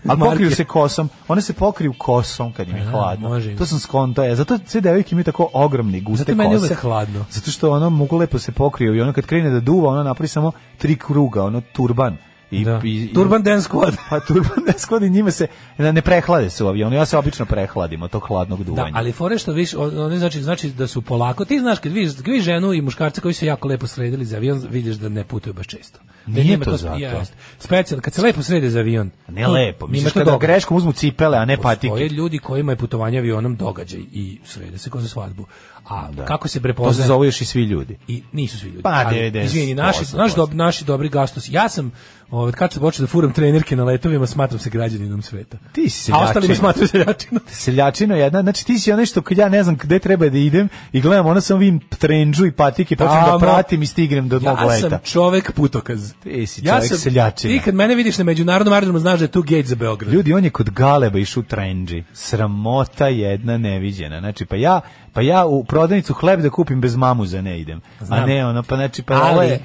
[SPEAKER 7] Ali pokriju
[SPEAKER 6] Marke.
[SPEAKER 7] se kosom. One se pokriju kosom kad im je
[SPEAKER 6] Da,
[SPEAKER 7] hladno.
[SPEAKER 6] može im.
[SPEAKER 7] to sam skonto. Je. Zato sve devojke imaju tako ogromne guste
[SPEAKER 6] Zato meni je
[SPEAKER 7] kose.
[SPEAKER 6] uvek hladno.
[SPEAKER 7] Zato što ono mogu lepo se pokriju i ono kad krene da duva, ono napravi samo tri kruga, ono turban. I, i- i-
[SPEAKER 6] Turban Dance Squad.
[SPEAKER 7] *laughs* Pa turban ne skladi, njime se ne ne prehlade se u avionu. Ja se obično prehladim od tog hladnog
[SPEAKER 6] Da,
[SPEAKER 7] duvanja.
[SPEAKER 6] ali fore što viš, on- oni znači, znači da su polako, ti znaš kad vidiš, kad vidiš ženu i muškarca koji su jako lepo sredili za avion, vidiš da ne putuju baš često. Da
[SPEAKER 7] Nije
[SPEAKER 6] njima
[SPEAKER 7] to zato.
[SPEAKER 6] jest. Specijalno, kad se lepo srede za avion.
[SPEAKER 7] Ne
[SPEAKER 6] to-
[SPEAKER 7] lepo,
[SPEAKER 6] njima
[SPEAKER 7] misliš
[SPEAKER 6] to
[SPEAKER 7] pa kada
[SPEAKER 6] dobro.
[SPEAKER 7] greškom uzmu cipele, a ne
[SPEAKER 6] Postoje
[SPEAKER 7] patike.
[SPEAKER 6] ljudi kojima je putovanje avionom događaj i srede se kao za svadbu. A kako se
[SPEAKER 7] To se
[SPEAKER 6] prepoznaje?
[SPEAKER 7] zove još i svi ljudi.
[SPEAKER 6] I nisu svi ljudi.
[SPEAKER 7] Pa,
[SPEAKER 6] Ali,
[SPEAKER 7] 90%,
[SPEAKER 6] Izvini, naši, naš dob- naši dobri gastos. Ja sam, ovaj, kad sam počeo da furam trenerke na letovima, smatram se građaninom sveta.
[SPEAKER 7] Ti si
[SPEAKER 6] A ostali me smatraju seljačinom.
[SPEAKER 7] Seljačino jedna, znači ti si onaj što kad ja ne znam gde treba da idem i gledam, ona sam vidim trendžu i patike, počnem da
[SPEAKER 6] Tamo.
[SPEAKER 7] pratim i stignem do mog
[SPEAKER 6] Ja sam
[SPEAKER 7] leta.
[SPEAKER 6] čovek putokaz.
[SPEAKER 7] Ti si čovjek seljačina.
[SPEAKER 6] Ti kad mene vidiš na međunarodnom aerodromu znaš da je tu gate za Beograd.
[SPEAKER 7] Ljudi, on je kod Galeba išao u trendži. Sramota jedna neviđena. Znači, pa ja, pa ja u prodavnicu hleb da kupim bez mamuza ne idem. A
[SPEAKER 6] Znam.
[SPEAKER 7] ne, ono, pa znači, pa ovo
[SPEAKER 6] Ali
[SPEAKER 7] je...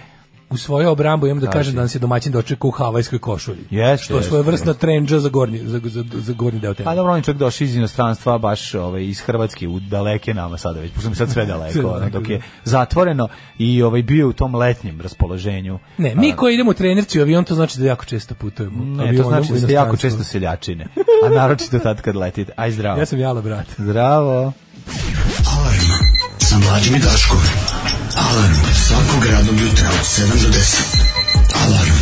[SPEAKER 6] u svoju obrambu imam da
[SPEAKER 7] Kaži.
[SPEAKER 6] kažem da nas je domaćin dočekao u havajskoj košulji.
[SPEAKER 7] Jeste,
[SPEAKER 6] što je
[SPEAKER 7] jeste,
[SPEAKER 6] svoje vrsta trendža za gornji, za, za, za gornji deo tela.
[SPEAKER 7] Pa dobro, on je čovjek došao iz inostranstva, baš ovaj, iz Hrvatske, u daleke nama sada već, pošto mi sad
[SPEAKER 6] *laughs*
[SPEAKER 7] sve
[SPEAKER 6] Sve
[SPEAKER 7] daleko, ono,
[SPEAKER 6] daleko,
[SPEAKER 7] dok je zatvoreno i ovaj, bio je u tom letnjem raspoloženju.
[SPEAKER 6] Ne, mi koji idemo u trenerci u avion, to znači da jako često putujemo.
[SPEAKER 7] Pa Ne, to
[SPEAKER 6] Avionom
[SPEAKER 7] znači
[SPEAKER 6] u
[SPEAKER 7] da ste jako
[SPEAKER 6] inostranstvo.
[SPEAKER 7] često seljačine, a naročito tad kad letite. Aj, zdravo.
[SPEAKER 6] Ja sam jala, brat.
[SPEAKER 7] Zdravo.
[SPEAKER 13] Alarm sa mlađim i Daškom. Alarm svakog radnog jutra od 7 do 10. Alarm.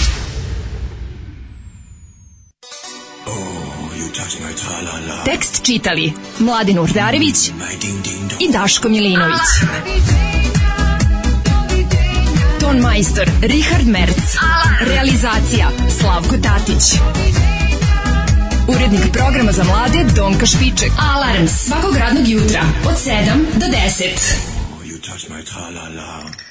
[SPEAKER 10] Tekst čitali Mladin Urdarević i Daško Milinović. Ton majstor Richard Merc. Realizacija Slavko Tatić. Urednik programa za mlade Donka Špiček. Alarms svakog radnog jutra od 7 do 10.
[SPEAKER 13] You touch my tra-la-la.